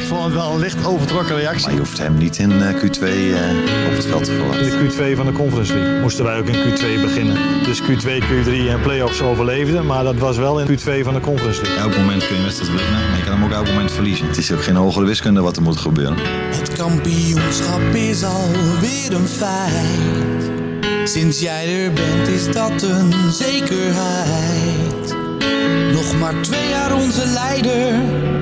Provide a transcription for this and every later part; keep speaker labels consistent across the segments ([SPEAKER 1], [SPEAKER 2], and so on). [SPEAKER 1] Ik vond het wel een licht overtrokken reactie.
[SPEAKER 2] Maar je hoeft hem niet in eh, Q2 eh, op het veld te
[SPEAKER 3] In
[SPEAKER 2] verwachten.
[SPEAKER 3] de Q2 van de Conference League moesten wij ook in Q2 beginnen. Dus Q2, Q3 en playoffs overleefden, maar dat was wel in Q2 van de Conference League.
[SPEAKER 2] Elk moment kun je een wedstrijd winnen, maar je kan hem ook elk moment verliezen. Het is ook geen hogere wiskunde wat er moet gebeuren.
[SPEAKER 4] Het kampioenschap is alweer een feit. Sinds jij er bent is dat een zekerheid. Nog maar twee jaar onze leider,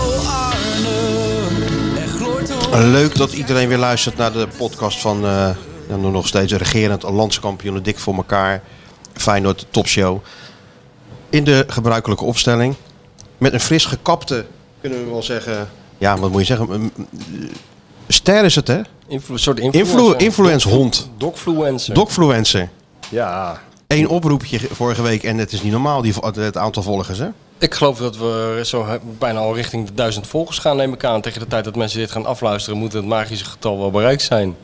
[SPEAKER 4] Oh Arne, er gloort een
[SPEAKER 5] Eh,
[SPEAKER 6] Leuk dat iedereen weer luistert naar de podcast van eh, ja, nu nog steeds regerend landskampioen Dik voor elkaar. Feyenoord topshow. In de gebruikelijke opstelling. Met een fris gekapte, kunnen we wel zeggen. Ja, wat moet je zeggen? Een- een- Ster is het, hè?
[SPEAKER 7] Influ soort
[SPEAKER 6] Influ
[SPEAKER 7] influencer.
[SPEAKER 6] influence-hond.
[SPEAKER 7] Docfluencer.
[SPEAKER 6] Docfluencer.
[SPEAKER 7] ja.
[SPEAKER 6] Eén oproepje ge- vorige week en het is niet normaal, die, vo- het aantal volgers, hè?
[SPEAKER 7] Ik geloof dat we zo he- bijna al richting de duizend volgers gaan, neem ik aan. Tegen de tijd dat mensen dit gaan afluisteren, moet het magische getal wel bereikt zijn.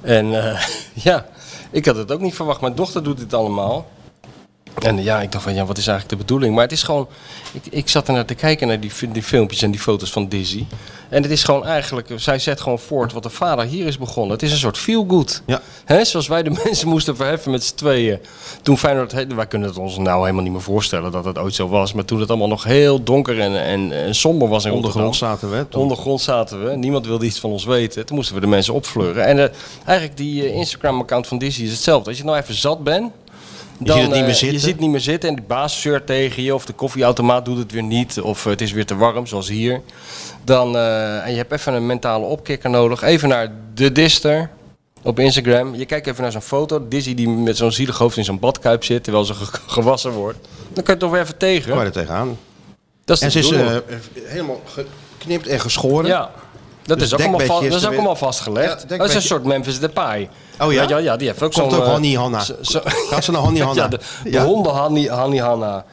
[SPEAKER 7] En eh, ja, ik had het ook niet verwacht. Mijn dochter doet dit allemaal. En ja, ik dacht van, ja, wat is eigenlijk de bedoeling? Maar het is gewoon, ik, ik zat ernaar te kijken naar die, fi- die filmpjes en die foto's van Dizzy. En het is gewoon eigenlijk, eh, zij zet gewoon voort wat de vader hier is begonnen. Het is een soort feel-good.
[SPEAKER 6] Ja.
[SPEAKER 7] Hè, zoals wij de mensen moesten verheffen met z'n tweeën. Toen Feyenoord, he- wij kunnen het ons nou helemaal niet meer voorstellen dat het ooit zo was. Maar toen het allemaal nog heel donker en, en, en somber was in Rotterdam.
[SPEAKER 6] Ondergrond zaten we, hè? Toen.
[SPEAKER 7] Ondergrond zaten we. Niemand wilde iets van ons weten. Toen moesten we de mensen opfleuren. En eh, eigenlijk die eh, Instagram-account van Dizzy is hetzelfde. Als je nou even zat bent... Dan,
[SPEAKER 6] ziet het niet
[SPEAKER 7] eh,
[SPEAKER 6] meer zitten.
[SPEAKER 7] Je ziet niet meer zitten en de baas zeurt tegen je. Of de koffieautomaat doet het weer niet. Of eh, het is weer te warm, zoals hier. Dan, eh, en je hebt even een mentale opkikker nodig. Even naar de Dister op Instagram. Je kijkt even naar zo'n foto. Dizzy die met zo'n zielig hoofd in zo'n badkuip zit. Terwijl ze ge- gewassen wordt. Dan kun je toch weer even tegen.
[SPEAKER 6] Waar je er tegenaan.
[SPEAKER 7] Dat is
[SPEAKER 6] Oh, En
[SPEAKER 7] de
[SPEAKER 6] ze is
[SPEAKER 7] bedoeling.
[SPEAKER 6] eh, helemaal geknipt en geschoren.
[SPEAKER 7] Ja. Dat,
[SPEAKER 6] Dus
[SPEAKER 7] is ook, allemaal, va-
[SPEAKER 6] dekbedje is
[SPEAKER 7] dat is
[SPEAKER 6] er
[SPEAKER 7] ook
[SPEAKER 6] weer-
[SPEAKER 7] allemaal vastgelegd.
[SPEAKER 6] Ja,
[SPEAKER 7] dat is
[SPEAKER 6] dekbedje.
[SPEAKER 7] een soort Memphis Depay.
[SPEAKER 6] Oh ja?
[SPEAKER 7] Weet je wel? ja die heeft ook zo'n...
[SPEAKER 6] Komt ook
[SPEAKER 7] eh,
[SPEAKER 6] Hanni Hanna.
[SPEAKER 7] zo- zo-
[SPEAKER 6] Gaat ze nou naar Hanni Hanna?
[SPEAKER 7] Ja, de, de
[SPEAKER 6] Ja.
[SPEAKER 7] honden Hanni, Hanni Hanna.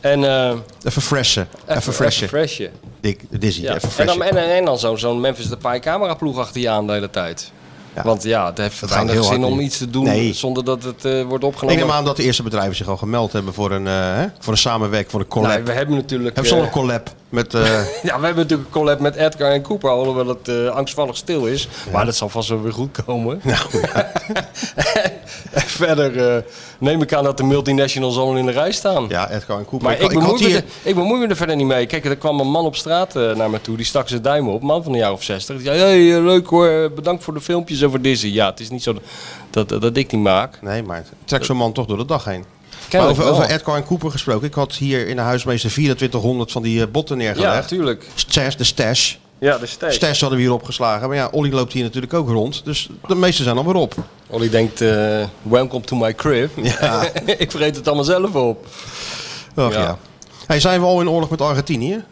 [SPEAKER 7] En... eh, even-
[SPEAKER 6] Even freshen. Even freshen.
[SPEAKER 7] Even freshen.
[SPEAKER 6] Dik, Dizzy,
[SPEAKER 7] Ja.
[SPEAKER 6] even
[SPEAKER 7] En
[SPEAKER 6] freshen.
[SPEAKER 7] dan, en, en dan zo'n zo'n Memphis Depay cameraploeg achter je aan de hele tijd.
[SPEAKER 6] Ja.
[SPEAKER 7] Want ja, het heeft
[SPEAKER 6] Dat
[SPEAKER 7] weinig
[SPEAKER 6] gaat heel
[SPEAKER 7] zin
[SPEAKER 6] hard
[SPEAKER 7] om
[SPEAKER 6] nu.
[SPEAKER 7] iets te doen
[SPEAKER 6] Nee.
[SPEAKER 7] zonder dat het eh, wordt
[SPEAKER 6] ik
[SPEAKER 7] opgenomen.
[SPEAKER 6] neem aan dat de eerste bedrijven zich al gemeld hebben voor een, eh, hè, voor een samenwerking, voor een collab.
[SPEAKER 7] Nou, we hebben natuurlijk...
[SPEAKER 6] hebben ze al
[SPEAKER 7] eh,
[SPEAKER 6] een collab met... eh,
[SPEAKER 7] Ja, we hebben natuurlijk een collab met Edgar en Cooper, alhoewel het eh, angstvallig stil is. Maar dat zal vast wel weer goed komen.
[SPEAKER 6] nou,
[SPEAKER 7] en verder eh, neem ik aan dat de multinationals allemaal in de rij staan.
[SPEAKER 6] ja, Edgar en Cooper.
[SPEAKER 7] Maar ik,
[SPEAKER 6] had
[SPEAKER 7] bemoei me
[SPEAKER 6] hier-
[SPEAKER 7] er- ik bemoei me er verder niet mee. Kijk, er kwam een man op straat eh, naar me toe. Die stak zijn duim op. Een man van een jaar of zestig. Die zei, hey, eh, leuk hoor. eh, Bedankt voor de filmpjes over Dizzy. Ja, het is niet zo dat, eh, dat, dat ik die maak.
[SPEAKER 6] Nee, maar het- trek zo'n man toch door de dag heen. Maar
[SPEAKER 7] Kennelijk
[SPEAKER 6] over,
[SPEAKER 7] wel.
[SPEAKER 6] over Edgar en Cooper gesproken. Ik had hier in de huismeester 2400 van die eh, botten
[SPEAKER 7] Ja,
[SPEAKER 6] neergelegd.
[SPEAKER 7] natuurlijk.
[SPEAKER 6] Stash, de stash.
[SPEAKER 7] Ja, de steek.
[SPEAKER 6] Stash hadden we hier opgeslagen. Maar ja, Olly loopt hier natuurlijk ook rond. Dus de meeste zijn alweer op.
[SPEAKER 7] Olly denkt, eh, welcome to my crib.
[SPEAKER 6] Ja.
[SPEAKER 7] ik vreet het allemaal zelf op.
[SPEAKER 6] Och, ja.
[SPEAKER 7] Ja.
[SPEAKER 6] Hey, zijn we al in oorlog met Argentinië?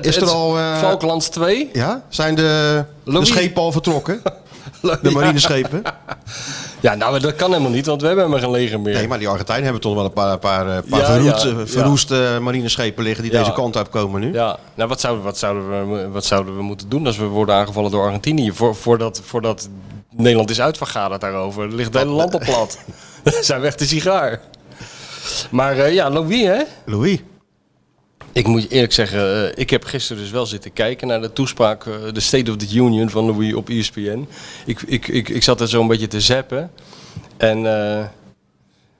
[SPEAKER 6] Is er
[SPEAKER 7] Het-
[SPEAKER 6] al... eh,
[SPEAKER 7] Falklands 2?
[SPEAKER 6] Ja? Zijn de, de
[SPEAKER 7] Louis-
[SPEAKER 6] schepen al vertrokken? De marineschepen?
[SPEAKER 7] Ja, nou, dat kan helemaal niet, want we hebben helemaal geen leger meer.
[SPEAKER 6] Nee, maar die Argentijnen hebben toch wel een paar, een paar, een paar
[SPEAKER 7] Ja,
[SPEAKER 6] verroet-
[SPEAKER 7] ja, ja.
[SPEAKER 6] verroeste eh, marineschepen liggen die
[SPEAKER 7] Ja.
[SPEAKER 6] deze kant op komen nu.
[SPEAKER 7] Ja, nou, wat zouden, wat, zouden we, wat zouden we moeten doen als we worden aangevallen door Argentinië? Voor, voordat, voordat Nederland is uitvergaderd daarover, ligt het hele land op plat. Zijn weg de sigaar. Maar eh, ja, Louis, hè?
[SPEAKER 6] Louis.
[SPEAKER 7] Ik moet je eerlijk zeggen, eh, ik heb gisteren dus wel zitten kijken naar de toespraak, eh, de State of the Union van Louis op E ESPN. Ik, ik, ik, ik zat er zo een beetje te zappen. En eh,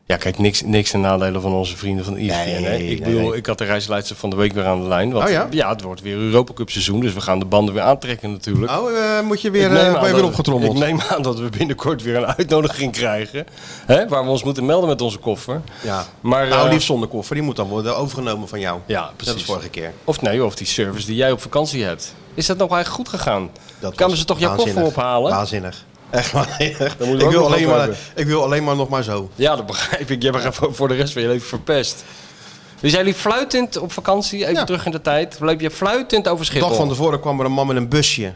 [SPEAKER 7] Ja, kijk, niks, niks ten nadele van onze vrienden van E ESPN.
[SPEAKER 6] Nee,
[SPEAKER 7] hè? Ik
[SPEAKER 6] nee,
[SPEAKER 7] bedoel,
[SPEAKER 6] nee.
[SPEAKER 7] ik had de reisleidster van de week weer aan de lijn. Want,
[SPEAKER 6] Oh ja?
[SPEAKER 7] het wordt weer Europa Cup seizoen, dus we gaan de banden weer aantrekken natuurlijk.
[SPEAKER 6] Oh, eh, moet je
[SPEAKER 7] Ik
[SPEAKER 6] weer,
[SPEAKER 7] neem
[SPEAKER 6] eh
[SPEAKER 7] aan
[SPEAKER 6] ben je weer
[SPEAKER 7] dat-
[SPEAKER 6] opgetrommeld?
[SPEAKER 7] Ik neem aan dat we binnenkort weer een uitnodiging krijgen. Hè, waar we ons moeten melden met onze koffer.
[SPEAKER 6] Ja.
[SPEAKER 7] Maar,
[SPEAKER 6] nou,
[SPEAKER 7] eh,
[SPEAKER 6] die zonder koffer, die moet dan worden overgenomen van jou.
[SPEAKER 7] Ja,
[SPEAKER 6] Dat
[SPEAKER 7] precies.
[SPEAKER 6] is vorige keer.
[SPEAKER 7] Of nee, of die service die jij op vakantie hebt. Is dat nou eigenlijk goed gegaan?
[SPEAKER 6] Dat
[SPEAKER 7] Kwamen
[SPEAKER 6] was
[SPEAKER 7] ze toch jouw
[SPEAKER 6] waanzinnig.
[SPEAKER 7] koffer ophalen?
[SPEAKER 6] Waanzinnig. Echt waanzinnig.
[SPEAKER 7] moet je
[SPEAKER 6] Ik wil,
[SPEAKER 7] ook nog
[SPEAKER 6] alleen
[SPEAKER 7] over
[SPEAKER 6] maar,
[SPEAKER 7] hebben.
[SPEAKER 6] ik wil alleen maar nog maar zo.
[SPEAKER 7] Ja, dat begrijp ik. Jij bent gewoon voor de rest van je leven verpest. Dus jij liep fluitend op vakantie, even
[SPEAKER 6] Ja.
[SPEAKER 7] terug in de tijd. Liep je fluitend over
[SPEAKER 6] De
[SPEAKER 7] Schiphol.
[SPEAKER 6] dag van tevoren kwam er een man met een busje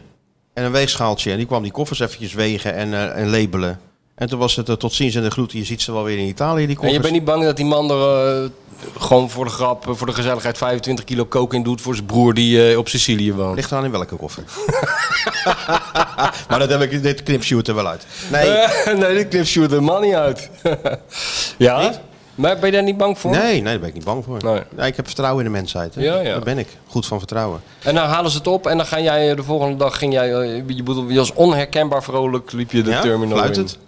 [SPEAKER 6] en een weegschaaltje. En die kwam die koffers eventjes wegen en, eh, en labelen. En toen was het eh, tot ziens en de groet. Je ziet ze wel weer in Italië, die
[SPEAKER 7] en
[SPEAKER 6] koffers.
[SPEAKER 7] je bent niet bang dat die man er eh, gewoon voor de grap, eh, voor de gezelligheid 25 kilo coke in doet voor zijn broer die eh, op Sicilië woont.
[SPEAKER 6] Ligt eraan in welke koffer. maar dat heb ik, dit knipshoot er wel uit. Nee,
[SPEAKER 7] Eh, nee, die knip shoot er man niet uit. ja? Maar ben je daar niet bang voor?
[SPEAKER 6] nee, nee, daar ben ik niet bang voor.
[SPEAKER 7] Nee.
[SPEAKER 6] Nee, ik heb vertrouwen in de mensheid. Hè.
[SPEAKER 7] Ja, ja.
[SPEAKER 6] Daar ben ik. Goed van vertrouwen.
[SPEAKER 7] En dan halen ze het op en dan ga jij eh, de volgende dag, ging jij, eh, je, bedoel, je was onherkenbaar vrolijk, liep je de
[SPEAKER 6] Ja?
[SPEAKER 7] terminal
[SPEAKER 6] Fluitend?
[SPEAKER 7] in.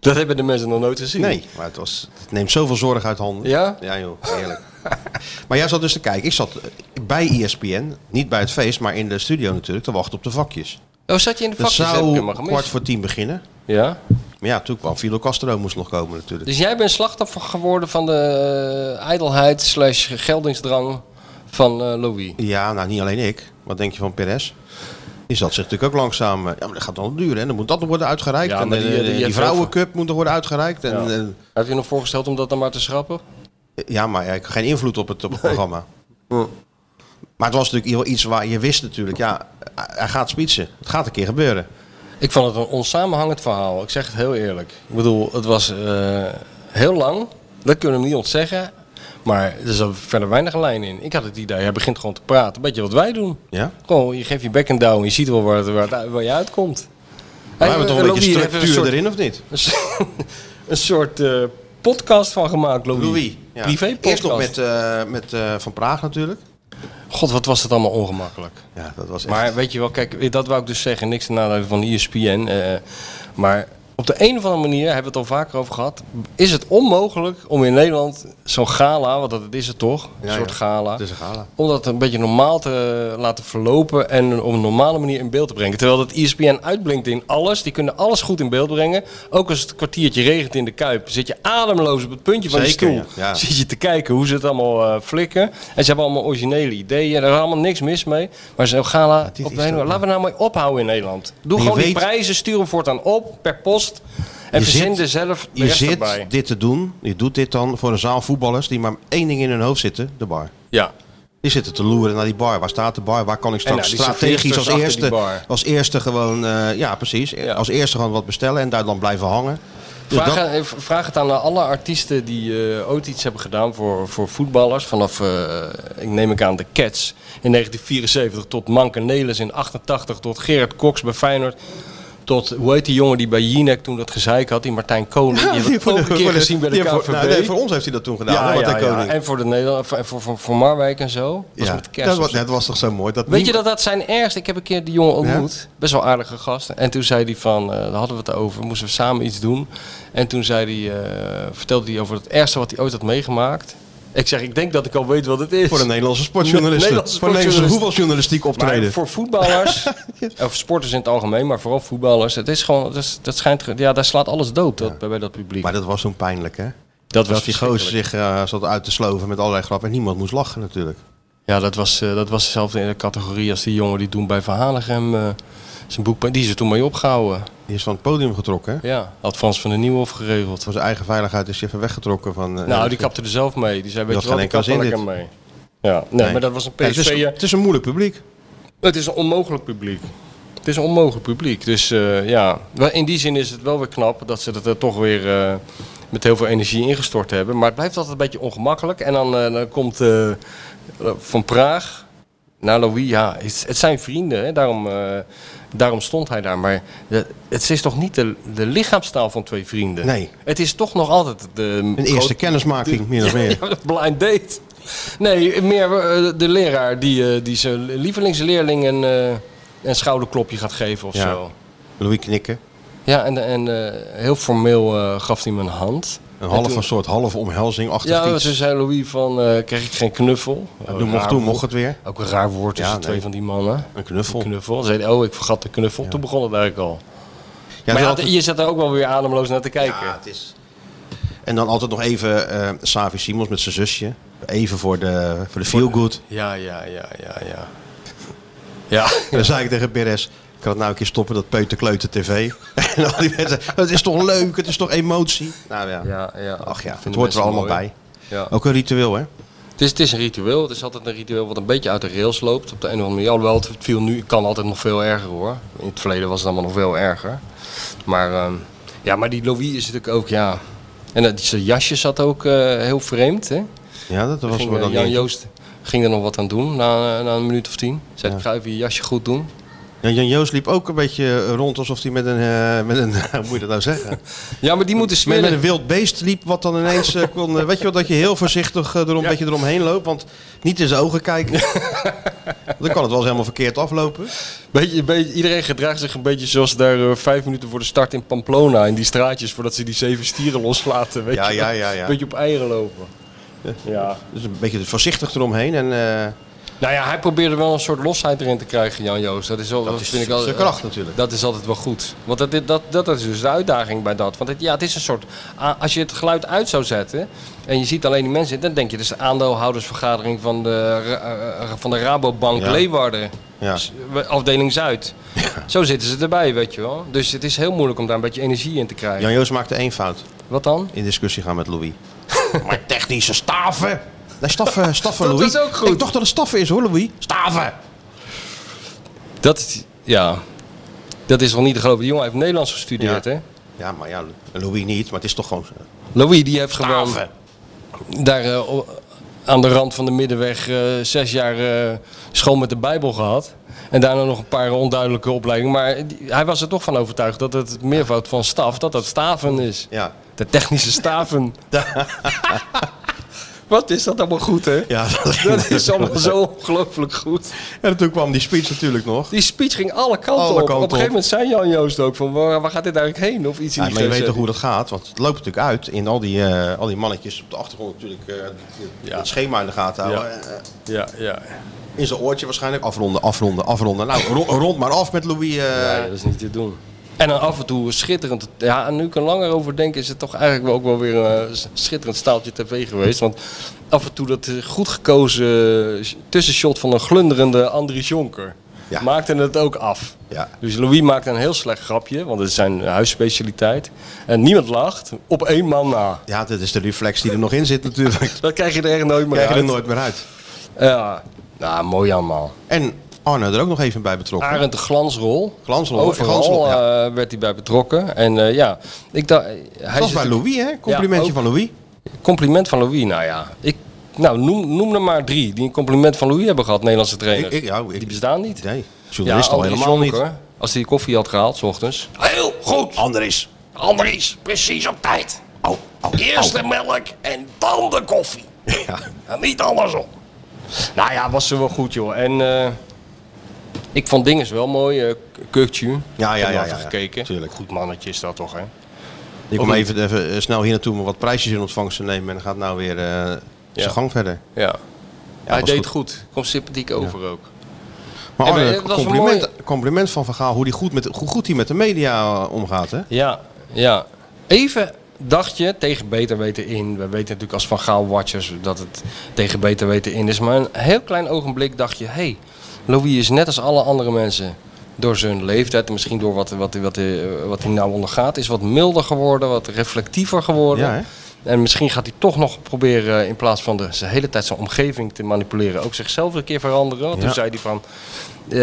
[SPEAKER 7] Dat hebben de mensen nog nooit gezien.
[SPEAKER 6] Nee, maar het, was, het neemt zoveel zorg uit handen.
[SPEAKER 7] Ja?
[SPEAKER 6] Ja joh, heerlijk. maar jij zat dus te kijken. Ik zat eh, bij ESPN, niet bij het feest, maar in de studio natuurlijk, te wachten op de vakjes.
[SPEAKER 7] Oh, zat je in de
[SPEAKER 6] Dat
[SPEAKER 7] vakjes? Heb ik
[SPEAKER 6] zou
[SPEAKER 7] helemaal gemist.
[SPEAKER 6] kwart voor tien beginnen.
[SPEAKER 7] Ja?
[SPEAKER 6] Maar ja, toen kwam Fidel Castro, moest nog komen natuurlijk.
[SPEAKER 7] Dus jij bent slachtoffer geworden van de eh, ijdelheid slash geldingsdrang van eh, Louis.
[SPEAKER 6] Ja, nou niet alleen ik. Wat denk je van Perez? Die zat zich natuurlijk ook langzaam... eh, Ja, maar dat gaat wel duren. En dan moet dat nog worden uitgereikt.
[SPEAKER 7] Ja,
[SPEAKER 6] en
[SPEAKER 7] maar
[SPEAKER 6] die,
[SPEAKER 7] die, eh,
[SPEAKER 6] die,
[SPEAKER 7] die heeft
[SPEAKER 6] vrouwencup moet nog worden uitgereikt. En,
[SPEAKER 7] Ja.
[SPEAKER 6] eh,
[SPEAKER 7] Heb je nog voorgesteld om dat dan maar te schrappen?
[SPEAKER 6] Ja, maar ja, ik heb geen invloed op het, op het programma. Maar het was natuurlijk wel iets waar je wist natuurlijk, ja, hij gaat spitsen. Het gaat een keer gebeuren.
[SPEAKER 7] Ik vond het een onsamenhangend verhaal. Ik zeg het heel eerlijk. Ik bedoel, het was eh, heel lang. Dat kunnen we hem niet ontzeggen. Maar er zat verder weinig lijn in. Ik had het idee, hij begint gewoon te praten. Beetje wat wij doen.
[SPEAKER 6] Ja?
[SPEAKER 7] Gewoon, je geeft je bek en douw en je ziet wel waar, het- waar, het- waar je uitkomt.
[SPEAKER 6] We hebben toch een beetje
[SPEAKER 7] eh, Louis heeft
[SPEAKER 6] structuur
[SPEAKER 7] soort-
[SPEAKER 6] erin, of niet?
[SPEAKER 7] een soort, een soort, eh, podcast van gemaakt, Louis.
[SPEAKER 6] ja.
[SPEAKER 7] Privé podcast.
[SPEAKER 6] Eerst nog met, eh, met eh, Van Praag natuurlijk.
[SPEAKER 7] God, wat was dat allemaal ongemakkelijk.
[SPEAKER 6] Ja, dat was echt...
[SPEAKER 7] Maar weet je wel, kijk, dat wou ik dus zeggen. Niks ten nadele van ESPN. eh, maar op de een of andere manier, hebben we het al vaker over gehad... is het onmogelijk om in Nederland zo'n gala, want dat is het toch? Een
[SPEAKER 6] Ja,
[SPEAKER 7] soort
[SPEAKER 6] ja.
[SPEAKER 7] gala.
[SPEAKER 6] Het is een gala.
[SPEAKER 7] om dat een beetje normaal te eh, laten verlopen en op een normale manier in beeld te brengen. Terwijl dat E ESPN uitblinkt in alles. Die kunnen alles goed in beeld brengen. Ook als het een kwartiertje regent in de Kuip, zit je ademloos op het puntje van
[SPEAKER 6] Zeker,
[SPEAKER 7] je stoel.
[SPEAKER 6] ja. Ja.
[SPEAKER 7] Zit je te kijken hoe ze het allemaal eh, flikken. En ze hebben allemaal originele ideeën. Er is allemaal niks mis mee. Maar zo'n gala,
[SPEAKER 6] dit
[SPEAKER 7] op
[SPEAKER 6] is
[SPEAKER 7] de hele-
[SPEAKER 6] toch-
[SPEAKER 7] laten we nou maar ophouden in Nederland. Doe
[SPEAKER 6] Maar je
[SPEAKER 7] gewoon die
[SPEAKER 6] weet-
[SPEAKER 7] prijzen, stuur hem voortaan op per post. En
[SPEAKER 6] Je
[SPEAKER 7] verzin er
[SPEAKER 6] zit-
[SPEAKER 7] zelf de
[SPEAKER 6] Je
[SPEAKER 7] rest
[SPEAKER 6] zit
[SPEAKER 7] erbij.
[SPEAKER 6] dit te doen, je doet dit dan voor een zaal voetballers die maar één ding in hun hoofd zitten, de bar.
[SPEAKER 7] Ja.
[SPEAKER 6] Die zitten te loeren naar die bar. Waar staat de bar? Waar kan ik straks
[SPEAKER 7] nou, die
[SPEAKER 6] strategisch als
[SPEAKER 7] serveersters achter die
[SPEAKER 6] eerste,
[SPEAKER 7] bar.
[SPEAKER 6] als eerste gewoon... eh, ja, precies.
[SPEAKER 7] Ja.
[SPEAKER 6] Als eerste gewoon wat bestellen en daar dan blijven hangen. Dus
[SPEAKER 7] Vraag,
[SPEAKER 6] dat-
[SPEAKER 7] eh, v- vraag het aan eh, alle artiesten die eh ooit iets hebben gedaan voor, voor voetballers. Vanaf, eh, ik neem ik aan, de Cats in 1974 tot Manke Nelis in 88 tot Gerard Cox bij Feyenoord. Tot, hoe heet die jongen die bij Jinek toen dat gezeik had? Die Martijn Koning. die heb ik ook een keer gezien bij de
[SPEAKER 6] ja, voor,
[SPEAKER 7] KVB.
[SPEAKER 6] nou, nee, voor ons heeft hij dat toen gedaan. Ja, ja, Koning.
[SPEAKER 7] En voor, de Nederland, voor, voor, voor, voor Marwijk en zo. Was
[SPEAKER 6] Ja,
[SPEAKER 7] met kerst
[SPEAKER 6] dat,
[SPEAKER 7] of
[SPEAKER 6] was,
[SPEAKER 7] zo.
[SPEAKER 6] dat was toch zo mooi. Dat
[SPEAKER 7] Weet je
[SPEAKER 6] niemand-
[SPEAKER 7] dat dat zijn ergste? Ik heb een keer die jongen ontmoet. Best wel aardige gast. En toen zei hij van, eh, daar hadden we het over, moesten we samen iets doen. En toen zei hij, eh, vertelde hij over het ergste wat hij ooit had meegemaakt. Ik zeg, ik denk dat ik al weet wat het is.
[SPEAKER 6] Voor de Nederlandse sportjournalisten.
[SPEAKER 7] Nederlandse
[SPEAKER 6] voor de Nederlandse
[SPEAKER 7] sportjournalisten.
[SPEAKER 6] voetbaljournalistiek optreden.
[SPEAKER 7] maar voor voetballers, of sporters in het algemeen, maar vooral voetballers. Het is gewoon, dat, is- dat schijnt, ge- ja, daar slaat alles dood dat, bij, bij dat publiek.
[SPEAKER 6] Maar dat was toen pijnlijk, hè?
[SPEAKER 7] dat
[SPEAKER 6] Dat die gozer zich eh, zat uit te sloven met allerlei grappen. En niemand moest lachen natuurlijk.
[SPEAKER 7] Ja, dat was, eh, dat was dezelfde in de categorie als die jongen die toen bij Van Hanegem eh, zijn boek, die is er toen mee opgehouden.
[SPEAKER 6] Die is van het podium getrokken, hè?
[SPEAKER 7] Ja, had Frans van der Nieuwhof geregeld.
[SPEAKER 6] Voor zijn eigen veiligheid is hij even weggetrokken van... eh,
[SPEAKER 7] Nou, die kapte er zelf mee. Die zei, weet
[SPEAKER 6] Dat
[SPEAKER 7] je wel, die
[SPEAKER 6] geen enkel
[SPEAKER 7] kapte
[SPEAKER 6] zin
[SPEAKER 7] lekker mee. Ja, nee,
[SPEAKER 6] Nee.
[SPEAKER 7] maar dat was een
[SPEAKER 6] Ja, het, is,
[SPEAKER 7] PSV.
[SPEAKER 6] het is een moeilijk publiek.
[SPEAKER 7] het is een onmogelijk publiek. Het is een onmogelijk publiek. Dus eh, ja, Wel, in die zin is het wel weer knap dat ze dat er toch weer eh, met heel veel energie ingestort hebben. Maar het blijft altijd een beetje ongemakkelijk. En dan, eh, dan komt eh, Van Praag naar Louis. Ja, het, het zijn vrienden, hè? Daarom, eh, daarom stond hij daar. Maar de- het is toch niet de, de lichaamstaal van twee vrienden?
[SPEAKER 6] Nee.
[SPEAKER 7] Het is toch nog altijd de
[SPEAKER 6] Een
[SPEAKER 7] grote-
[SPEAKER 6] eerste kennismaking, meer of meer.
[SPEAKER 7] ja, een blind date. Nee, meer eh, de leraar die, eh, die zijn lievelingsleerling een, eh, een schouderklopje gaat geven of
[SPEAKER 6] Ja.
[SPEAKER 7] zo.
[SPEAKER 6] Louis knikken.
[SPEAKER 7] Ja, en, en eh, heel formeel eh, gaf hij me een hand.
[SPEAKER 6] Een, half,
[SPEAKER 7] toen-
[SPEAKER 6] een soort halve omhelzing achter
[SPEAKER 7] Ja, dat
[SPEAKER 6] iets.
[SPEAKER 7] ze zei Louis van, eh kreeg ik geen knuffel?
[SPEAKER 6] Ja,
[SPEAKER 7] Oh,
[SPEAKER 6] toen mocht,
[SPEAKER 7] raar
[SPEAKER 6] toen
[SPEAKER 7] woord.
[SPEAKER 6] mocht het weer.
[SPEAKER 7] Ook een raar woord tussen
[SPEAKER 6] Ja, nee.
[SPEAKER 7] twee van die mannen.
[SPEAKER 6] Een knuffel.
[SPEAKER 7] Knuffel. Zeiden, oh, ik vergat de knuffel. Toen begon het eigenlijk al.
[SPEAKER 6] Ja,
[SPEAKER 7] maar
[SPEAKER 6] dan
[SPEAKER 7] ja,
[SPEAKER 6] altijd-
[SPEAKER 7] je zat er ook wel weer ademloos naar te kijken.
[SPEAKER 6] Ja, het is... En dan altijd nog even eh Savi Simons met zijn zusje. Even voor de, voor de feel good.
[SPEAKER 7] Ja, ja, ja, ja, ja. Ja,
[SPEAKER 6] En dan zei ik tegen Perez, kan het nou een keer stoppen dat peuterkleuter tv? en al die mensen, het is toch leuk, het is toch emotie? Nou ja,
[SPEAKER 7] ja, ja.
[SPEAKER 6] ach ja,
[SPEAKER 7] Ik vind
[SPEAKER 6] het hoort
[SPEAKER 7] best
[SPEAKER 6] er allemaal
[SPEAKER 7] mooi.
[SPEAKER 6] bij.
[SPEAKER 7] Ja.
[SPEAKER 6] Ook een ritueel hè?
[SPEAKER 7] Het, is, het is een ritueel. Het is altijd een ritueel wat een beetje uit de rails loopt. Op de een of andere manier. Alhoewel, het viel nu, het kan altijd nog veel erger hoor. In het verleden was het allemaal nog veel erger. Maar, ehm, ja, maar die Louis is natuurlijk ook, ja... En dat, zijn jasje zat ook eh, heel vreemd, hè?
[SPEAKER 6] Ja, dat was
[SPEAKER 7] Ging,
[SPEAKER 6] wel
[SPEAKER 7] eh,
[SPEAKER 6] dan
[SPEAKER 7] Jan
[SPEAKER 6] niet-
[SPEAKER 7] Joost ging er nog wat aan doen na, eh, na een minuut of tien. Zei,
[SPEAKER 6] Ja.
[SPEAKER 7] ik ga even je jasje goed doen.
[SPEAKER 6] Ja, Jan Joost liep ook een beetje rond alsof hij met een, eh, met een hoe moet je dat nou zeggen?
[SPEAKER 7] Ja, maar die moeten
[SPEAKER 6] Met, met
[SPEAKER 7] smeren.
[SPEAKER 6] een wild beest liep wat dan ineens eh, kon, eh, weet je wel, dat je heel voorzichtig eh, erom, dat je eromheen loopt, want niet in zijn ogen kijken. dan kan het wel eens helemaal verkeerd aflopen.
[SPEAKER 7] Beetje, beetje, iedereen gedraagt zich een beetje zoals daar eh, vijf minuten voor de start in Pamplona. In die straatjes voordat ze die zeven stieren loslaten. Weet
[SPEAKER 6] Ja,
[SPEAKER 7] je
[SPEAKER 6] ja,
[SPEAKER 7] wel.
[SPEAKER 6] ja, ja.
[SPEAKER 7] Een beetje op eieren lopen. Ja.
[SPEAKER 6] Dus een beetje voorzichtig eromheen en eh,
[SPEAKER 7] Nou ja, hij probeerde wel een soort losheid erin te krijgen, Jan Joost. Dat is, wel, dat
[SPEAKER 6] is
[SPEAKER 7] vind ik
[SPEAKER 6] zijn
[SPEAKER 7] altijd-
[SPEAKER 6] kracht natuurlijk.
[SPEAKER 7] Dat is altijd wel goed. Want dat, dat, dat, dat is dus de uitdaging bij dat. Want het, ja, het is een soort. a- Als je het geluid uit zou zetten. en je ziet alleen die mensen. dan denk je, dat is de aandeelhoudersvergadering van de, Ra- eh, van de Rabobank
[SPEAKER 6] Ja.
[SPEAKER 7] Leeuwarden.
[SPEAKER 6] ja.
[SPEAKER 7] S- Afdeling Zuid. Zo zitten ze erbij, weet je wel. Dus het is heel moeilijk om daar een beetje energie in te krijgen.
[SPEAKER 6] Jan Joost maakte één fout.
[SPEAKER 7] Wat dan?
[SPEAKER 6] in discussie gaan met Louis. maar technische staven. Nee, staffen, staffen
[SPEAKER 7] Dat
[SPEAKER 6] Louis.
[SPEAKER 7] is ook goed.
[SPEAKER 6] Ik dacht dat het staffen is hoor, Louis. Staven.
[SPEAKER 7] Dat is. Ja. Dat is wel niet te geloven. Die jongen heeft Nederlands gestudeerd,
[SPEAKER 6] Ja.
[SPEAKER 7] hè?
[SPEAKER 6] Ja, maar ja, Louis niet, maar het is toch gewoon eh,
[SPEAKER 7] Louis, die heeft gewoon.
[SPEAKER 6] staven.
[SPEAKER 7] daar eh, o- aan de rand van de middenweg eh, zes jaar eh, school met de Bijbel gehad. En daarna nog een paar onduidelijke opleidingen. Maar die- hij was er toch van overtuigd dat het meervoud van staf, dat dat staven is.
[SPEAKER 6] Ja.
[SPEAKER 7] De technische staven. Wat is dat allemaal goed, hè?
[SPEAKER 6] Ja,
[SPEAKER 7] Dat is allemaal zo ongelooflijk goed.
[SPEAKER 6] en toen kwam die speech natuurlijk nog.
[SPEAKER 7] Die speech ging alle kanten
[SPEAKER 6] Alle
[SPEAKER 7] op.
[SPEAKER 6] kanten
[SPEAKER 7] op een
[SPEAKER 6] op.
[SPEAKER 7] gegeven moment zei Jan Joost ook van waar, waar gaat dit eigenlijk heen? Of iets in
[SPEAKER 6] Ja,
[SPEAKER 7] die
[SPEAKER 6] maar je weet
[SPEAKER 7] geest.
[SPEAKER 6] toch hoe dat gaat, want het loopt natuurlijk uit in al die, eh, al die mannetjes op de achtergrond natuurlijk eh, die- die-
[SPEAKER 7] Ja.
[SPEAKER 6] het schema in de gaten houden.
[SPEAKER 7] Ja.
[SPEAKER 6] Eh, eh,
[SPEAKER 7] Ja, ja.
[SPEAKER 6] In zijn oortje waarschijnlijk afronden, afronden, afronden. Nou, ro- rond maar af met Louis. eh.
[SPEAKER 7] Ja, dat is niet te doen. En dan af en toe een schitterend. Ja, en nu ik er langer over denk, is het toch eigenlijk wel ook wel weer een eh, s- schitterend staaltje tv geweest. Want af en toe dat eh, goed gekozen eh, tussenshot van een glunderende Andries Jonker.
[SPEAKER 6] Ja.
[SPEAKER 7] Maakte het ook af.
[SPEAKER 6] Ja.
[SPEAKER 7] Dus Louis maakte een heel slecht grapje, want het is zijn huisspecialiteit. En niemand lacht, op één man na.
[SPEAKER 6] ja, dit is de reflex die er nog in zit natuurlijk.
[SPEAKER 7] Dat krijg je er echt nooit meer
[SPEAKER 6] Krijg je er
[SPEAKER 7] uit.
[SPEAKER 6] nooit meer uit.
[SPEAKER 7] Ja, nou, mooi allemaal.
[SPEAKER 6] En Arne er ook nog even bij betrokken.
[SPEAKER 7] Arend de glansrol.
[SPEAKER 6] Glansrol,
[SPEAKER 7] Overal
[SPEAKER 6] glansrol, ja.
[SPEAKER 7] eh, werd hij bij betrokken. En eh, ja, ik dacht... hij
[SPEAKER 6] Dat was
[SPEAKER 7] zit-
[SPEAKER 6] bij Louis, hè? Complimentje
[SPEAKER 7] ook.
[SPEAKER 6] van Louis.
[SPEAKER 7] Compliment van Louis, nou ja. Ik, nou, noem, noem er maar drie die een compliment van Louis hebben gehad, Nederlandse trainers.
[SPEAKER 6] Ik- ik- ja, ik-
[SPEAKER 7] die bestaan niet.
[SPEAKER 6] Nee, journalist al
[SPEAKER 7] Andries
[SPEAKER 6] helemaal niet.
[SPEAKER 7] Jonker, Als hij koffie had gehaald, s ochtends.
[SPEAKER 8] Heel goed. Andries. Andries, precies op tijd. Eerst de melk en dan de koffie. En niet andersom.
[SPEAKER 7] Nou ja, was ze wel goed, joh. En eh, ik vond Dinges wel mooi. eh Kukcu.
[SPEAKER 6] ja, ja, ja, ja.
[SPEAKER 7] gekeken.
[SPEAKER 6] Tuurlijk.
[SPEAKER 7] Goed mannetje is dat toch, hè?
[SPEAKER 6] Ik kom even, even eh, snel hier naartoe om wat prijsjes in ontvangst te nemen. En dan gaat nou weer eh, zijn gang verder.
[SPEAKER 7] Ja. hij
[SPEAKER 6] was
[SPEAKER 7] deed
[SPEAKER 6] goed.
[SPEAKER 7] goed. Komt sympathiek over ook.
[SPEAKER 6] Maar
[SPEAKER 7] En
[SPEAKER 6] Arne,
[SPEAKER 7] we- het was een
[SPEAKER 6] compliment, compliment van Van Gaal. Hoe, die goed met, hoe goed hij met de media eh, omgaat, hè?
[SPEAKER 7] Ja, ja. Even dacht je tegen beter weten in. We weten natuurlijk als Van Gaal Watchers dat het tegen beter weten in is. Maar een heel klein ogenblik dacht je... hey, Louis is net als alle andere mensen door zijn leeftijd... en misschien door wat, wat, wat, eh, wat hij nou ondergaat... is wat milder geworden, wat reflectiever geworden.
[SPEAKER 6] Ja, hè?
[SPEAKER 7] en misschien gaat hij toch nog proberen... eh, in plaats van de, de hele tijd zijn omgeving te manipuleren... ook zichzelf een keer veranderen. Want
[SPEAKER 6] Ja.
[SPEAKER 7] Toen zei hij van... eh,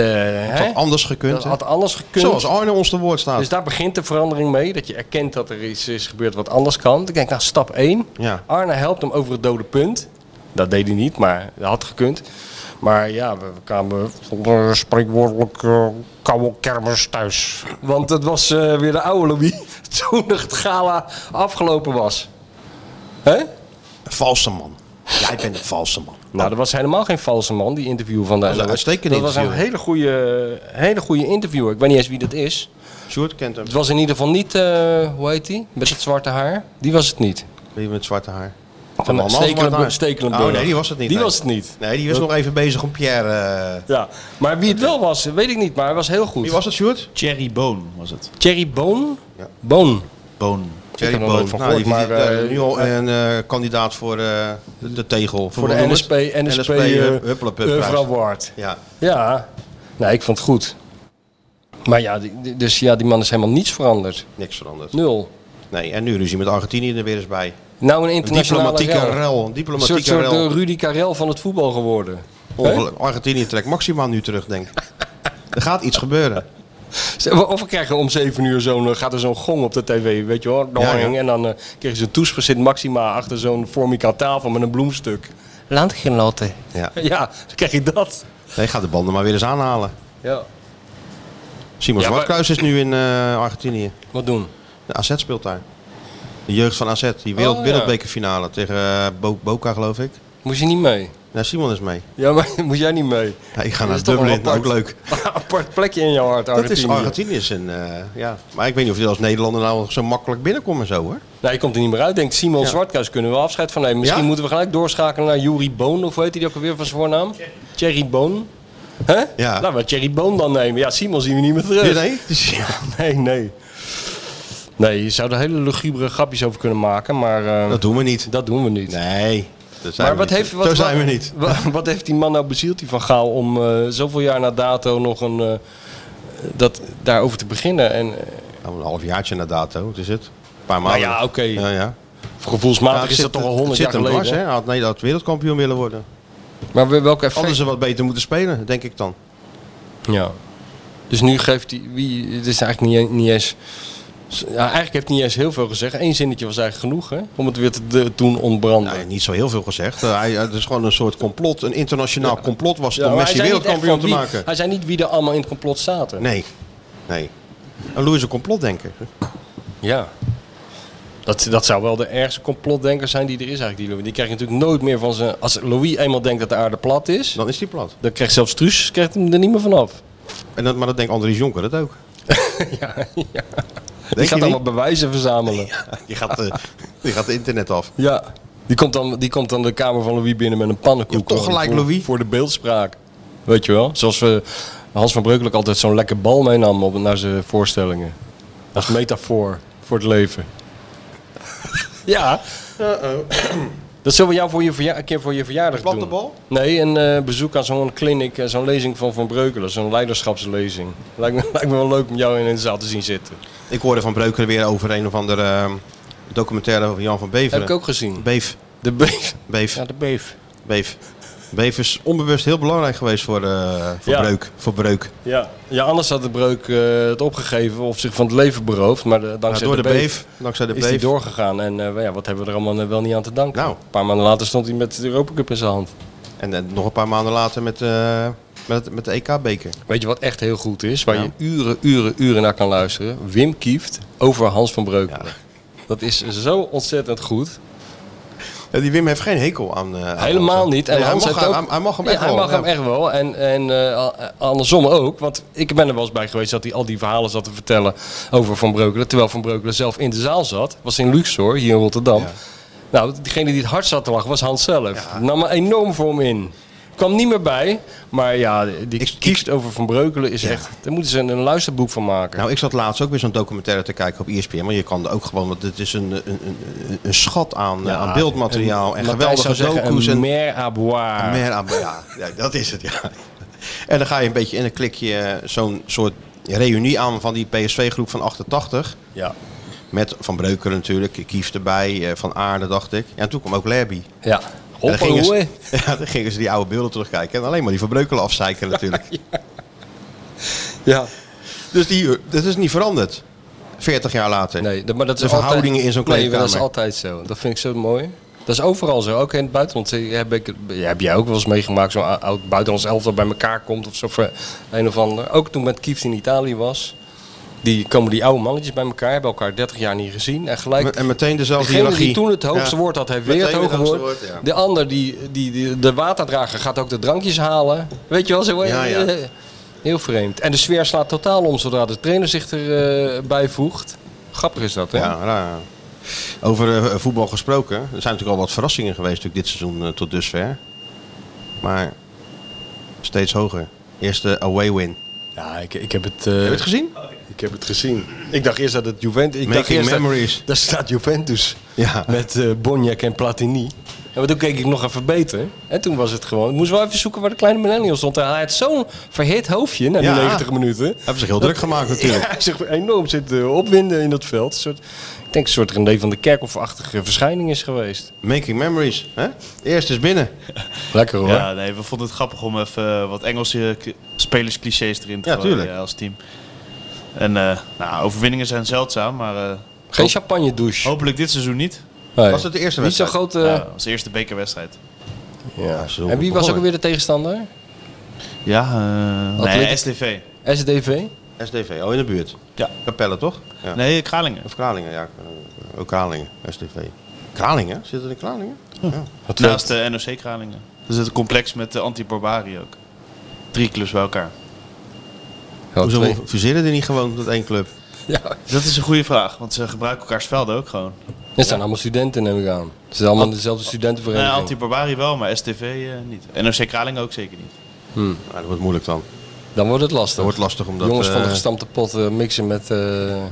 [SPEAKER 6] Dat
[SPEAKER 7] hè?
[SPEAKER 6] had anders
[SPEAKER 7] dat
[SPEAKER 6] gekund, hè?
[SPEAKER 7] had anders gekund.
[SPEAKER 6] Zoals Arne ons te woord staat.
[SPEAKER 7] Dus daar begint de verandering mee. Dat je erkent dat er iets is gebeurd wat anders kan. Ik denk, nou, stap 1.
[SPEAKER 6] Ja.
[SPEAKER 7] Arne helpt hem over het dode punt. Dat deed hij niet, maar dat had gekund. Maar ja, we we kwamen zonder spreekwoordelijk eh, koude kermis thuis. Want dat was eh, weer de oude Louis toen het gala afgelopen was. Hè?
[SPEAKER 6] Nou. Een valse man. Jij bent een valse man.
[SPEAKER 7] Nou, dat was helemaal geen valse man, die interview van de
[SPEAKER 6] was een
[SPEAKER 7] NOS.
[SPEAKER 6] uitstekende
[SPEAKER 7] Dat was een
[SPEAKER 6] interview.
[SPEAKER 7] hele goede, hele goede interviewer. Ik weet niet eens wie dat is.
[SPEAKER 6] Sjoerd kent hem.
[SPEAKER 7] Het was in ieder geval niet, eh, hoe heet die? Met het zwarte haar. Die was het niet.
[SPEAKER 6] Die met zwarte haar.
[SPEAKER 7] Van
[SPEAKER 6] Van
[SPEAKER 7] Stekelenburg.
[SPEAKER 6] Stekelenburg.
[SPEAKER 7] Stekelenburg.
[SPEAKER 6] Oh, nee, die was het niet,
[SPEAKER 7] Die
[SPEAKER 6] nee.
[SPEAKER 7] was het niet.
[SPEAKER 6] Nee, die was nog even bezig om Pierre. eh,
[SPEAKER 7] Ja. Maar wie het wel was, weet ik niet, maar hij was heel goed.
[SPEAKER 6] Wie was het, Sjoerd?
[SPEAKER 9] Cherry Boon was het.
[SPEAKER 7] Thierry Boon?
[SPEAKER 6] Ja.
[SPEAKER 7] Boon.
[SPEAKER 9] Boon.
[SPEAKER 6] Jerry
[SPEAKER 7] heb er nooit van
[SPEAKER 6] Nou, die
[SPEAKER 7] gehoord,
[SPEAKER 6] verdient,
[SPEAKER 7] maar,
[SPEAKER 6] eh,
[SPEAKER 7] eh,
[SPEAKER 6] nu al een eh, kandidaat voor eh, de, de tegel.
[SPEAKER 7] Voor de NSP, NSP,
[SPEAKER 6] hup-
[SPEAKER 7] NSP
[SPEAKER 6] huppelepup
[SPEAKER 7] Euro
[SPEAKER 6] prijs.
[SPEAKER 7] Award.
[SPEAKER 6] eh, Ja.
[SPEAKER 7] eh, Ja, nee, ik vond het goed. Maar ja, die- die- dus ja, die man is helemaal niets veranderd.
[SPEAKER 6] Niks veranderd.
[SPEAKER 7] Nul.
[SPEAKER 6] Nee, en nu ruzie met Argentinië er weer eens bij.
[SPEAKER 7] Nou een
[SPEAKER 6] Een
[SPEAKER 7] internationale
[SPEAKER 6] diplomatieke
[SPEAKER 7] rel.
[SPEAKER 6] rel. Een
[SPEAKER 7] Een soort,
[SPEAKER 6] diplomatieke
[SPEAKER 7] soort de
[SPEAKER 6] rel.
[SPEAKER 7] Rudy Karel van het voetbal geworden.
[SPEAKER 6] Ongel- Argentinië trekt maximaal nu terug, denk ik. Er gaat iets gebeuren.
[SPEAKER 7] Of we krijgen om 7 uur zo'n, eh, gaat er zo'n gong op de tv, weet je wel.
[SPEAKER 6] Ja,
[SPEAKER 7] doing.
[SPEAKER 6] ja.
[SPEAKER 7] En dan eh, kregen ze een toespraak zit Maxima achter zo'n formica tafel met een bloemstuk. Landgenoten.
[SPEAKER 6] Ja.
[SPEAKER 7] Ja, dan krijg je dat.
[SPEAKER 6] Nee, gaat de banden maar weer eens aanhalen.
[SPEAKER 7] Ja.
[SPEAKER 6] Simon
[SPEAKER 7] Ja, maar-
[SPEAKER 6] Zwartkruis is nu in eh, Argentinië.
[SPEAKER 7] Wat doen?
[SPEAKER 6] De AZ speelt daar. De jeugd van AZ. Die wereld,
[SPEAKER 7] Oh, ja.
[SPEAKER 6] wereldbekerfinale tegen eh, Bo- Boca, geloof ik.
[SPEAKER 7] Moest je niet mee?
[SPEAKER 6] Nou, Simon is mee.
[SPEAKER 7] Ja, maar moet jij niet mee?
[SPEAKER 6] Ja, ik ga
[SPEAKER 7] Dat
[SPEAKER 6] naar
[SPEAKER 7] is toch
[SPEAKER 6] Dublin,
[SPEAKER 7] wel
[SPEAKER 6] ook
[SPEAKER 7] apart.
[SPEAKER 6] leuk.
[SPEAKER 7] apart plekje in jouw hart,
[SPEAKER 6] Dat
[SPEAKER 7] Argentinië.
[SPEAKER 6] is Argentinië is een, eh, ja. Maar ik weet niet of je als Nederlander nou zo makkelijk binnenkomt en zo hoor.
[SPEAKER 7] Nou, je komt er niet meer uit. Denkt Simon Zwartkruis kunnen we afscheid van nemen. Misschien
[SPEAKER 6] Ja?
[SPEAKER 7] moeten we gelijk doorschakelen naar Juri Boon. Of hoe heet hij ook alweer van zijn voornaam? Thierry Boon. Hè?
[SPEAKER 6] Ja.
[SPEAKER 7] Laten we Thierry Boon dan nemen. Ja, Simon zien we niet meer terug.
[SPEAKER 6] Nee, nee. Dus, ja,
[SPEAKER 7] nee, nee. Nee, je zou er hele lugubere grapjes over kunnen maken, maar eh,
[SPEAKER 6] dat doen we niet.
[SPEAKER 7] dat doen we niet.
[SPEAKER 6] Nee. Dat zijn
[SPEAKER 7] maar
[SPEAKER 6] we
[SPEAKER 7] wat
[SPEAKER 6] niet.
[SPEAKER 7] heeft, wat,
[SPEAKER 6] Zo zijn
[SPEAKER 7] wat-
[SPEAKER 6] we niet.
[SPEAKER 7] wa- Wat, heeft die man nou bezield, die Van Gaal, om eh, zoveel jaar na dato nog een, eh, dat, daarover te beginnen? En, eh,
[SPEAKER 6] Nou, een halfjaartje na dato, wat is het? Een paar
[SPEAKER 7] nou
[SPEAKER 6] maanden.
[SPEAKER 7] ja, oké.
[SPEAKER 6] Ja, ja.
[SPEAKER 7] Gevoelsmatig
[SPEAKER 6] Nou, het
[SPEAKER 7] is dat
[SPEAKER 6] zit-
[SPEAKER 7] toch al honderd
[SPEAKER 6] het
[SPEAKER 7] jaar
[SPEAKER 6] zit hem
[SPEAKER 7] geleden.
[SPEAKER 6] dwars, hè? Hij had Nederland wereldkampioen willen worden.
[SPEAKER 7] Maar we- welke
[SPEAKER 6] Hadden
[SPEAKER 7] effect?
[SPEAKER 6] ze wat beter moeten spelen, denk ik dan.
[SPEAKER 7] Ja. Dus nu geeft hij... Wie, het is eigenlijk niet, e- niet eens... Ja, eigenlijk heeft hij niet eens heel veel gezegd. Eén zinnetje was eigenlijk genoeg, hè? Om het weer te, te doen ontbranden. Dus
[SPEAKER 6] Nou, hij heeft niet zo heel veel gezegd. Eh, hij, het is gewoon een soort complot. Een internationaal complot was het
[SPEAKER 7] Ja,
[SPEAKER 6] om
[SPEAKER 7] maar
[SPEAKER 6] Messi
[SPEAKER 7] hij zei niet echt
[SPEAKER 6] wereldkampioen
[SPEAKER 7] van
[SPEAKER 6] te
[SPEAKER 7] wie-
[SPEAKER 6] maken.
[SPEAKER 7] Hij zei niet wie er allemaal in het complot zaten.
[SPEAKER 6] Nee. Nee. En Louis is een complotdenker.
[SPEAKER 7] Ja. Dat, dat zou wel de ergste complotdenker zijn die er is eigenlijk. Die, Louis. die krijg je natuurlijk nooit meer van zijn... Als Louis eenmaal denkt dat de aarde plat is...
[SPEAKER 6] Dan is hij plat.
[SPEAKER 7] Dan krijgt zelfs Truus krijgt hem er niet meer vanaf.
[SPEAKER 6] En dat, maar dat denkt Andries Jonker dat ook.
[SPEAKER 7] Ja, ja. Die
[SPEAKER 6] Denk
[SPEAKER 7] gaat
[SPEAKER 6] je niet?
[SPEAKER 7] allemaal bewijzen verzamelen.
[SPEAKER 6] Die gaat, eh, die gaat de internet af.
[SPEAKER 7] Ja, die komt dan, die komt dan de kamer van Louis binnen met een pannenkoek.
[SPEAKER 6] Ja, toch
[SPEAKER 7] Gewoon
[SPEAKER 6] gelijk
[SPEAKER 7] voor,
[SPEAKER 6] Louis.
[SPEAKER 7] Voor de beeldspraak. Weet je wel? Zoals we Hans van Breukelijk altijd zo'n lekker bal meenam op, naar zijn voorstellingen. Als metafoor voor het leven. ja. Dat zullen we jou voor je verja- een keer voor je verjaardag
[SPEAKER 6] Platte
[SPEAKER 7] doen.
[SPEAKER 6] bal?
[SPEAKER 7] Nee, een eh, bezoek aan zo'n clinic, eh, zo'n lezing van Van Breukelen. Zo'n leiderschapslezing. Lijkt me, lijkt me wel leuk om jou in een zaal te zien zitten.
[SPEAKER 6] Ik hoorde van Breukelen weer over een of andere eh, documentaire over Jan van Beveren.
[SPEAKER 7] Heb ik ook gezien.
[SPEAKER 6] Beef,
[SPEAKER 7] De beef.
[SPEAKER 6] beef,
[SPEAKER 7] de beef.
[SPEAKER 6] beef. Beef is onbewust heel belangrijk geweest voor, eh, voor,
[SPEAKER 7] Ja.
[SPEAKER 6] breuk, voor breuk.
[SPEAKER 7] Ja. ja, anders had de breuk eh, het opgegeven of zich van het leven beroofd. Maar de-
[SPEAKER 6] Ja,
[SPEAKER 7] dankzij
[SPEAKER 6] door de
[SPEAKER 7] de beef,
[SPEAKER 6] beef, dankzij de
[SPEAKER 7] is hij
[SPEAKER 6] beef.
[SPEAKER 7] doorgegaan. En eh, ja, wat hebben we er allemaal wel niet aan te danken.
[SPEAKER 6] Nou.
[SPEAKER 7] Een paar maanden later stond hij met de Europa Cup in zijn hand.
[SPEAKER 6] En, eh, nog een paar maanden later met, eh, met, het- met de EK-beker.
[SPEAKER 7] Weet je wat echt heel goed is? Waar je uren, uren, uren naar kan luisteren. Wim Kieft over Hans van Breukelen. Dat is zo ontzettend goed.
[SPEAKER 6] Ja, die Wim heeft geen hekel aan eh, aan
[SPEAKER 7] Ah, Helemaal
[SPEAKER 6] Hansen.
[SPEAKER 7] niet. En
[SPEAKER 6] Nee, hij,
[SPEAKER 7] Hans
[SPEAKER 6] mag,
[SPEAKER 7] heeft ook-
[SPEAKER 6] hij, hij mag hem
[SPEAKER 7] Ja,
[SPEAKER 6] echt
[SPEAKER 7] hij
[SPEAKER 6] wel.
[SPEAKER 7] mag
[SPEAKER 6] ja.
[SPEAKER 7] hem echt wel. En, en eh, a- a- andersom ook. Want ik ben er wel eens bij geweest dat hij al die verhalen zat te vertellen over Van Breukelen. Terwijl Van Breukelen zelf in de zaal zat. Was in Luxor, hier in Rotterdam. Nou, degene die het hard zat te lachen was Hans zelf. Nam er enorm voor hem in. Kwam niet meer bij. Maar ja, die
[SPEAKER 6] Ik-
[SPEAKER 7] kiest over Van Breukelen is echt... Daar moeten ze een, een luisterboek van maken.
[SPEAKER 6] Nou, ik zat laatst ook weer zo'n documentaire te kijken op E ESPN. Maar je kan er ook gewoon, want het is een, een, een, een schat aan, eh, aan beeldmateriaal. En,
[SPEAKER 7] Matthijs zou
[SPEAKER 6] geweldige
[SPEAKER 7] zeggen,
[SPEAKER 6] docu's.
[SPEAKER 7] Een
[SPEAKER 6] En,
[SPEAKER 7] mer à boire.
[SPEAKER 6] Meer aan- ja, ja, dat is het, ja. En dan ga je een beetje in, dan klik je eh, zo'n soort reunie aan van die PSV-groep van 88.
[SPEAKER 7] Ja.
[SPEAKER 6] Met Van Breukelen natuurlijk, Kief erbij, eh, Van Aarde dacht ik. Ja, en toen kwam ook Lerby.
[SPEAKER 7] Ja.
[SPEAKER 6] En dan,
[SPEAKER 7] Hoppa,
[SPEAKER 6] gingen
[SPEAKER 7] hoei.
[SPEAKER 6] ze, ja, dan gingen ze die oude beelden terugkijken en alleen maar die Van Breukelen afzeiken natuurlijk.
[SPEAKER 7] Ja.
[SPEAKER 6] Dus die, dat is niet veranderd, 40 jaar later.
[SPEAKER 7] Nee, dat- maar dat is
[SPEAKER 6] De verhoudingen
[SPEAKER 7] altijd-
[SPEAKER 6] in zo'n
[SPEAKER 7] Nee, maar dat is
[SPEAKER 6] kleedkamer.
[SPEAKER 7] altijd zo. Dat vind ik zo mooi. Dat is overal zo. Ook in het buitenland. Heb, ik, ja, heb jij ook wel eens meegemaakt, zo'n ou- oud buitenlands elftal bij elkaar komt of zo. Voor een of ander. Ook toen met Kieft in Italië was. Die komen die oude mannetjes bij elkaar, hebben elkaar 30 jaar niet gezien. En gelijk.
[SPEAKER 6] En meteen dezelfde
[SPEAKER 7] Degene
[SPEAKER 6] hiërarchie.
[SPEAKER 7] die toen het hoogste
[SPEAKER 6] Ja.
[SPEAKER 7] woord had, heeft weer het
[SPEAKER 6] Meteen
[SPEAKER 7] hoge
[SPEAKER 6] het
[SPEAKER 7] woord.
[SPEAKER 6] hoogste woord, ja.
[SPEAKER 7] De ander, die, die, die, de waterdrager, gaat ook de drankjes halen. Weet je wel, zo.
[SPEAKER 6] Ja, ja.
[SPEAKER 7] eh, Heel vreemd. En de sfeer slaat totaal om zodra de trainer zich erbij voegt. eh, Grappig is dat, hè?
[SPEAKER 6] Ja, raar. Over eh, voetbal gesproken. Er zijn natuurlijk al wat verrassingen geweest natuurlijk dit seizoen eh, tot dusver. Maar steeds hoger. Eerste away win. Heb
[SPEAKER 7] Ja, ik, ik heb het...
[SPEAKER 6] je
[SPEAKER 7] eh,
[SPEAKER 6] het gezien?
[SPEAKER 7] Ik heb het gezien. Ik dacht eerst dat het Juventus... Ik
[SPEAKER 6] Making
[SPEAKER 7] dacht eerst dat-
[SPEAKER 6] memories.
[SPEAKER 7] daar staat Juventus.
[SPEAKER 6] Ja.
[SPEAKER 7] Met eh Bonjak en Platini. Ja, maar toen keek ik nog even beter. En toen was het gewoon... Ik moest wel even zoeken waar de kleine millennial stond. En hij had zo'n verhit hoofdje na die
[SPEAKER 6] Ja.
[SPEAKER 7] 90 minuten.
[SPEAKER 6] Hebben zich heel druk gemaakt natuurlijk.
[SPEAKER 7] Ja, hij zich enorm zit eh, opwinden in dat veld. Een soort, ik denk een soort René van de Kerkhoff-achtige verschijning is geweest.
[SPEAKER 6] Making memories. Hè? Eerst is binnen.
[SPEAKER 7] Lekker hoor.
[SPEAKER 9] Ja, nee, we vonden het grappig om even wat Engelse k- spelersclichés erin te
[SPEAKER 6] Ja,
[SPEAKER 9] gooien
[SPEAKER 6] tuurlijk.
[SPEAKER 9] eh, als team. En eh, nou, overwinningen zijn zeldzaam, maar eh,
[SPEAKER 7] Geen champagne douche.
[SPEAKER 9] hopelijk dit seizoen niet.
[SPEAKER 7] Nee.
[SPEAKER 6] Oh, Was het de eerste
[SPEAKER 7] Niet zo'n
[SPEAKER 6] wedstrijd?
[SPEAKER 7] grote... eh,
[SPEAKER 9] Ja, als eerste bekerwedstrijd.
[SPEAKER 6] Ja, zo
[SPEAKER 7] en wie was
[SPEAKER 6] begonnen.
[SPEAKER 7] ook weer de tegenstander?
[SPEAKER 9] Ja, eh nee,
[SPEAKER 7] Atletico-
[SPEAKER 9] STV.
[SPEAKER 7] SDV?
[SPEAKER 6] SDV, al oh, in de buurt.
[SPEAKER 9] Ja.
[SPEAKER 6] Capelle toch? Ja.
[SPEAKER 9] Nee, Kralingen.
[SPEAKER 6] Of Kralingen, ja. Ook Kralingen, SDV. Kralingen? Zit het in Kralingen?
[SPEAKER 9] Naast eh, de NOC Kralingen. Dat is het complex met de anti-barbarie ook. Drie clubs bij elkaar.
[SPEAKER 7] Ja, twee.
[SPEAKER 6] Hoezo fuseren die niet gewoon tot één club?
[SPEAKER 7] Ja.
[SPEAKER 9] Dat is een goede vraag, want ze gebruiken elkaars velden ook gewoon.
[SPEAKER 7] Dat zijn allemaal studenten, neem ik aan. Ze zijn allemaal dezelfde
[SPEAKER 9] Nee,
[SPEAKER 6] Nou,
[SPEAKER 7] studentenvereniging.
[SPEAKER 9] anti-barbarie Nou, wel, maar STV eh, niet. NOC Kralingen ook zeker niet.
[SPEAKER 6] Ja, Nou, dat wordt moeilijk dan.
[SPEAKER 7] Dan wordt het lastig.
[SPEAKER 6] Dat wordt lastig omdat
[SPEAKER 7] Jongens van de
[SPEAKER 6] eh,
[SPEAKER 7] gestampte pot eh, mixen met, eh,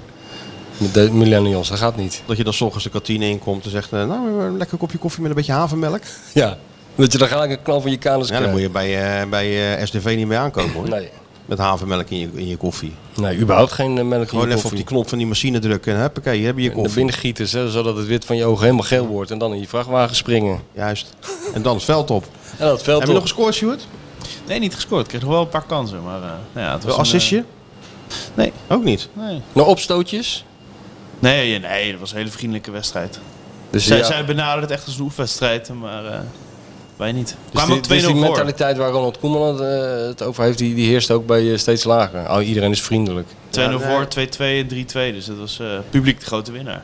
[SPEAKER 7] met de millennials, dat gaat niet.
[SPEAKER 6] dat je dan 's ochtends de kantine inkomt en zegt, eh, nou, een lekker kopje koffie met een beetje havermelk.
[SPEAKER 7] Ja. Dat je dan gelijk een knal van je kanus
[SPEAKER 6] Ja, dan
[SPEAKER 7] krijgt.
[SPEAKER 6] moet je bij, eh, bij eh, SDV niet meer aankomen hoor.
[SPEAKER 7] Nee.
[SPEAKER 6] Met havermelk in je, in je koffie.
[SPEAKER 7] nee, überhaupt geen eh, melk in
[SPEAKER 6] Gewoon
[SPEAKER 7] je
[SPEAKER 6] even op die
[SPEAKER 7] koffie.
[SPEAKER 6] knop van die machine drukken en huppakee, hier heb je je
[SPEAKER 7] Naar
[SPEAKER 6] koffie.
[SPEAKER 7] binnen gieten, hè, zodat het wit van je ogen helemaal geel wordt. En dan in je vrachtwagen springen.
[SPEAKER 6] Juist. En dan het veld op.
[SPEAKER 7] En dat veld
[SPEAKER 6] Heb je
[SPEAKER 7] op.
[SPEAKER 6] nog gescoord, Stuart?
[SPEAKER 9] Nee, niet gescoord. Ik kreeg nog wel een paar kansen, maar eh, nou ja, het was
[SPEAKER 6] Een assistje?
[SPEAKER 9] nee.
[SPEAKER 6] Ook niet.
[SPEAKER 9] eh, nee.
[SPEAKER 7] Nog opstootjes.
[SPEAKER 9] Nee, nee, dat was een hele vriendelijke wedstrijd.
[SPEAKER 7] Dus,
[SPEAKER 9] Zij,
[SPEAKER 7] ja,
[SPEAKER 9] zij benaderen het echt als een oefenwedstrijd, maar eh, wij niet. We
[SPEAKER 7] dus
[SPEAKER 9] kwamen
[SPEAKER 7] die,
[SPEAKER 9] ook 2-0
[SPEAKER 7] dus die
[SPEAKER 9] voor.
[SPEAKER 7] mentaliteit waar Ronald Koeman het, eh, het over heeft, die, die heerst ook bij eh, steeds lager. Oh, iedereen is vriendelijk.
[SPEAKER 9] 2-0 voor, 2-2 en 3-2. Dus dat was eh, publiek de grote winnaar.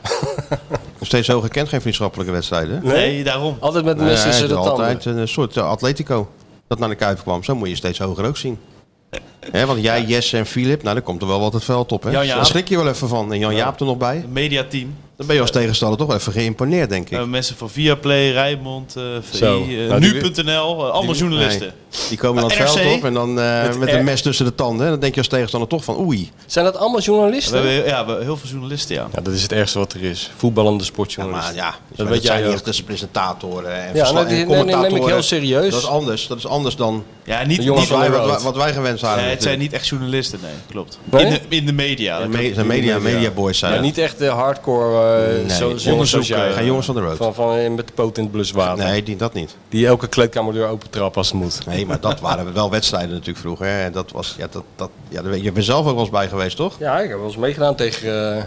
[SPEAKER 6] Nog steeds zo gekend, geen vriendschappelijke wedstrijden. hè?
[SPEAKER 9] Nee,
[SPEAKER 7] Eh?
[SPEAKER 9] daarom.
[SPEAKER 7] Altijd met de
[SPEAKER 6] Nee,
[SPEAKER 7] mensen tussen de tanden.
[SPEAKER 6] altijd een soort eh, Atletico dat naar de Kuip kwam. Zo moet je steeds hoger ook zien. Hè, want jij, Jesse en Filip, nou, daar komt er wel wat het veld op. Hè?
[SPEAKER 9] Jan Jaap.
[SPEAKER 6] Daar schrik je wel even van. En Jan-Jaap er nog bij.
[SPEAKER 9] Het mediateam.
[SPEAKER 6] Dan ben je als tegenstander toch wel even geïmponeerd, denk ik.
[SPEAKER 9] Eh, mensen van Viaplay, Rijnmond, eh VI,
[SPEAKER 7] Zo.
[SPEAKER 9] eh,
[SPEAKER 7] Nou, die-
[SPEAKER 9] Nu.nl, eh, allemaal journalisten.
[SPEAKER 6] Nee, die komen dan het
[SPEAKER 9] NRC.
[SPEAKER 6] veld op en dan eh,
[SPEAKER 9] Met
[SPEAKER 6] met een
[SPEAKER 9] R.
[SPEAKER 6] mes tussen de tanden. Dan denk je als tegenstander toch van oei.
[SPEAKER 7] Zijn dat allemaal
[SPEAKER 9] We
[SPEAKER 7] journalisten?
[SPEAKER 9] hebben ja, we hebben heel veel journalisten, ja.
[SPEAKER 7] Ja, dat is het ergste wat er is. Voetballende
[SPEAKER 6] Ja, maar
[SPEAKER 7] sportjournalisten.
[SPEAKER 6] ja,
[SPEAKER 7] dat
[SPEAKER 6] dat,
[SPEAKER 7] weet
[SPEAKER 6] zijn
[SPEAKER 7] jij
[SPEAKER 6] niet
[SPEAKER 7] ook.
[SPEAKER 6] echt dus presentatoren en,
[SPEAKER 7] Ja,
[SPEAKER 6] versla-
[SPEAKER 7] nou, die-
[SPEAKER 6] en
[SPEAKER 7] nee, nee, neem ik heel
[SPEAKER 6] commentatoren.
[SPEAKER 7] serieus.
[SPEAKER 6] Dat is anders. Dat is anders dan
[SPEAKER 9] Ja, niet,
[SPEAKER 7] De jongens
[SPEAKER 9] niet
[SPEAKER 7] van
[SPEAKER 6] wij,
[SPEAKER 7] de
[SPEAKER 9] waar-
[SPEAKER 7] Road.
[SPEAKER 6] wat, wat wij gewend zijn.
[SPEAKER 9] Nee, het zijn
[SPEAKER 6] natuurlijk.
[SPEAKER 9] niet echt journalisten, nee, klopt.
[SPEAKER 7] Nee?
[SPEAKER 9] In, de, in de media. dat
[SPEAKER 6] Me-
[SPEAKER 9] klopt.
[SPEAKER 6] zijn media, media boys zijn.
[SPEAKER 7] Maar
[SPEAKER 6] het.
[SPEAKER 7] niet echt de hardcore eh,
[SPEAKER 6] Nee,
[SPEAKER 7] zo- zoals
[SPEAKER 9] onderzoeken.
[SPEAKER 7] jij, eh,
[SPEAKER 6] Geen jongens van de road.
[SPEAKER 7] Van, van, eh, met de poot in het bluswater.
[SPEAKER 6] Nee, die, dat niet.
[SPEAKER 7] Die elke kleedkamerdeur open trap als het moet.
[SPEAKER 6] Nee, maar dat waren wel wedstrijden natuurlijk vroeger. hè. En dat was, ja, dat, dat, ja, daar ben- je bent zelf ook wel eens bij geweest, toch?
[SPEAKER 7] Ja, ik heb wel eens meegedaan tegen... eh,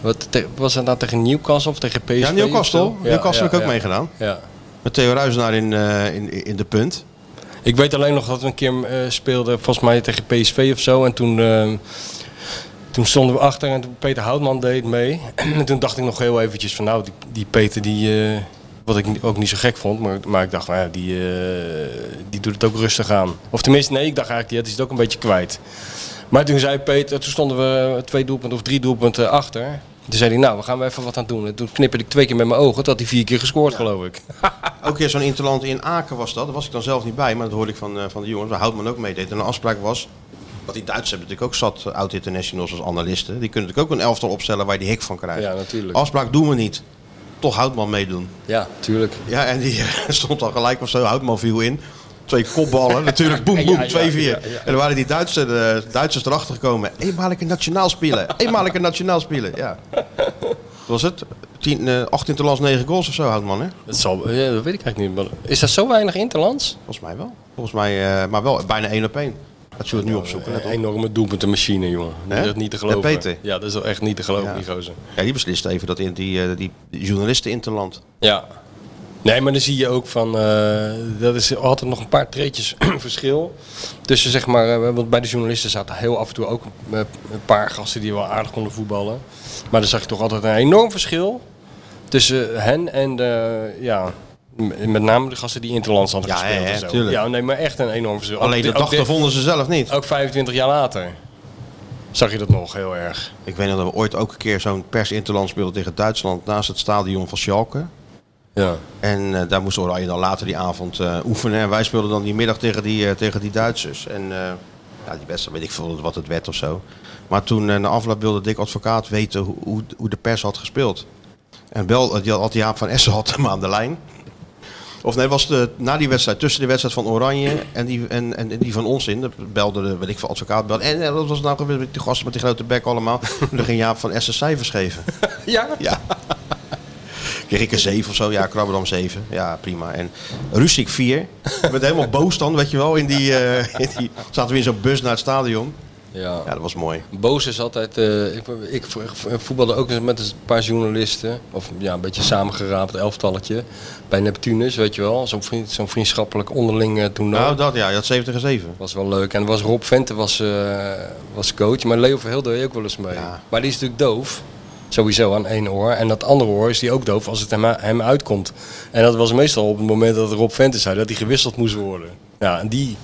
[SPEAKER 7] wat, te- was dat nou tegen Newcastle of tegen PSV?
[SPEAKER 6] Ja, Newcastle.
[SPEAKER 7] of zo? Ja,
[SPEAKER 6] Newcastle heb ik
[SPEAKER 7] ja,
[SPEAKER 6] ook
[SPEAKER 7] ja.
[SPEAKER 6] meegedaan.
[SPEAKER 7] Ja.
[SPEAKER 6] Met Theo Ruizenaar in, eh, in, in de punt.
[SPEAKER 7] Ik weet alleen nog dat we een keer eh, speelden, volgens mij tegen PSV of zo. En toen, eh, toen stonden we achter en toen Peter Houtman deed mee. en toen dacht ik nog heel eventjes van nou, die, die Peter die... eh, wat ik ni- ook niet zo gek vond, maar, maar ik dacht, nou ja, die, eh, die doet het ook rustig aan. Of tenminste, nee, ik dacht eigenlijk, die is het ook een beetje kwijt. Maar toen zei Peter, toen stonden we twee doelpunten of drie doelpunten achter. Toen zei hij, nou, we gaan er even wat aan doen. En toen knipperde ik twee keer met mijn ogen, dat hij vier keer gescoord, geloof ik.
[SPEAKER 6] Ook weer zo'n interland in Aken was dat. Daar was ik dan zelf niet bij, maar dat hoorde ik van, eh, van de jongens. Waar Houtman ook meedeed. En een afspraak was, wat die Duitsers hebben natuurlijk ook zat, eh, oud-internationals als analisten. Die kunnen natuurlijk ook een elftal opstellen waar je die hik van krijgt.
[SPEAKER 7] Ja, natuurlijk.
[SPEAKER 6] Afspraak doen we niet. Toch Houtman meedoen.
[SPEAKER 7] Ja, tuurlijk.
[SPEAKER 6] Ja, en die stond al gelijk of zo. Houtman viel in. Twee kopballen, natuurlijk. Boem, boem, 2-4. En dan waren die Duitsers, eh, Duitsers erachter gekomen. Eenmalige nationaal spelen. Eenmalige nationaal spelen, ja. Wat was het? 10, eh 8 interlands, 9 goals of zo, Houtman, hè?
[SPEAKER 7] Dat, zal, ja, dat weet ik eigenlijk niet. maar Is dat zo weinig interlands?
[SPEAKER 6] Volgens mij wel. Volgens mij, eh, maar wel bijna één op één. Dat zullen we het nu opzoeken. Let
[SPEAKER 7] Een
[SPEAKER 6] op.
[SPEAKER 7] Eh, enorme doelpuntenmachine, jongen. Dat
[SPEAKER 6] Hè?
[SPEAKER 7] is niet te geloven.
[SPEAKER 6] Ja, Peter.
[SPEAKER 7] Ja, dat is wel echt niet te geloven,
[SPEAKER 6] Ja.
[SPEAKER 7] die gozer.
[SPEAKER 6] Ja, die beslist even dat in die, eh, die journalisten interland.
[SPEAKER 7] Ja. Nee, maar dan zie je ook van... eh, dat is altijd nog een paar treetjes verschil. Tussen zeg maar... eh, want bij de journalisten zaten heel af en toe ook eh, een paar gasten die wel aardig konden voetballen. Maar dan zag je toch altijd een enorm verschil tussen hen en de... Ja, m- met name de gasten die interlands hadden
[SPEAKER 6] Ja,
[SPEAKER 7] gespeeld
[SPEAKER 6] hè,
[SPEAKER 7] en zo.
[SPEAKER 6] tuurlijk.
[SPEAKER 7] Ja, nee, maar echt een enorm verschil.
[SPEAKER 6] Alleen
[SPEAKER 7] Ook Oh.
[SPEAKER 6] dat
[SPEAKER 7] di- ook
[SPEAKER 6] dachten
[SPEAKER 7] di-
[SPEAKER 6] vonden ze zelf niet.
[SPEAKER 7] Ook 25 jaar later. zag je dat nog heel erg.
[SPEAKER 6] Ik weet nog dat we ooit ook een keer zo'n pers-interland speelden tegen Duitsland naast het stadion van Schalke.
[SPEAKER 7] Ja.
[SPEAKER 6] En eh, daar moest Oranje dan later die avond eh, oefenen. En wij speelden dan die middag tegen die, eh, tegen die Duitsers. En eh, ja, die wedstrijd, weet ik veel wat het werd of zo. Maar toen eh, na afloop wilde Dick Advocaat weten hoe, hoe, hoe de pers had gespeeld. En wel, eh, die had, had die Jaap van Essen had hem aan de lijn. Of nee, was de, na die wedstrijd, tussen de wedstrijd van Oranje en die, en, en die van ons in, dat belde de, weet ik veel, advocaat belde. En, eh, dat was nou gebeurd met die gasten met die grote bek allemaal. En dan ging Jaap van Essen cijfers geven.
[SPEAKER 7] Ja?
[SPEAKER 6] Ja. Kreeg ik een 7 of zo? Ja, Krabberdam 7. Ja, prima. En Rusik 4. Ik werd helemaal boos dan, weet je wel. In die, eh, in die, zaten we in zo'n bus naar het stadion.
[SPEAKER 7] Ja.
[SPEAKER 6] Ja, dat was mooi.
[SPEAKER 7] Boos is altijd. eh, ik, ik vo- voetbalde ook eens met een paar journalisten. Of ja, een beetje samengeraapt elftalletje. Bij Neptunus, weet je wel. Zo'n vriend, zo'n vriendschappelijk onderling eh, toernooi.
[SPEAKER 6] Nou, dat ja, dat 7 tegen 7.
[SPEAKER 7] was wel leuk. En er was Rob Vente was, eh, was coach. Maar Leo Verheel deed ook wel eens mee.
[SPEAKER 6] Ja.
[SPEAKER 7] Maar die is natuurlijk doof. Sowieso aan één oor. En dat andere oor is die ook doof als het hem, hem uitkomt. En dat was meestal op het moment dat Rob Vente zei dat hij gewisseld moest worden. Ja, en die...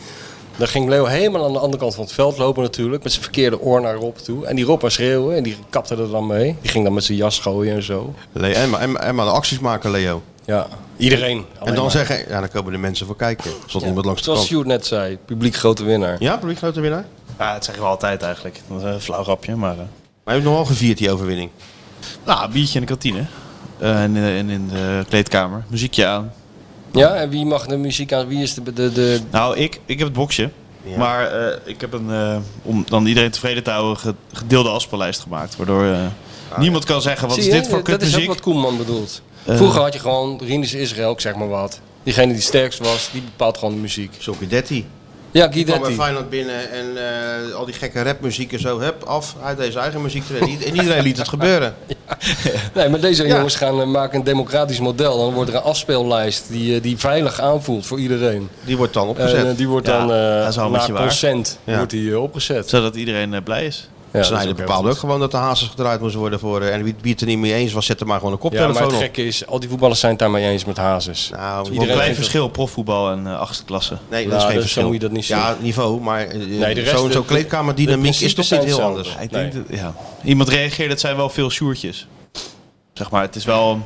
[SPEAKER 7] Dan ging Leo helemaal aan de andere kant van het veld lopen natuurlijk. Met zijn verkeerde oor naar Rob toe. En die Rob was schreeuwen. En die kapte er dan mee. Die ging dan met zijn jas gooien en zo.
[SPEAKER 6] Le en, maar, en, en maar de acties maken, Leo.
[SPEAKER 7] Ja, iedereen.
[SPEAKER 6] En
[SPEAKER 7] alleen
[SPEAKER 6] dan
[SPEAKER 7] maar.
[SPEAKER 6] zeggen, ja, dan komen de mensen voor kijken. Er Stond iemand langs de
[SPEAKER 7] Zoals
[SPEAKER 6] kant.
[SPEAKER 7] Sjoerd net zei. Publiek grote winnaar.
[SPEAKER 6] Ja, publiek grote winnaar.
[SPEAKER 10] Ja, dat zeggen we altijd eigenlijk. Dat is een flauw grapje, maar... eh,
[SPEAKER 6] Maar je hebt nog wel gevierd, die overwinning.
[SPEAKER 10] nou, een biertje in de kantine. Eh, en, eh, en in de kleedkamer. Muziekje aan.
[SPEAKER 7] Ja, en wie mag de muziek aan? Wie is de, de, de,
[SPEAKER 10] Nou, ik, ik heb het boxje. Maar eh, ik heb een, eh, om dan iedereen tevreden te houden, ge- gedeelde afspeellijst gemaakt. Waardoor eh, niemand kan zeggen, wat
[SPEAKER 7] Ah, Zie
[SPEAKER 10] is
[SPEAKER 7] je,
[SPEAKER 10] dit voor
[SPEAKER 7] Dat is ook
[SPEAKER 10] kutmuziek?
[SPEAKER 7] wat Koeman bedoelt. Vroeger had je gewoon Rinus Israël, ik zeg maar wat. Diegene die sterkst was, die bepaalt gewoon de muziek.
[SPEAKER 6] Sokkie Detti.
[SPEAKER 7] Ja,
[SPEAKER 6] Kwam bij
[SPEAKER 7] Guidetti.
[SPEAKER 6] Feyenoord binnen en eh, al die gekke rapmuziek en zo. Hup, af. Hij deed zijn eigen muziek erin. En iedereen liet het gebeuren.
[SPEAKER 7] Nee, maar deze
[SPEAKER 6] Ja.
[SPEAKER 7] jongens gaan eh, maken een democratisch model. Dan wordt er een afspeellijst die, eh, die veilig aanvoelt voor iedereen.
[SPEAKER 6] Die wordt dan
[SPEAKER 7] En
[SPEAKER 6] opgezet.
[SPEAKER 7] eh, die wordt
[SPEAKER 10] Ja,
[SPEAKER 7] dan
[SPEAKER 10] dat is wel
[SPEAKER 7] eh
[SPEAKER 10] een
[SPEAKER 7] na
[SPEAKER 10] beetje waar.
[SPEAKER 7] consent
[SPEAKER 6] Ja.
[SPEAKER 7] wordt die, eh, opgezet.
[SPEAKER 10] Zodat iedereen eh, blij is.
[SPEAKER 7] Ja, dat is
[SPEAKER 6] Snijder
[SPEAKER 7] ook heel
[SPEAKER 6] bepaalde
[SPEAKER 7] goed.
[SPEAKER 6] ook gewoon dat de hazes gedraaid moest worden voor. eh, en wie, wie het er niet mee eens was, zette maar gewoon een
[SPEAKER 7] Ja, maar
[SPEAKER 6] koptelefoon
[SPEAKER 7] het
[SPEAKER 6] op.
[SPEAKER 7] gekke is, al die voetballers zijn het daarmee eens met Hazes.
[SPEAKER 6] Nou,
[SPEAKER 10] Een
[SPEAKER 7] Iedereen
[SPEAKER 10] klein
[SPEAKER 7] vindt
[SPEAKER 10] verschil, profvoetbal en eh achtste klasse.
[SPEAKER 6] nee, dat is
[SPEAKER 7] Nou, dus
[SPEAKER 6] geen
[SPEAKER 7] zo
[SPEAKER 6] verschil.
[SPEAKER 7] moet je dat niet zien.
[SPEAKER 6] Ja, niveau, maar eh,
[SPEAKER 7] de rest-
[SPEAKER 6] zo'n zo
[SPEAKER 7] de- de
[SPEAKER 6] klamerdynamiek is
[SPEAKER 7] principes
[SPEAKER 6] toch
[SPEAKER 7] zijn
[SPEAKER 6] niet heel
[SPEAKER 7] hetzelfde. Oh,
[SPEAKER 6] anders.
[SPEAKER 10] Ja, ik
[SPEAKER 7] Nee.
[SPEAKER 10] denk dat, ja. Iemand reageert, het zijn wel veel sjoertjes. Zeg maar, het is wel...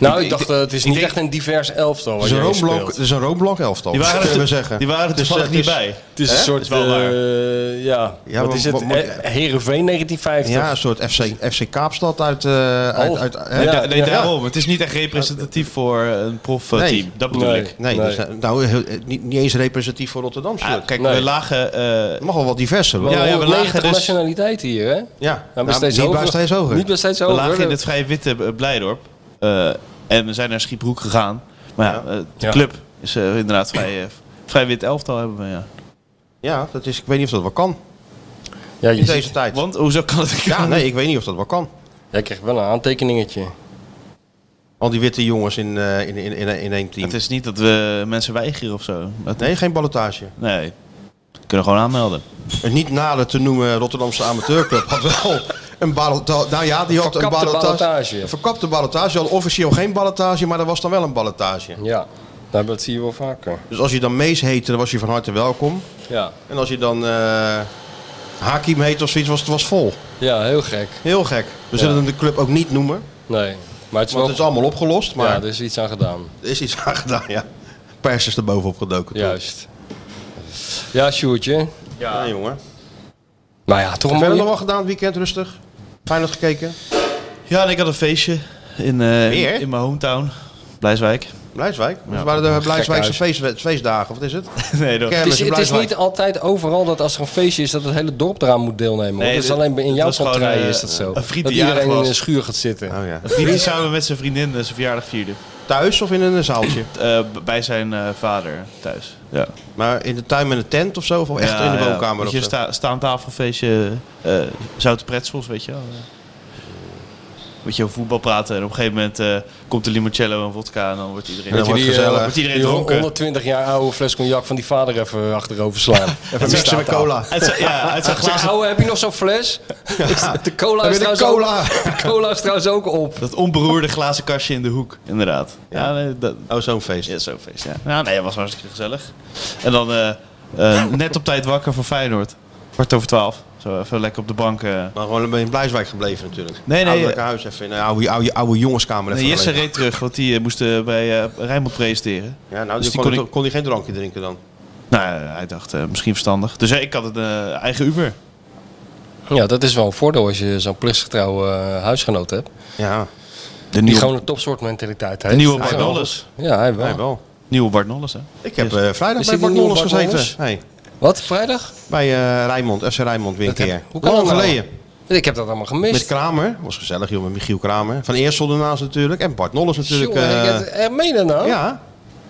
[SPEAKER 7] Nou, ik dacht, eh, het is niet
[SPEAKER 10] denk-
[SPEAKER 7] echt een divers elftal
[SPEAKER 6] Het
[SPEAKER 7] wat
[SPEAKER 6] is een
[SPEAKER 7] je
[SPEAKER 6] roomblok-
[SPEAKER 7] speelt.
[SPEAKER 6] het is een roomblok elftal,
[SPEAKER 10] Die waren
[SPEAKER 6] kunnen we
[SPEAKER 10] er,
[SPEAKER 6] zeggen.
[SPEAKER 10] die waren er
[SPEAKER 6] Dus,
[SPEAKER 10] toevallig
[SPEAKER 6] eh,
[SPEAKER 10] niet
[SPEAKER 6] dus-
[SPEAKER 10] bij.
[SPEAKER 7] Het is een
[SPEAKER 6] Hè?
[SPEAKER 7] soort,
[SPEAKER 10] Is wel waar.
[SPEAKER 7] eh, ja,
[SPEAKER 6] Ja,
[SPEAKER 7] wat is
[SPEAKER 6] maar-
[SPEAKER 7] het?
[SPEAKER 6] maar-
[SPEAKER 7] Eh, Heerenveen 1950?
[SPEAKER 6] Ja, een soort FC, FC Kaapstad uit... eh, uit,
[SPEAKER 7] Oh.
[SPEAKER 6] uit, uit-
[SPEAKER 7] Ja,
[SPEAKER 10] Nee, nee,
[SPEAKER 7] ja.
[SPEAKER 10] daarom. Oh, Het is niet echt representatief voor een profteam.
[SPEAKER 6] Nee.
[SPEAKER 10] Dat bedoel
[SPEAKER 7] Nee.
[SPEAKER 10] ik.
[SPEAKER 6] Nee,
[SPEAKER 7] Nee.
[SPEAKER 6] dus, eh, nou, heel- eh, niet, niet eens representatief voor Rotterdam.
[SPEAKER 10] Ah,
[SPEAKER 6] soort.
[SPEAKER 10] kijk,
[SPEAKER 7] Nee.
[SPEAKER 10] we lagen... eh,
[SPEAKER 6] Het mag wel wat diverser. hoor.
[SPEAKER 7] Ja,
[SPEAKER 10] Ja, ja, we lagen dus-
[SPEAKER 7] nationaliteit hier, hè?
[SPEAKER 6] Ja,
[SPEAKER 7] Nou,
[SPEAKER 6] nou,
[SPEAKER 7] maar steeds
[SPEAKER 6] niet
[SPEAKER 7] hoger.
[SPEAKER 6] bij steeds hoger.
[SPEAKER 7] Niet bij steeds
[SPEAKER 10] we
[SPEAKER 7] hoger.
[SPEAKER 10] lagen in het vrij witte eh, Blijdorp. Eh, en we zijn naar Schiebroek gegaan. Maar ja, eh, de
[SPEAKER 7] Ja.
[SPEAKER 10] club is eh, inderdaad vrij, eh, vrij wit elftal hebben we, ja.
[SPEAKER 6] Ja, dat is, ik weet niet of dat wel kan
[SPEAKER 7] Ja, je
[SPEAKER 6] in
[SPEAKER 7] ziet-
[SPEAKER 6] deze tijd.
[SPEAKER 10] Want, hoezo kan het?
[SPEAKER 6] Ja, nee, ik weet niet of dat wel kan.
[SPEAKER 7] Jij krijgt wel een aantekeningetje.
[SPEAKER 6] Al die witte jongens in, eh, in, in, in, in één team.
[SPEAKER 10] Het is niet dat we mensen weigeren of zo. Dat-
[SPEAKER 6] Nee, geen ballotage.
[SPEAKER 10] Nee. We kunnen gewoon aanmelden.
[SPEAKER 6] Een niet nader te noemen Rotterdamse amateurclub had wel een ballotage. Nou ja, die had een
[SPEAKER 7] Verkapte
[SPEAKER 6] ballotage.
[SPEAKER 7] ballotage.
[SPEAKER 6] Een verkapte ballotage. Al officieel geen ballotage, maar er was dan wel een ballotage.
[SPEAKER 7] Ja, nou, dat zie je wel vaker.
[SPEAKER 6] Dus als je dan Mees heette, dan was je van harte welkom.
[SPEAKER 7] Ja,
[SPEAKER 6] En als je dan eh, Hakim heette of zoiets, was het was vol.
[SPEAKER 7] ja heel gek.
[SPEAKER 6] Heel gek. We zullen hem de club ook niet noemen,
[SPEAKER 7] Nee, maar het
[SPEAKER 6] want
[SPEAKER 7] is wel...
[SPEAKER 6] het is allemaal opgelost. Maar
[SPEAKER 7] ja, er is iets aan gedaan.
[SPEAKER 6] er is iets aan gedaan, ja. Pers is er bovenop gedoken. toch?
[SPEAKER 7] Juist. Ja, Sjoerdje.
[SPEAKER 6] Ja, jongen.
[SPEAKER 7] Maar ja, toch
[SPEAKER 6] Verder
[SPEAKER 7] een
[SPEAKER 6] nog
[SPEAKER 7] mooie...
[SPEAKER 6] wel gedaan, het weekend rustig. Feyenoord gekeken.
[SPEAKER 10] Ja, en ik had een feestje in, eh,
[SPEAKER 6] Weer?
[SPEAKER 10] in, in mijn hometown, Blijswijk.
[SPEAKER 6] Blijswijk. Dus waren de Blijswijkse
[SPEAKER 7] huis.
[SPEAKER 6] feest, feestdagen, wat is het?
[SPEAKER 10] nee, dat,
[SPEAKER 6] Kermis
[SPEAKER 7] Het is,
[SPEAKER 6] in
[SPEAKER 7] het is
[SPEAKER 6] Blijswijk.
[SPEAKER 7] niet altijd overal dat als er een feestje is dat het hele dorp eraan moet deelnemen. hoor.
[SPEAKER 10] Nee,
[SPEAKER 7] dat is
[SPEAKER 10] dit-
[SPEAKER 7] alleen bij- in
[SPEAKER 10] dit
[SPEAKER 7] jouw
[SPEAKER 10] was gewoon,
[SPEAKER 7] contraille
[SPEAKER 10] eh,
[SPEAKER 7] is dat zo.
[SPEAKER 10] een vriend
[SPEAKER 7] dat
[SPEAKER 10] die jarig
[SPEAKER 7] iedereen in
[SPEAKER 10] was.
[SPEAKER 7] een schuur gaat zitten.
[SPEAKER 6] Oh ja.
[SPEAKER 10] die die samen met zijn vriendin eh, zijn verjaardag vierde.
[SPEAKER 6] Thuis of in een zaaltje?
[SPEAKER 10] Eh, b- bij zijn eh, vader thuis. Ja.
[SPEAKER 6] Maar in de tuin met een tent of zo? Of echt
[SPEAKER 10] Ja,
[SPEAKER 6] in de
[SPEAKER 10] ja.
[SPEAKER 6] woonkamer?
[SPEAKER 10] Weet
[SPEAKER 6] of
[SPEAKER 10] je,
[SPEAKER 6] zo?
[SPEAKER 10] sta, staantafelfeestje, eh zoute pretzels, weet je wel. Weet je, over voetbal praten en op een gegeven moment eh, komt de limoncello en vodka en dan wordt iedereen,
[SPEAKER 6] En dan wordt
[SPEAKER 7] die, eh,
[SPEAKER 6] gezellig.
[SPEAKER 10] wordt iedereen
[SPEAKER 7] Die
[SPEAKER 10] dronken.
[SPEAKER 7] 120 jaar oude fles cognac van die vader even achterover slaan.
[SPEAKER 6] Even mixen met cola.
[SPEAKER 10] Uit zijn, ja, uit zijn
[SPEAKER 7] Zeg,
[SPEAKER 10] glazen,
[SPEAKER 7] ouwe, heb je nog zo'n fles? Is de- De cola
[SPEAKER 6] Heb
[SPEAKER 7] is
[SPEAKER 6] je de
[SPEAKER 7] trouwens
[SPEAKER 6] cola?
[SPEAKER 7] ook De cola is trouwens ook op.
[SPEAKER 10] dat onberoerde glazen kastje in de hoek, inderdaad. Ja, nee, dat,
[SPEAKER 6] Oh, zo'n feest.
[SPEAKER 10] ja, zo'n feest, ja. Nou, nee, dat was hartstikke gezellig. En dan eh, eh, net op tijd wakker voor Feyenoord. Kwart over twaalf, zo Zo even lekker op de bank. eh.
[SPEAKER 6] Maar gewoon ben je in Blijswijk gebleven natuurlijk.
[SPEAKER 10] Nee, nee.
[SPEAKER 6] Ouderlijk huis even in een oude, oude, oude jongenskamer even
[SPEAKER 10] Nee, Jesse
[SPEAKER 6] gelegen.
[SPEAKER 10] reed terug, want die eh, moest eh, bij eh Rijnmond presenteren.
[SPEAKER 6] Ja, nou,
[SPEAKER 10] Dus
[SPEAKER 6] die
[SPEAKER 10] die
[SPEAKER 6] kon,
[SPEAKER 10] kon
[SPEAKER 6] kon hij geen drankje drinken dan.
[SPEAKER 10] Nou, eh, hij dacht eh, misschien verstandig. Dus eh, ik had een eh, eigen Uber.
[SPEAKER 7] Ja, dat is wel een voordeel als je zo'n plichtsgetrouwe eh, huisgenoot hebt.
[SPEAKER 6] Ja,
[SPEAKER 10] De
[SPEAKER 7] Die
[SPEAKER 10] nieuwe,
[SPEAKER 7] gewoon een topsoort mentaliteit heeft.
[SPEAKER 10] de nieuwe
[SPEAKER 7] Ja,
[SPEAKER 10] Bart Nolles.
[SPEAKER 7] Ja, hij wel.
[SPEAKER 6] hij wel.
[SPEAKER 10] Nieuwe Bart Nolles, hè?
[SPEAKER 6] Ik heb
[SPEAKER 10] Yes.
[SPEAKER 6] eh, vrijdag
[SPEAKER 7] Is
[SPEAKER 6] bij Bart
[SPEAKER 7] dit een nieuwe
[SPEAKER 6] Nolles
[SPEAKER 7] Bart
[SPEAKER 6] gezeten.
[SPEAKER 7] Nolles?
[SPEAKER 6] Hey,
[SPEAKER 7] Wat, vrijdag?
[SPEAKER 6] bij eh Rijnmond, FC Rijnmond weer een
[SPEAKER 7] Dat heb-
[SPEAKER 6] keer.
[SPEAKER 7] hoe kan
[SPEAKER 6] Lang
[SPEAKER 7] dat nou?
[SPEAKER 6] geleden.
[SPEAKER 7] Ik heb dat allemaal gemist.
[SPEAKER 6] Met Kramer, was gezellig joh, met Michiel Kramer. Van Eersel ernaast natuurlijk. En Bart Nolles natuurlijk.
[SPEAKER 7] Jongen,
[SPEAKER 6] eh,
[SPEAKER 7] ik heb, eh, meen je dat nou?
[SPEAKER 6] ja,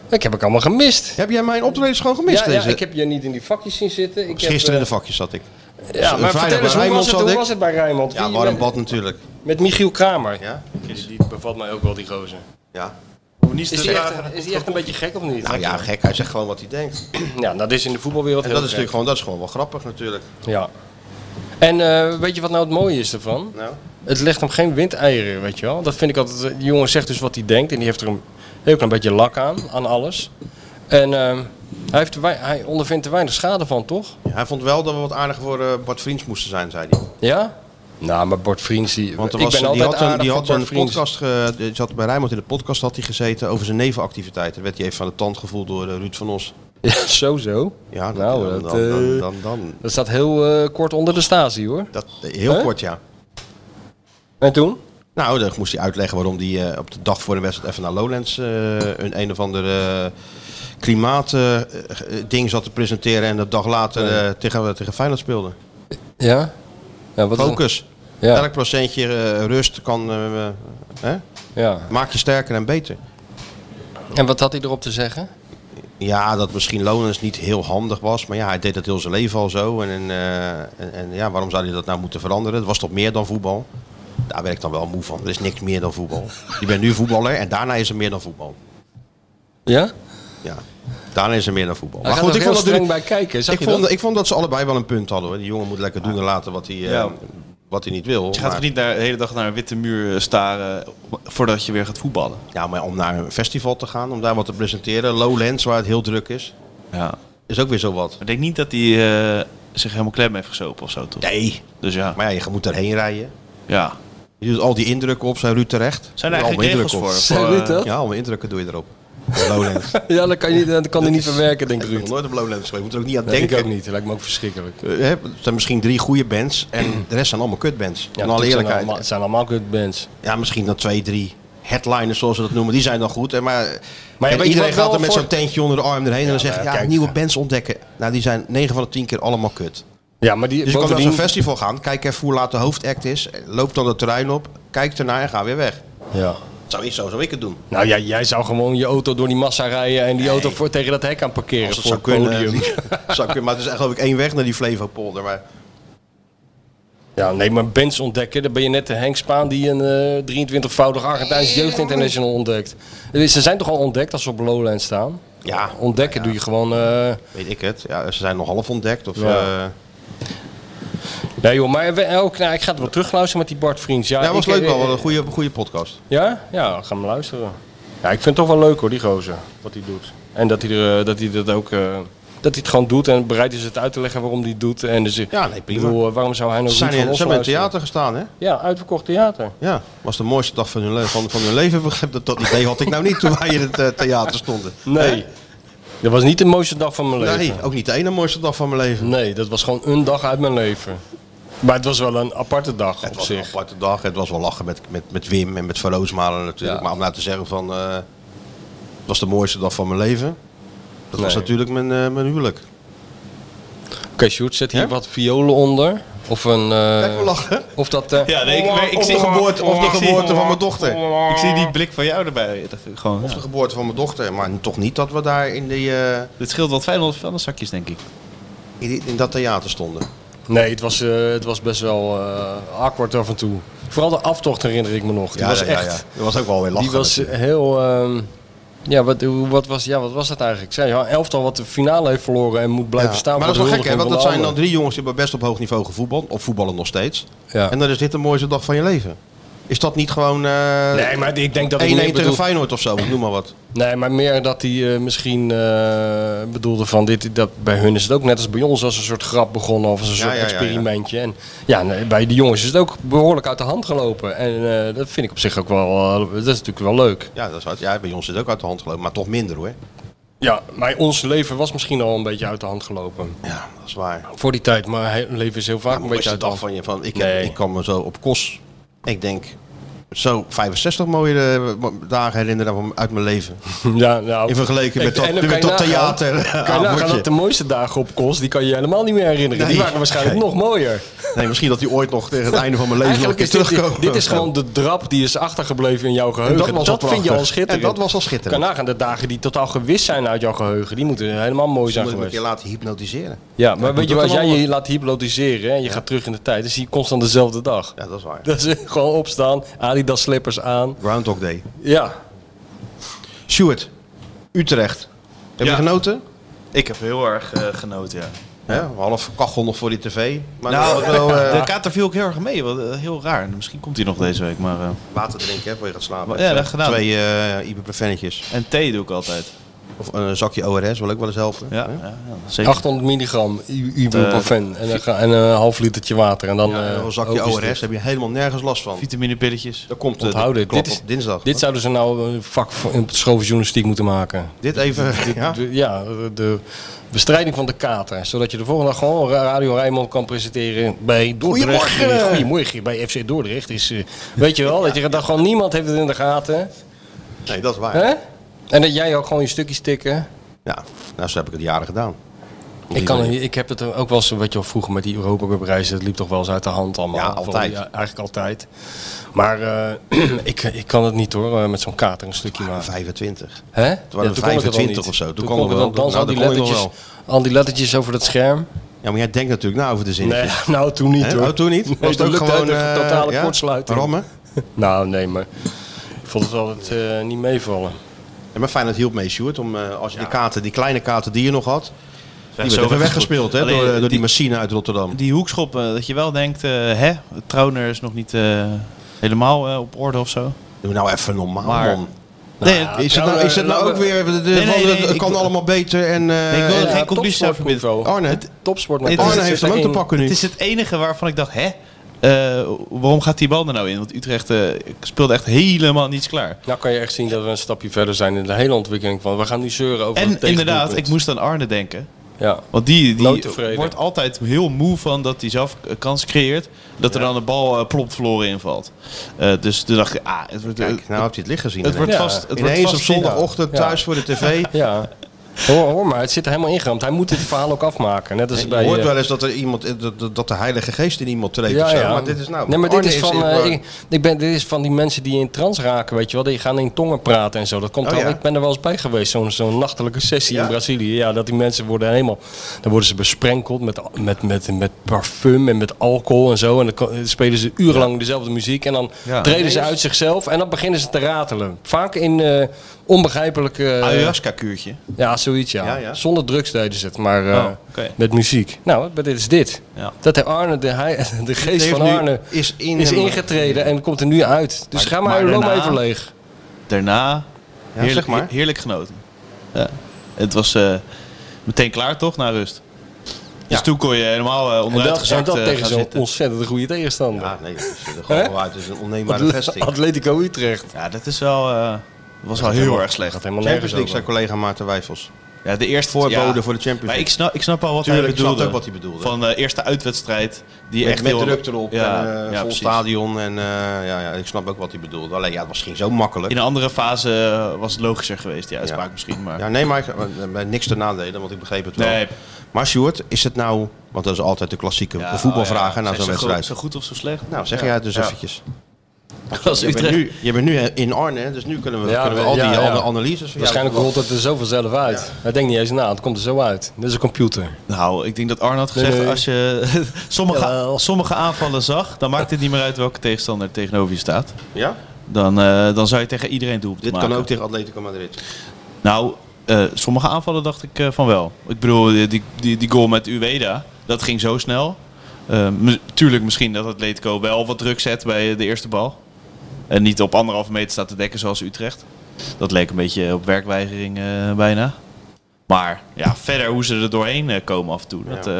[SPEAKER 7] Ik heb ik allemaal gemist.
[SPEAKER 6] heb jij mijn optredens gewoon gemist
[SPEAKER 7] ja, ja,
[SPEAKER 6] deze?
[SPEAKER 7] ik heb je niet in die vakjes zien zitten. Ik
[SPEAKER 6] Gisteren in
[SPEAKER 7] heb,
[SPEAKER 6] de vakjes zat ik.
[SPEAKER 7] eh, ja, maar
[SPEAKER 6] vrijdag bij
[SPEAKER 7] vertel eens, hoe
[SPEAKER 6] Rijnmond
[SPEAKER 7] was, het,
[SPEAKER 6] zat
[SPEAKER 7] hoe
[SPEAKER 6] ik.
[SPEAKER 7] was het bij Rijnmond?
[SPEAKER 6] Ja,
[SPEAKER 7] Wie-
[SPEAKER 6] warm
[SPEAKER 7] met,
[SPEAKER 6] bad natuurlijk.
[SPEAKER 7] met Michiel Kramer.
[SPEAKER 6] Ja?
[SPEAKER 7] Dus Die bevat mij ook wel, die gozer.
[SPEAKER 6] Ja.
[SPEAKER 7] Is die echt, is die echt een beetje gek of niet?
[SPEAKER 6] Nou ja, gek. Hij zegt gewoon wat hij denkt.
[SPEAKER 7] Ja, nou, dat is in de voetbalwereld
[SPEAKER 6] En
[SPEAKER 7] heel
[SPEAKER 6] dat is natuurlijk gewoon, dat is gewoon wel grappig natuurlijk.
[SPEAKER 7] gek. Ja. En eh, weet je wat nou het mooie is ervan?
[SPEAKER 6] Nou.
[SPEAKER 7] Het legt hem geen windeieren, weet je wel. Dat vind ik altijd. Die jongen zegt dus wat hij denkt en die heeft er een heel klein beetje lak aan, aan alles. En ehm, hij, heeft er wei- hij ondervindt er weinig schade van, toch?
[SPEAKER 6] Hij vond wel dat we wat aardiger voor eh, Bart Vriends moesten zijn, zei hij.
[SPEAKER 7] Ja? Nou, maar Bart Vriends, die,
[SPEAKER 6] Want er
[SPEAKER 7] ik
[SPEAKER 6] was,
[SPEAKER 7] ben
[SPEAKER 6] die
[SPEAKER 7] altijd
[SPEAKER 6] had een,
[SPEAKER 7] aardig
[SPEAKER 6] die
[SPEAKER 7] voor
[SPEAKER 6] had
[SPEAKER 7] Bart
[SPEAKER 6] een
[SPEAKER 7] Vriends.
[SPEAKER 6] podcast, ge- die zat bij Rijnmond in de podcast had hij gezeten over zijn nevenactiviteiten. Daar werd hij even aan de tand gevoeld door eh, Ruud van Os.
[SPEAKER 7] Ja, zo zo.
[SPEAKER 6] Ja, dat,
[SPEAKER 7] Nou,
[SPEAKER 6] dan,
[SPEAKER 7] dat,
[SPEAKER 6] dan, dan,
[SPEAKER 7] eh,
[SPEAKER 6] dan, dan-
[SPEAKER 7] Dat staat heel eh, kort onder de stasie, hoor.
[SPEAKER 6] dat, heel
[SPEAKER 7] Hè?
[SPEAKER 6] kort ja.
[SPEAKER 7] En toen?
[SPEAKER 6] Nou, dan moest hij uitleggen waarom hij eh, op de dag voor de wedstrijd even naar Lowlands eh, een een of eh, andere klimaatding eh, ding zat te presenteren. En de dag later eh, tegen, tegen Feyenoord speelde.
[SPEAKER 7] Ja? ja wat
[SPEAKER 6] Focus.
[SPEAKER 7] Ja,
[SPEAKER 6] Elk procentje eh, rust kan, eh, eh, hè?
[SPEAKER 7] ja.
[SPEAKER 6] maak je sterker en beter.
[SPEAKER 7] En wat had hij erop te zeggen?
[SPEAKER 6] Ja, dat misschien Lonens niet heel handig was. Maar ja, hij deed dat heel zijn leven al zo. En, en, eh, en, en ja, waarom zou hij dat nou moeten veranderen? Het was toch meer dan voetbal? Daar ben ik dan wel moe van. Er is niks meer dan voetbal. Je bent nu voetballer en daarna is er meer dan voetbal.
[SPEAKER 7] Ja?
[SPEAKER 6] Ja, daarna is er meer dan voetbal.
[SPEAKER 7] Hij gaat er
[SPEAKER 6] ik
[SPEAKER 7] heel
[SPEAKER 6] vond,
[SPEAKER 7] streng
[SPEAKER 6] natuurlijk-
[SPEAKER 7] bij kijken, zag
[SPEAKER 6] ik,
[SPEAKER 7] je
[SPEAKER 6] vond,
[SPEAKER 7] dat?
[SPEAKER 6] ik vond dat ze allebei wel een punt hadden. Hoor. Die jongen moet lekker doen en laten wat hij, eh,
[SPEAKER 10] Ja.
[SPEAKER 6] wat hij niet wil.
[SPEAKER 10] Je gaat
[SPEAKER 6] Maar,
[SPEAKER 10] toch niet naar, de hele dag naar een witte muur eh, staren eh, voordat je weer gaat voetballen?
[SPEAKER 6] ja, maar om naar een festival te gaan, om daar wat te presenteren. Lowlands, waar het heel druk is.
[SPEAKER 10] Ja.
[SPEAKER 6] Is ook weer zo wat.
[SPEAKER 10] Maar ik denk niet dat hij eh, zich helemaal klem heeft gesopen of zo, toch?
[SPEAKER 6] Nee.
[SPEAKER 10] Dus ja.
[SPEAKER 6] Maar ja, je moet daarheen rijden.
[SPEAKER 10] ja.
[SPEAKER 6] Je doet al die indrukken op, zijn Ruud terecht.
[SPEAKER 10] Zijn er
[SPEAKER 6] Al
[SPEAKER 10] eigenlijk
[SPEAKER 6] mijn
[SPEAKER 10] regels voor?
[SPEAKER 6] indrukken
[SPEAKER 7] Zei
[SPEAKER 10] Voor,
[SPEAKER 7] Ruud
[SPEAKER 10] eh,
[SPEAKER 7] dat?
[SPEAKER 6] op. Ja, allemaal indrukken doe je erop. Lowlands.
[SPEAKER 7] Ja, dat kan, je, niet- dat kan hij niet verwerken, denk
[SPEAKER 6] ik
[SPEAKER 7] ik.
[SPEAKER 6] ben nog
[SPEAKER 7] Ruud.
[SPEAKER 6] nooit op Lowlands geweest. Je moet er ook niet aan
[SPEAKER 7] Denk
[SPEAKER 6] denken.
[SPEAKER 7] ik ook niet. Dat lijkt me ook verschrikkelijk.
[SPEAKER 6] Eh, hè, er zijn misschien drie goede bands en de rest zijn allemaal kutbands.
[SPEAKER 7] Ja,
[SPEAKER 6] in alle
[SPEAKER 7] natuurlijk zijn
[SPEAKER 6] eerlijkheid.
[SPEAKER 7] allemaal- Het zijn allemaal good bands.
[SPEAKER 6] Ja, misschien dan twee, drie headliners zoals ze dat noemen. Die zijn dan goed. hè, Maar,
[SPEAKER 7] weet
[SPEAKER 6] maar
[SPEAKER 7] je wat
[SPEAKER 6] iedereen gaat
[SPEAKER 7] wel
[SPEAKER 6] er met
[SPEAKER 7] voor-
[SPEAKER 6] zo'n tentje onder de arm erheen en dan zegt ja,
[SPEAKER 7] kijk,
[SPEAKER 6] nieuwe
[SPEAKER 7] ja.
[SPEAKER 6] bands ontdekken. Nou, die zijn 9 van de 10 keer allemaal kut.
[SPEAKER 7] Ja, maar die
[SPEAKER 6] Dus je kan naar
[SPEAKER 7] bovendien-
[SPEAKER 6] zo'n festival gaan, kijk even hoe laat de hoofdact is, loop dan het terrein op, kijk ernaar en ga weer weg.
[SPEAKER 7] Ja.
[SPEAKER 6] Zo, is- zo zou ik het doen.
[SPEAKER 7] Nou ja, jij zou gewoon je auto door die massa rijden en die auto voor, tegen dat hek aan parkeren
[SPEAKER 6] Als het
[SPEAKER 7] voor
[SPEAKER 6] zou
[SPEAKER 7] het podium.
[SPEAKER 6] kunnen, zou kunnen. Maar het is echt geloof ik één weg naar die Flevopolder. Maar
[SPEAKER 7] Ja, nee, maar bands ontdekken, dan ben je net de Henk Spaan die een eh, 23-voudig Argentijns Jeugd International ontdekt. Dus Ze zijn toch al ontdekt als ze op Lowland staan?
[SPEAKER 6] ja,
[SPEAKER 7] Ontdekken doe je gewoon... eh,
[SPEAKER 6] weet ik het. Ja, ze zijn nog half ontdekt. Of,
[SPEAKER 7] Ja.
[SPEAKER 6] eh,
[SPEAKER 7] Nee joh, maar we- ook, nou, ik ga het wel terugluisteren met die Bart Vriends. Ja,
[SPEAKER 6] ja, was
[SPEAKER 7] ik-
[SPEAKER 6] leuk wel.
[SPEAKER 7] eh,
[SPEAKER 6] Wat een goede, goede podcast.
[SPEAKER 7] Ja? Ja, ga hem luisteren. Ja, ik vind het toch wel leuk hoor, die gozer, wat hij doet. En dat hij, er, eh, dat, hij dat ook... eh, dat hij het gewoon doet en bereid is het uit te leggen waarom hij het doet. En dus,
[SPEAKER 6] Ja, nee, prima.
[SPEAKER 7] Ik bedoel, eh, waarom zou hij nou
[SPEAKER 6] Ze zijn,
[SPEAKER 7] niet van
[SPEAKER 6] in,
[SPEAKER 7] ons
[SPEAKER 6] ze hebben in
[SPEAKER 7] luisteren?
[SPEAKER 6] theater gestaan, hè?
[SPEAKER 7] Ja, uitverkocht theater.
[SPEAKER 6] Ja, was de mooiste dag van hun, le- van, van hun leven. Begrijp dat, dat idee had ik nou niet toen wij in het eh, theater stonden.
[SPEAKER 7] Nee. Dat was niet de mooiste dag van mijn leven.
[SPEAKER 6] Nee, ook niet de ene mooiste dag van mijn leven.
[SPEAKER 7] Nee, dat was gewoon een dag uit mijn leven. Maar het was wel een aparte dag
[SPEAKER 6] Het
[SPEAKER 7] op
[SPEAKER 6] was een
[SPEAKER 7] zich.
[SPEAKER 6] aparte dag. Het was wel lachen met, met, met Wim en met Van Roosmalen natuurlijk.
[SPEAKER 7] Ja.
[SPEAKER 6] Maar om nou te zeggen van... eh, het was de mooiste dag van mijn leven. Dat was
[SPEAKER 7] Nee.
[SPEAKER 6] natuurlijk mijn, eh, mijn huwelijk.
[SPEAKER 7] Oké, Sjoerd, zet hier
[SPEAKER 6] Ja?
[SPEAKER 7] wat violen onder. Of een... eh,
[SPEAKER 6] Kijk, we lachen.
[SPEAKER 7] Of dat... eh,
[SPEAKER 10] Ja, nee, ik, maar ik,
[SPEAKER 6] Of de
[SPEAKER 10] zie,
[SPEAKER 6] geboorte, of de
[SPEAKER 10] ik zie-
[SPEAKER 6] geboorte van mijn dochter.
[SPEAKER 10] ik zie die blik van jou erbij. Dat vind ik gewoon,
[SPEAKER 6] Of
[SPEAKER 10] ja.
[SPEAKER 6] de geboorte van mijn dochter. Maar toch niet dat we daar in, die, eh,
[SPEAKER 10] Dit scheelt wat 500 van de zakjes, denk ik.
[SPEAKER 6] in, die- in dat theater stonden.
[SPEAKER 7] Nee, het was, eh, het was best wel eh awkward af en toe. Vooral de aftocht herinner ik me nog. Die was echt...
[SPEAKER 6] Dat was ook wel weer lachen.
[SPEAKER 7] Die was eh, heel... ehm, ja, wat, hoe- wat was, ja, wat was dat eigenlijk? Ik zei, ja, een elftal wat de finale heeft verloren en moet blijven
[SPEAKER 6] Ja.
[SPEAKER 7] staan
[SPEAKER 6] maar
[SPEAKER 7] voor
[SPEAKER 6] dat is wel
[SPEAKER 7] de
[SPEAKER 6] gek, hè? Want dat
[SPEAKER 7] huldiging
[SPEAKER 6] zijn dan
[SPEAKER 7] van de
[SPEAKER 6] drie jongens die hebben best op hoog niveau gevoetbald. Of voetballen nog steeds.
[SPEAKER 7] anderen. Ja.
[SPEAKER 6] En dan is dit de mooiste dag van je leven. Is dat niet gewoon eh 1-1
[SPEAKER 7] Nee, maar ik denk dat ik meer
[SPEAKER 6] tegen
[SPEAKER 7] bedoel...
[SPEAKER 6] Feyenoord of zo? Noem maar wat.
[SPEAKER 7] Nee, maar meer dat hij eh, misschien eh, bedoelde van dit, dat bij hun is het ook net als bij ons als een soort grap begonnen of als een
[SPEAKER 6] Ja,
[SPEAKER 7] soort
[SPEAKER 6] ja, ja, ja.
[SPEAKER 7] experimentje. En ja, nee, bij die jongens is het ook behoorlijk uit de hand gelopen. En eh, dat vind ik op zich ook wel, eh, dat is natuurlijk wel leuk.
[SPEAKER 6] Ja, dat is hard. ja, bij ons is het ook uit de hand gelopen, maar toch minder hoor.
[SPEAKER 7] Ja, maar ons leven was misschien al een beetje uit de hand gelopen
[SPEAKER 6] Ja, dat is waar.
[SPEAKER 7] voor die tijd. Maar he- leven is heel vaak
[SPEAKER 6] Ja,
[SPEAKER 7] een
[SPEAKER 6] maar was
[SPEAKER 7] beetje
[SPEAKER 6] je
[SPEAKER 7] uit de hand.
[SPEAKER 6] dacht van je van ik,
[SPEAKER 7] Nee.
[SPEAKER 6] heb, ik kan me zo op kos. Ik denk zo 65 mooie eh, dagen herinneren van- uit mijn leven.
[SPEAKER 7] Ja, nou,
[SPEAKER 6] In vergelijking met
[SPEAKER 7] en- en
[SPEAKER 6] dat,
[SPEAKER 7] dan kan
[SPEAKER 6] met
[SPEAKER 7] je
[SPEAKER 6] dat
[SPEAKER 7] nagaan-
[SPEAKER 6] theater. eh,
[SPEAKER 7] Kan je nagaan
[SPEAKER 6] avondje.
[SPEAKER 7] dat de mooiste dagen op kost, die kan je je helemaal niet meer herinneren.
[SPEAKER 6] Nee.
[SPEAKER 7] Die waren waarschijnlijk nog mooier.
[SPEAKER 6] Nee, misschien dat die ooit nog tegen het einde van mijn leven nog een keer
[SPEAKER 7] is dit,
[SPEAKER 6] terugkomen.
[SPEAKER 7] dit is gewoon de drap die is achtergebleven in jouw
[SPEAKER 6] En
[SPEAKER 7] geheugen.
[SPEAKER 6] dat was al
[SPEAKER 7] vind je
[SPEAKER 6] prachtig.
[SPEAKER 7] al schitterend.
[SPEAKER 6] En dat was al
[SPEAKER 7] Ik kan
[SPEAKER 6] schitterend.
[SPEAKER 7] nagaan de dagen die totaal gewist zijn uit jouw geheugen. Die moeten helemaal mooi zijn
[SPEAKER 6] Moet ik me een
[SPEAKER 7] geweest.
[SPEAKER 6] keer laten hypnotiseren.
[SPEAKER 7] Ja, maar weet je,
[SPEAKER 6] dat
[SPEAKER 7] als
[SPEAKER 6] dan
[SPEAKER 7] jij
[SPEAKER 6] wel.
[SPEAKER 7] je laat hypnotiseren en je gaat terug in de tijd, dan zie je constant dezelfde dag.
[SPEAKER 6] Ja, dat is waar.
[SPEAKER 7] Dat is gewoon opstaan, Adidas slippers aan.
[SPEAKER 6] Groundhog Day.
[SPEAKER 7] Ja,
[SPEAKER 6] Stuart, Utrecht. Heb
[SPEAKER 10] Ja.
[SPEAKER 6] je genoten?
[SPEAKER 10] Ik heb heel erg eh, genoten, ja.
[SPEAKER 6] Ja, half kachel nog voor die tv. Maar
[SPEAKER 10] Nou,
[SPEAKER 6] nou, wel eh,
[SPEAKER 10] de kater viel ook heel erg mee. Wat, eh, heel raar. Misschien komt hij nog deze week. Maar, eh,
[SPEAKER 6] water drinken hè, voor je gaat slapen.
[SPEAKER 10] Ja, dat gedaan.
[SPEAKER 6] Twee eh ibuprofennetjes.
[SPEAKER 10] en thee doe ik altijd.
[SPEAKER 6] Of een zakje ORS wil ook wel eens helpen.
[SPEAKER 10] Ja, ja, ja, zeker.
[SPEAKER 7] 800 milligram i- ibuprofen en, een ga- en een half litertje water. En dan,
[SPEAKER 6] Eh,
[SPEAKER 7] eh,
[SPEAKER 6] een
[SPEAKER 7] ook
[SPEAKER 6] zakje
[SPEAKER 7] is
[SPEAKER 6] ORS
[SPEAKER 7] dit. Oh,
[SPEAKER 6] heb je helemaal nergens last van.
[SPEAKER 10] Vitaminepilletjes.
[SPEAKER 6] Dat komt eh,
[SPEAKER 7] Onthouden,
[SPEAKER 6] de klap
[SPEAKER 7] dit is-
[SPEAKER 6] op dinsdag.
[SPEAKER 7] Dit zouden ze nou een vak voor- in school van journalistiek moeten maken.
[SPEAKER 6] Dit even. Ja?
[SPEAKER 7] De- ja, de- de bestrijding van de kater. Zodat je de volgende dag gewoon Ra- Radio Rijnmond kan presenteren bij Dordrecht.
[SPEAKER 6] Goedemorgen.
[SPEAKER 7] Goedemorgen, bij FC Dordrecht. Is, eh, weet je wel, dat je dat gewoon niemand heeft het in de gaten.
[SPEAKER 6] Nee, dat is waar.
[SPEAKER 7] Hè? En dat jij ook gewoon je stukjes tikken.
[SPEAKER 6] Ja, nou, zo heb ik het jaren gedaan.
[SPEAKER 7] Ik, kan, er niet- ik heb het ook wel eens, weet je wel, vroeger met die Europa Cup reizen, dat liep toch wel eens uit de hand allemaal.
[SPEAKER 6] Ja,
[SPEAKER 7] Vooral
[SPEAKER 6] altijd.
[SPEAKER 7] die- eigenlijk altijd. Maar eh, ik, ik kan het niet hoor, eh, met zo'n kater een stukje maken.
[SPEAKER 6] 25.
[SPEAKER 7] Hè?
[SPEAKER 6] waren er
[SPEAKER 7] Ja, kon ik het al
[SPEAKER 6] 25
[SPEAKER 7] niet.
[SPEAKER 6] of zo. Toen
[SPEAKER 7] Toen
[SPEAKER 6] kon
[SPEAKER 7] kon
[SPEAKER 6] ik
[SPEAKER 7] ik
[SPEAKER 6] wel.
[SPEAKER 7] dan, dan
[SPEAKER 6] Nou,
[SPEAKER 7] al die
[SPEAKER 6] dat kon ik nog
[SPEAKER 7] lettertjes, al die lettertjes over dat scherm.
[SPEAKER 6] Ja, maar jij denkt natuurlijk nou over de zin.
[SPEAKER 7] Nee, nou toen niet hoor.
[SPEAKER 6] Oh, toen niet?
[SPEAKER 7] Nee, toen lukte het echt een
[SPEAKER 6] eh,
[SPEAKER 7] totale kortsluiting.
[SPEAKER 6] Rammen?
[SPEAKER 7] Nou nee, maar ik vond het altijd eh, niet meevallen.
[SPEAKER 6] Ja, maar Feyenoord hielp mee, Sjoerd. Om, eh, als je die kaarten, die kleine kaarten die je nog had, die
[SPEAKER 10] Zo
[SPEAKER 6] werd
[SPEAKER 10] weggespoeld.
[SPEAKER 6] even weggespeeld hè,
[SPEAKER 10] Alleen,
[SPEAKER 6] door, eh, door die,
[SPEAKER 10] die,
[SPEAKER 6] machine uit Rotterdam.
[SPEAKER 10] die hoekschop, eh, dat je wel denkt, eh, hè, Trauner is nog niet eh, helemaal eh, op orde of zo.
[SPEAKER 6] Doe nou even normaal,
[SPEAKER 10] Maar-
[SPEAKER 6] man.
[SPEAKER 10] nee,
[SPEAKER 6] Is het nou, is het nou ook weer... De, de-
[SPEAKER 10] Nee, nee, nee,
[SPEAKER 6] het
[SPEAKER 10] ik-
[SPEAKER 6] kan allemaal beter en... eh,
[SPEAKER 10] Nee, ik wil
[SPEAKER 6] en-
[SPEAKER 10] geen
[SPEAKER 7] Ja,
[SPEAKER 10] conclusies
[SPEAKER 7] topsport
[SPEAKER 10] over dit.
[SPEAKER 7] moet wel.
[SPEAKER 6] Arne,
[SPEAKER 7] Topsport
[SPEAKER 10] Het
[SPEAKER 7] met
[SPEAKER 10] is-
[SPEAKER 6] Arne
[SPEAKER 10] het
[SPEAKER 6] heeft hem ook te pakken
[SPEAKER 10] Het
[SPEAKER 6] nu.
[SPEAKER 10] is het enige waarvan ik dacht, hè, eh, waarom gaat die bal er nou in? Want Utrecht eh, speelde echt helemaal niets klaar.
[SPEAKER 7] Nou kan je echt zien dat we een stapje verder zijn in de hele ontwikkeling van. We gaan nu zeuren over
[SPEAKER 10] En
[SPEAKER 7] het
[SPEAKER 10] inderdaad, ik
[SPEAKER 7] tegendoelpunt.
[SPEAKER 10] moest aan Arne denken.
[SPEAKER 7] Ja.
[SPEAKER 10] Want die, die
[SPEAKER 7] Loodtevreden.
[SPEAKER 10] wordt altijd heel moe van dat hij zelf eh, kans creëert. Dat er dan een bal eh, plomp verloren invalt. Eh, dus toen dacht ik, ah, het wordt,
[SPEAKER 6] Kijk,
[SPEAKER 10] het,
[SPEAKER 6] nou heeft hij het licht gezien.
[SPEAKER 10] het wordt
[SPEAKER 7] Ja.
[SPEAKER 10] vast. Het wordt
[SPEAKER 6] Ineens
[SPEAKER 10] vast
[SPEAKER 6] op
[SPEAKER 10] dit.
[SPEAKER 6] zondagochtend
[SPEAKER 7] Ja.
[SPEAKER 6] thuis voor de tv.
[SPEAKER 7] ja. Hoor, hoor maar, het zit er helemaal ingeramd. Hij moet dit verhaal ook afmaken. Net als bij...
[SPEAKER 6] Je hoort
[SPEAKER 7] eh,
[SPEAKER 6] wel eens dat, er iemand, dat- dat, dat de heilige geest in iemand treedt of zo, maar dit is nou...
[SPEAKER 7] Nee, maar dit
[SPEAKER 6] Arne
[SPEAKER 7] is, van,
[SPEAKER 6] in-
[SPEAKER 7] eh, ik, ik ben, dit is van die mensen die in trans raken, weet je wel. Die gaan in tongen praten en zo. Dat komt
[SPEAKER 6] Oh,
[SPEAKER 7] al,
[SPEAKER 6] ja.
[SPEAKER 7] Ik ben er wel eens bij geweest, zo'n zo'n nachtelijke sessie
[SPEAKER 6] Ja?
[SPEAKER 7] in Brazilië. Ja, dat die mensen worden helemaal... Dan worden ze besprenkeld met, met, met, met parfum en met alcohol en zo. En dan ko- spelen ze urenlang dezelfde muziek. En dan
[SPEAKER 10] Ja.
[SPEAKER 7] treden ze uit zichzelf en dan beginnen ze te ratelen. Vaak in eh, onbegrijpelijke... eh,
[SPEAKER 10] Ayahuasca-kuurtje.
[SPEAKER 7] ja, zoiets ja.
[SPEAKER 6] Ja, ja.
[SPEAKER 7] Zonder drugs deden ze het, maar eh,
[SPEAKER 10] Oh, oké.
[SPEAKER 7] met muziek. Nou, maar dit is dit.
[SPEAKER 10] Ja.
[SPEAKER 7] Dat de, Arne, de, hij, de geest
[SPEAKER 6] heeft
[SPEAKER 7] van
[SPEAKER 6] nu-
[SPEAKER 7] Arne
[SPEAKER 6] is in
[SPEAKER 7] is
[SPEAKER 6] hem-
[SPEAKER 7] ingetreden en komt er nu uit. Dus ga maar,
[SPEAKER 10] maar
[SPEAKER 7] loop maar
[SPEAKER 10] daarna-
[SPEAKER 7] even leeg.
[SPEAKER 10] Daarna, heerlijk,
[SPEAKER 6] zeg maar.
[SPEAKER 10] heerlijk genoten. Ja. Het was eh, meteen klaar toch, na rust. Dus
[SPEAKER 6] Ja.
[SPEAKER 10] toen kon je helemaal eh
[SPEAKER 7] En
[SPEAKER 10] onderuit
[SPEAKER 7] dat, en
[SPEAKER 10] gezakt
[SPEAKER 7] dat
[SPEAKER 10] eh,
[SPEAKER 7] tegen
[SPEAKER 10] gaan
[SPEAKER 7] zo'n
[SPEAKER 10] zitten.
[SPEAKER 7] ontzettend goede tegenstander.
[SPEAKER 6] Ja, nee, dat is er gewoon
[SPEAKER 7] Hè?
[SPEAKER 6] wel uit. Het is een onneembare
[SPEAKER 7] Atle-
[SPEAKER 6] vesting.
[SPEAKER 7] Atletico Utrecht.
[SPEAKER 10] Ja, dat is wel, eh, was wel heel erg slecht.
[SPEAKER 7] Gaat
[SPEAKER 6] Champions
[SPEAKER 7] helemaal nergens
[SPEAKER 6] League,
[SPEAKER 7] over.
[SPEAKER 6] zei collega Maarten Wijfels.
[SPEAKER 10] Ja, de eerste
[SPEAKER 6] Voorbode
[SPEAKER 10] ja.
[SPEAKER 6] voor de Champions
[SPEAKER 10] Maar ik
[SPEAKER 6] League.
[SPEAKER 10] snap, ik snap al wat
[SPEAKER 6] Tuurlijk,
[SPEAKER 10] hij
[SPEAKER 6] ik snap
[SPEAKER 10] bedoelde.
[SPEAKER 6] ook wat hij bedoelde.
[SPEAKER 10] Van de eerste uitwedstrijd. Die echt
[SPEAKER 6] Echt met
[SPEAKER 10] heel-
[SPEAKER 6] druk erop,
[SPEAKER 10] Ja,
[SPEAKER 6] en, eh,
[SPEAKER 10] ja,
[SPEAKER 6] vol
[SPEAKER 10] precies.
[SPEAKER 6] stadion. En, eh, ja, ja, ik snap ook wat hij bedoelde. Alleen, ja, het was ging zo makkelijk.
[SPEAKER 10] In een andere fase eh, was het logischer geweest, die uitspraak
[SPEAKER 6] Ja.
[SPEAKER 10] misschien. Maar...
[SPEAKER 6] Ja, nee, maar ik- eh, eh, niks te nadelen, want ik begreep het wel.
[SPEAKER 10] Nee.
[SPEAKER 6] Maar Sjoerd, is het nou... Want dat is altijd de klassieke voetbalvraag hè, na
[SPEAKER 10] oh Zijn
[SPEAKER 6] zo'n
[SPEAKER 10] ze goed-
[SPEAKER 6] wedstrijd.
[SPEAKER 10] Zo goed of zo slecht?
[SPEAKER 6] Nou, zeg
[SPEAKER 10] Ja.
[SPEAKER 6] jij het dus
[SPEAKER 10] Ja.
[SPEAKER 6] eventjes.
[SPEAKER 10] Als
[SPEAKER 6] Je bent,
[SPEAKER 10] Utrecht.
[SPEAKER 6] nu, je bent nu in Arnhe, hè, dus nu kunnen we,
[SPEAKER 7] Ja,
[SPEAKER 6] kunnen we
[SPEAKER 7] we-
[SPEAKER 6] al
[SPEAKER 7] ja,
[SPEAKER 6] die
[SPEAKER 7] ja.
[SPEAKER 6] an- analyses... van jou
[SPEAKER 7] Waarschijnlijk
[SPEAKER 6] doen.
[SPEAKER 7] rolt het er zo vanzelf uit. Hij denkt niet eens na, het komt er zo uit. Dit is een computer.
[SPEAKER 10] Nou, ik denk dat Arne had gezegd,
[SPEAKER 7] Nee, nee.
[SPEAKER 10] als je sommige,
[SPEAKER 7] Jawel.
[SPEAKER 10] sommige aanvallen zag, dan maakt het niet meer uit welke tegenstander er tegenover je staat.
[SPEAKER 6] Ja?
[SPEAKER 10] Dan, eh, dan zou je tegen iedereen doelpunt
[SPEAKER 6] Dit
[SPEAKER 10] maken.
[SPEAKER 6] kan ook tegen Atletico Madrid.
[SPEAKER 10] Nou, eh, sommige aanvallen dacht ik eh, van wel. Ik bedoel, eh, die, die, die goal met Ueda, dat ging zo snel. Eh, mi- tuurlijk misschien dat Atletico wel wat druk zet bij eh, de eerste bal. En niet op anderhalve meter staat te dekken zoals Utrecht. Dat leek een beetje op werkweigering eh, bijna. Maar ja, verder hoe ze er doorheen eh, komen af en toe. Dat eh,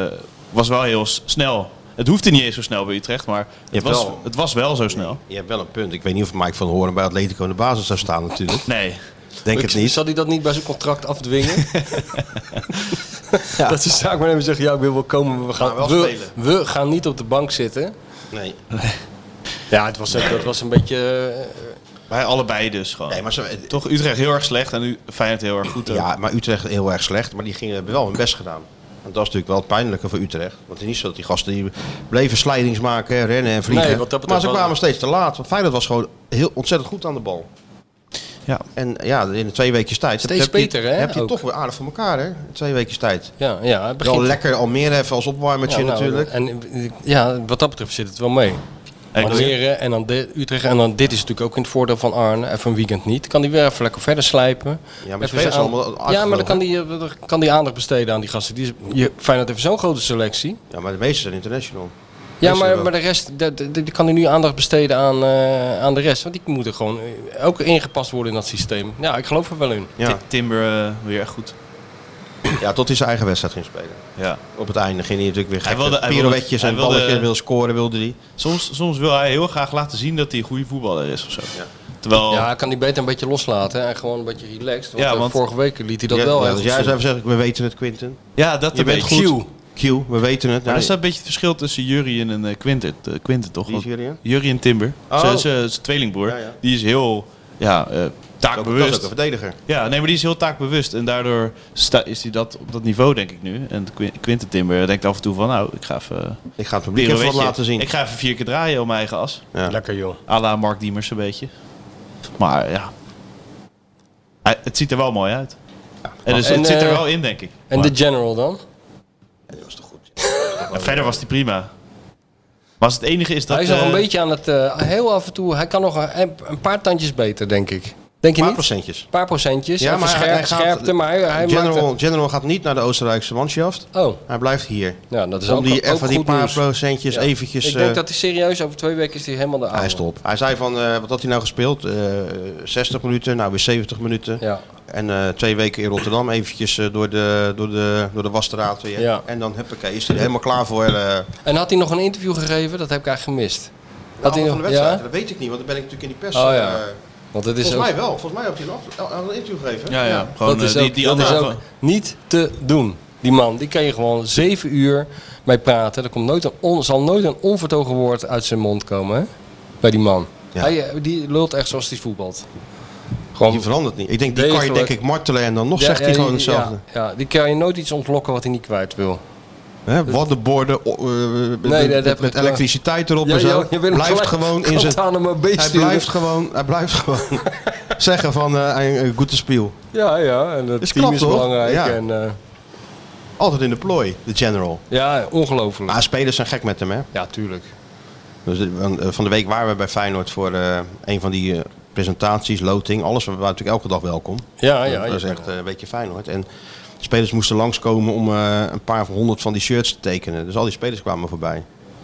[SPEAKER 10] was wel heel s- snel. Het hoefde niet eens zo snel bij Utrecht, maar het
[SPEAKER 6] hebt
[SPEAKER 10] was,
[SPEAKER 6] wel-
[SPEAKER 10] het was wel zo snel.
[SPEAKER 6] Je hebt wel een punt. Ik weet niet of Mike van Hoorn bij Atletico in de basis zou staan natuurlijk.
[SPEAKER 10] Nee.
[SPEAKER 6] Denk het niet.
[SPEAKER 7] Zal hij dat niet bij zijn contract afdwingen? Dat de zaak maar even zeggen, ja, ik wil wel komen, maar we gaan,
[SPEAKER 6] wel
[SPEAKER 7] we,
[SPEAKER 6] spelen.
[SPEAKER 7] we gaan niet op de bank zitten.
[SPEAKER 6] Nee.
[SPEAKER 7] Ja, het was, dat was een beetje... eh,
[SPEAKER 10] Bij allebei dus gewoon.
[SPEAKER 6] Nee, maar ze,
[SPEAKER 10] Toch Utrecht heel erg slecht en nu Feyenoord heel erg goed. ook.
[SPEAKER 7] eh.
[SPEAKER 6] Ja, maar Utrecht heel erg slecht. Maar die gingen, hebben wel hun best gedaan. En dat is natuurlijk wel het pijnlijke voor Utrecht. Want het is niet zo dat die gasten die bleven slijdings maken, rennen en vliegen.
[SPEAKER 7] Nee, wat dat betreft
[SPEAKER 6] maar ze
[SPEAKER 7] wel-
[SPEAKER 6] kwamen steeds te laat. Want Feyenoord was gewoon heel ontzettend goed aan de bal.
[SPEAKER 10] Ja.
[SPEAKER 6] En ja, in de twee weekjes tijd
[SPEAKER 7] Steeds
[SPEAKER 6] heb je-
[SPEAKER 7] beter, hè,
[SPEAKER 6] heb je
[SPEAKER 7] ook.
[SPEAKER 6] toch weer aardig voor elkaar. Hè? In Twee weekjes tijd.
[SPEAKER 7] ja, ja, het begint...
[SPEAKER 6] Wel lekker Almere even als opwarmertje
[SPEAKER 7] Ja, nou,
[SPEAKER 6] natuurlijk.
[SPEAKER 7] En eh, ja, wat dat betreft zit het wel mee. Almere en dan de- Utrecht. En dan dit is natuurlijk ook in het voordeel van Arne. Even een weekend niet. Kan die weer even lekker verder slijpen.
[SPEAKER 6] Ja, maar
[SPEAKER 7] Even
[SPEAKER 6] spelers
[SPEAKER 7] zijn
[SPEAKER 6] allemaal
[SPEAKER 7] Ja, maar
[SPEAKER 6] uitgevlogen.
[SPEAKER 7] dan kan die, eh, dan kan die aandacht besteden aan die gasten. Die, is- je, Feyenoord heeft zo'n grote selectie.
[SPEAKER 6] Ja, maar de meeste zijn international.
[SPEAKER 7] Ja,
[SPEAKER 6] Meeste
[SPEAKER 7] maar,
[SPEAKER 6] wel.
[SPEAKER 7] maar de rest, de- de- de- die kan hij nu aandacht besteden aan, eh, aan de rest. Want die moeten gewoon eh, ook ingepast worden in dat systeem. Ja, ik geloof er wel in.
[SPEAKER 6] Ja.
[SPEAKER 10] Ti- Timber eh, weer echt goed.
[SPEAKER 6] ja, tot hij zijn eigen wedstrijd ging spelen.
[SPEAKER 10] Ja.
[SPEAKER 6] Op het einde ging hij natuurlijk weer
[SPEAKER 10] Hij
[SPEAKER 6] gekke
[SPEAKER 10] wilde- hij wilde-
[SPEAKER 6] pirouetjes en
[SPEAKER 10] hij wilde-
[SPEAKER 6] balletjes wil scoren wilde hij.
[SPEAKER 10] Soms, soms wil hij heel graag laten zien dat hij een goede voetballer is of zo.
[SPEAKER 6] Ja. Oh.
[SPEAKER 10] Terwijl,
[SPEAKER 7] Ja, kan die beter een beetje loslaten en gewoon een beetje relaxed. Want,
[SPEAKER 10] Ja,
[SPEAKER 7] eh,
[SPEAKER 10] want-
[SPEAKER 7] vorige week liet hij dat
[SPEAKER 6] Ja,
[SPEAKER 7] wel
[SPEAKER 6] ja,
[SPEAKER 7] heel
[SPEAKER 6] dus
[SPEAKER 7] goed
[SPEAKER 6] jij
[SPEAKER 7] zien.
[SPEAKER 6] zou even zeggen, we weten het Quinten.
[SPEAKER 10] ja dat
[SPEAKER 6] Je
[SPEAKER 10] een
[SPEAKER 6] bent
[SPEAKER 10] beetje.
[SPEAKER 6] goed. Q, we weten het.
[SPEAKER 10] Maar
[SPEAKER 6] Nee,
[SPEAKER 10] er staat een beetje het verschil tussen Jurie en eh Quinten, eh, Quinten toch?
[SPEAKER 6] Wie is
[SPEAKER 10] Want
[SPEAKER 6] Jurie, hè?
[SPEAKER 10] Jurie en Timber.
[SPEAKER 6] Oh.
[SPEAKER 10] Zijn zijn- zijn tweelingbroer.
[SPEAKER 6] Ja, ja.
[SPEAKER 10] Die is heel ja, eh,
[SPEAKER 6] dat is ook- dat is
[SPEAKER 10] taakbewust.
[SPEAKER 6] ook een verdediger.
[SPEAKER 10] Ja, nee, maar die is heel taakbewust. En daardoor sta- is hij dat op dat niveau, denk ik nu. En Qui- Quinten Timber denkt af en toe van, nou, ik ga even...
[SPEAKER 6] Ik ga het publiek even wat
[SPEAKER 10] pirouetje.
[SPEAKER 6] laten zien.
[SPEAKER 10] Ik ga even vier keer draaien op mijn eigen as.
[SPEAKER 6] Ja.
[SPEAKER 7] Lekker joh.
[SPEAKER 10] à la Mark Diemers een beetje. Maar ja, Hij- het ziet er wel mooi uit. En dus,
[SPEAKER 7] En,
[SPEAKER 10] het zit er
[SPEAKER 7] eh,
[SPEAKER 10] wel in, denk ik.
[SPEAKER 7] En
[SPEAKER 10] Maar-
[SPEAKER 7] de general dan?
[SPEAKER 6] Oh,
[SPEAKER 10] en verder was die prima. Maar als het enige is dat...
[SPEAKER 7] hij is nog
[SPEAKER 10] eh,
[SPEAKER 7] een beetje aan het, eh, heel af en toe, hij kan nog een, een paar tandjes beter, denk ik. Denk je
[SPEAKER 6] Een paar
[SPEAKER 7] niet?
[SPEAKER 6] procentjes.
[SPEAKER 7] Een paar procentjes. Ja, maar scherp,
[SPEAKER 6] gaat-
[SPEAKER 7] scherpte, maar hij, hij
[SPEAKER 6] General,
[SPEAKER 7] maakt...
[SPEAKER 6] General gaat niet naar de Oostenrijkse manschaft.
[SPEAKER 7] het- Oh,
[SPEAKER 6] Hij blijft hier.
[SPEAKER 7] ja, dat is
[SPEAKER 6] Om
[SPEAKER 7] ook,
[SPEAKER 6] die,
[SPEAKER 7] ook
[SPEAKER 6] even die
[SPEAKER 7] goed
[SPEAKER 6] paar
[SPEAKER 7] nieuws.
[SPEAKER 6] procentjes
[SPEAKER 7] Ja.
[SPEAKER 6] eventjes...
[SPEAKER 7] Ik denk
[SPEAKER 6] eh,
[SPEAKER 7] dat hij serieus, over twee weken is hij helemaal de oude.
[SPEAKER 6] hij is top. Hij zei van, eh, wat had hij nou gespeeld? Eh, 60 minuten, nou weer 70 minuten.
[SPEAKER 7] Ja.
[SPEAKER 6] En eh, twee weken in Rotterdam eventjes eh, door, de, door, de, door de wasstraat weer.
[SPEAKER 7] Ja.
[SPEAKER 6] En dan huppakee, is hij er helemaal klaar voor. eh
[SPEAKER 7] En had hij nog een interview gegeven? Dat heb ik eigenlijk gemist. Had hij
[SPEAKER 6] van de
[SPEAKER 7] nog...
[SPEAKER 6] wedstrijd.
[SPEAKER 7] Ja?
[SPEAKER 6] Dat weet ik niet, want dan ben ik natuurlijk in die pers.
[SPEAKER 7] Oh ja.
[SPEAKER 6] eh,
[SPEAKER 7] Want het is
[SPEAKER 6] Volgens
[SPEAKER 7] ook...
[SPEAKER 6] mij wel. Volgens mij heb je een, af- al- al een interview gegeven.
[SPEAKER 10] ja, ja, gewoon
[SPEAKER 7] dat is
[SPEAKER 10] eh, die,
[SPEAKER 7] ook,
[SPEAKER 10] die
[SPEAKER 7] dat is
[SPEAKER 10] andere...
[SPEAKER 7] ook niet te doen. Die man, die kan je gewoon zeven uur mee praten. Er komt nooit een on- zal nooit een onvertogen woord uit zijn mond komen hè? bij die man.
[SPEAKER 6] Ja.
[SPEAKER 7] Hij, eh, die lult echt zoals hij voetbalt. Gewoon,
[SPEAKER 6] Die verandert niet. Ik denk, die kan je
[SPEAKER 7] Degelijk.
[SPEAKER 6] denk ik martelen en dan nog
[SPEAKER 7] Ja,
[SPEAKER 6] zegt
[SPEAKER 7] ja,
[SPEAKER 6] hij gewoon
[SPEAKER 7] die-
[SPEAKER 6] hetzelfde.
[SPEAKER 7] Ja, ja, die kan je nooit iets ontlokken wat hij niet kwijt wil.
[SPEAKER 6] Hè, Waddenborden eh, met-
[SPEAKER 7] dat heb
[SPEAKER 6] met,
[SPEAKER 7] ik
[SPEAKER 6] met
[SPEAKER 7] wel.
[SPEAKER 6] elektriciteit erop
[SPEAKER 7] Ja,
[SPEAKER 6] en zo.
[SPEAKER 7] joh, je wil hem
[SPEAKER 6] dus blijft
[SPEAKER 7] gelijk
[SPEAKER 6] gewoon in zijn...
[SPEAKER 7] aan hem
[SPEAKER 6] Hij blijft gewoon, hij blijft gewoon zeggen van eh een, een goede spiel.
[SPEAKER 7] Ja, ja, en het
[SPEAKER 6] Is
[SPEAKER 7] team
[SPEAKER 6] knap,
[SPEAKER 7] is
[SPEAKER 6] toch?
[SPEAKER 7] belangrijk.
[SPEAKER 6] Ja.
[SPEAKER 7] En, eh,
[SPEAKER 6] Altijd in de plooi, de general.
[SPEAKER 7] ja, ongelooflijk.
[SPEAKER 6] Maar spelers zijn gek met hem, hè.
[SPEAKER 7] Ja, tuurlijk.
[SPEAKER 6] Dus, eh, van- eh, van de week waren we bij Feyenoord voor eh, een van die eh, presentaties, loting, alles. We waren natuurlijk elke dag welkom.
[SPEAKER 7] Ah, Ja, ja.
[SPEAKER 6] dat
[SPEAKER 7] je
[SPEAKER 6] is
[SPEAKER 7] kan-
[SPEAKER 6] echt eh, een beetje Feyenoord. En de spelers moesten langskomen om eh, een paar van honderd van die shirts te tekenen. Dus al die spelers kwamen voorbij.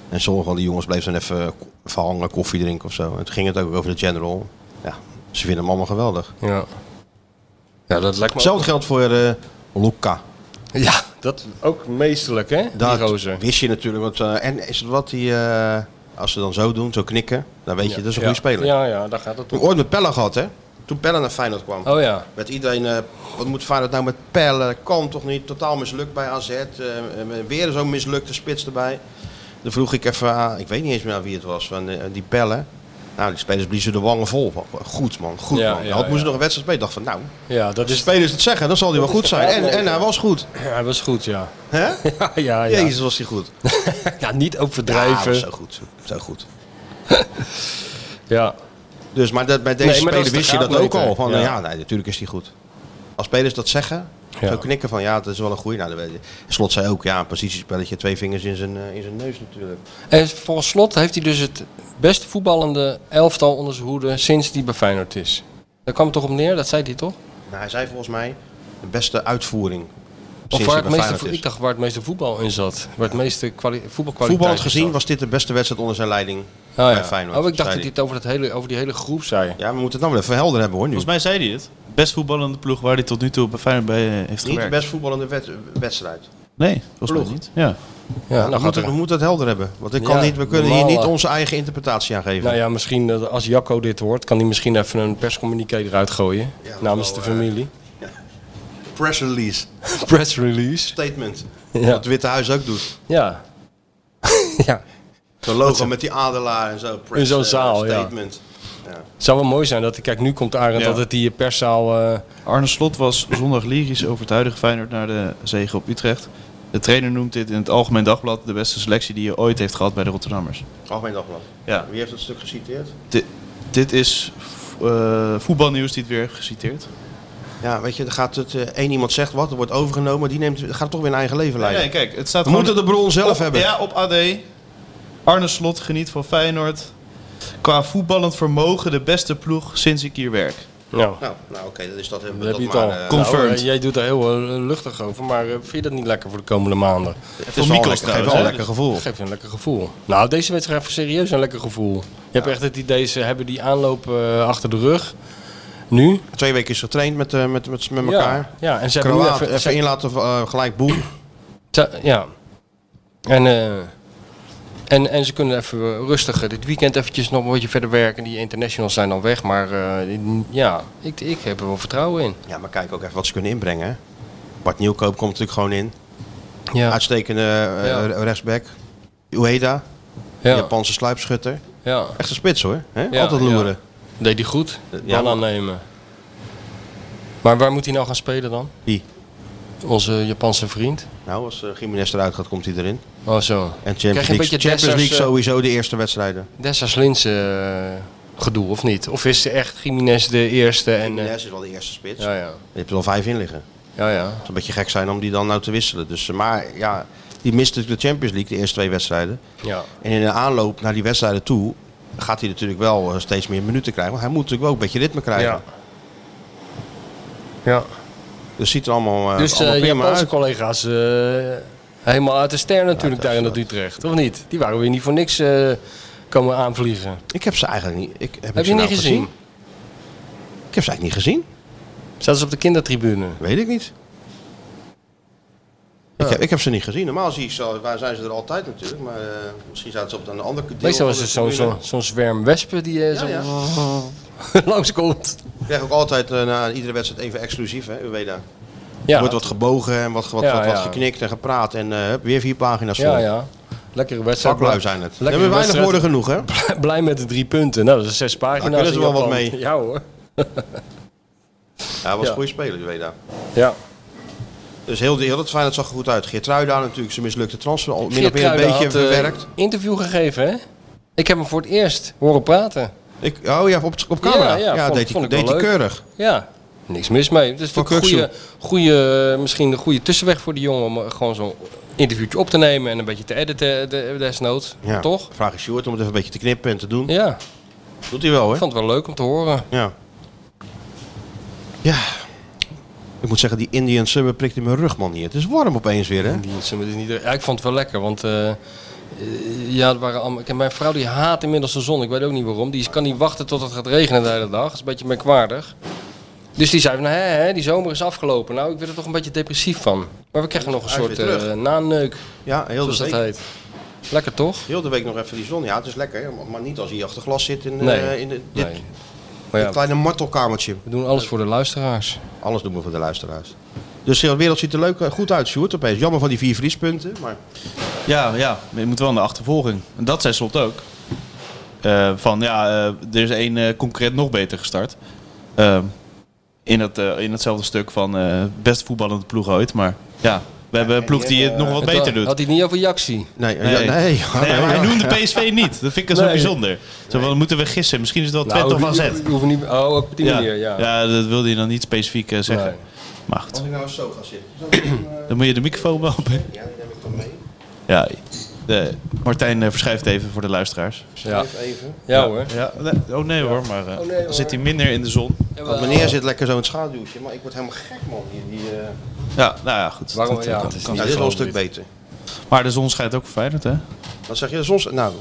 [SPEAKER 6] En sommige van die jongens bleven dan even ko- verhangen, koffie drinken of zo. En toen ging het ook over de general. Ja, ze vinden hem allemaal geweldig.
[SPEAKER 7] Ja. ja, dat lijkt me ook-
[SPEAKER 6] Hetzelfde geldt voor eh Luca.
[SPEAKER 7] Ja, dat ook meesterlijk, hè?
[SPEAKER 6] Dat
[SPEAKER 7] die rozen.
[SPEAKER 6] wist je natuurlijk. Want, eh, en is het wat die, eh, als ze dan zo doen, zo knikken, dan weet je, dat is een
[SPEAKER 7] Ja.
[SPEAKER 6] goede speler.
[SPEAKER 7] Ja, ja, daar gaat het
[SPEAKER 6] Toen
[SPEAKER 7] om.
[SPEAKER 6] ooit met Pelle gehad, hè? Toen Pelle naar Feyenoord kwam.
[SPEAKER 7] Oh ja.
[SPEAKER 6] Met iedereen, eh, wat moet Feyenoord nou met pellen? Dat kan toch niet? Totaal mislukt bij AZ. eh, eh, weer zo'n mislukte spits erbij. Dan vroeg ik even aan, ik weet niet eens meer aan wie het was, van eh, die pellen. Nou, die spelers bliezen de wangen vol. van. Goed man, goed
[SPEAKER 7] Ja,
[SPEAKER 6] man. Nou,
[SPEAKER 7] ja,
[SPEAKER 6] Had moesten
[SPEAKER 7] ja.
[SPEAKER 6] nog een wedstrijd spelen. Ik dacht van, nou,
[SPEAKER 7] Ja, dat
[SPEAKER 6] de
[SPEAKER 7] is...
[SPEAKER 6] spelers het zeggen, dan zal hij wel goed zijn. En, en hij was goed.
[SPEAKER 7] Hij was goed, ja.
[SPEAKER 6] Hè?
[SPEAKER 7] Ja, ja, ja.
[SPEAKER 6] Jezus, was hij goed.
[SPEAKER 7] Ja, niet
[SPEAKER 6] Ja,
[SPEAKER 7] overdrijven.
[SPEAKER 6] was
[SPEAKER 7] Ja.
[SPEAKER 6] zo goed. Zo goed.
[SPEAKER 7] ja.
[SPEAKER 6] Dus, maar dat, bij deze
[SPEAKER 7] Nee, maar
[SPEAKER 6] speler
[SPEAKER 7] dat is de
[SPEAKER 6] wist je dat ook
[SPEAKER 7] graadmeter.
[SPEAKER 6] al. Van, ja,
[SPEAKER 7] Ja.
[SPEAKER 6] nee, natuurlijk is hij goed. Als spelers dat zeggen,
[SPEAKER 7] Ja.
[SPEAKER 6] zo knikken van ja, het is wel een goeie. Nou, dan weet je. Slot zei ook, ja, een positiespelletje, twee vingers in zijn, eh, in zijn neus natuurlijk.
[SPEAKER 7] En volgens slot heeft hij dus het beste voetballende elftal onder zijn hoede sinds hij bij Feyenoord is. Daar kwam het toch op neer, dat zei hij toch?
[SPEAKER 6] Nou, hij zei volgens mij, de beste uitvoering.
[SPEAKER 7] Of
[SPEAKER 6] Sinds
[SPEAKER 7] waar
[SPEAKER 6] je
[SPEAKER 7] het meeste,
[SPEAKER 6] beveiligd
[SPEAKER 7] vo-
[SPEAKER 6] is.
[SPEAKER 7] ik dacht waar het meeste voetbal in zat. Waar het meeste kwali- voetbalkwaliteit
[SPEAKER 6] Voetballend
[SPEAKER 7] in
[SPEAKER 6] gezien
[SPEAKER 7] zat.
[SPEAKER 6] was dit de beste wedstrijd onder zijn leiding
[SPEAKER 7] Oh,
[SPEAKER 6] bij
[SPEAKER 7] ja.
[SPEAKER 6] Feyenoord.
[SPEAKER 7] oh, ik dacht
[SPEAKER 6] zei
[SPEAKER 7] dat hij het over, dat hele, over die hele groep zei.
[SPEAKER 6] hij. Ja, we moeten het dan wel even helder hebben hoor nu.
[SPEAKER 10] Volgens mij zei hij het. Best voetballende ploeg waar hij tot nu toe bij Feyenoord bij eh, heeft
[SPEAKER 6] Niet de
[SPEAKER 10] gewerkt.
[SPEAKER 6] best voetballende wed- wedstrijd.
[SPEAKER 10] Nee, volgens mij
[SPEAKER 6] Ploeg.
[SPEAKER 10] niet. Ja.
[SPEAKER 7] Ja,
[SPEAKER 6] we,
[SPEAKER 7] nou,
[SPEAKER 6] moeten,
[SPEAKER 7] gaat
[SPEAKER 6] we
[SPEAKER 7] er-
[SPEAKER 6] moeten het helder hebben. Want ik kan
[SPEAKER 7] Ja,
[SPEAKER 6] niet, we kunnen hier
[SPEAKER 7] normaal,
[SPEAKER 6] niet
[SPEAKER 7] eh,
[SPEAKER 6] onze eigen interpretatie aan geven.
[SPEAKER 7] nou ja, misschien dat als Jacco dit hoort, kan hij misschien even een perscommuniqué eruit gooien.
[SPEAKER 6] dat
[SPEAKER 7] namens
[SPEAKER 6] wel,
[SPEAKER 7] de
[SPEAKER 6] eh,
[SPEAKER 7] familie.
[SPEAKER 6] Press release.
[SPEAKER 7] Press release.
[SPEAKER 6] Statement.
[SPEAKER 7] Ja.
[SPEAKER 6] Wat het Witte Huis ook doet.
[SPEAKER 7] Ja. ja.
[SPEAKER 6] Zo'n logo met die adelaar en zo. Press,
[SPEAKER 7] In zo'n
[SPEAKER 6] eh,
[SPEAKER 7] zaal, ja.
[SPEAKER 6] Statement.
[SPEAKER 7] Het zou wel mooi zijn dat, kijk, nu komt Arend
[SPEAKER 10] Ja.
[SPEAKER 7] dat het die perszaal. eh,
[SPEAKER 10] Arne Slot was zondag lyrisch over het huidige Feyenoord naar de zege op Utrecht. De trainer noemt dit in het Algemeen Dagblad de beste selectie die je ooit heeft gehad bij de Rotterdammers.
[SPEAKER 6] Algemeen Dagblad.
[SPEAKER 10] Ja.
[SPEAKER 6] Wie heeft dat stuk geciteerd?
[SPEAKER 10] Di- dit is eh, voetbalnieuws die het weer heeft geciteerd.
[SPEAKER 6] Ja, weet je, dan gaat het... eh, één iemand zegt wat, er wordt overgenomen. Die neemt, gaat toch weer een eigen leven leiden.
[SPEAKER 10] kijk, het staat
[SPEAKER 6] We moeten de bron zelf
[SPEAKER 10] op,
[SPEAKER 6] hebben.
[SPEAKER 10] Ja, op AD. Arne Slot geniet van Feyenoord. Qua voetballend vermogen de beste ploeg sinds ik hier werk.
[SPEAKER 7] nou,
[SPEAKER 6] Nou, nou oké, dat is dat hebben
[SPEAKER 7] dat
[SPEAKER 6] we
[SPEAKER 7] heb
[SPEAKER 6] dat
[SPEAKER 7] je het
[SPEAKER 6] maar,
[SPEAKER 7] al.
[SPEAKER 6] eh,
[SPEAKER 10] Confirmed.
[SPEAKER 7] Nou, eh, jij doet er heel eh, luchtig over, maar eh, vind je dat niet lekker voor de komende maanden?
[SPEAKER 6] het
[SPEAKER 10] Voor
[SPEAKER 6] is wel
[SPEAKER 10] Mikos
[SPEAKER 6] lekker- geeft
[SPEAKER 10] trouwens,
[SPEAKER 6] wel een
[SPEAKER 10] hè?
[SPEAKER 6] lekker gevoel.
[SPEAKER 7] Dat geeft je een lekker gevoel. Nou, deze wedstrijd heeft serieus een lekker gevoel. Je hebt echt het idee, ze hebben die aanloop eh, achter de rug. Nu?
[SPEAKER 6] Twee weken is getraind met, eh, met, met, met elkaar.
[SPEAKER 7] Ja, ja en ze hebben nu
[SPEAKER 6] Kroaat,
[SPEAKER 7] even...
[SPEAKER 6] even,
[SPEAKER 7] ze-
[SPEAKER 6] inlaten, eh, gelijk boem.
[SPEAKER 7] ze- ja. En, eh, en, en ze kunnen even eh, rustig eh, dit weekend eventjes nog een beetje verder werken. Die internationals zijn dan weg, maar eh, ja, ik, ik heb er wel vertrouwen in.
[SPEAKER 6] Ja, maar kijk ook even wat ze kunnen inbrengen. hè. Bart Nieuwkoop komt natuurlijk gewoon in.
[SPEAKER 7] Ja,
[SPEAKER 6] Uitstekende eh,
[SPEAKER 7] Ja.
[SPEAKER 6] re- rechtsback. Ueda,
[SPEAKER 7] ja,
[SPEAKER 6] Japanse sluipschutter.
[SPEAKER 7] ja.
[SPEAKER 6] Echt een spits hoor. Hè?
[SPEAKER 7] Ja,
[SPEAKER 6] Altijd loeren.
[SPEAKER 7] Deed hij goed.
[SPEAKER 6] ja,
[SPEAKER 7] Bal
[SPEAKER 6] maar-
[SPEAKER 7] aannemen. Maar waar moet hij nou gaan spelen dan?
[SPEAKER 6] Wie?
[SPEAKER 7] Onze Japanse vriend.
[SPEAKER 6] Nou, als eh Gimenez eruit gaat, komt hij erin.
[SPEAKER 7] Oh zo.
[SPEAKER 6] En
[SPEAKER 7] je
[SPEAKER 6] Champions
[SPEAKER 7] een
[SPEAKER 6] League,
[SPEAKER 7] beetje
[SPEAKER 6] Champions League
[SPEAKER 7] Dessers, eh,
[SPEAKER 6] sowieso de eerste wedstrijden.
[SPEAKER 7] Dessers Linse eh, gedoe of niet? Of is ze echt Jiménez de eerste? En, eh,
[SPEAKER 6] Gimenez is wel de eerste spits.
[SPEAKER 7] ja, ja.
[SPEAKER 6] Je hebt er al vijf in liggen. Het
[SPEAKER 7] Ja, ja.
[SPEAKER 6] zou een beetje gek zijn om die dan nou te wisselen. Dus, eh, maar ja, die mist natuurlijk de Champions League, de eerste twee wedstrijden.
[SPEAKER 7] Ja.
[SPEAKER 6] En in de aanloop naar die wedstrijden toe gaat hij natuurlijk wel eh, steeds meer minuten krijgen. Want hij moet natuurlijk wel een beetje ritme krijgen.
[SPEAKER 7] Ja. ja.
[SPEAKER 6] Dus ziet er allemaal, eh
[SPEAKER 7] Dus
[SPEAKER 6] allemaal
[SPEAKER 7] eh
[SPEAKER 6] prima
[SPEAKER 7] Japanse
[SPEAKER 6] uit.
[SPEAKER 7] collega's eh, helemaal uit de ster natuurlijk daar in dat Utrecht. Of niet? Die waren weer niet voor niks eh, komen aanvliegen.
[SPEAKER 6] Ik heb ze eigenlijk niet. Ik, heb ik
[SPEAKER 7] heb
[SPEAKER 6] ze
[SPEAKER 7] je
[SPEAKER 6] nou
[SPEAKER 7] niet gezien?
[SPEAKER 6] Ik heb ze eigenlijk niet gezien.
[SPEAKER 7] Zaten ze op de kindertribune?
[SPEAKER 6] Weet ik niet. Ik, heb, ik heb ze niet gezien. Normaal zie ik ze, waar zijn ze er altijd natuurlijk. Maar eh, misschien zaten ze op een andere deel.
[SPEAKER 7] Meestal was
[SPEAKER 6] van
[SPEAKER 7] het
[SPEAKER 6] de
[SPEAKER 7] zo'n
[SPEAKER 6] tribune.
[SPEAKER 7] zo, zo'n zwerm wespen die eh, zo
[SPEAKER 6] Ja, ja.
[SPEAKER 7] langskomt.
[SPEAKER 6] Ik krijg ook altijd eh, na iedere wedstrijd even exclusief, hè, Uweda.
[SPEAKER 7] Ja.
[SPEAKER 6] Er wordt wat gebogen en wat, wat,
[SPEAKER 7] Ja,
[SPEAKER 6] wat, wat
[SPEAKER 7] ja.
[SPEAKER 6] geknikt en gepraat. En eh, hup, weer vier pagina's vol.
[SPEAKER 7] ja, ja. Lekkere wedstrijd.
[SPEAKER 6] Vaklui zijn het. We
[SPEAKER 7] Lekkere
[SPEAKER 6] hebben weinig
[SPEAKER 7] wedstrijd.
[SPEAKER 6] woorden genoeg, hè?
[SPEAKER 7] Blij met de drie punten. Nou, dat is zes pagina's.
[SPEAKER 6] kunnen ze
[SPEAKER 7] in
[SPEAKER 6] wel wat
[SPEAKER 7] Japan.
[SPEAKER 6] mee.
[SPEAKER 7] Ja hoor.
[SPEAKER 6] Ja, hij was
[SPEAKER 7] Ja.
[SPEAKER 6] een goede speler, Uweda.
[SPEAKER 7] Ja.
[SPEAKER 6] Dus heel, heel het Feyenoord zag er goed uit. Geertruida natuurlijk, zijn mislukte transfer. al Min of meer een beetje
[SPEAKER 7] eh,
[SPEAKER 6] verwerkt.
[SPEAKER 7] interview gegeven, hè? Ik heb hem voor het eerst horen praten.
[SPEAKER 6] Ik, oh ja, op, op camera.
[SPEAKER 7] Ja,
[SPEAKER 6] Ja,
[SPEAKER 7] ja, vond-
[SPEAKER 6] deed,
[SPEAKER 7] vond
[SPEAKER 6] hij,
[SPEAKER 7] ik wel
[SPEAKER 6] deed hij
[SPEAKER 7] leuk.
[SPEAKER 6] keurig.
[SPEAKER 7] Ja. Niks mis mee. Het is
[SPEAKER 6] Van
[SPEAKER 7] natuurlijk een goede, goede, eh, misschien een goede tussenweg voor die jongen om eh, gewoon zo'n interviewtje op te nemen en een beetje te editen eh, de- desnoods.
[SPEAKER 6] Ja.
[SPEAKER 7] Toch?
[SPEAKER 6] Vraag is Sjoerd om het even een beetje te knippen en te doen.
[SPEAKER 7] Ja.
[SPEAKER 6] Doet hij wel,
[SPEAKER 7] Ik
[SPEAKER 6] hè?
[SPEAKER 7] vond het wel leuk om te horen.
[SPEAKER 6] Ja. Ja. Ik moet zeggen, die Indian Summer prikt in mijn rug, man, hier. Het is warm opeens weer, hè?
[SPEAKER 7] Die is helemaal niet- Ja, ik vond het wel lekker, want eh, eh, ja, het waren allemaal, ik, mijn vrouw die haat inmiddels de zon. Ik weet ook niet waarom. Die kan niet wachten tot het gaat regenen de hele dag. Dat is een beetje merkwaardig. Dus die zei van, hè, hè, die zomer is afgelopen. Nou, ik werd er toch een beetje depressief van. Maar we kregen nog een
[SPEAKER 6] Hij is
[SPEAKER 7] soort
[SPEAKER 6] weer
[SPEAKER 7] eh
[SPEAKER 6] terug.
[SPEAKER 7] naneuk,
[SPEAKER 6] Ja, heel
[SPEAKER 7] zoals
[SPEAKER 6] de,
[SPEAKER 7] dat eh,
[SPEAKER 6] week,
[SPEAKER 7] heet. Lekker toch?
[SPEAKER 6] heel de week nog even die zon. Ja, het is lekker, hè? maar- maar niet als hij achter glas zit in, eh,
[SPEAKER 7] Nee.
[SPEAKER 6] in de- dit
[SPEAKER 7] Nee. Maar ja,
[SPEAKER 6] kleine martelkamertje.
[SPEAKER 7] we doen alles voor de luisteraars.
[SPEAKER 6] Alles doen we voor de luisteraars. Dus de wereld ziet er leuk eh, goed uit, Sjoerd, opeens. Jammer van die vier vriespunten, maar...
[SPEAKER 10] Ja, ja, maar je moet wel naar de achtervolging. En dat zei Slot ook. Eh, van ja, eh, er is één eh, concreet nog beter gestart. Ehm, in, het, eh, in hetzelfde stuk van eh, best voetballende ploeg ooit. Maar ja, we hebben een ploeg die het nog wat
[SPEAKER 7] Het
[SPEAKER 10] beter
[SPEAKER 7] wa-
[SPEAKER 10] doet.
[SPEAKER 7] Had hij het niet over Jaxi?
[SPEAKER 6] Nee, eh,
[SPEAKER 10] Nee.
[SPEAKER 6] ja, nee. ja,
[SPEAKER 10] Nee,
[SPEAKER 6] nee,
[SPEAKER 10] maar
[SPEAKER 6] ja.
[SPEAKER 10] hij noemde PSV niet. Dat vind ik zo
[SPEAKER 7] Nee.
[SPEAKER 10] bijzonder. Zo van, dan moeten we gissen. Misschien is het wel
[SPEAKER 7] Nou,
[SPEAKER 10] Twente of AZ.
[SPEAKER 7] hoef niet, oh, ook op die manier, ja.
[SPEAKER 10] dat wilde hij dan niet specifiek eh, zeggen.
[SPEAKER 7] Nee.
[SPEAKER 10] Maar goed,
[SPEAKER 6] Als ik nou eens zo ga zitten.
[SPEAKER 10] dan moet je de microfoon wel op.
[SPEAKER 6] Ja, die neem ik dan mee.
[SPEAKER 10] Ja, De, Martijn eh, verschrijft even voor de luisteraars.
[SPEAKER 7] Ja. Ja hoor.
[SPEAKER 10] Ja, nee, oh nee hoor, maar eh,
[SPEAKER 7] nee,
[SPEAKER 10] dan zit hij minder in de zon.
[SPEAKER 6] Want meneer zit lekker zo in het schaduwtje, maar ik word helemaal gek man. hier. Die, eh,
[SPEAKER 10] Ja, nou ja, goed.
[SPEAKER 7] Waarom?
[SPEAKER 10] Dat, eh,
[SPEAKER 7] Ja,
[SPEAKER 10] kan.
[SPEAKER 7] het is
[SPEAKER 6] nou,
[SPEAKER 7] niet
[SPEAKER 6] dit is wel een
[SPEAKER 7] zo
[SPEAKER 6] stuk beter.
[SPEAKER 10] Maar de zon schijnt ook verwijderd, hè?
[SPEAKER 6] Wat zeg je? Soms, nou,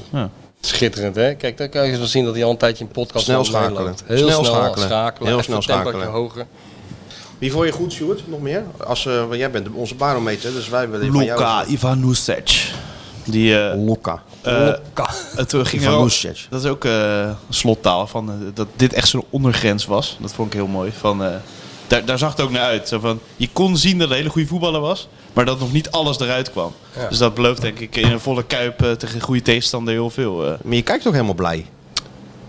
[SPEAKER 7] Schitterend, hè? Kijk, dan kan je wel zien dat hij al een tijdje in podcast
[SPEAKER 6] Snel
[SPEAKER 7] al meeloopt.
[SPEAKER 6] schakelen.
[SPEAKER 7] Heel
[SPEAKER 6] Snel
[SPEAKER 7] snel,
[SPEAKER 6] schakelen.
[SPEAKER 7] schakelen.
[SPEAKER 6] Heel
[SPEAKER 7] Even
[SPEAKER 6] snel
[SPEAKER 7] een temperatuur
[SPEAKER 6] schakelen.
[SPEAKER 7] hoger.
[SPEAKER 6] wie vond je goed, Stuart? Nog meer? Als, eh, want jij bent onze barometer, dus wij willen van jou- Oh.
[SPEAKER 10] Ivanusec. Die, eh,
[SPEAKER 6] Luca.
[SPEAKER 10] eh, het eh, ging er ook-
[SPEAKER 6] Ivanusec.
[SPEAKER 10] Dat is ook eh, slottaal, van, eh, dat dit echt zo'n ondergrens was. Dat vond ik heel mooi. Van, eh, daar, daar zag het ook naar uit. Zo van, je kon zien dat hij een hele goede voetballer was, maar dat nog niet alles eruit kwam. Dus dat belooft denk ik in een volle kuip eh, tegen een goede tegenstander heel veel. eh.
[SPEAKER 6] Maar je kijkt ook helemaal blij.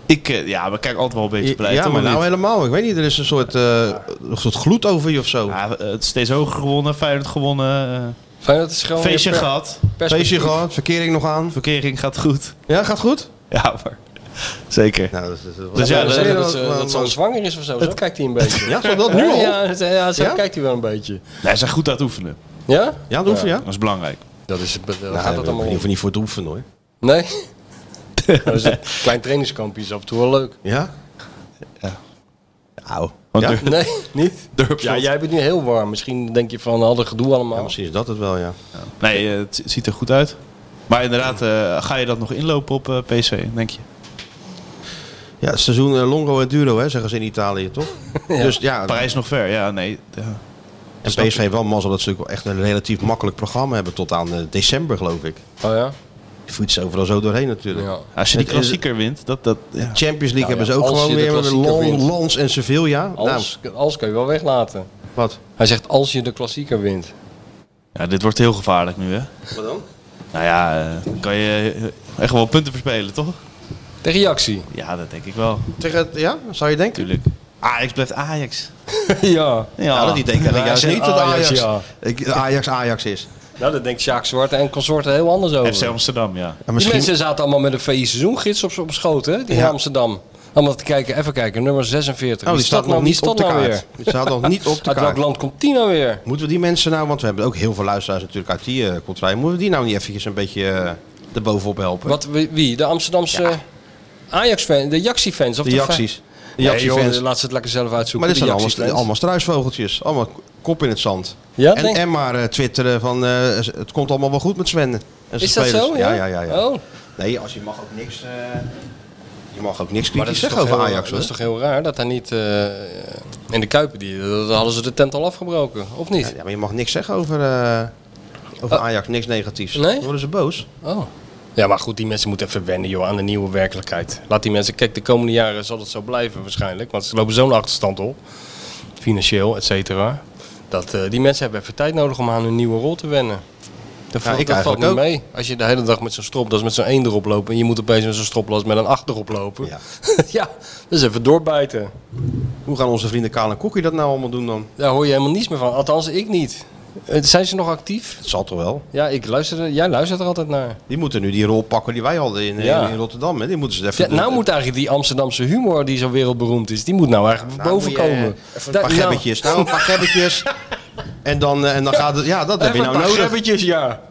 [SPEAKER 10] ik, eh, ja, we kijken altijd wel een beetje blij.
[SPEAKER 6] ja,
[SPEAKER 10] toch,
[SPEAKER 6] maar
[SPEAKER 10] of
[SPEAKER 6] nou
[SPEAKER 10] niet?
[SPEAKER 6] helemaal. Ik weet niet, er is een soort, eh, een soort gloed over je of zo.
[SPEAKER 10] Ja, eh, het is steeds hoger gewonnen, Feyenoord gewonnen, eh,
[SPEAKER 7] Fijn dat het is
[SPEAKER 6] Oh,
[SPEAKER 7] gewoon weer
[SPEAKER 10] feestje
[SPEAKER 7] per-
[SPEAKER 10] gehad,
[SPEAKER 6] Feestje
[SPEAKER 7] perspectief.
[SPEAKER 6] gehad, verkering nog aan.
[SPEAKER 10] verkering gaat goed.
[SPEAKER 6] Ja, gaat goed?
[SPEAKER 10] Ja, maar zeker.
[SPEAKER 6] Nou, dat is, dat is-
[SPEAKER 10] Dus ja,
[SPEAKER 7] Ja,
[SPEAKER 10] dat-
[SPEAKER 7] zeggen dat, ze,
[SPEAKER 6] dat-
[SPEAKER 7] dat ze al zwanger is of zo. Zo kijkt hij een beetje.
[SPEAKER 6] Ja, zo dat nu
[SPEAKER 7] Ja,
[SPEAKER 6] al?
[SPEAKER 7] Ja, ze- ja, zo
[SPEAKER 6] Ja?
[SPEAKER 7] kijkt hij wel een beetje.
[SPEAKER 10] Hij is goed aan het oefenen.
[SPEAKER 7] Ja?
[SPEAKER 6] Ja, dat oefen, ja?
[SPEAKER 10] Dat is belangrijk.
[SPEAKER 7] Dat is, dat
[SPEAKER 6] Nou, daar
[SPEAKER 7] gaat dat
[SPEAKER 6] ben ik
[SPEAKER 7] allemaal
[SPEAKER 6] in ieder
[SPEAKER 7] om?
[SPEAKER 6] geval niet voor te oefenen hoor.
[SPEAKER 7] Nee? dat is een klein trainingskampje is af en toe wel leuk.
[SPEAKER 6] Ja? Ja. Au.
[SPEAKER 10] Want
[SPEAKER 6] ja?
[SPEAKER 10] er-
[SPEAKER 7] Nee, niet? Ja, jij bent nu heel warm. Misschien denk je van, hadden gedoe
[SPEAKER 6] Ja,
[SPEAKER 7] allemaal.
[SPEAKER 6] misschien is dat het wel, ja.
[SPEAKER 10] Nee, eh, het ziet er goed uit. Maar inderdaad, eh, ga je dat nog inlopen op eh, PC, denk je?
[SPEAKER 6] Ja, het seizoen eh, longo en duro, hè, zeggen ze in Italië, toch? Dus ja,
[SPEAKER 10] Parijs nog ver, ja, nee. ja.
[SPEAKER 6] en PSV heeft wel mazzel dat ze natuurlijk wel echt een relatief makkelijk programma hebben tot aan eh, december, geloof ik.
[SPEAKER 7] Oh ja?
[SPEAKER 6] Je voet ze overal zo doorheen natuurlijk.
[SPEAKER 7] Ja.
[SPEAKER 10] Als je die
[SPEAKER 6] Het is-
[SPEAKER 10] klassieker wint, dat... dat ja.
[SPEAKER 6] Champions League hebben
[SPEAKER 7] Nou ja,
[SPEAKER 6] ze ook
[SPEAKER 7] als je
[SPEAKER 6] gewoon
[SPEAKER 7] de
[SPEAKER 6] weer met
[SPEAKER 7] klassieker
[SPEAKER 6] Lon-
[SPEAKER 7] wint.
[SPEAKER 6] Lons en Sevilla. Nou,
[SPEAKER 7] Als, als kan je wel weglaten.
[SPEAKER 6] wat?
[SPEAKER 7] Hij zegt als je de klassieker wint.
[SPEAKER 10] ja, dit wordt heel gevaarlijk nu, hè?
[SPEAKER 6] Wat dan?
[SPEAKER 10] Nou ja, eh, dan kan je eh, echt wel punten verspelen, toch?
[SPEAKER 7] Tegen reactie.
[SPEAKER 10] Ja, dat denk ik wel,
[SPEAKER 6] Tegen het, ja, zou je denken?
[SPEAKER 10] natuurlijk. Ajax blijft Ajax.
[SPEAKER 7] ja.
[SPEAKER 10] Ja,
[SPEAKER 6] Ja, dat denk ik
[SPEAKER 7] Wij
[SPEAKER 6] juist
[SPEAKER 7] zijn
[SPEAKER 6] niet dat Ajax
[SPEAKER 7] Ajax,
[SPEAKER 6] Ajax,
[SPEAKER 7] ja.
[SPEAKER 6] ik- Ajax, Ajax is.
[SPEAKER 7] Nou, dat denkt Sjaak Zwart en consorten heel anders over.
[SPEAKER 10] FC Amsterdam, ja.
[SPEAKER 6] En
[SPEAKER 7] Die
[SPEAKER 6] misschien,
[SPEAKER 7] mensen zaten allemaal met een VI-seizoengids op, op schoot, hè? Die
[SPEAKER 6] Ja.
[SPEAKER 7] in Amsterdam. Allemaal te kijken, even kijken, nummer 46.
[SPEAKER 6] oh, die
[SPEAKER 7] Wie
[SPEAKER 6] staat
[SPEAKER 7] nou-
[SPEAKER 6] nog
[SPEAKER 7] wie
[SPEAKER 6] niet op de
[SPEAKER 7] staat nou
[SPEAKER 6] kaart. Die staat nog niet op de
[SPEAKER 7] Uit welk
[SPEAKER 6] kaart.
[SPEAKER 7] land komt die nou weer?
[SPEAKER 6] Moeten we die mensen nou, want we hebben ook heel veel luisteraars natuurlijk uit die eh contraien, moeten we die nou niet eventjes een beetje eh erbovenop helpen?
[SPEAKER 7] Wat, wie- wie? De Amsterdamse Ajax-fans, de Jaxi-fans? Of
[SPEAKER 6] De
[SPEAKER 7] de fa-
[SPEAKER 6] Jaxies. De
[SPEAKER 7] Nee,
[SPEAKER 6] Jaxi
[SPEAKER 7] joh,
[SPEAKER 6] fans.
[SPEAKER 7] laat ze het lekker zelf uitzoeken.
[SPEAKER 6] Maar dit
[SPEAKER 7] de
[SPEAKER 6] zijn allemaal,
[SPEAKER 7] Jaxi-fans.
[SPEAKER 6] allemaal struisvogeltjes. Allemaal kop in het zand.
[SPEAKER 7] Ja,
[SPEAKER 6] en,
[SPEAKER 7] denk-
[SPEAKER 6] en maar eh, twitteren van eh, het komt allemaal wel goed met Sven. en zijn
[SPEAKER 7] Is dat
[SPEAKER 6] spelers.
[SPEAKER 7] zo?
[SPEAKER 6] Ja, ja, ja. ja.
[SPEAKER 7] Oh,
[SPEAKER 6] Nee, als je mag ook niks, eh, je mag ook niks
[SPEAKER 7] maar dat
[SPEAKER 6] kritisch
[SPEAKER 7] is,
[SPEAKER 6] zeggen
[SPEAKER 7] toch
[SPEAKER 6] over
[SPEAKER 7] heel-
[SPEAKER 6] Ajax.
[SPEAKER 7] dat
[SPEAKER 6] hoor.
[SPEAKER 7] is toch heel raar dat hij niet eh, in de Kuipen, die, dat hadden ze de tent al afgebroken, of niet?
[SPEAKER 6] Ja, maar je mag niks zeggen over, eh, over Ajax. Niks negatiefs.
[SPEAKER 7] Oh. Nee?
[SPEAKER 6] Dan worden ze boos.
[SPEAKER 7] Oh. Ja, maar goed, die mensen moeten even wennen joh, aan de nieuwe werkelijkheid. Laat die mensen, kijk, de komende jaren zal het zo blijven waarschijnlijk. Want ze lopen zo'n achterstand op, financieel, et cetera. Dat eh, die mensen hebben even tijd nodig om aan hun nieuwe rol te wennen. Dat,
[SPEAKER 6] Ja,
[SPEAKER 7] valt-
[SPEAKER 6] ik
[SPEAKER 7] dat valt
[SPEAKER 6] eigenlijk
[SPEAKER 7] niet
[SPEAKER 6] ook.
[SPEAKER 7] mee. Als je de hele dag met zo'n stropdas, met zo'n één erop loopt... en je moet opeens met zo'n stropdas met een acht erop lopen.
[SPEAKER 6] Ja.
[SPEAKER 7] Ja, dus even doorbijten.
[SPEAKER 6] Hoe gaan onze vrienden Kaal en Koekie dat nou allemaal doen dan?
[SPEAKER 7] Daar hoor je helemaal niets meer van. Althans, ik niet. Eh, Zijn ze nog actief?
[SPEAKER 6] Het zal toch wel.
[SPEAKER 7] Ja, ik luister, er- jij luistert er altijd naar.
[SPEAKER 6] Die moeten nu die rol pakken die wij hadden in, eh,
[SPEAKER 7] Ja.
[SPEAKER 6] in Rotterdam. Hè? Die moeten ze even
[SPEAKER 7] Ja, nou moet eigenlijk die Amsterdamse humor die zo wereldberoemd is, die moet nou eigenlijk
[SPEAKER 6] Nou,
[SPEAKER 7] boven
[SPEAKER 6] moet je, eh,
[SPEAKER 7] komen.
[SPEAKER 6] Even een
[SPEAKER 7] Da-
[SPEAKER 6] paar
[SPEAKER 7] ja.
[SPEAKER 6] gebbetjes. Nou, een paar gebbetjes. En dan, eh, en dan gaat het... Ja, dat heb je
[SPEAKER 7] Even
[SPEAKER 6] nou
[SPEAKER 7] een paar
[SPEAKER 6] nodig.
[SPEAKER 7] gebbetjes, ja.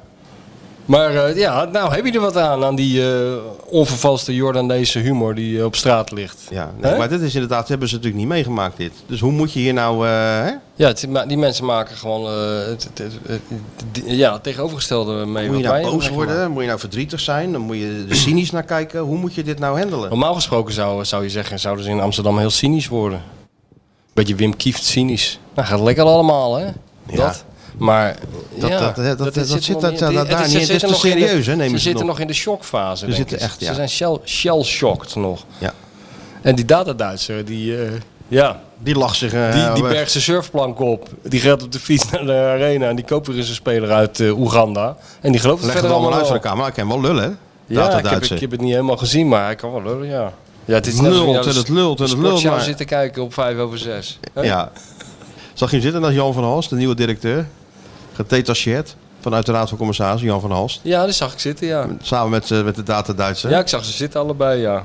[SPEAKER 7] Maar eh, ja, nou heb je er wat aan, aan die eh onvervalste Jordaanese humor die eh, op straat ligt.
[SPEAKER 6] Ja, nee,
[SPEAKER 7] Hè?
[SPEAKER 6] maar dit is inderdaad... dat hebben ze natuurlijk niet meegemaakt, dit. Dus hoe moet je hier nou... eh, hè?
[SPEAKER 7] Ja, het, maar die mensen maken gewoon eh, het, het, het, het- het- ja, het tegenovergestelde mee.
[SPEAKER 6] Moet je
[SPEAKER 7] wat
[SPEAKER 6] nou
[SPEAKER 7] wij
[SPEAKER 6] boos
[SPEAKER 7] hebben
[SPEAKER 6] worden?
[SPEAKER 7] gemaakt.
[SPEAKER 6] Moet je nou verdrietig zijn? Dan moet je er cynisch naar kijken. Hoe moet je dit nou handelen?
[SPEAKER 7] Normaal gesproken zou, zou je zeggen, zouden ze in Amsterdam heel cynisch worden. Beetje Wim Kieft cynisch. Nou, gaat lekker allemaal, hè? Dat. Maar
[SPEAKER 6] Dat-
[SPEAKER 7] ja,
[SPEAKER 6] dat- dat- dat- dat
[SPEAKER 7] er
[SPEAKER 6] zit
[SPEAKER 7] nog
[SPEAKER 6] dat- dat-
[SPEAKER 7] niet- het-
[SPEAKER 6] dat-
[SPEAKER 7] het-
[SPEAKER 6] daar
[SPEAKER 7] ze
[SPEAKER 6] niet in.
[SPEAKER 7] zitten
[SPEAKER 6] Dit is te
[SPEAKER 7] nog in de-
[SPEAKER 6] serieus, hè, nemen
[SPEAKER 7] Ze
[SPEAKER 6] ze
[SPEAKER 7] zitten
[SPEAKER 6] nog.
[SPEAKER 7] nog in de shockfase. denk
[SPEAKER 6] zitten
[SPEAKER 7] ik.
[SPEAKER 6] echt, ja.
[SPEAKER 7] Ze zijn shell- shell-shocked nog.
[SPEAKER 6] Ja.
[SPEAKER 7] En die dataduitser, die, eh, ja,
[SPEAKER 6] Die lacht zich... eh,
[SPEAKER 7] die, die
[SPEAKER 6] eh,
[SPEAKER 7] bergt zijn surfplank op. Die gaat op de fiets naar de arena en die koopt weer eens een speler uit eh, Oeganda. En die gelooft het
[SPEAKER 6] Leg het
[SPEAKER 7] verder
[SPEAKER 6] allemaal
[SPEAKER 7] allemaal
[SPEAKER 6] uit van de
[SPEAKER 7] wel.
[SPEAKER 6] camera. Ik ken wel lullen, hè?
[SPEAKER 7] Ja,
[SPEAKER 6] Data
[SPEAKER 7] ik heb, ik
[SPEAKER 6] Duitse.
[SPEAKER 7] heb het niet helemaal gezien, maar hij kan wel lullen, ja. Ja, het is
[SPEAKER 6] Lult en het lult en het lult, maar-
[SPEAKER 7] maar... zitten kijken op 5 over 6.
[SPEAKER 6] Ja. Zag je hem zitten als Jan van Halst, de nieuwe directeur? Gedetacheerd vanuit de Raad van Commissarissen, Jan van Halst.
[SPEAKER 7] ja, dat zag ik zitten, ja.
[SPEAKER 6] Samen met, eh, met de Data Duitse.
[SPEAKER 7] Ja, ik zag ze zitten allebei, ja.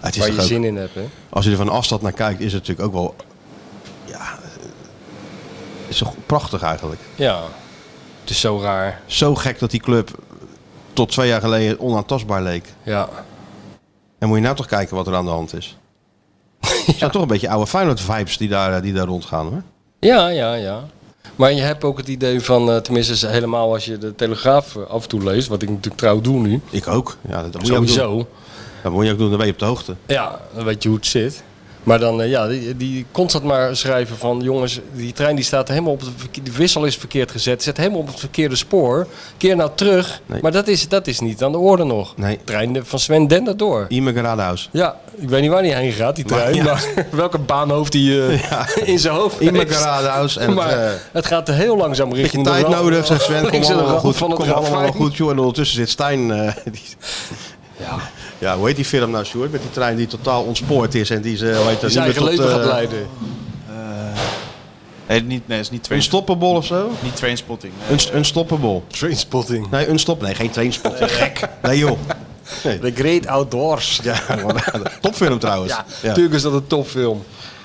[SPEAKER 6] het is
[SPEAKER 7] Waar
[SPEAKER 6] toch
[SPEAKER 7] je
[SPEAKER 6] ook-
[SPEAKER 7] zin in hebt, hè.
[SPEAKER 6] als je er van afstand naar kijkt, is het natuurlijk ook wel. Ja. eh, Is toch prachtig eigenlijk.
[SPEAKER 7] Ja. Het is zo raar.
[SPEAKER 6] Zo gek dat die club tot twee jaar geleden onaantastbaar leek.
[SPEAKER 7] Ja.
[SPEAKER 6] En moet je nou toch kijken wat er aan de hand is. Het zijn toch een beetje oude Feyenoord-vibes die daar, eh, die daar rondgaan hoor.
[SPEAKER 7] Ja, ja, ja. Maar je hebt ook het idee van, eh, tenminste is helemaal als je de Telegraaf eh, af en toe leest, wat ik natuurlijk trouw doe nu.
[SPEAKER 6] Ik ook. Ja, dat, dat moet je ook doen.
[SPEAKER 7] Sowieso.
[SPEAKER 6] Dat moet je ook doen, dan ben je op de hoogte.
[SPEAKER 7] Ja, dan weet je hoe het zit. Maar dan, eh, ja, die, die constant maar schrijven van, jongens, die trein die staat helemaal op, het verke- de wissel is verkeerd gezet, zet helemaal op het verkeerde spoor. Keer nou terug.
[SPEAKER 6] Nee.
[SPEAKER 7] Maar dat is, dat is niet aan de orde nog.
[SPEAKER 6] Nee.
[SPEAKER 7] Trein de- van Sven Dender door.
[SPEAKER 6] Ime Garadehuis.
[SPEAKER 7] Ja, ik weet niet waar die heen gaat, die trein.
[SPEAKER 6] ja.
[SPEAKER 7] Maar welke baanhoofd die eh, in zijn hoofd
[SPEAKER 6] Ime
[SPEAKER 7] heeft.
[SPEAKER 6] Garadehuus. En
[SPEAKER 7] maar
[SPEAKER 6] het, eh,
[SPEAKER 7] het gaat heel langzaam richting
[SPEAKER 6] beetje
[SPEAKER 7] de
[SPEAKER 6] tijd
[SPEAKER 7] rand-
[SPEAKER 6] nodig, zegt Sven. Kom
[SPEAKER 7] richting de
[SPEAKER 6] allemaal wel
[SPEAKER 7] rand
[SPEAKER 6] goed.
[SPEAKER 7] van het
[SPEAKER 6] Kom allemaal wel
[SPEAKER 7] ravijn.
[SPEAKER 6] goed, joh. En ondertussen zit Stijn... eh, die, ja. hoe heet die film nou, Sjoerd? Met die trein die totaal ontspoord is en die ze, hoe heet dat,
[SPEAKER 7] Zijn
[SPEAKER 6] niet
[SPEAKER 7] eigen
[SPEAKER 6] meer tot,
[SPEAKER 7] leven gaat
[SPEAKER 6] eh,
[SPEAKER 7] leiden.
[SPEAKER 10] Nee, niet, nee, dat is niet train,
[SPEAKER 6] Unstoppable of zo?
[SPEAKER 10] niet trainspotting. Nee.
[SPEAKER 6] Unst- Unstoppable.
[SPEAKER 7] Trainspotting.
[SPEAKER 6] Nee, unstop. Nee, geen trainspot. Gek. Nee, joh.
[SPEAKER 7] The Great Outdoors. Ja,
[SPEAKER 6] Ja, maar- topfilm trouwens. Ja,
[SPEAKER 7] natuurlijk is dat een topfilm.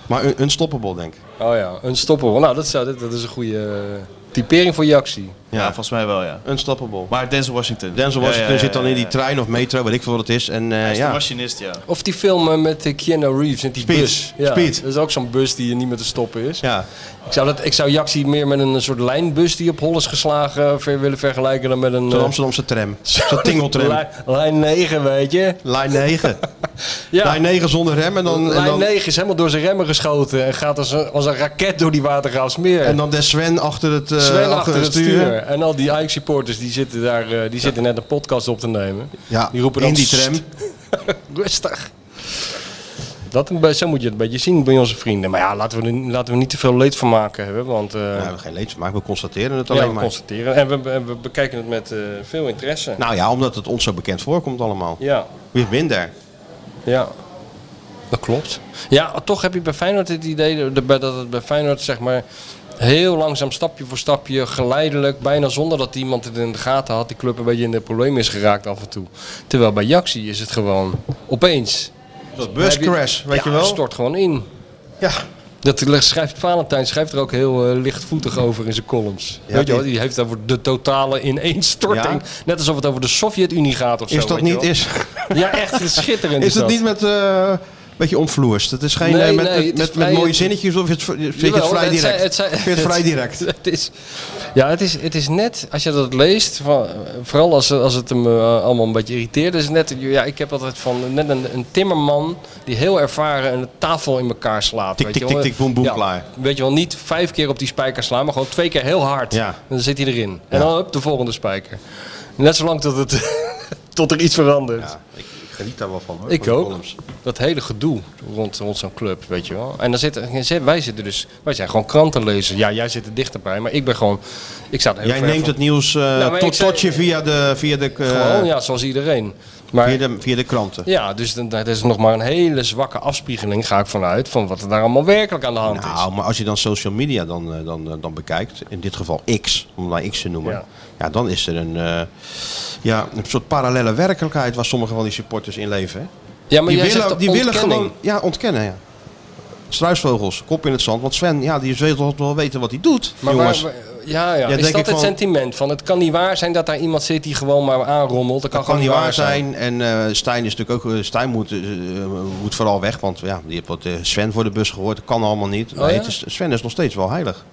[SPEAKER 6] Maar un- Unstoppable, denk ik.
[SPEAKER 7] Oh ja, Unstoppable. Nou, dat, zou, dat, dat is een goede eh, typering voor Jaxi.
[SPEAKER 10] Ja, volgens mij wel, ja.
[SPEAKER 6] Unstoppable.
[SPEAKER 10] Maar Denzel Washington.
[SPEAKER 6] Denzel
[SPEAKER 10] Ja,
[SPEAKER 6] Washington
[SPEAKER 10] ja, ja,
[SPEAKER 6] zit dan in die
[SPEAKER 10] ja.
[SPEAKER 6] trein of metro, weet ik veel wat het is. En eh,
[SPEAKER 10] Hij is de
[SPEAKER 6] ja,
[SPEAKER 10] machinist, ja.
[SPEAKER 7] Of die film eh, met eh, Keanu Reeves met die
[SPEAKER 6] Speed.
[SPEAKER 7] bus. Ja,
[SPEAKER 6] Speed.
[SPEAKER 7] Dat is ook zo'n bus die niet meer te stoppen is.
[SPEAKER 6] ja.
[SPEAKER 7] Ik zou, dat, ik zou Jaxi meer met een soort lijnbus die op hol is geslagen eh, ver- willen vergelijken dan met een...
[SPEAKER 6] Zo'n
[SPEAKER 7] eh,
[SPEAKER 6] Amsterdamse tram. Zo'n tingeltram.
[SPEAKER 7] Lijn, lijn 9, weet je.
[SPEAKER 6] Lijn 9.
[SPEAKER 7] Ja.
[SPEAKER 6] Lijn 9 zonder rem en dan, en
[SPEAKER 7] Lijn
[SPEAKER 6] dan,
[SPEAKER 7] 9 is helemaal door zijn remmen geschoten en gaat als een, als een raket door die watergraafsmeer.
[SPEAKER 6] en dan de Sven achter het, eh,
[SPEAKER 7] Sven
[SPEAKER 6] achter het stuur. Nou,
[SPEAKER 7] En al die Ajax supporters die zitten daar, eh, die zitten net een podcast op te nemen.
[SPEAKER 6] Ja,
[SPEAKER 7] Die roepen dan,
[SPEAKER 6] in die
[SPEAKER 7] "Sst."
[SPEAKER 6] tram.
[SPEAKER 7] Rustig. Dat een, be- zo moet je het een beetje zien bij onze vrienden. Maar ja, laten we, er- laten we niet te veel leed van maken hebben. Want eh,
[SPEAKER 6] Nou, we hebben geen leed van maken, we constateren het
[SPEAKER 7] ja,
[SPEAKER 6] alleen
[SPEAKER 7] we
[SPEAKER 6] maar.
[SPEAKER 7] constateren. En we, be- en we bekijken het met eh, veel interesse.
[SPEAKER 6] Nou ja, omdat het ons zo bekend voorkomt allemaal.
[SPEAKER 7] Ja,
[SPEAKER 6] We've been there.
[SPEAKER 7] ja. Dat klopt. Ja, toch heb je bij Feyenoord het idee dat- dat het bij Feyenoord zeg maar heel langzaam, stapje voor stapje, geleidelijk, bijna zonder dat iemand het in de gaten had, die club een beetje in de problemen is geraakt af en toe. Terwijl bij Jaxi is het gewoon opeens.
[SPEAKER 6] Dat
[SPEAKER 7] Heb je-
[SPEAKER 6] buscrash, weet
[SPEAKER 7] ja,
[SPEAKER 6] je wel?
[SPEAKER 7] het stort gewoon in.
[SPEAKER 6] Ja.
[SPEAKER 7] Dat schrijft Valentijn schrijft er ook heel eh, lichtvoetig over in zijn columns.
[SPEAKER 6] Ja,
[SPEAKER 7] weet je wel,
[SPEAKER 6] die-
[SPEAKER 7] die heeft het over de totale ineenstorting. Net alsof het over de Sovjet-Unie gaat of zo.
[SPEAKER 6] Is dat
[SPEAKER 7] weet je
[SPEAKER 6] niet,
[SPEAKER 7] wel.
[SPEAKER 6] is,
[SPEAKER 7] Ja, echt schitterend.
[SPEAKER 6] is dat niet met... eh, een beetje omvloers. Het is geen
[SPEAKER 7] dus Nee,
[SPEAKER 6] eh, met,
[SPEAKER 7] nee,
[SPEAKER 6] met,
[SPEAKER 7] het is
[SPEAKER 6] met, met
[SPEAKER 7] vrij-
[SPEAKER 6] mooie zinnetjes of het, vind je het
[SPEAKER 7] Jawel,
[SPEAKER 6] vrij direct.
[SPEAKER 7] zijn- zijn-
[SPEAKER 6] Vind je het vrij direct.
[SPEAKER 7] Het is, ja, het is, het is net, als je dat leest, van, vooral als, als het hem eh, allemaal een beetje irriteert, is het net, ja, ik heb altijd van net een, een timmerman die heel ervaren een tafel in elkaar slaat.
[SPEAKER 6] Tik,
[SPEAKER 7] weet
[SPEAKER 6] tik,
[SPEAKER 7] je wel.
[SPEAKER 6] tik, tik, boem, boem,
[SPEAKER 7] Ja,
[SPEAKER 6] klaar.
[SPEAKER 7] Weet je wel, niet vijf keer op die spijker slaan, maar gewoon twee keer heel hard.
[SPEAKER 6] Ja.
[SPEAKER 7] En dan zit hij erin. En dan op de volgende spijker. Net zolang tot, het, tot er iets verandert.
[SPEAKER 6] Ik, ik geniet daar wel van hoor.
[SPEAKER 7] Ik
[SPEAKER 6] van die
[SPEAKER 7] ook.
[SPEAKER 6] columns.
[SPEAKER 7] Dat hele gedoe rond, rond zo'n club, weet je wel. En dan zitten, wij zitten dus, wij zijn gewoon krantenlezer. Ja, jij zit er dichterbij, maar ik ben gewoon, ik sta er heel
[SPEAKER 6] Jij
[SPEAKER 7] ver
[SPEAKER 6] neemt
[SPEAKER 7] van.
[SPEAKER 6] het nieuws eh,
[SPEAKER 7] Nou, maar
[SPEAKER 6] tot,
[SPEAKER 7] ik zei-
[SPEAKER 6] tot je via de, via de, eh,
[SPEAKER 7] Gewoon, ja, zoals iedereen. Maar
[SPEAKER 6] via de, via de kranten.
[SPEAKER 7] ja, dus dan- dat is nog maar een hele zwakke afspiegeling, ga ik vanuit, van wat er daar allemaal werkelijk aan de hand is.
[SPEAKER 6] Nou, maar als je dan social media dan, eh, dan, eh, dan bekijkt, in dit geval X, om maar X te noemen, ja.
[SPEAKER 7] Ja.
[SPEAKER 6] dan is er een, eh, ja, een soort parallele werkelijkheid waar sommige van die supporters in leven. Hè?
[SPEAKER 7] Ja, maar
[SPEAKER 6] die
[SPEAKER 7] jij
[SPEAKER 6] willen,
[SPEAKER 7] zegt
[SPEAKER 6] die willen
[SPEAKER 7] ontkenning.
[SPEAKER 6] gewoon ja, ontkennen. Ja. Struisvogels, kop in het zand. Want Sven, ja, die wil toch wel weten wat hij doet.
[SPEAKER 7] Maar
[SPEAKER 6] jongens.
[SPEAKER 7] waar- waar- ja, ja.
[SPEAKER 6] Ja,
[SPEAKER 7] is
[SPEAKER 6] denk
[SPEAKER 7] dat
[SPEAKER 6] ik
[SPEAKER 7] het
[SPEAKER 6] van-
[SPEAKER 7] sentiment van het kan niet waar zijn dat daar iemand zit die gewoon maar aanrommelt? Dat
[SPEAKER 6] kan
[SPEAKER 7] kan, gewoon
[SPEAKER 6] niet waar zijn. En eh, Stijn is natuurlijk ook. eh, Stijn moet, eh, eh, moet vooral weg. Want ja, die heeft wat eh, Sven voor de bus gehoord. Dat kan allemaal niet. nee,
[SPEAKER 7] Oh, ja?
[SPEAKER 6] het is, Sven is nog steeds wel heilig.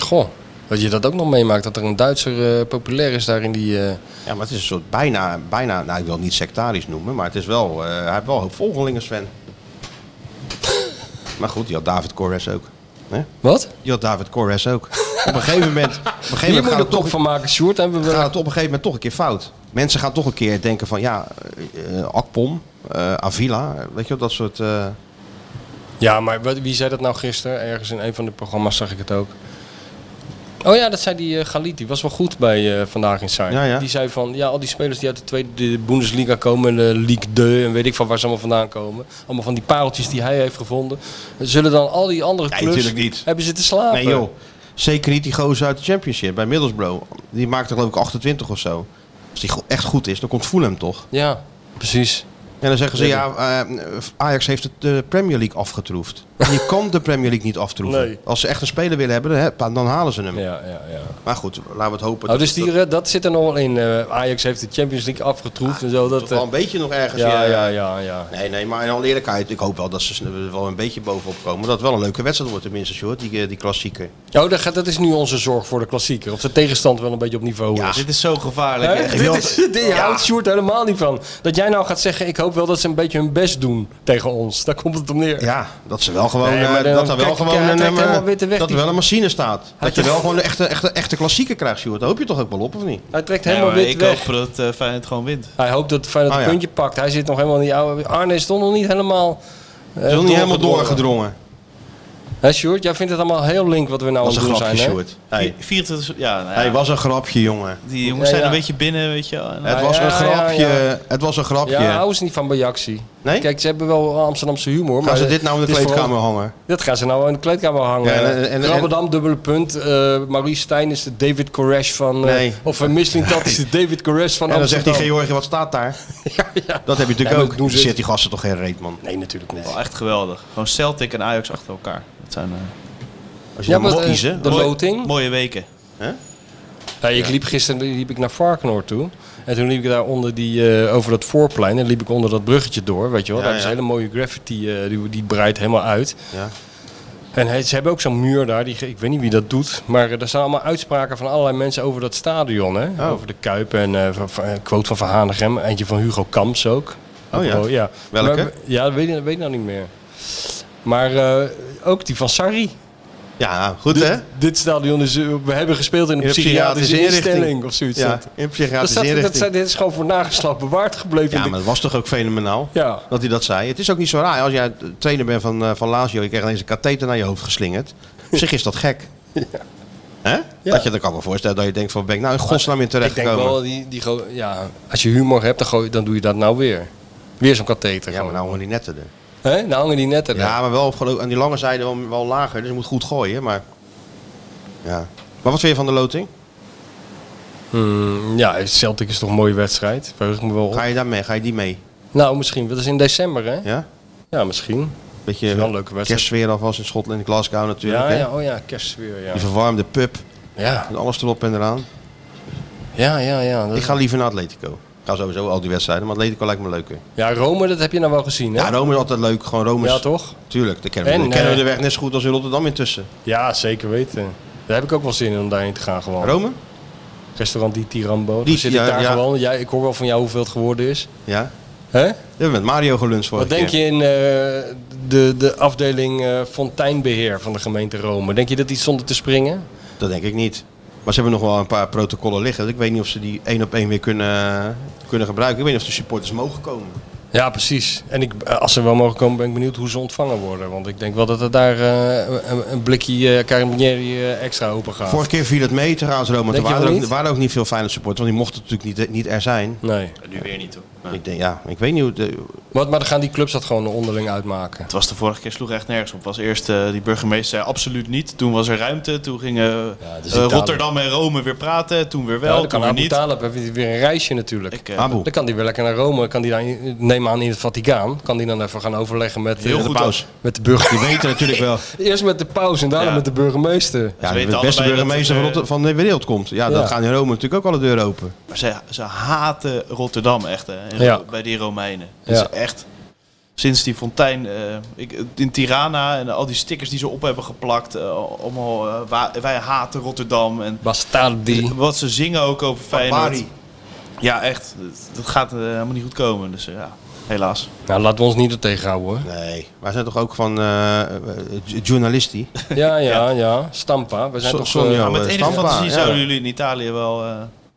[SPEAKER 7] Goh, dat je dat ook nog meemaakt, dat er een Duitser eh, populair is daar in die... eh,
[SPEAKER 6] Ja, maar het is een soort bijna, bijna. Nou, ik wil het niet sectarisch noemen. Maar het is wel. eh, hij heeft wel heel veel volgelingen, Sven. maar goed, die had David Corres ook. Hè?
[SPEAKER 7] Wat?
[SPEAKER 6] Die had David Corres ook. op een gegeven moment. Op een gegeven
[SPEAKER 7] Hier
[SPEAKER 6] moment
[SPEAKER 7] moet
[SPEAKER 6] gaat
[SPEAKER 7] je
[SPEAKER 6] het
[SPEAKER 7] toch
[SPEAKER 6] toch
[SPEAKER 7] van maken, Sjoerd. En we willen-
[SPEAKER 6] gaat het op een gegeven moment toch een keer fout. Mensen gaan toch een keer denken van ja, eh, eh, Akpom, eh, Avila, weet je wel, dat soort... eh,
[SPEAKER 7] Ja, maar wat- wie zei dat nou gisteren? Ergens in een van de programma's zag ik het ook. Oh ja, dat zei die eh Galit. Die was wel goed bij eh, Vandaag in Saar.
[SPEAKER 6] Ja, ja.
[SPEAKER 7] Die zei van, ja, al die spelers die uit de tweede Bundesliga komen, en de Ligue 2 en weet ik van waar ze allemaal vandaan komen. Allemaal van die pareltjes die hij heeft gevonden. Zullen dan al die andere
[SPEAKER 6] Nee,
[SPEAKER 7] clubs...
[SPEAKER 6] natuurlijk niet.
[SPEAKER 7] Hebben ze te slapen?
[SPEAKER 6] Nee joh, zeker niet die gozer uit de championship bij Middlesbrough. Die maakt er geloof ik 28 of zo. Als die go- echt goed is, dan komt Fulham toch?
[SPEAKER 7] Ja, precies.
[SPEAKER 6] En dan zeggen ze, ja, eh, Ajax heeft het, de Premier League afgetroefd. En je kan de Premier League niet aftroeven.
[SPEAKER 7] Nee.
[SPEAKER 6] Als ze echt een speler willen hebben, dan, hè, pa- dan halen ze hem.
[SPEAKER 7] Ja, ja, ja.
[SPEAKER 6] Maar goed, laten we het hopen.
[SPEAKER 7] Oh, dus die, eh, dat zit er nog wel in. eh, Ajax heeft de Champions League afgetroefd en zo.
[SPEAKER 6] Ah, toch
[SPEAKER 7] Dat, eh,
[SPEAKER 6] wel een beetje nog ergens.
[SPEAKER 7] ja,
[SPEAKER 6] eh,
[SPEAKER 7] ja, ja, ja.
[SPEAKER 6] Nee, nee, maar in alle eerlijkheid, ik hoop wel dat ze er wel een beetje bovenop komen. Dat het wel een leuke wedstrijd wordt tenminste, Sjoerd, die, eh, die klassieker.
[SPEAKER 7] Oh, dat, gaat, dat is nu onze zorg voor de klassieker. Of de tegenstand wel een beetje op niveau is.
[SPEAKER 10] Dit is zo gevaarlijk.
[SPEAKER 7] Hè? Dit is, dit houdt Sjoerd helemaal niet van. Dat jij nou gaat zeggen, ik hoop wel dat ze een beetje hun best doen tegen ons. Daar komt het om neer.
[SPEAKER 6] Ja, dat ze wel gewoon,
[SPEAKER 7] Nee,
[SPEAKER 6] eh,
[SPEAKER 7] maar dan-
[SPEAKER 6] dat er wel
[SPEAKER 7] kijk,
[SPEAKER 6] gewoon
[SPEAKER 7] kijk, hij
[SPEAKER 6] een,
[SPEAKER 7] trekt
[SPEAKER 6] eh,
[SPEAKER 7] helemaal weer te weg,
[SPEAKER 6] dat er
[SPEAKER 7] die-
[SPEAKER 6] wel een machine staat. Dat je
[SPEAKER 7] trekt-
[SPEAKER 6] wel gewoon een echte, echte, echte klassieker krijgt, Sjoerd. Dat hoop je toch ook wel op, of niet?
[SPEAKER 7] Hij trekt
[SPEAKER 10] Nee,
[SPEAKER 7] helemaal
[SPEAKER 10] maar
[SPEAKER 7] wit
[SPEAKER 10] ik
[SPEAKER 7] weg.
[SPEAKER 10] hoop dat eh Feyenoord gewoon wint.
[SPEAKER 7] Hij hoopt dat Feyenoord
[SPEAKER 6] Ah,
[SPEAKER 7] een
[SPEAKER 6] ja.
[SPEAKER 7] puntje pakt. Hij zit nog helemaal in die oude... Arne is toch nog niet helemaal... eh,
[SPEAKER 6] Ze is nog niet helemaal
[SPEAKER 7] doorgedrongen.
[SPEAKER 6] doorgedrongen.
[SPEAKER 7] Hè, Sjoerd? Jij vindt het allemaal heel link wat we nou
[SPEAKER 6] Dat
[SPEAKER 7] aan
[SPEAKER 6] was
[SPEAKER 7] het
[SPEAKER 6] een
[SPEAKER 7] doen
[SPEAKER 6] grapje,
[SPEAKER 7] zijn, hè?
[SPEAKER 6] Sjoerd. Hey.
[SPEAKER 10] 24, ja, nou ja,
[SPEAKER 6] Hey, was een grapje, jongen.
[SPEAKER 10] die jongens
[SPEAKER 7] Ja,
[SPEAKER 10] zijn
[SPEAKER 7] ja.
[SPEAKER 10] een beetje binnen, weet je wel. En,
[SPEAKER 6] Het
[SPEAKER 7] Ah,
[SPEAKER 6] was
[SPEAKER 7] ja,
[SPEAKER 6] een
[SPEAKER 7] ja,
[SPEAKER 6] grapje.
[SPEAKER 7] ja.
[SPEAKER 6] Het was een grapje.
[SPEAKER 7] Ja, houden ze niet van Bajaxi.
[SPEAKER 6] Nee?
[SPEAKER 7] Kijk, ze hebben wel Amsterdamse humor.
[SPEAKER 6] Gaan
[SPEAKER 7] maar
[SPEAKER 6] ze dit nou in de
[SPEAKER 7] het is vooral-
[SPEAKER 6] kleedkamer hangen?
[SPEAKER 7] Dat gaan ze nou in de kleedkamer hangen.
[SPEAKER 6] Ja,
[SPEAKER 7] Ja,
[SPEAKER 6] en- en- en-
[SPEAKER 7] dubbele punt. eh Maurice Stijn is de David Koresh van... eh,
[SPEAKER 6] Nee.
[SPEAKER 7] Of uh, dat is de David Koresh van
[SPEAKER 6] En dan zegt die
[SPEAKER 7] Amsterdam.
[SPEAKER 6] Georgië, wat staat daar? Dat heb je
[SPEAKER 7] Ja, maar
[SPEAKER 6] natuurlijk
[SPEAKER 7] doen
[SPEAKER 6] ook.
[SPEAKER 7] ze-
[SPEAKER 6] Zit die gasten toch geen Oh, reet, man.
[SPEAKER 7] Nee, natuurlijk niet.
[SPEAKER 10] wel echt geweldig. Gewoon Celtic en Ajax achter elkaar. Dat zijn eh,
[SPEAKER 6] Als je
[SPEAKER 7] Ja,
[SPEAKER 6] dan
[SPEAKER 7] maar
[SPEAKER 6] mag
[SPEAKER 7] de,
[SPEAKER 6] kiezen.
[SPEAKER 7] de
[SPEAKER 10] mooi-
[SPEAKER 7] loting.
[SPEAKER 10] mooie weken.
[SPEAKER 7] Ja, ik liep gisteren liep ik naar Varkenoord toe. En toen liep ik daar onder die, eh, over dat voorplein. En liep ik onder dat bruggetje door, weet je wel.
[SPEAKER 6] Ja,
[SPEAKER 7] daar is
[SPEAKER 6] ja.
[SPEAKER 7] hele mooie graffiti, eh, die, die breidt helemaal uit.
[SPEAKER 6] Ja.
[SPEAKER 7] En het- ze hebben ook zo'n muur daar, die, ik weet niet wie dat doet. Maar eh, daar staan allemaal uitspraken van allerlei mensen over dat stadion. Hè?
[SPEAKER 6] Oh.
[SPEAKER 7] Over de Kuip en eh, van- van- een quote van Van Hanegem. Eentje van Hugo Kamps ook.
[SPEAKER 6] Oh ja.
[SPEAKER 7] ja.
[SPEAKER 6] Welke?
[SPEAKER 7] Maar- ja, dat weet, ik- dat weet ik nou niet meer. Maar eh, ook die van Sarri.
[SPEAKER 6] Ja, goed hè?
[SPEAKER 7] Dit stadion is, eh, we hebben gespeeld in een
[SPEAKER 6] In een
[SPEAKER 7] psychiatrische,
[SPEAKER 6] psychiatrische
[SPEAKER 7] instelling
[SPEAKER 6] inrichting.
[SPEAKER 7] of zoiets.
[SPEAKER 6] Ja,
[SPEAKER 7] Dat-
[SPEAKER 6] in
[SPEAKER 7] dat
[SPEAKER 6] psychiatrische
[SPEAKER 7] staat, dat staat,
[SPEAKER 6] inrichting.
[SPEAKER 7] dit is gewoon voor nageslacht bewaard gebleven.
[SPEAKER 6] Ja, maar
[SPEAKER 7] maar...
[SPEAKER 6] dat was toch ook fenomenaal?
[SPEAKER 7] ja.
[SPEAKER 6] Dat hij dat zei. Het is ook niet zo raar. Als jij trainer bent van, eh, van Lazio, je krijgt ineens een katheter naar je hoofd geslingerd. Op zich is dat gek. Hè? Dat je dat kan me voorstellen. Dat je denkt van, ben ik nou in godsnaam in
[SPEAKER 7] Ik denk
[SPEAKER 6] terechtgekomen?
[SPEAKER 7] wel, die, die, gro- ja, als je humor hebt, dan, gooi- dan doe je dat nou weer. Weer zo'n katheter.
[SPEAKER 6] Ja, maar nou
[SPEAKER 7] gewoon.
[SPEAKER 6] gewoon die netten er.
[SPEAKER 7] Hè? nou hangen die netten er.
[SPEAKER 6] Ja, maar wel op gelo- aan die lange zijde wel, wel lager. Dus je moet goed gooien. Maar, ja. maar wat vind je van de loting?
[SPEAKER 7] Hmm, ja, Celtic is toch een mooie wedstrijd. Verheug me wel op.
[SPEAKER 6] Ga je daar mee? Ga je die mee?
[SPEAKER 7] Nou, misschien. Dat is in december, hè? Ja,
[SPEAKER 6] Ja?
[SPEAKER 7] misschien.
[SPEAKER 6] Beetje
[SPEAKER 7] Is wel een leuke wedstrijd.
[SPEAKER 6] kerstsfeer alvast in Schotland en Glasgow natuurlijk.
[SPEAKER 7] Ja,
[SPEAKER 6] hè?
[SPEAKER 7] ja, oh ja, kerstsfeer, ja.
[SPEAKER 6] Die verwarmde pub.
[SPEAKER 7] Ja,
[SPEAKER 6] Met alles erop en eraan.
[SPEAKER 7] ja, ja. ja. Dat-
[SPEAKER 6] Ik ga liever naar Atletico. Ik ga sowieso al die wedstrijden, maar Atletico lijkt me leuker.
[SPEAKER 7] ja, Rome, dat heb je nou wel gezien, hè?
[SPEAKER 6] Ja, Rome is altijd leuk. Gewoon Rome is...
[SPEAKER 7] Ja, toch?
[SPEAKER 6] Tuurlijk, daar kennen we,
[SPEAKER 7] En,
[SPEAKER 6] daar kennen we
[SPEAKER 7] eh,
[SPEAKER 6] de weg net zo goed als in Rotterdam intussen.
[SPEAKER 7] Ja, zeker weten. Daar heb ik ook wel zin in om daarheen te gaan gewoon.
[SPEAKER 6] Rome?
[SPEAKER 7] Restaurant Die Tirambo.
[SPEAKER 6] Die-
[SPEAKER 7] Die, zit
[SPEAKER 6] ja,
[SPEAKER 7] ik daar
[SPEAKER 6] ja.
[SPEAKER 7] gewoon. Jij, ik hoor wel van jou hoeveel het geworden is.
[SPEAKER 6] Ja. We
[SPEAKER 7] Hè?
[SPEAKER 6] hebben met Mario geluncht vorige
[SPEAKER 7] Wat denk
[SPEAKER 6] keer.
[SPEAKER 7] je in eh, de, de afdeling eh, fonteinbeheer van de gemeente Rome? Denk je dat die stonden te springen?
[SPEAKER 6] Dat denk ik niet. Maar ze hebben nog wel een paar protocollen liggen. dus Ik weet niet of ze die één op één weer kunnen, kunnen gebruiken. Ik weet niet of de supporters mogen komen.
[SPEAKER 7] Ja, precies. En ik, eh, als ze wel mogen komen, ben ik benieuwd hoe ze ontvangen worden. Want ik denk wel dat er daar eh, een, een blikje eh Carabinieri eh, extra open gaat.
[SPEAKER 6] Vorige keer viel het mee trouwens, Rome. Want Er
[SPEAKER 7] Denk je
[SPEAKER 6] waren,
[SPEAKER 7] wel
[SPEAKER 6] er ook,
[SPEAKER 7] niet?
[SPEAKER 6] er waren ook niet veel fijne supporters, want die mochten natuurlijk niet, niet er zijn.
[SPEAKER 7] Nee.
[SPEAKER 10] Nu weer niet, hoor.
[SPEAKER 6] Ik denk, ja, ik weet niet hoe... de-
[SPEAKER 7] Maar, maar dan gaan die clubs dat gewoon onderling uitmaken.
[SPEAKER 10] Het was de vorige keer, sloeg echt nergens op. Was eerst eh, die burgemeester zei absoluut niet. Toen was er ruimte. Toen gingen eh,
[SPEAKER 7] het is Italië.
[SPEAKER 10] Rotterdam en Rome weer praten. Toen weer
[SPEAKER 7] Ja,
[SPEAKER 10] wel,
[SPEAKER 7] dan
[SPEAKER 10] toen
[SPEAKER 7] kan
[SPEAKER 10] weer
[SPEAKER 7] Abu
[SPEAKER 10] niet.
[SPEAKER 7] Talib heeft weer een reisje natuurlijk.
[SPEAKER 10] Ik, eh,
[SPEAKER 6] Abu.
[SPEAKER 7] Dan kan die weer lekker naar Rome. Kan die daar, in- neem aan in het Vaticaan. Kan die dan even gaan overleggen met, eh,
[SPEAKER 10] Heel
[SPEAKER 7] de
[SPEAKER 10] goed,
[SPEAKER 7] paus.
[SPEAKER 10] hoor.
[SPEAKER 7] Met de burger.
[SPEAKER 6] Die weten natuurlijk wel.
[SPEAKER 7] Eerst met de paus en daarna
[SPEAKER 10] Ja.
[SPEAKER 7] met de burgemeester.
[SPEAKER 10] weten
[SPEAKER 6] Ja, de beste
[SPEAKER 10] allebei dat,
[SPEAKER 6] burgemeester van,
[SPEAKER 10] eh,
[SPEAKER 6] Rotter- van de wereld komt. Ja, dan
[SPEAKER 7] Ja.
[SPEAKER 6] gaan in Rome natuurlijk ook alle deuren open.
[SPEAKER 10] Maar ze, ze haten Rotterdam echt, hè, in-
[SPEAKER 7] Ja.
[SPEAKER 10] bij die Romeinen.
[SPEAKER 7] Ja.
[SPEAKER 10] Dat is echt... Sinds die fontein eh, ik, in Tirana en al die stickers die ze op hebben geplakt. eh, allemaal, eh, wa- wij haten Rotterdam. En
[SPEAKER 7] Bastardi.
[SPEAKER 10] wat ze zingen ook over
[SPEAKER 7] Oh,
[SPEAKER 10] Feyenoord.
[SPEAKER 6] Bari.
[SPEAKER 10] Ja, echt. Dat- Dat gaat eh, helemaal niet goed komen. Dus eh, ja, helaas.
[SPEAKER 7] Nou, laten we ons niet er tegenhouden hoor.
[SPEAKER 6] Nee, maar zijn toch ook van eh, eh, j- journalisti?
[SPEAKER 7] Ja, ja, ja. Stampa. We zijn
[SPEAKER 6] So-
[SPEAKER 7] toch...
[SPEAKER 6] Sonja.
[SPEAKER 7] eh,
[SPEAKER 10] Maar met
[SPEAKER 6] eh,
[SPEAKER 10] enige
[SPEAKER 6] Stampa,
[SPEAKER 10] fantasie
[SPEAKER 6] ja.
[SPEAKER 10] zouden jullie in Italië wel eh,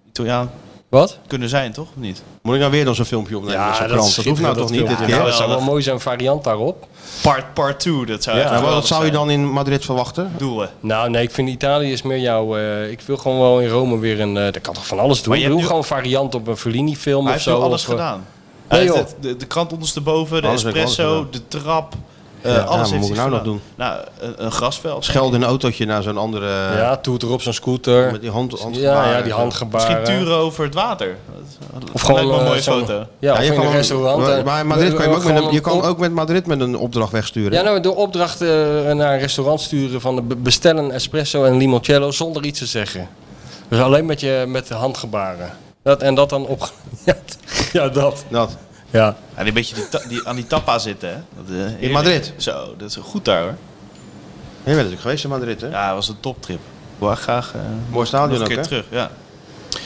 [SPEAKER 10] Italiaan
[SPEAKER 7] wat?
[SPEAKER 10] kunnen zijn, toch? Of niet?
[SPEAKER 6] Moet ik nou weer dan zo'n filmpje opnemen? met zo'n krant? dat hoeft nou toch niet dit keer?
[SPEAKER 7] Ja, dat
[SPEAKER 10] Ja,
[SPEAKER 7] zou wel
[SPEAKER 10] dat-
[SPEAKER 7] mooi zijn variant daarop.
[SPEAKER 10] Part 2, part two, dat zou echt
[SPEAKER 6] Nou,
[SPEAKER 10] geweldig
[SPEAKER 6] wat zou je
[SPEAKER 10] zijn.
[SPEAKER 6] dan in Madrid verwachten?
[SPEAKER 10] doelen?
[SPEAKER 7] Nou, nee, ik vind Italië is meer jouw... eh, ik wil gewoon wel in Rome weer een... eh dat kan toch van alles doen?
[SPEAKER 10] Maar
[SPEAKER 7] Ik
[SPEAKER 10] je hebt
[SPEAKER 7] wil
[SPEAKER 10] nu-
[SPEAKER 7] gewoon variant op een Fellini film
[SPEAKER 10] Hij
[SPEAKER 7] of
[SPEAKER 10] heeft
[SPEAKER 7] zo.
[SPEAKER 10] nu alles
[SPEAKER 7] of, eh,
[SPEAKER 10] gedaan. Hij
[SPEAKER 7] Nee,
[SPEAKER 10] heeft
[SPEAKER 7] joh.
[SPEAKER 10] het- de, de krant ondersteboven, de
[SPEAKER 6] Alles heb ik
[SPEAKER 10] espresso,
[SPEAKER 6] alles
[SPEAKER 10] de trap. Eh,
[SPEAKER 6] Ja,
[SPEAKER 10] alles
[SPEAKER 6] wat
[SPEAKER 10] heeft
[SPEAKER 6] moet ik
[SPEAKER 10] hij
[SPEAKER 6] nou nog
[SPEAKER 10] gedaan. Nou, een, een grasveld.
[SPEAKER 6] Schelde een autootje naar zo'n andere...
[SPEAKER 10] eh.
[SPEAKER 7] Ja, toert erop zo'n scooter.
[SPEAKER 6] Met die hand, handgebaren.
[SPEAKER 7] ja, ja, die
[SPEAKER 10] Misschien
[SPEAKER 7] handgebaren.
[SPEAKER 10] turen over het water.
[SPEAKER 7] Of gewoon
[SPEAKER 10] Lijkt me een
[SPEAKER 7] eh,
[SPEAKER 10] mooie
[SPEAKER 7] zo'n-
[SPEAKER 10] foto.
[SPEAKER 7] Ja, of
[SPEAKER 6] je
[SPEAKER 7] in
[SPEAKER 6] kan
[SPEAKER 7] een
[SPEAKER 6] hem-
[SPEAKER 7] restaurant. eh,
[SPEAKER 6] Maar in Madrid kan je, hem ook met
[SPEAKER 7] gewoon
[SPEAKER 6] een, je kan
[SPEAKER 7] op-
[SPEAKER 6] ook met Madrid met een opdracht wegsturen.
[SPEAKER 7] Ja, nou, door opdracht eh, naar een restaurant sturen van eh, be- bestel een espresso en limoncello zonder iets te zeggen. Dus alleen met, je, met de handgebaren. Dat, en dat dan op... Ja, t- ja, dat.
[SPEAKER 6] Dat.
[SPEAKER 7] Ja.
[SPEAKER 10] Ja, die beetje die ta- die, aan die tappa zitten, hè? Dat, eh, heerlijk.
[SPEAKER 6] Madrid?
[SPEAKER 10] Zo, dat is goed daar, hoor.
[SPEAKER 6] Je bent natuurlijk geweest in Madrid, hè?
[SPEAKER 10] Ja, dat was een toptrip. Ik wil echt graag eh,
[SPEAKER 6] Mooi
[SPEAKER 10] nog
[SPEAKER 6] stadion
[SPEAKER 10] een
[SPEAKER 6] ook,
[SPEAKER 10] keer
[SPEAKER 6] hè?
[SPEAKER 10] terug. Ja,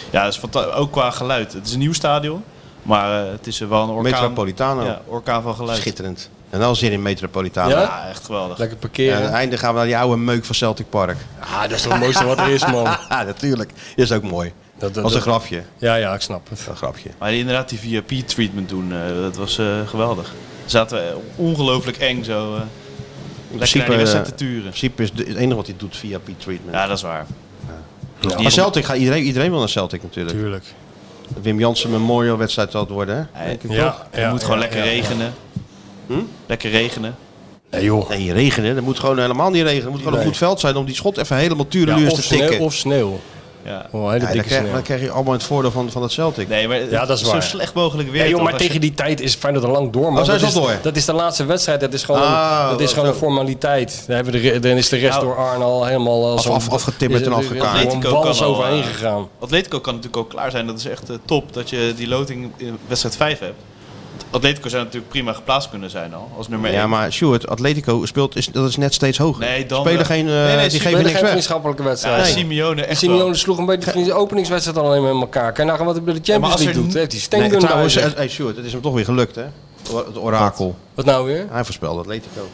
[SPEAKER 10] ja dat is fanta- ook qua geluid. Het is een nieuw stadion, maar eh, het is eh, wel een orkaan.
[SPEAKER 6] Metropolitano.
[SPEAKER 10] Ja, orkaan van geluid.
[SPEAKER 6] Schitterend. En dan zin in Metropolitano.
[SPEAKER 7] Ja?
[SPEAKER 10] Ja, echt geweldig.
[SPEAKER 7] Lekker
[SPEAKER 6] En aan
[SPEAKER 7] parkeren.
[SPEAKER 6] het einde gaan we naar die oude meuk van Celtic Park.
[SPEAKER 7] Ah, dat is toch het mooiste wat er is, man.
[SPEAKER 6] Ah, natuurlijk. Is ook mooi.
[SPEAKER 7] Dat, dat,
[SPEAKER 6] Dat was een
[SPEAKER 7] dat-
[SPEAKER 6] grapje.
[SPEAKER 7] Ja, ja, ik snap het.
[SPEAKER 6] Een grapje.
[SPEAKER 10] Maar die inderdaad die VIP-treatment doen, eh, dat was eh, geweldig. Zaten we ongelooflijk eng zo. eh, lekker naar
[SPEAKER 6] principe,
[SPEAKER 10] die wedstrijd
[SPEAKER 6] eh,
[SPEAKER 10] te turen.
[SPEAKER 6] In principe is de- het enige wat hij doet via P-treatment.
[SPEAKER 10] Ja, dat is waar. Die
[SPEAKER 6] maar
[SPEAKER 10] is-
[SPEAKER 6] Celtic, gaat iedereen, iedereen wil naar Celtic natuurlijk.
[SPEAKER 7] Tuurlijk.
[SPEAKER 6] Wim Jansen Memorial wedstrijd zal het worden, hè?
[SPEAKER 10] Hij-
[SPEAKER 7] Ja, Hm?
[SPEAKER 10] het moet gewoon lekker regenen. Lekker regenen.
[SPEAKER 7] Nee, joh.
[SPEAKER 6] Nee, regenen. Dat moet gewoon helemaal niet regenen. Het moet gewoon een
[SPEAKER 7] Nee.
[SPEAKER 6] goed veld zijn om die schot even helemaal
[SPEAKER 7] Ja,
[SPEAKER 6] tureluurs
[SPEAKER 7] of
[SPEAKER 6] te tikken.
[SPEAKER 7] sneeuw. Of sneeuw.
[SPEAKER 10] Ja.
[SPEAKER 7] Oh, hele
[SPEAKER 6] Ja, dan,
[SPEAKER 7] dikke
[SPEAKER 6] krijg,
[SPEAKER 7] sneeuw.
[SPEAKER 6] dan krijg je allemaal het voordeel van, van het Celtic.
[SPEAKER 10] Nee, maar
[SPEAKER 7] Ja, dat is
[SPEAKER 10] zo
[SPEAKER 7] waar.
[SPEAKER 10] slecht mogelijk weer.
[SPEAKER 7] Ja, joh,
[SPEAKER 10] toch,
[SPEAKER 7] maar
[SPEAKER 10] als je-
[SPEAKER 7] tegen die tijd is Feyenoord al lang door. man.
[SPEAKER 6] Oh, zijn
[SPEAKER 7] dat,
[SPEAKER 6] ze
[SPEAKER 7] is,
[SPEAKER 6] al door?
[SPEAKER 7] dat is de laatste wedstrijd. Dat is gewoon,
[SPEAKER 6] Ah,
[SPEAKER 7] dat is gewoon
[SPEAKER 6] zo.
[SPEAKER 7] een formaliteit. Dan, hebben we de, re- dan is de rest
[SPEAKER 10] Nou,
[SPEAKER 7] door Arne al helemaal... eh, Als
[SPEAKER 6] af- af- afgetimmerd en afgekaart.
[SPEAKER 7] Gewoon
[SPEAKER 10] Atletico
[SPEAKER 7] wals
[SPEAKER 10] kan al,
[SPEAKER 7] overheen
[SPEAKER 10] eh,
[SPEAKER 7] gegaan.
[SPEAKER 10] Atletico kan natuurlijk ook klaar zijn. Dat is echt eh, top dat je die loting in wedstrijd 5 hebt. Want Atletico zou natuurlijk prima geplaatst kunnen zijn al. Als nummer 1.
[SPEAKER 6] Ja, maar Stuart, Atletico speelt, is, dat is net steeds hoger.
[SPEAKER 10] Nee, dan
[SPEAKER 6] Spelen
[SPEAKER 10] wel.
[SPEAKER 6] geen, eh,
[SPEAKER 10] Nee, nee, ze
[SPEAKER 6] die geven
[SPEAKER 7] Tweede
[SPEAKER 6] niks
[SPEAKER 7] geen
[SPEAKER 6] weg.
[SPEAKER 7] vriendschappelijke
[SPEAKER 10] Ja,
[SPEAKER 7] wedstrijd. Nee.
[SPEAKER 10] Simeone echt wel.
[SPEAKER 7] Simeone sloeg een beetje de openingswedstrijd al alleen met elkaar. Kijk nou gewoon wat hij bij de Champions
[SPEAKER 10] als er
[SPEAKER 7] League doet.
[SPEAKER 10] niet-
[SPEAKER 7] Heeft hij
[SPEAKER 6] Nee,
[SPEAKER 7] Stengun bij
[SPEAKER 6] trouwens,
[SPEAKER 7] zich.
[SPEAKER 6] eh, hey, Stuart, het is hem toch weer gelukt, hè? O- Het orakel.
[SPEAKER 7] Wat nou weer?
[SPEAKER 6] Hij voorspelde Atletico.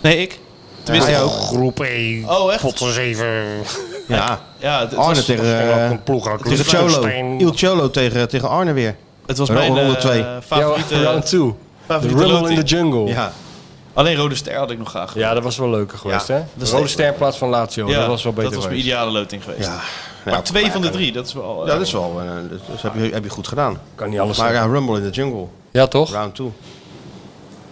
[SPEAKER 10] Nee, ik. Tenminste,
[SPEAKER 6] Hij ook.
[SPEAKER 8] Groep 1.
[SPEAKER 10] Oh, echt?
[SPEAKER 8] Pot 7.
[SPEAKER 6] Ja, Oh,
[SPEAKER 10] Ja, het, het
[SPEAKER 6] Arne
[SPEAKER 10] was,
[SPEAKER 6] tegen,
[SPEAKER 8] Uh,
[SPEAKER 6] eh,
[SPEAKER 8] een ploeg uit
[SPEAKER 6] tegen Cholo.
[SPEAKER 8] Liechtenstein.
[SPEAKER 6] Il Cholo tegen, tegen Arne weer.
[SPEAKER 10] het was
[SPEAKER 6] Ronde
[SPEAKER 10] mijn eh,
[SPEAKER 6] twee.
[SPEAKER 10] favoriete,
[SPEAKER 7] Ja, round 2. The
[SPEAKER 10] favoriete
[SPEAKER 7] Rumble in
[SPEAKER 10] loting.
[SPEAKER 7] the Jungle. Ja.
[SPEAKER 6] Ja,
[SPEAKER 10] Alleen Rode Ster had ik nog graag.
[SPEAKER 7] dat was wel leuker geweest,
[SPEAKER 6] Ja,
[SPEAKER 7] hè?
[SPEAKER 10] dat is
[SPEAKER 7] Rode
[SPEAKER 10] leuk.
[SPEAKER 7] ster in plaats van Lazio.
[SPEAKER 10] Ja,
[SPEAKER 7] dat was wel beter
[SPEAKER 10] Dat was mijn
[SPEAKER 7] geweest.
[SPEAKER 10] ideale loting geweest.
[SPEAKER 6] ja.
[SPEAKER 10] Maar
[SPEAKER 6] Nou,
[SPEAKER 10] twee van de drie, dat is wel... eh,
[SPEAKER 6] Ja, dat is wel. eh, dat dat heb, je, heb je goed gedaan.
[SPEAKER 7] Kan niet alles
[SPEAKER 6] Maar
[SPEAKER 7] zijn.
[SPEAKER 6] ja, Rumble in the Jungle,
[SPEAKER 7] Ja, toch?
[SPEAKER 6] round 2.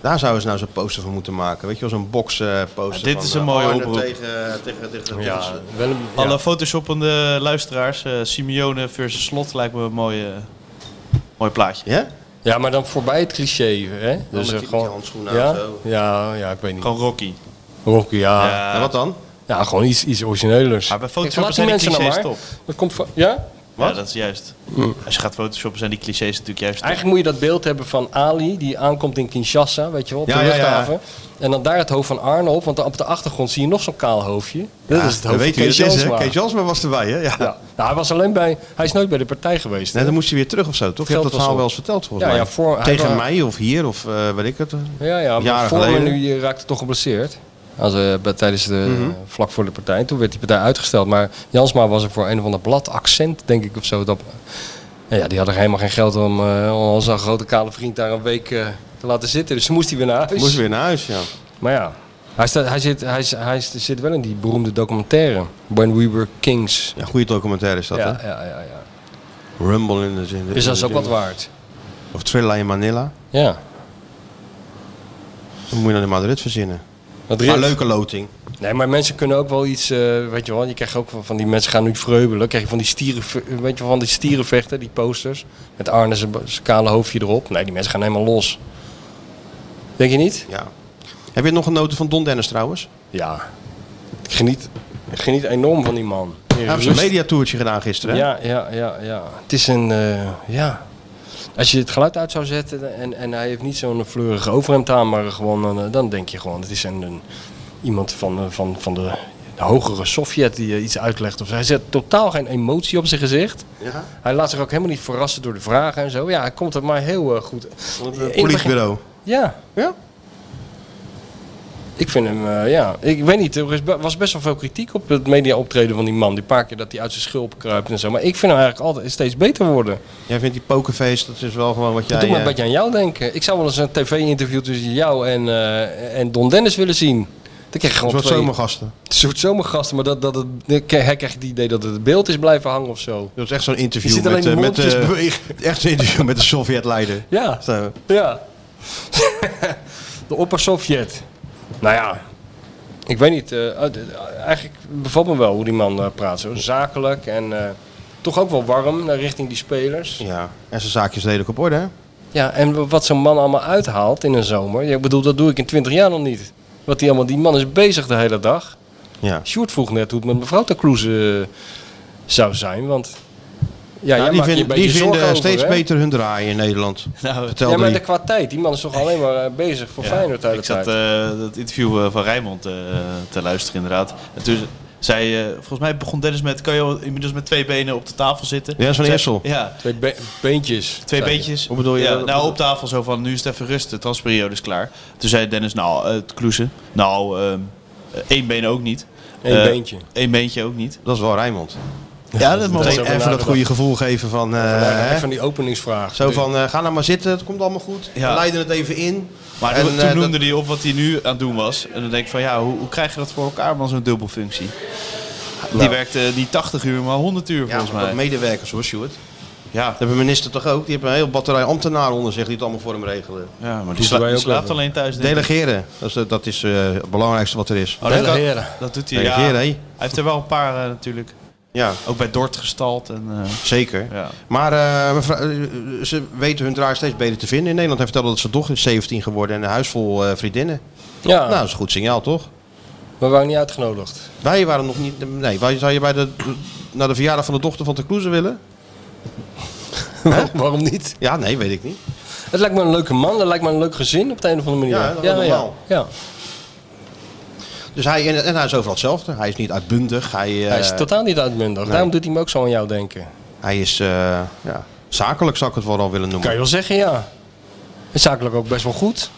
[SPEAKER 6] Daar zouden ze nou zo'n poster van moeten maken. Weet je wel, zo'n box eh, poster.
[SPEAKER 10] Ja, dit
[SPEAKER 6] van,
[SPEAKER 10] is een
[SPEAKER 6] eh,
[SPEAKER 10] mooie
[SPEAKER 6] Arne
[SPEAKER 10] oproep.
[SPEAKER 6] Tegen, tegen, tegen,
[SPEAKER 7] Ja,
[SPEAKER 6] tegen-
[SPEAKER 7] wel een, ja.
[SPEAKER 10] Alle photoshoppende luisteraars, eh, Simeone versus Slot lijkt me een mooi, eh, mooi plaatje.
[SPEAKER 6] Ja?
[SPEAKER 7] Ja, maar dan voorbij het cliché, hè?
[SPEAKER 6] met
[SPEAKER 7] eh,
[SPEAKER 6] die- die handschoenen aan,
[SPEAKER 7] ja?
[SPEAKER 6] zo.
[SPEAKER 7] Ja, ja, ik weet niet.
[SPEAKER 10] Gewoon Rocky.
[SPEAKER 7] Rocky, ja. ja.
[SPEAKER 6] en wat dan?
[SPEAKER 7] gewoon iets, iets originelers.
[SPEAKER 10] Maar bij
[SPEAKER 7] Laat
[SPEAKER 10] photoshoppen zijn
[SPEAKER 7] die
[SPEAKER 10] die
[SPEAKER 7] mensen nou
[SPEAKER 10] clichés
[SPEAKER 7] maar.
[SPEAKER 10] top.
[SPEAKER 7] Dat komt van, ja?
[SPEAKER 10] Ja, dat is juist.
[SPEAKER 7] Mm.
[SPEAKER 10] Als je gaat photoshoppen zijn die clichés natuurlijk juist top.
[SPEAKER 7] Eigenlijk moet je dat beeld hebben van Ali, die aankomt in Kinshasa, weet je wel, op
[SPEAKER 6] Ja,
[SPEAKER 7] de
[SPEAKER 6] ja, ja.
[SPEAKER 7] luchthaven. En dan daar het hoofd van Arne op, want op de achtergrond zie je nog zo'n kaal hoofdje. dat is
[SPEAKER 6] Dan
[SPEAKER 7] het hoofd van
[SPEAKER 6] weet je wie
[SPEAKER 7] Kees
[SPEAKER 6] het is, hè?
[SPEAKER 7] Jansma.
[SPEAKER 6] Kees Jansma was erbij, hè? Ja.
[SPEAKER 7] Ja. Nou, hij, was alleen bij, hij is nooit bij de partij geweest.
[SPEAKER 6] Nee,
[SPEAKER 7] hè?
[SPEAKER 6] dan moest hij weer terug of zo, toch? Je hebt
[SPEAKER 7] Veld
[SPEAKER 6] dat
[SPEAKER 7] was
[SPEAKER 6] verhaal
[SPEAKER 7] op.
[SPEAKER 6] wel eens verteld, volgens
[SPEAKER 7] Ja,
[SPEAKER 6] mij.
[SPEAKER 7] ja, voor- hij
[SPEAKER 6] Tegen
[SPEAKER 7] wa-
[SPEAKER 6] mij of hier of eh weet ik het.
[SPEAKER 7] Ja, ja, maar
[SPEAKER 6] Jaren
[SPEAKER 7] voor
[SPEAKER 6] geleden.
[SPEAKER 7] nu raakte toch geblesseerd. Als, eh, bij- tijdens de,
[SPEAKER 6] Mhm.
[SPEAKER 7] Vlak voor de partij. Toen werd die partij uitgesteld. Maar Jansma was er voor een of ander blad accent, denk ik of zo. Dat, nou ja, die hadden helemaal geen geld om, eh, om onze grote kale vriend daar een week eh, te laten zitten. Dus toen moest hij weer naar huis.
[SPEAKER 6] Moest weer naar huis, ja.
[SPEAKER 7] Maar ja, hij, staat, hij, zit, hij, is- hij is- zit wel in die beroemde documentaire. When We Were Kings.
[SPEAKER 6] Ja, goede documentaire is dat,
[SPEAKER 7] ja, ja, ja, ja.
[SPEAKER 6] hè? Rumble in de in de-
[SPEAKER 7] Dus dat
[SPEAKER 6] in
[SPEAKER 7] is
[SPEAKER 6] de
[SPEAKER 7] ook wat
[SPEAKER 6] jungle.
[SPEAKER 7] waard.
[SPEAKER 6] Of Thrilla in Manila.
[SPEAKER 7] Ja.
[SPEAKER 6] Dan moet je naar de Madrid verzinnen.
[SPEAKER 7] Wat
[SPEAKER 6] Maar
[SPEAKER 7] Rit.
[SPEAKER 6] leuke loting.
[SPEAKER 7] Nee, maar mensen kunnen ook wel iets, eh, weet je wel, je krijgt ook van- van die mensen gaan nu vreubelen. Dan krijg je van die stieren, weet je wel, van die stierenvechten, die posters. Met Arne zijn zijn kale hoofdje erop. Nee, die mensen gaan helemaal los. Denk je niet?
[SPEAKER 6] Ja. Heb je nog genoten van Don Dennis trouwens?
[SPEAKER 7] Ja. Ik geniet, ik geniet enorm van die man.
[SPEAKER 6] Hij heeft een mediatoertje gedaan gisteren. hè?
[SPEAKER 7] Ja, ja, ja, ja. Het is een, eh, ja. Als je het geluid uit zou zetten en, en hij heeft niet zo'n fleurige overhemd aan, maar gewoon, een, eh, dan denk je gewoon, het is een, een- iemand van, eh, van, van de, de hogere Sovjet die je iets uitlegt. Of, zo. hij zet totaal geen emotie op zijn gezicht. Hij laat zich ook helemaal niet verrassen door de vragen en zo. Ja, hij komt er maar heel eh, goed.
[SPEAKER 6] Het
[SPEAKER 7] In het begin-
[SPEAKER 6] Politiebureau.
[SPEAKER 7] ja.
[SPEAKER 6] Ja?
[SPEAKER 7] Ik vind hem, eh, ja, ik weet niet, er is be- was best wel veel kritiek op het media optreden van die man. Die paar keer dat hij uit zijn schulp kruipt en zo. Maar ik vind hem eigenlijk altijd steeds beter worden.
[SPEAKER 6] Jij vindt die pokerface, dat is wel gewoon wat
[SPEAKER 7] Dat
[SPEAKER 6] jij...
[SPEAKER 7] doet me een
[SPEAKER 6] eh,
[SPEAKER 7] beetje aan jou denken. Ik zou wel eens een tv-interview tussen jou en, eh, en Don Dennis willen zien. Dan krijg je
[SPEAKER 6] een
[SPEAKER 7] gewoon
[SPEAKER 6] soort
[SPEAKER 7] twee
[SPEAKER 6] zomergasten.
[SPEAKER 7] een soort zomergasten, maar dat, dat het, hij krijgt het idee dat het het beeld is blijven hangen of zo.
[SPEAKER 6] Dat is echt zo'n
[SPEAKER 7] Je
[SPEAKER 6] interview
[SPEAKER 7] ziet alleen
[SPEAKER 6] met,
[SPEAKER 7] de
[SPEAKER 6] eh, met,
[SPEAKER 7] mondjes
[SPEAKER 6] eh,
[SPEAKER 7] bewegen.
[SPEAKER 6] echt zo'n interview met de Sovjet-leider.
[SPEAKER 7] Ja,
[SPEAKER 6] Zo.
[SPEAKER 7] ja. de opper-Sovjet. Nou ja, ik weet niet. eh, eh, eigenlijk bevalt me wel hoe die man eh, praat. Zo zakelijk en eh, toch ook wel warm naar richting die spelers.
[SPEAKER 6] Ja. En zijn zaakjes redelijk op orde, hè?
[SPEAKER 7] Ja, en wat zo'n man allemaal uithaalt in een zomer. Ja, ik bedoel, dat doe ik in 20 jaar nog niet. Wat die, allemaal, die man is bezig de hele dag.
[SPEAKER 6] Ja.
[SPEAKER 7] Sjoerd vroeg net hoe het met mevrouw de Kroes eh, zou zijn. Want ja, jij
[SPEAKER 6] Nou, die
[SPEAKER 7] maakt je een
[SPEAKER 6] vinden, die
[SPEAKER 7] beetje zorgen
[SPEAKER 6] vinden
[SPEAKER 7] over,
[SPEAKER 6] steeds
[SPEAKER 7] hè?
[SPEAKER 6] beter hun draai in Nederland.
[SPEAKER 10] Nou,
[SPEAKER 6] Vertel
[SPEAKER 7] ja, maar
[SPEAKER 6] drie.
[SPEAKER 7] de qua tijd. Die man is toch alleen maar eh, bezig voor Feyenoord de hele
[SPEAKER 10] ik zat
[SPEAKER 7] tijd.
[SPEAKER 10] eh, dat interview eh, van Rijnmond eh, te luisteren inderdaad. En toen zei, eh, volgens mij begon Dennis met, kan je al inmiddels met twee benen op de tafel zitten?
[SPEAKER 6] Ja, zo'n
[SPEAKER 10] Zei-
[SPEAKER 6] Essel.
[SPEAKER 10] Ja,
[SPEAKER 7] Twee be- beentjes.
[SPEAKER 10] twee
[SPEAKER 7] zei je.
[SPEAKER 10] beentjes.
[SPEAKER 6] Hoe bedoel je
[SPEAKER 10] Ja,
[SPEAKER 6] dat?
[SPEAKER 10] nou, op tafel zo van, nu is het even rust, de transperiode is klaar. Toen zei Dennis, nou, eh, het kloesen. Nou, ehm, eh, één been ook niet.
[SPEAKER 7] Eén
[SPEAKER 10] Eh,
[SPEAKER 7] beentje.
[SPEAKER 10] Eén beentje ook niet.
[SPEAKER 6] Dat is wel Rijnmond.
[SPEAKER 10] Ja, dat mag
[SPEAKER 7] is
[SPEAKER 6] Meteen
[SPEAKER 7] ook wel
[SPEAKER 6] even dat
[SPEAKER 7] nagedacht.
[SPEAKER 6] goede gevoel geven van... eh,
[SPEAKER 7] Ja,
[SPEAKER 6] hè?
[SPEAKER 7] van die openingsvraag. Dus-
[SPEAKER 6] Zo van, eh, ga nou maar zitten, het komt allemaal goed.
[SPEAKER 10] Ja.
[SPEAKER 6] We leiden het even in.
[SPEAKER 10] Maar
[SPEAKER 6] En,
[SPEAKER 10] toen,
[SPEAKER 6] eh,
[SPEAKER 10] toen noemde hij op wat hij nu aan het doen was. En dan denk ik van ja, hoe, hoe krijg je dat voor elkaar man, zo'n dubbelfunctie?
[SPEAKER 7] Nou.
[SPEAKER 10] Die werkt eh, niet 80 uur, maar 100 uur
[SPEAKER 6] Ja,
[SPEAKER 10] volgens
[SPEAKER 6] maar dat
[SPEAKER 10] mij.
[SPEAKER 6] medewerkers hoor, Stuart. Dat
[SPEAKER 10] Ja,
[SPEAKER 6] hebben minister toch ook? Die hebben een heel batterij ambtenaren onder zich die het allemaal voor hem regelen.
[SPEAKER 10] ja, maar die, sla-
[SPEAKER 7] wij
[SPEAKER 10] die
[SPEAKER 7] ook
[SPEAKER 10] slaapt
[SPEAKER 7] even.
[SPEAKER 10] alleen thuis. denk ik.
[SPEAKER 6] Delegeren, dat is, eh, dat is eh, het belangrijkste wat er is.
[SPEAKER 10] Oh, dat, kan-
[SPEAKER 7] Delegeren.
[SPEAKER 10] dat doet hij.
[SPEAKER 6] Delegeren,
[SPEAKER 10] ja.
[SPEAKER 6] hè?
[SPEAKER 10] Hij heeft er wel een paar eh, natuurlijk.
[SPEAKER 6] Ja,
[SPEAKER 10] Ook bij Dort gestald. En, eh,
[SPEAKER 6] zeker.
[SPEAKER 10] ja.
[SPEAKER 6] Maar eh, mevrouw- eh, ze weten hun draai steeds beter te vinden in Nederland. Hij vertelde dat zijn dochter is 17 geworden en een huis vol eh, vriendinnen.
[SPEAKER 7] Ja,
[SPEAKER 6] Nou, dat is een goed signaal, toch?
[SPEAKER 7] we waren niet uitgenodigd.
[SPEAKER 6] Wij waren nog niet... Nee, wij, zou je bij de, naar de verjaardag van de dochter van de Kloeze willen?
[SPEAKER 7] Waarom niet?
[SPEAKER 6] Ja, nee, weet ik niet.
[SPEAKER 7] Het lijkt me een leuke man. Het lijkt me een leuk gezin op de een of andere manier.
[SPEAKER 6] Ja, dat is normaal.
[SPEAKER 7] Ja, ja.
[SPEAKER 6] Dus hij, en, en hij is overal hetzelfde. Hij is niet uitbundig. Hij, eh,
[SPEAKER 7] Hij is totaal niet uitmundig. Daarom doet hij me ook zo aan jou denken.
[SPEAKER 6] Hij is eh, ja, zakelijk, zou ik het wel al willen
[SPEAKER 7] Kan je
[SPEAKER 6] noemen.
[SPEAKER 7] wel zeggen, ja. En zakelijk ook best wel goed.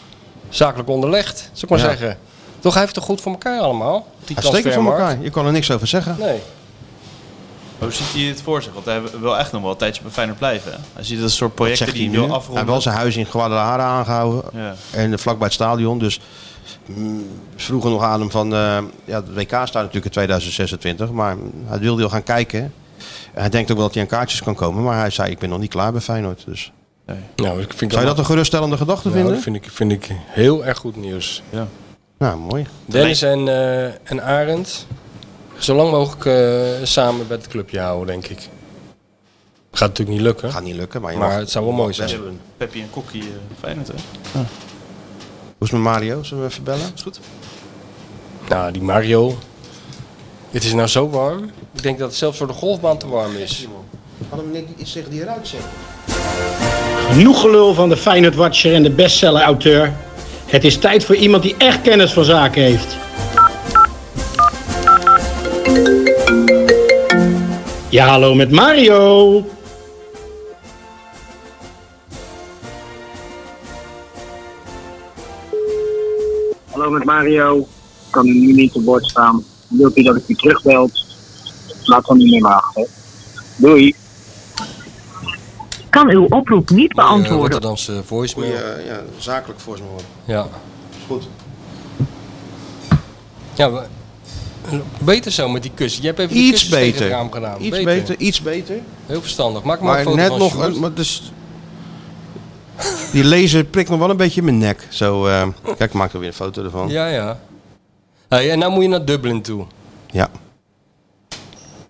[SPEAKER 7] Zakelijk onderlegd, zou ik maar
[SPEAKER 6] Ja.
[SPEAKER 7] zeggen. Toch, hij heeft het goed voor elkaar allemaal. Die
[SPEAKER 6] Hij steekt het voor
[SPEAKER 7] transfermarkt.
[SPEAKER 6] elkaar. Je kan er niks over zeggen.
[SPEAKER 7] Nee.
[SPEAKER 10] Hoe Oh, ziet hij het voor zich? Want hij wil echt nog wel een tijdje bij Feyenoord blijven. hè? Hij ziet dat soort
[SPEAKER 6] Dat
[SPEAKER 10] projecten
[SPEAKER 6] zegt
[SPEAKER 10] die
[SPEAKER 6] hij
[SPEAKER 10] hij
[SPEAKER 6] nu.
[SPEAKER 10] wil
[SPEAKER 6] Hij
[SPEAKER 10] afronden.
[SPEAKER 6] heeft wel zijn huis in Guadalajara aangehouden.
[SPEAKER 10] Ja.
[SPEAKER 6] En eh, vlakbij het stadion. Dus mm, ze vroegen nog aan hem van... eh, ja, het WK staat natuurlijk in 2026. Maar hij wilde heel gaan kijken. En hij denkt ook wel dat hij aan kaartjes kan komen. Maar hij zei, ik ben nog niet klaar bij Feyenoord. Dus.
[SPEAKER 7] Nou, ik vind
[SPEAKER 6] Zou je dat een geruststellende gedachte
[SPEAKER 7] nou,
[SPEAKER 6] vinden?
[SPEAKER 7] dat vind ik, vind ik heel erg goed nieuws.
[SPEAKER 6] Nou, mooi.
[SPEAKER 7] Dennis en, eh, en Arend, zo lang mogelijk eh, samen bij het clubje houden, denk ik. Gaat natuurlijk niet lukken.
[SPEAKER 6] Gaat niet lukken, maar, je
[SPEAKER 7] Maar
[SPEAKER 6] mag-
[SPEAKER 7] het zou wel mooi zijn.
[SPEAKER 10] Ja, Peppi en Kokkie eh, Feyenoord. Hè?
[SPEAKER 6] Hoe is het met Mario? Zullen we even bellen?
[SPEAKER 10] Is goed.
[SPEAKER 7] Nou, die Mario. Het is nou zo warm. Ik denk dat het zelfs voor de golfbaan te warm is.
[SPEAKER 6] Hadden we niet iets tegen die eruit zegt?
[SPEAKER 11] Genoeg gelul van de Feyenoord Watcher en de bestseller auteur. Het is tijd voor iemand die echt kennis van zaken heeft. Ja, hallo met Mario.
[SPEAKER 12] Hallo met Mario. Ik kan nu niet op bord staan. Wilt u dat ik u terugbelt? Laat dan niet meer wachten. Doei.
[SPEAKER 5] kan uw oproep niet
[SPEAKER 7] Antwoorden.
[SPEAKER 5] beantwoorden.
[SPEAKER 7] eh, Rotterdamse voicemail.
[SPEAKER 6] Ja, ja, zakelijk voor zijn hoor.
[SPEAKER 7] Ja.
[SPEAKER 6] Is eh, goed.
[SPEAKER 7] ja we- beter zo met die kussen. Je hebt even die
[SPEAKER 6] Iets
[SPEAKER 7] kussens tegen het raam
[SPEAKER 6] beter.
[SPEAKER 7] gedaan.
[SPEAKER 6] Iets beter, iets beter.
[SPEAKER 7] Heel verstandig. Maak maar, een
[SPEAKER 6] Maar
[SPEAKER 7] foto
[SPEAKER 6] net
[SPEAKER 7] van
[SPEAKER 6] nog,
[SPEAKER 7] Sjoerd.
[SPEAKER 6] een, maar dus, die laser prikt nog wel een beetje in mijn nek. Zo, eh, kijk, ik maak er weer een foto ervan. Ja.
[SPEAKER 7] Ja, ja. Hey, en nou moet je naar Dublin toe.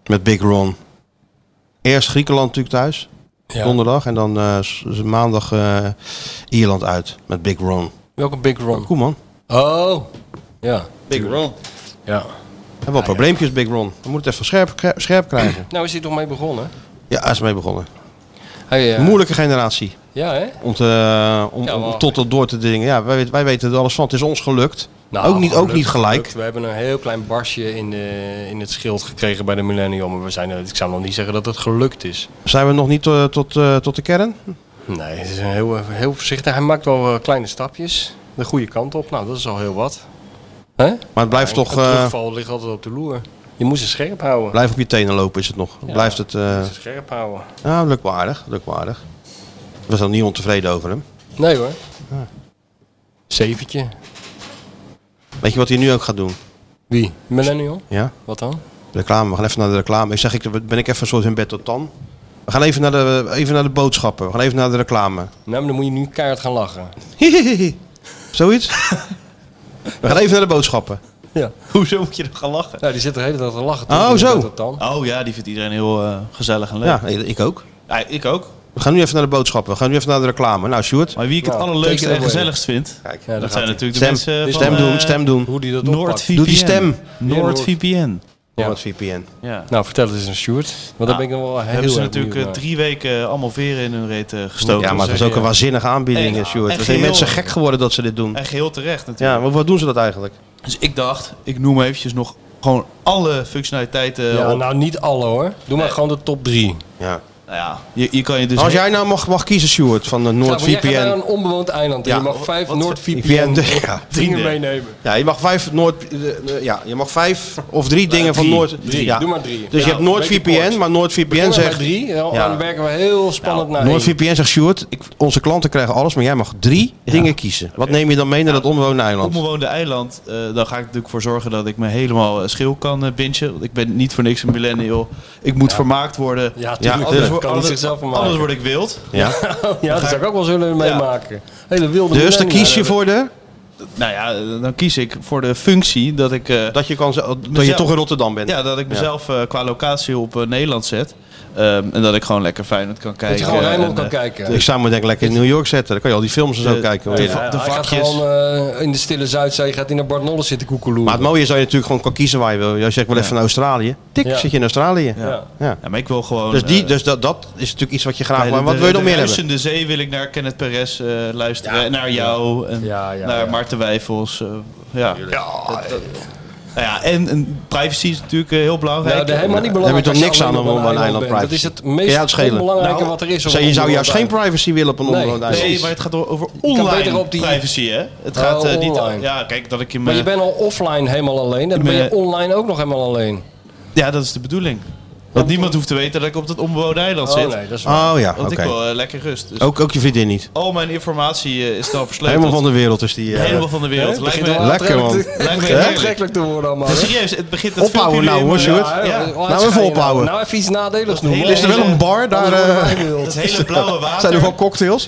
[SPEAKER 6] Met Big Ron. Eerst Griekenland natuurlijk thuis,
[SPEAKER 7] Ja.
[SPEAKER 6] donderdag. En dan eh, s- s- maandag eh, Ierland uit, met Big Ron.
[SPEAKER 7] Welke Big Ron?
[SPEAKER 6] Koeman.
[SPEAKER 7] Oh. Ja.
[SPEAKER 6] Big Ron.
[SPEAKER 7] Ah, ja.
[SPEAKER 6] Hebben wel probleempjes, Big Ron. We moeten het even scherp, kri- scherp krijgen.
[SPEAKER 7] Nou is hij toch mee begonnen?
[SPEAKER 6] ja, hij is mee begonnen.
[SPEAKER 7] Hij, eh,
[SPEAKER 6] Moeilijke generatie.
[SPEAKER 7] Ja, hè?
[SPEAKER 6] Om, te, eh, om,
[SPEAKER 7] Ja,
[SPEAKER 6] om
[SPEAKER 7] maar-
[SPEAKER 6] tot dat door te dringen. Ja, wij, weet- wij weten er alles van. Het is ons gelukt.
[SPEAKER 7] Nou,
[SPEAKER 6] ook, niet, ook
[SPEAKER 7] gelukt,
[SPEAKER 6] niet gelijk.
[SPEAKER 7] gelukt. We hebben een heel klein barsje in, de, in het schild gekregen bij de Millennium. Maar we zijn, eh, ik zou nog niet zeggen dat het gelukt is.
[SPEAKER 6] Zijn we nog niet eh, tot, eh, tot de kern?
[SPEAKER 7] Nee, het is een heel, eh, heel voorzichtig. Hij maakt wel eh, kleine stapjes. De goede kant op. Nou, dat is al heel wat. Hè?
[SPEAKER 6] Maar het blijft toch...
[SPEAKER 7] Een
[SPEAKER 6] eh,
[SPEAKER 7] terugval ligt altijd op de loer. Je moet ze scherp houden.
[SPEAKER 6] blijf op je tenen lopen is het nog. Blijft het...
[SPEAKER 7] Je
[SPEAKER 6] eh
[SPEAKER 7] moet ze scherp houden.
[SPEAKER 6] nou, lukt wel aardig. Lukt wel aardig. We zijn niet ontevreden over hem.
[SPEAKER 7] Nee hoor. Zeventje.
[SPEAKER 6] Weet je wat hij nu ook gaat doen?
[SPEAKER 7] Wie? Millennium?
[SPEAKER 6] Ja?
[SPEAKER 7] Wat dan?
[SPEAKER 6] Reclame. We gaan even naar de reclame. Ik zeg, ik, ben ik even een soort in bed tot dan? We gaan even naar, de, even naar de boodschappen. We gaan even naar de reclame.
[SPEAKER 7] Nou, maar dan moet je nu kaart gaan lachen.
[SPEAKER 6] Hihihihi. Zoiets? We gaan even naar de boodschappen.
[SPEAKER 7] Ja.
[SPEAKER 10] Hoezo moet je er gaan lachen?
[SPEAKER 7] Nou, die zit de hele tijd te lachen.
[SPEAKER 6] Oh,
[SPEAKER 7] Die
[SPEAKER 6] zo.
[SPEAKER 7] doet Dat dan.
[SPEAKER 10] Oh ja, die vindt iedereen heel eh, gezellig en leuk.
[SPEAKER 6] Ja, ik ook.
[SPEAKER 10] Ja, ik ook.
[SPEAKER 6] We gaan nu even naar de boodschappen. We gaan nu even naar de reclame. Nou, Sjoerd.
[SPEAKER 10] Maar wie ik het
[SPEAKER 7] Nou, take
[SPEAKER 10] allerleukste
[SPEAKER 7] it
[SPEAKER 10] en
[SPEAKER 7] away.
[SPEAKER 10] gezelligst vind,
[SPEAKER 6] Kijk,
[SPEAKER 7] Ja,
[SPEAKER 10] dat
[SPEAKER 7] dat
[SPEAKER 10] zijn
[SPEAKER 7] gaat
[SPEAKER 10] Oh, natuurlijk
[SPEAKER 6] Stem.
[SPEAKER 10] de mensen
[SPEAKER 6] Stem
[SPEAKER 10] van,
[SPEAKER 6] doen,
[SPEAKER 10] eh,
[SPEAKER 6] stem doen.
[SPEAKER 7] Hoe die dat
[SPEAKER 10] NoordVPN.
[SPEAKER 7] oppakt.
[SPEAKER 6] Doe die stem.
[SPEAKER 10] NoordVPN.
[SPEAKER 6] Ja. VPN.
[SPEAKER 10] Ja.
[SPEAKER 7] Nou, vertel eens een Sjoerd. Want daar ben ik nog wel heel
[SPEAKER 10] Nou, hebben ze
[SPEAKER 7] erg
[SPEAKER 10] natuurlijk eh,
[SPEAKER 7] benieuwd naar.
[SPEAKER 10] drie weken eh, allemaal veren in hun reet eh, gestoken.
[SPEAKER 6] Ja, maar het
[SPEAKER 10] Dus,
[SPEAKER 6] is ook
[SPEAKER 10] eh,
[SPEAKER 6] een waanzinnige aanbieding,
[SPEAKER 10] Echt,
[SPEAKER 6] Sjoerd.
[SPEAKER 10] echt
[SPEAKER 6] Er zijn
[SPEAKER 10] heel-
[SPEAKER 6] mensen gek geworden dat ze dit doen.
[SPEAKER 10] En geheel terecht natuurlijk.
[SPEAKER 6] Ja, maar wat doen ze dat eigenlijk?
[SPEAKER 10] Dus ik dacht, ik noem eventjes nog gewoon alle functionaliteiten
[SPEAKER 7] Ja,
[SPEAKER 10] op.
[SPEAKER 7] nou niet alle hoor. Doe maar gewoon de top drie.
[SPEAKER 6] Ja.
[SPEAKER 10] Nou ja, je, je kan je dus...
[SPEAKER 6] Als jij nou mag, mag kiezen, Sjoerd, van de
[SPEAKER 7] Nou, maar jij gaat naar
[SPEAKER 6] NoordVPN.
[SPEAKER 7] een onbewoond eiland en
[SPEAKER 6] Ja,
[SPEAKER 7] je mag vijf
[SPEAKER 10] wat-
[SPEAKER 7] NoordVPN
[SPEAKER 6] Ja.
[SPEAKER 7] dingen meenemen.
[SPEAKER 6] Ja, je mag vijf Noord, eh, eh, ja, je mag vijf of drie dingen van Noord.
[SPEAKER 7] Drie,
[SPEAKER 6] Ja.
[SPEAKER 7] doe maar drie.
[SPEAKER 6] Dus je hebt NoordVPN, maar NoordVPN
[SPEAKER 7] Begin maar bij
[SPEAKER 6] zegt.
[SPEAKER 7] drie, dan
[SPEAKER 6] Ja. Nou,
[SPEAKER 7] dan werken we heel spannend naar één.
[SPEAKER 6] NoordVPN zegt Sjoerd, ik, onze klanten krijgen alles, maar jij mag drie dingen kiezen. Wat neem je dan mee naar dat onbewoonde eiland?
[SPEAKER 10] Onbewoonde eiland, eh daar ga ik natuurlijk voor zorgen dat ik me helemaal eh, schil kan eh, bingen. Want ik ben niet voor niks een millennial. Ik moet vermaakt worden.
[SPEAKER 7] Ja, tuurlijk.
[SPEAKER 6] Ja,
[SPEAKER 7] dat
[SPEAKER 6] dus-
[SPEAKER 7] kan niet zichzelf van
[SPEAKER 10] Anders
[SPEAKER 7] maken.
[SPEAKER 10] word ik wild.
[SPEAKER 6] Ja.
[SPEAKER 7] Ja, dat zou ik ook wel zullen meemaken. Hele wilde
[SPEAKER 6] Dus dan
[SPEAKER 7] millennia.
[SPEAKER 6] kies je voor de,
[SPEAKER 10] Nou ja, eh, dan kies ik voor de functie dat ik... eh,
[SPEAKER 6] dat je, kan, zo- dat je
[SPEAKER 10] Mezelf-
[SPEAKER 6] toch in Rotterdam bent.
[SPEAKER 10] ja, dat ik mezelf eh, qua locatie op eh, Nederland zet. Ehm, en dat ik gewoon lekker Feyenoord kan kijken.
[SPEAKER 7] Dat je gewoon
[SPEAKER 10] eh,
[SPEAKER 7] Rijnmond
[SPEAKER 10] en,
[SPEAKER 7] kan
[SPEAKER 10] eh,
[SPEAKER 7] kijken.
[SPEAKER 6] Ik zou me denk ik lekker in New York zetten. Dan kan je al die films en zo
[SPEAKER 10] de-
[SPEAKER 6] kijken.
[SPEAKER 10] de-
[SPEAKER 6] hoor.
[SPEAKER 10] de-
[SPEAKER 7] Ja,
[SPEAKER 10] de
[SPEAKER 7] hij gaat
[SPEAKER 10] vakjes.
[SPEAKER 7] gewoon eh, in de stille Zuidzee, gaat hij naar Barnolle zitten koekeloeren.
[SPEAKER 6] Maar het mooie is dat je natuurlijk gewoon kan kiezen waar je wil. Jij zegt wel even naar Australië. Tik,
[SPEAKER 7] Ja.
[SPEAKER 6] zit je in Australië.
[SPEAKER 7] Ja.
[SPEAKER 6] Ja.
[SPEAKER 10] Ja, maar ik wil gewoon...
[SPEAKER 6] Dus, die,
[SPEAKER 10] eh,
[SPEAKER 6] dus dat, dat is natuurlijk iets wat je graag...
[SPEAKER 10] bij
[SPEAKER 6] Maar
[SPEAKER 10] de-
[SPEAKER 6] wat wil je
[SPEAKER 10] de-
[SPEAKER 6] nog meer
[SPEAKER 10] de
[SPEAKER 6] hebben?
[SPEAKER 10] ruisende zee wil ik naar Kenneth Perez eh, luisteren. en naar jou. En
[SPEAKER 7] Ja, ja,
[SPEAKER 10] naar
[SPEAKER 7] ja.
[SPEAKER 10] Maarten Wijfels. eh, ja. Dat- dat- nou ja, en, en privacy is natuurlijk eh, heel belangrijk.
[SPEAKER 7] Nou, dat is helemaal niet
[SPEAKER 6] Daar heb
[SPEAKER 7] belangrijk.
[SPEAKER 6] je toch
[SPEAKER 7] als
[SPEAKER 6] niks aan
[SPEAKER 7] alleen
[SPEAKER 6] om
[SPEAKER 7] maar
[SPEAKER 6] op een eiland
[SPEAKER 7] bent.
[SPEAKER 6] privacy.
[SPEAKER 7] Dat is het
[SPEAKER 6] Kan jij
[SPEAKER 7] meest belangrijke wat er is. op
[SPEAKER 6] Zou- Nou, je
[SPEAKER 7] een
[SPEAKER 6] zou juist geen
[SPEAKER 7] eiland.
[SPEAKER 6] privacy willen op een
[SPEAKER 7] Nee.
[SPEAKER 6] onbewoond eiland.
[SPEAKER 10] Nou, Nee, maar het gaat over
[SPEAKER 7] kan
[SPEAKER 10] online
[SPEAKER 7] beter op die-
[SPEAKER 10] privacy, hè? Het
[SPEAKER 7] Oh,
[SPEAKER 10] gaat eh, niet...
[SPEAKER 7] online.
[SPEAKER 10] Ja, kijk, dat ik in
[SPEAKER 7] Maar
[SPEAKER 10] mijn...
[SPEAKER 7] je bent al offline helemaal alleen. En dan ben je
[SPEAKER 10] Me-
[SPEAKER 7] online ook nog helemaal alleen.
[SPEAKER 10] Ja, dat is de bedoeling. Want niemand hoeft te weten dat ik op dat onbewoonde eiland
[SPEAKER 7] Oh
[SPEAKER 10] zit.
[SPEAKER 7] nee, dat is waar.
[SPEAKER 6] Oh ja, oké.
[SPEAKER 10] Want ik wil eh, lekker rust. Dus
[SPEAKER 6] Ook, ook je vriendin niet.
[SPEAKER 10] al mijn informatie eh, is dan versleuteld.
[SPEAKER 6] Helemaal van de wereld is die... eh,
[SPEAKER 10] Helemaal van de wereld.
[SPEAKER 7] Het
[SPEAKER 10] Lijkt
[SPEAKER 7] begint
[SPEAKER 10] me-
[SPEAKER 7] wel
[SPEAKER 6] Lekker, man.
[SPEAKER 7] aantrekkelijk te-
[SPEAKER 10] Lijkt me
[SPEAKER 7] Het begint
[SPEAKER 10] heerlijk.
[SPEAKER 7] aantrekkelijk te worden allemaal.
[SPEAKER 10] Maar
[SPEAKER 7] hè?
[SPEAKER 10] Serieus, het begint het
[SPEAKER 6] Ophouden
[SPEAKER 10] filmpje eh,
[SPEAKER 6] nou,
[SPEAKER 10] nu
[SPEAKER 6] hoor,
[SPEAKER 10] in mijn-
[SPEAKER 6] Sjoerd.
[SPEAKER 7] Ja,
[SPEAKER 10] Ja,
[SPEAKER 7] hè, wat
[SPEAKER 6] Nou,
[SPEAKER 7] ga je
[SPEAKER 6] even opbouwen.
[SPEAKER 7] Nou even iets nadeligs noemen.
[SPEAKER 10] hele-
[SPEAKER 6] Is er wel een bar daar?
[SPEAKER 7] Anders worden we
[SPEAKER 6] eh,
[SPEAKER 10] Dat
[SPEAKER 7] wild.
[SPEAKER 10] hele blauwe water.
[SPEAKER 6] zijn er wel cocktails?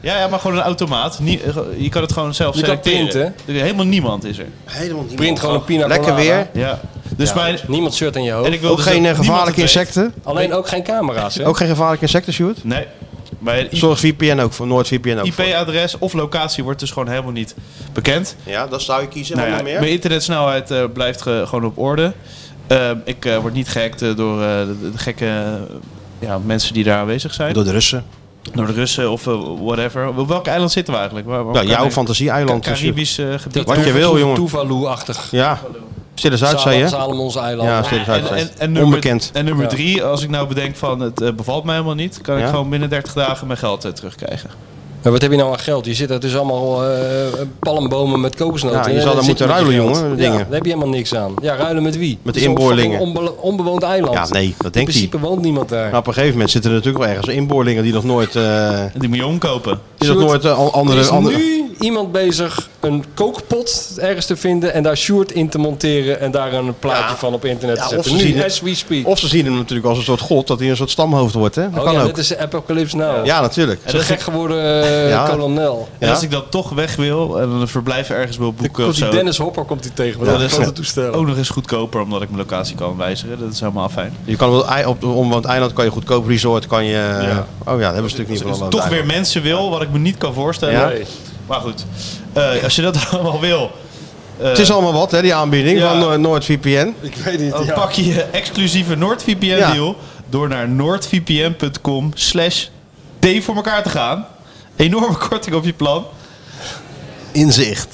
[SPEAKER 10] Ja, ja, maar gewoon een automaat. Nie- eh, je kan het gewoon zelf
[SPEAKER 7] Je kan
[SPEAKER 10] selecteren.
[SPEAKER 7] printen.
[SPEAKER 10] Er- Helemaal niemand is er.
[SPEAKER 6] Helemaal niet.
[SPEAKER 7] Print gewoon een pina
[SPEAKER 6] Lekker
[SPEAKER 7] colada.
[SPEAKER 6] weer.
[SPEAKER 10] Ja. Dus mijn...
[SPEAKER 7] Niemand shirt aan je hoofd.
[SPEAKER 10] En ik wil
[SPEAKER 6] Ook
[SPEAKER 10] dus
[SPEAKER 6] geen
[SPEAKER 10] dat
[SPEAKER 6] eh,
[SPEAKER 10] niemand
[SPEAKER 6] gevaarlijke
[SPEAKER 10] het weet.
[SPEAKER 6] insecten.
[SPEAKER 7] Alleen ook geen camera's. Hè?
[SPEAKER 6] Ook geen gevaarlijke insecten, Sjoerd.
[SPEAKER 10] Nee. Mijn
[SPEAKER 6] Zorg VPN ook voor. Noord VPN ook voor.
[SPEAKER 10] IP-adres of locatie wordt dus gewoon helemaal niet bekend.
[SPEAKER 6] Ja, dat zou je kiezen.
[SPEAKER 10] Nou
[SPEAKER 6] wat
[SPEAKER 10] ja,
[SPEAKER 6] nog meer?
[SPEAKER 10] mijn internetsnelheid eh, blijft ge- gewoon op orde. Ehm, ik eh, word niet gehackt eh, door eh, de, de gekke eh, ja, mensen die daar aanwezig zijn.
[SPEAKER 6] Door de Russen.
[SPEAKER 10] Door de Russen of eh, whatever. Op welk eiland zitten we eigenlijk? Waar, waar-
[SPEAKER 6] Nou, jouw
[SPEAKER 10] Cari-
[SPEAKER 6] fantasie-eiland. is je-
[SPEAKER 10] Caribisch eh, gebied.
[SPEAKER 6] Wat je wil, jongen.
[SPEAKER 7] Tuvalu-achtig.
[SPEAKER 6] Ja. Stille Zuidzee, hè?
[SPEAKER 7] Salomons eiland.
[SPEAKER 6] Ja, Stille
[SPEAKER 10] En,
[SPEAKER 6] Zuidzee.
[SPEAKER 10] en, en nummer,
[SPEAKER 6] Onbekend.
[SPEAKER 10] En nummer
[SPEAKER 7] Ja.
[SPEAKER 10] drie, als ik nou bedenk van het eh, bevalt mij helemaal niet, kan
[SPEAKER 6] Ja?
[SPEAKER 10] ik gewoon binnen 30 dagen mijn geld eh, terugkrijgen.
[SPEAKER 7] Maar wat heb je nou aan geld? Je zit daar dus allemaal eh, palmbomen met kokosnoten.
[SPEAKER 6] Ja, je
[SPEAKER 7] En
[SPEAKER 6] zou
[SPEAKER 7] dan
[SPEAKER 6] daar
[SPEAKER 7] zit
[SPEAKER 6] moeten
[SPEAKER 7] je met
[SPEAKER 6] ruilen,
[SPEAKER 7] geld.
[SPEAKER 6] jongen, met
[SPEAKER 7] Ja,
[SPEAKER 6] dingen.
[SPEAKER 7] daar heb je helemaal niks aan. Ja, ruilen met wie?
[SPEAKER 6] Met de
[SPEAKER 7] Zo'n
[SPEAKER 6] inboorlingen.
[SPEAKER 7] fucking onbe- onbewoond eiland.
[SPEAKER 6] Ja, nee, dat
[SPEAKER 7] In
[SPEAKER 6] denkt hij.
[SPEAKER 7] principe woont niemand daar.
[SPEAKER 6] Nou, op een gegeven moment zitten er natuurlijk wel ergens inboorlingen die nog nooit, eh,
[SPEAKER 10] En die moet je omkopen.
[SPEAKER 6] die nog
[SPEAKER 7] Sjoerd,
[SPEAKER 6] nooit eh, al-
[SPEAKER 7] er
[SPEAKER 6] andere...
[SPEAKER 7] is
[SPEAKER 6] andere
[SPEAKER 7] nu iemand bezig een kookpot ergens te vinden en daar Sjoerd in te monteren en daar een plaatje van op internet te
[SPEAKER 6] Ja,
[SPEAKER 7] zetten.
[SPEAKER 6] of ze
[SPEAKER 7] nu,
[SPEAKER 6] zien het-
[SPEAKER 7] as we speak.
[SPEAKER 6] Of ze zien hem natuurlijk als een soort god, dat hij een soort stamhoofd wordt, hè? Dat
[SPEAKER 7] oh
[SPEAKER 6] kan
[SPEAKER 7] ja,
[SPEAKER 6] ook.
[SPEAKER 7] dit is de apocalypse nou.
[SPEAKER 6] Ja, natuurlijk.
[SPEAKER 7] Zo'n gek geworden eh,
[SPEAKER 6] Ja.
[SPEAKER 7] kolonel.
[SPEAKER 10] En
[SPEAKER 6] Ja.
[SPEAKER 10] als ik dan toch weg wil en een verblijf ergens wil boeken
[SPEAKER 7] Komt
[SPEAKER 10] of
[SPEAKER 7] die
[SPEAKER 10] zo.
[SPEAKER 7] Dennis Hopper komt die tegen met
[SPEAKER 10] dan
[SPEAKER 7] dat
[SPEAKER 10] is
[SPEAKER 7] grote
[SPEAKER 10] het
[SPEAKER 7] toestel.
[SPEAKER 6] Oh,
[SPEAKER 10] ook nog eens goedkoper omdat ik mijn locatie kan wijzigen. Dat is helemaal fijn.
[SPEAKER 6] Je kan wel ei- op op- want eiland kan je goedkoop resort, kan je... Oh ja, dat hebben ze natuurlijk niet
[SPEAKER 10] Dus
[SPEAKER 6] van
[SPEAKER 10] toch weer mensen wil, wat ik me niet kan voorstellen.
[SPEAKER 6] Ja.
[SPEAKER 7] Nee.
[SPEAKER 10] Maar goed, eh, als je dat allemaal wil,
[SPEAKER 6] Het is allemaal wat, hè, die aanbieding
[SPEAKER 10] Ja.
[SPEAKER 6] van eh, NoordVPN.
[SPEAKER 7] Ik weet niet.
[SPEAKER 10] dan
[SPEAKER 7] ja.
[SPEAKER 10] pak je je exclusieve
[SPEAKER 6] Ja.
[SPEAKER 10] NoordVPN-deal door naar noordvpn.com slash D voor elkaar te gaan. Enorme korting op je plan.
[SPEAKER 6] Inzicht.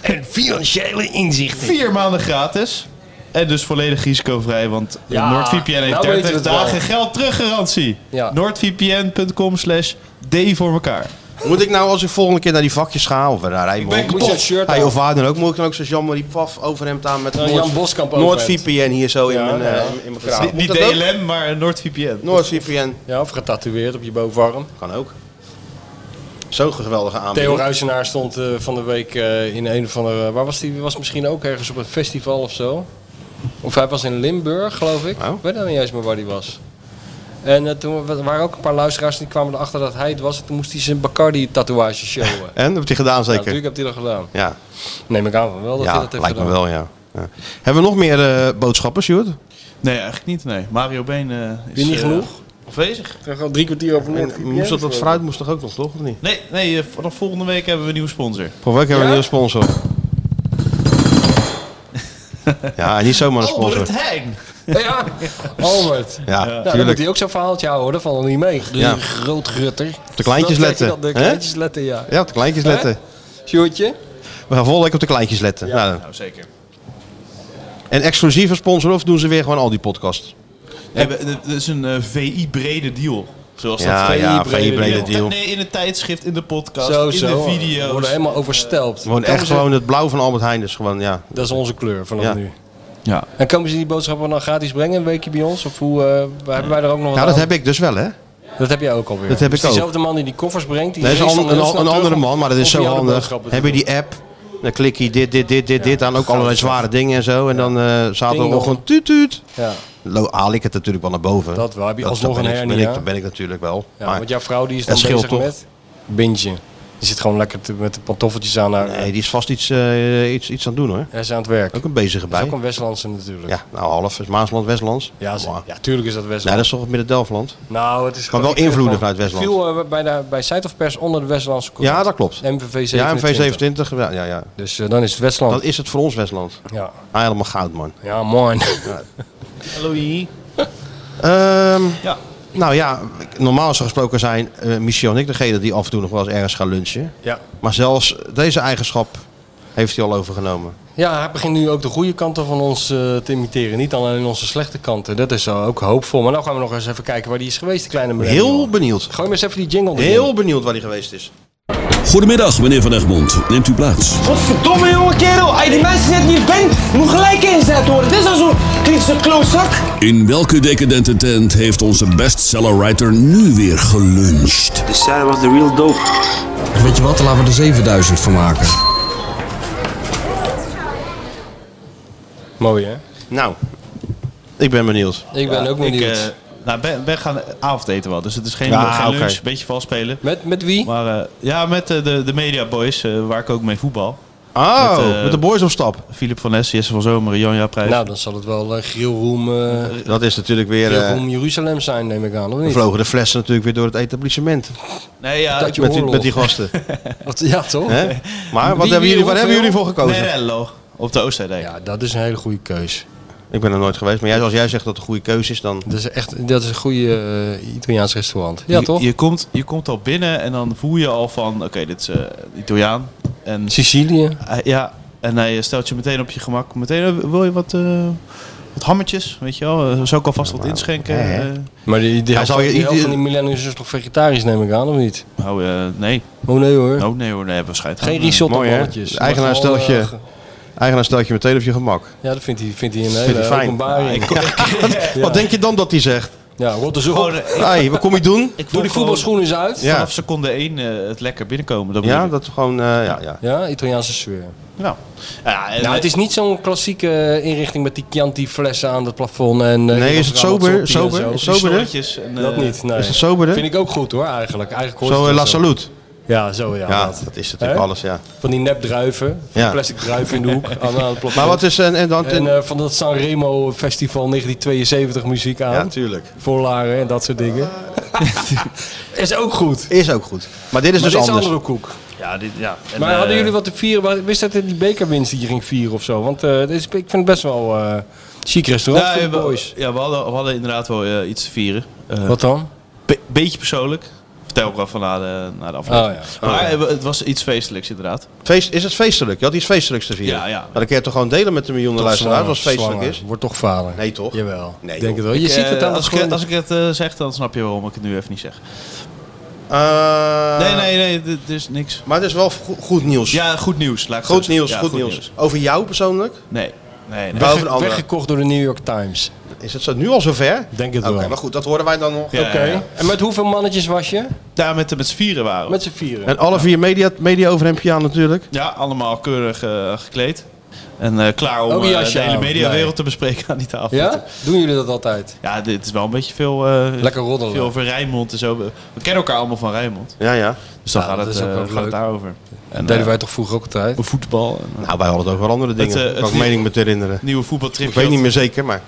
[SPEAKER 8] En financiële inzichten.
[SPEAKER 10] Vier maanden gratis. En dus volledig risicovrij, want eh,
[SPEAKER 7] Ja,
[SPEAKER 10] NoordVPN heeft
[SPEAKER 7] nou weten we
[SPEAKER 10] 30
[SPEAKER 7] het
[SPEAKER 10] dagen
[SPEAKER 7] wel.
[SPEAKER 10] geld teruggarantie.
[SPEAKER 7] Ja.
[SPEAKER 10] NoordVPN.com slash D voor elkaar.
[SPEAKER 6] Moet ik nou als ik volgende keer naar die vakjes ga of eh, naar Rijnmond?
[SPEAKER 7] kapot. Moet je het shirt
[SPEAKER 6] Hij
[SPEAKER 7] aan?
[SPEAKER 6] of waar dan ook, moet ik dan ook zo'n Jean-Marie Paf overhemd aan met
[SPEAKER 7] Een
[SPEAKER 6] Noord-
[SPEAKER 7] Jan Boskamp overhemd.
[SPEAKER 6] NoordVPN hier zo in
[SPEAKER 7] Ja,
[SPEAKER 6] mijn, eh,
[SPEAKER 7] ja.
[SPEAKER 6] in- in mijn kraag.
[SPEAKER 10] Niet-
[SPEAKER 6] Moet
[SPEAKER 10] Niet
[SPEAKER 6] dat ook?
[SPEAKER 10] DLM, maar NoordVPN.
[SPEAKER 6] NoordVPN
[SPEAKER 7] Ja, of getatoeëerd op je bovenarm.
[SPEAKER 6] kan ook. Zo'n geweldige
[SPEAKER 7] Theo
[SPEAKER 6] aanbieding.
[SPEAKER 7] Ruizenaar stond eh, van de week eh, in een of andere... Waar was die? Was misschien ook ergens op een festival of zo. Of hij was in Limburg, geloof ik.
[SPEAKER 6] Oh.
[SPEAKER 7] Ik weet nou niet eens meer waar die was. En eh, toen wa- waren ook een paar luisteraars die kwamen erachter dat hij het was. En toen moest hij zijn Bacardi-tatoeage showen.
[SPEAKER 6] En? Heb je gedaan
[SPEAKER 7] Ja,
[SPEAKER 6] zeker?
[SPEAKER 7] natuurlijk heb hij dat gedaan.
[SPEAKER 6] Ja,
[SPEAKER 7] Neem ik aan van wel dat
[SPEAKER 6] ja
[SPEAKER 7] hij dat heeft
[SPEAKER 6] lijkt me
[SPEAKER 7] gedaan.
[SPEAKER 6] wel, ja. ja. Hebben we nog meer eh, boodschappen, Stuart?
[SPEAKER 10] Nee, eigenlijk niet. Nee. Mario Been eh, is
[SPEAKER 7] Weer niet
[SPEAKER 10] eh,
[SPEAKER 7] genoeg?
[SPEAKER 10] afwezig.
[SPEAKER 7] Er gaan drie kwartier over noord.
[SPEAKER 6] Moest dat wat fruit moest toch ook nog, toch? Of niet?
[SPEAKER 10] Nee, nee eh, vanaf volgende week hebben we een nieuwe sponsor.
[SPEAKER 7] Oh,
[SPEAKER 6] Voor welke hebben we een nieuwe sponsor? ja, niet zomaar een
[SPEAKER 7] Oh,
[SPEAKER 6] sponsor.
[SPEAKER 10] Heijn!
[SPEAKER 7] Ja, Albert.
[SPEAKER 6] Ja,
[SPEAKER 7] Nou, dan moet
[SPEAKER 6] tuurlijk.
[SPEAKER 7] hij ook zo'n verhaaltje houden dat valt er niet mee.
[SPEAKER 6] Ja.
[SPEAKER 7] Groot rutter.
[SPEAKER 6] Op de kleintjes
[SPEAKER 7] Dat
[SPEAKER 6] letten,
[SPEAKER 7] weet je dat, De
[SPEAKER 6] hè?
[SPEAKER 7] kleintjes letten, ja.
[SPEAKER 6] Ja, op de kleintjes letten.
[SPEAKER 7] Hè? Sjoerdje?
[SPEAKER 6] We gaan volgende week op de kleintjes letten. Nou,
[SPEAKER 10] Nou, zeker.
[SPEAKER 6] en exclusieve sponsor of doen ze weer gewoon al die podcasts?
[SPEAKER 10] Nee, we- dat is een VI-brede deal. Zoals
[SPEAKER 6] Ja,
[SPEAKER 10] dat
[SPEAKER 6] ja,
[SPEAKER 10] VI-brede
[SPEAKER 6] VI brede
[SPEAKER 10] deal.
[SPEAKER 6] deal.
[SPEAKER 10] Nee, in het tijdschrift, in de podcast,
[SPEAKER 7] Zo,
[SPEAKER 10] in
[SPEAKER 7] zo.
[SPEAKER 10] de
[SPEAKER 7] We
[SPEAKER 10] video's.
[SPEAKER 7] worden helemaal overstelpt.
[SPEAKER 6] Gewoon
[SPEAKER 7] Komen
[SPEAKER 6] echt
[SPEAKER 7] ze-
[SPEAKER 6] gewoon het blauw van Albert Heijn. Dus gewoon, ja.
[SPEAKER 7] Dat is onze kleur vanaf
[SPEAKER 6] Ja.
[SPEAKER 7] nu.
[SPEAKER 10] Ja.
[SPEAKER 7] En komen ze die boodschappen dan gratis brengen een weekje bij ons? Of hoe, eh, hebben wij er ook nog wat
[SPEAKER 6] Ja, dat
[SPEAKER 7] aan?
[SPEAKER 6] heb ik dus wel, hè?
[SPEAKER 7] Dat heb jij ook alweer.
[SPEAKER 6] Dat heb
[SPEAKER 7] Dus
[SPEAKER 6] ik ook.
[SPEAKER 7] diezelfde man die die koffers brengt. Die
[SPEAKER 6] Dat is een,
[SPEAKER 7] race
[SPEAKER 6] an-
[SPEAKER 7] dan heel
[SPEAKER 6] een,
[SPEAKER 7] snel
[SPEAKER 6] een
[SPEAKER 7] terug
[SPEAKER 6] andere
[SPEAKER 7] om-
[SPEAKER 6] man, maar dat is
[SPEAKER 7] om
[SPEAKER 6] zo
[SPEAKER 7] jou de
[SPEAKER 6] handig.
[SPEAKER 7] boodschappen te
[SPEAKER 6] Heb je
[SPEAKER 7] doen.
[SPEAKER 6] die app? Dan klik je dit, dit, dit, dit, dit aan. Ook allerlei zware dingen en zo. En dan eh
[SPEAKER 7] dong.
[SPEAKER 6] zaterdagochtend tuut, tuut.
[SPEAKER 7] Ja,
[SPEAKER 6] Lo- haal ik het natuurlijk wel naar boven.
[SPEAKER 7] dat wel. Heb je alsnog
[SPEAKER 6] ben
[SPEAKER 7] een
[SPEAKER 6] ik-
[SPEAKER 7] hernia.
[SPEAKER 6] ben ik, dat ben ik natuurlijk wel.
[SPEAKER 7] Ja,
[SPEAKER 6] maar,
[SPEAKER 7] want jouw vrouw die is dan
[SPEAKER 6] het scheelt
[SPEAKER 7] bezig
[SPEAKER 6] toch?
[SPEAKER 7] met bintje. Die zit gewoon lekker te- met de pantoffeltjes aan haar.
[SPEAKER 6] nee, die is vast iets, eh, iets, iets aan het doen hoor.
[SPEAKER 7] Hij is aan het werk.
[SPEAKER 6] Ook een bezige
[SPEAKER 7] Dat
[SPEAKER 6] bij.
[SPEAKER 7] is ook een Westlandse natuurlijk.
[SPEAKER 6] Ja, nou half. Is Maasland, Westlands?
[SPEAKER 7] Ja, ze-
[SPEAKER 6] Maar-
[SPEAKER 7] ja, tuurlijk is dat
[SPEAKER 6] Nee,
[SPEAKER 7] Westland.
[SPEAKER 6] dat is toch midden-Delfland?
[SPEAKER 7] Nou, het is gewoon-
[SPEAKER 6] wel
[SPEAKER 7] ik vind
[SPEAKER 6] invloeden
[SPEAKER 7] gewoon-
[SPEAKER 6] vanuit Westland.
[SPEAKER 7] Viel eh, bij, de, bij Site of Pers onder de Westlandse koers.
[SPEAKER 6] Ja, dat klopt.
[SPEAKER 7] MVV 27.
[SPEAKER 6] Ja, MV27. Ja, ja, ja.
[SPEAKER 7] Dus eh, dan is het Westland.
[SPEAKER 6] Dan is het voor ons Westland.
[SPEAKER 7] Ja.
[SPEAKER 6] Ah, helemaal goud man.
[SPEAKER 7] ja, mooi.
[SPEAKER 10] Hallo.
[SPEAKER 6] Ehm,
[SPEAKER 10] Ja.
[SPEAKER 6] Nou ja, normaal zo gesproken zijn eh Michel en ik degene die af en toe nog wel eens ergens gaan lunchen.
[SPEAKER 7] Ja.
[SPEAKER 6] Maar zelfs deze eigenschap heeft hij al overgenomen.
[SPEAKER 7] ja, hij begint nu ook de goede kanten van ons eh, te imiteren. Niet alleen onze slechte kanten. Dat is eh, ook hoopvol. Maar nou gaan we nog eens even kijken waar die is geweest, de kleine meneer.
[SPEAKER 6] Heel benieuwd.
[SPEAKER 7] Gooi maar eens even die jingle erin.
[SPEAKER 6] Heel benieuwd waar hij geweest is.
[SPEAKER 5] Goedemiddag, meneer Van Egmond. Neemt u plaats.
[SPEAKER 13] Godverdomme jonge kerel, als je die mensen net niet bent, moet gelijk ingezet worden. Dit is al zo'n kritische klootzak.
[SPEAKER 5] In welke decadente tent heeft onze bestsellerwriter nu weer geluncht?
[SPEAKER 14] De Sarah was de real dope.
[SPEAKER 15] Weet je wat, laten we er 7000 van maken.
[SPEAKER 7] Mooi, hè?
[SPEAKER 6] Nou, ik ben benieuwd.
[SPEAKER 7] Ik ben ook
[SPEAKER 10] Ik,
[SPEAKER 7] benieuwd.
[SPEAKER 10] eh, nou, ben, ben gaan avondeten wel, dus het is geen,
[SPEAKER 6] Ja,
[SPEAKER 10] geen lunch.
[SPEAKER 6] oké.
[SPEAKER 10] Beetje vals spelen.
[SPEAKER 7] Met, met wie?
[SPEAKER 10] Maar eh, ja, met eh, de, de Media Boys, eh, waar ik ook mee voetbal.
[SPEAKER 6] Oh,
[SPEAKER 10] Met,
[SPEAKER 6] met,
[SPEAKER 10] eh,
[SPEAKER 6] de boys op stap.
[SPEAKER 10] Philip van Ness, Jesse van Zomeren, Jan Jaaprijs.
[SPEAKER 7] Nou, dan zal het wel eh Grillroom, eh,
[SPEAKER 6] Dat is natuurlijk weer... eh,
[SPEAKER 7] Grillroom Jeruzalem zijn, neem ik aan, of
[SPEAKER 6] er
[SPEAKER 7] niet?
[SPEAKER 6] vlogen de flessen natuurlijk weer door het etablissement.
[SPEAKER 10] nee, ja,
[SPEAKER 7] Dat je
[SPEAKER 6] Met die,
[SPEAKER 7] oorlog.
[SPEAKER 6] met die gasten.
[SPEAKER 7] Wat- Ja, toch?
[SPEAKER 6] Hè? Maar wat
[SPEAKER 7] Wie-
[SPEAKER 6] hebben
[SPEAKER 7] wie-
[SPEAKER 6] jullie, waar hebben
[SPEAKER 7] hoeveel?
[SPEAKER 6] jullie voor gekozen?
[SPEAKER 10] Nerello, op de Oosterdijk.
[SPEAKER 7] Ja, dat is een hele goede keus.
[SPEAKER 6] Ik ben er nooit geweest. Maar jij, als jij zegt dat het een goede keuze is, dan...
[SPEAKER 7] Dat is echt dat is een goede eh, Italiaans restaurant. Ja,
[SPEAKER 10] je,
[SPEAKER 7] toch?
[SPEAKER 10] Je komt, je komt al binnen en dan voel je al van, oké, dit is eh, Italiaan. En,
[SPEAKER 7] Sicilië.
[SPEAKER 10] hij- ja, en hij eh, stelt je meteen op je gemak. Meteen, eh, wil je wat, eh, wat hammetjes, weet je wel? Eh, Zou ik alvast wat inschenken?
[SPEAKER 6] hè, hè?
[SPEAKER 10] eh?
[SPEAKER 7] Maar die, die,
[SPEAKER 6] Hij
[SPEAKER 7] helft,
[SPEAKER 6] zal je-
[SPEAKER 7] die helft
[SPEAKER 6] die-
[SPEAKER 7] van die millennials is toch vegetarisch, neem ik aan, of niet?
[SPEAKER 10] nou, eh, nee.
[SPEAKER 7] Oh nee hoor.
[SPEAKER 10] Nou, nee hoor, nee, waarschijnlijk.
[SPEAKER 7] Geen
[SPEAKER 10] Eh,
[SPEAKER 7] risotto
[SPEAKER 6] Mooi, hè?
[SPEAKER 7] bolletjes.
[SPEAKER 6] De eigenaar
[SPEAKER 7] Maar gewoon,
[SPEAKER 6] stelt je-
[SPEAKER 7] eh,
[SPEAKER 6] Eigenaar stelt je meteen op je gemak.
[SPEAKER 7] Ja, dat vindt hij, vindt hij een
[SPEAKER 6] Vindt
[SPEAKER 7] hele
[SPEAKER 6] hij fijn.
[SPEAKER 7] openbaring.
[SPEAKER 6] Wat denk je dan dat hij zegt?
[SPEAKER 7] Ja, rot eens op.
[SPEAKER 10] Gewoon, eh, ik-
[SPEAKER 6] hey, wat kom je doen?
[SPEAKER 10] ik
[SPEAKER 7] Doe die voetbalschoenen eens uit.
[SPEAKER 6] Ja.
[SPEAKER 10] Vanaf seconde 1 het lekker binnenkomen. Dat
[SPEAKER 6] Ja,
[SPEAKER 10] bedoel ik.
[SPEAKER 6] dat gewoon... eh, ja, ja.
[SPEAKER 7] Ja, Italiaanse sfeer.
[SPEAKER 10] Nou, ja, en,
[SPEAKER 7] Nou, het
[SPEAKER 10] eh,
[SPEAKER 7] is niet zo'n klassieke eh, inrichting met die Chianti-flessen aan het plafond. En, eh,
[SPEAKER 6] Nee, is het sober?
[SPEAKER 7] Ramazzotti en
[SPEAKER 6] Sober?
[SPEAKER 7] zo.
[SPEAKER 6] Is
[SPEAKER 10] die
[SPEAKER 6] sober, hè?
[SPEAKER 10] snorretjes en, eh,
[SPEAKER 7] Dat niet, nee.
[SPEAKER 6] Is het soberder?
[SPEAKER 7] Vind ik ook goed hoor, eigenlijk. eigenlijk hoort
[SPEAKER 6] Zo
[SPEAKER 7] het
[SPEAKER 6] eh, La
[SPEAKER 7] wel
[SPEAKER 6] Salute.
[SPEAKER 7] Ja, zo ja.
[SPEAKER 6] Ja,
[SPEAKER 7] dat.
[SPEAKER 6] dat is natuurlijk
[SPEAKER 7] Hè?
[SPEAKER 6] alles, ja.
[SPEAKER 7] Van die nepdruiven, van die
[SPEAKER 6] Ja.
[SPEAKER 7] plastic druiven in de hoek aan, aan het plafond.
[SPEAKER 6] Maar wat is... En, en dan...
[SPEAKER 7] En eh, van dat Sanremo Festival 1972 muziek aan.
[SPEAKER 6] ja, tuurlijk.
[SPEAKER 7] Voorlaren en dat soort dingen. is ook goed.
[SPEAKER 6] Is ook goed. Maar dit is
[SPEAKER 7] maar
[SPEAKER 6] dus
[SPEAKER 7] dit is
[SPEAKER 6] anders.
[SPEAKER 7] andere koek.
[SPEAKER 10] ja, dit, ja. En,
[SPEAKER 7] maar
[SPEAKER 10] eh,
[SPEAKER 7] hadden jullie wat te vieren? Wa- Wist dat het die bekerwinst die je ging vieren of zo? Want eh, dit is, ik vind het best wel eh chic restaurant
[SPEAKER 10] nou,
[SPEAKER 7] voor de
[SPEAKER 10] we-
[SPEAKER 7] boys.
[SPEAKER 10] Ja, we hadden, we hadden inderdaad wel eh, iets te vieren. Eh,
[SPEAKER 7] Wat dan?
[SPEAKER 10] Be- beetje persoonlijk. Vertel ik wel van na de, na de aflevering.
[SPEAKER 7] Oh,
[SPEAKER 10] Maar eh, we- het was iets feestelijks inderdaad.
[SPEAKER 6] Feest, is het feestelijk? Je had iets feestelijks te vieren.
[SPEAKER 10] Ja, ja.
[SPEAKER 6] Maar dan kun je het toch gewoon delen met de miljoenen luisteraars als het feestelijk is?
[SPEAKER 7] Wordt toch vader.
[SPEAKER 6] Nee, toch?
[SPEAKER 7] Jawel.
[SPEAKER 6] Nee, joh.
[SPEAKER 7] denk het wel. Je
[SPEAKER 10] Ik,
[SPEAKER 7] ziet
[SPEAKER 10] eh,
[SPEAKER 7] het aan
[SPEAKER 10] als,
[SPEAKER 7] het
[SPEAKER 10] ik,
[SPEAKER 7] gewoon-
[SPEAKER 10] als ik het eh, zeg, dan snap je waarom ik het nu even niet zeg.
[SPEAKER 6] Eh,
[SPEAKER 10] nee, nee, nee, dit dit is niks.
[SPEAKER 6] Maar het is wel go- goed nieuws.
[SPEAKER 10] Ja, goed nieuws. Laat ik
[SPEAKER 6] Goed
[SPEAKER 10] zo
[SPEAKER 6] nieuws,
[SPEAKER 10] zeggen. Ja,
[SPEAKER 6] goed nieuws. Over jou persoonlijk?
[SPEAKER 10] Nee, nee, nee.
[SPEAKER 6] Wel over de anderen.
[SPEAKER 7] Weggekocht door de New York Times.
[SPEAKER 6] Is het zo, nu al zover?
[SPEAKER 7] Denk het
[SPEAKER 6] Oké,
[SPEAKER 7] wel.
[SPEAKER 6] maar goed, dat horen wij dan nog.
[SPEAKER 10] Ja, ja, ja.
[SPEAKER 7] En met hoeveel mannetjes was je?
[SPEAKER 10] Eh, Daar met, met z'n vieren waren we.
[SPEAKER 7] Met z'n vieren.
[SPEAKER 6] En alle vier media, media overhempje aan natuurlijk.
[SPEAKER 10] Ja, allemaal keurig eh, gekleed. En eh, klaar om
[SPEAKER 7] Ook een
[SPEAKER 10] eh,
[SPEAKER 7] jasje
[SPEAKER 10] de hele
[SPEAKER 7] aan.
[SPEAKER 10] mediawereld
[SPEAKER 7] Nee.
[SPEAKER 10] te bespreken aan die tafel.
[SPEAKER 7] Ja? Doen jullie dat altijd?
[SPEAKER 10] Ja, dit is wel een beetje veel... eh,
[SPEAKER 7] Lekker roddelen.
[SPEAKER 10] Veel over Rijnmond en zo. We kennen elkaar allemaal van Rijnmond.
[SPEAKER 6] Ja, ja.
[SPEAKER 10] Dus dan
[SPEAKER 7] Ja,
[SPEAKER 10] gaat,
[SPEAKER 7] dat
[SPEAKER 10] het,
[SPEAKER 7] is ook
[SPEAKER 10] eh,
[SPEAKER 7] wel
[SPEAKER 10] gaat
[SPEAKER 7] leuk.
[SPEAKER 10] het daarover.
[SPEAKER 7] Dat deden
[SPEAKER 10] eh,
[SPEAKER 7] wij toch vroeger ook eh, altijd?
[SPEAKER 10] Voetbal. en-
[SPEAKER 6] Nou, wij hadden het ook wel andere dingen.
[SPEAKER 10] eh,
[SPEAKER 6] Ik
[SPEAKER 10] het
[SPEAKER 6] kan ook
[SPEAKER 10] nieuwe-
[SPEAKER 6] mening me te herinneren.
[SPEAKER 10] nieuwe
[SPEAKER 6] Ik
[SPEAKER 10] voetbaltripje
[SPEAKER 6] weet niet
[SPEAKER 10] had-
[SPEAKER 6] meer zeker, maar...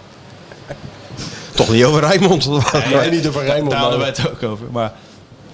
[SPEAKER 6] Toch niet over Rijnmond.
[SPEAKER 10] Nee,
[SPEAKER 7] niet over Rijnmond,
[SPEAKER 10] Daar hadden wij
[SPEAKER 7] maar-
[SPEAKER 10] het ook over. Maar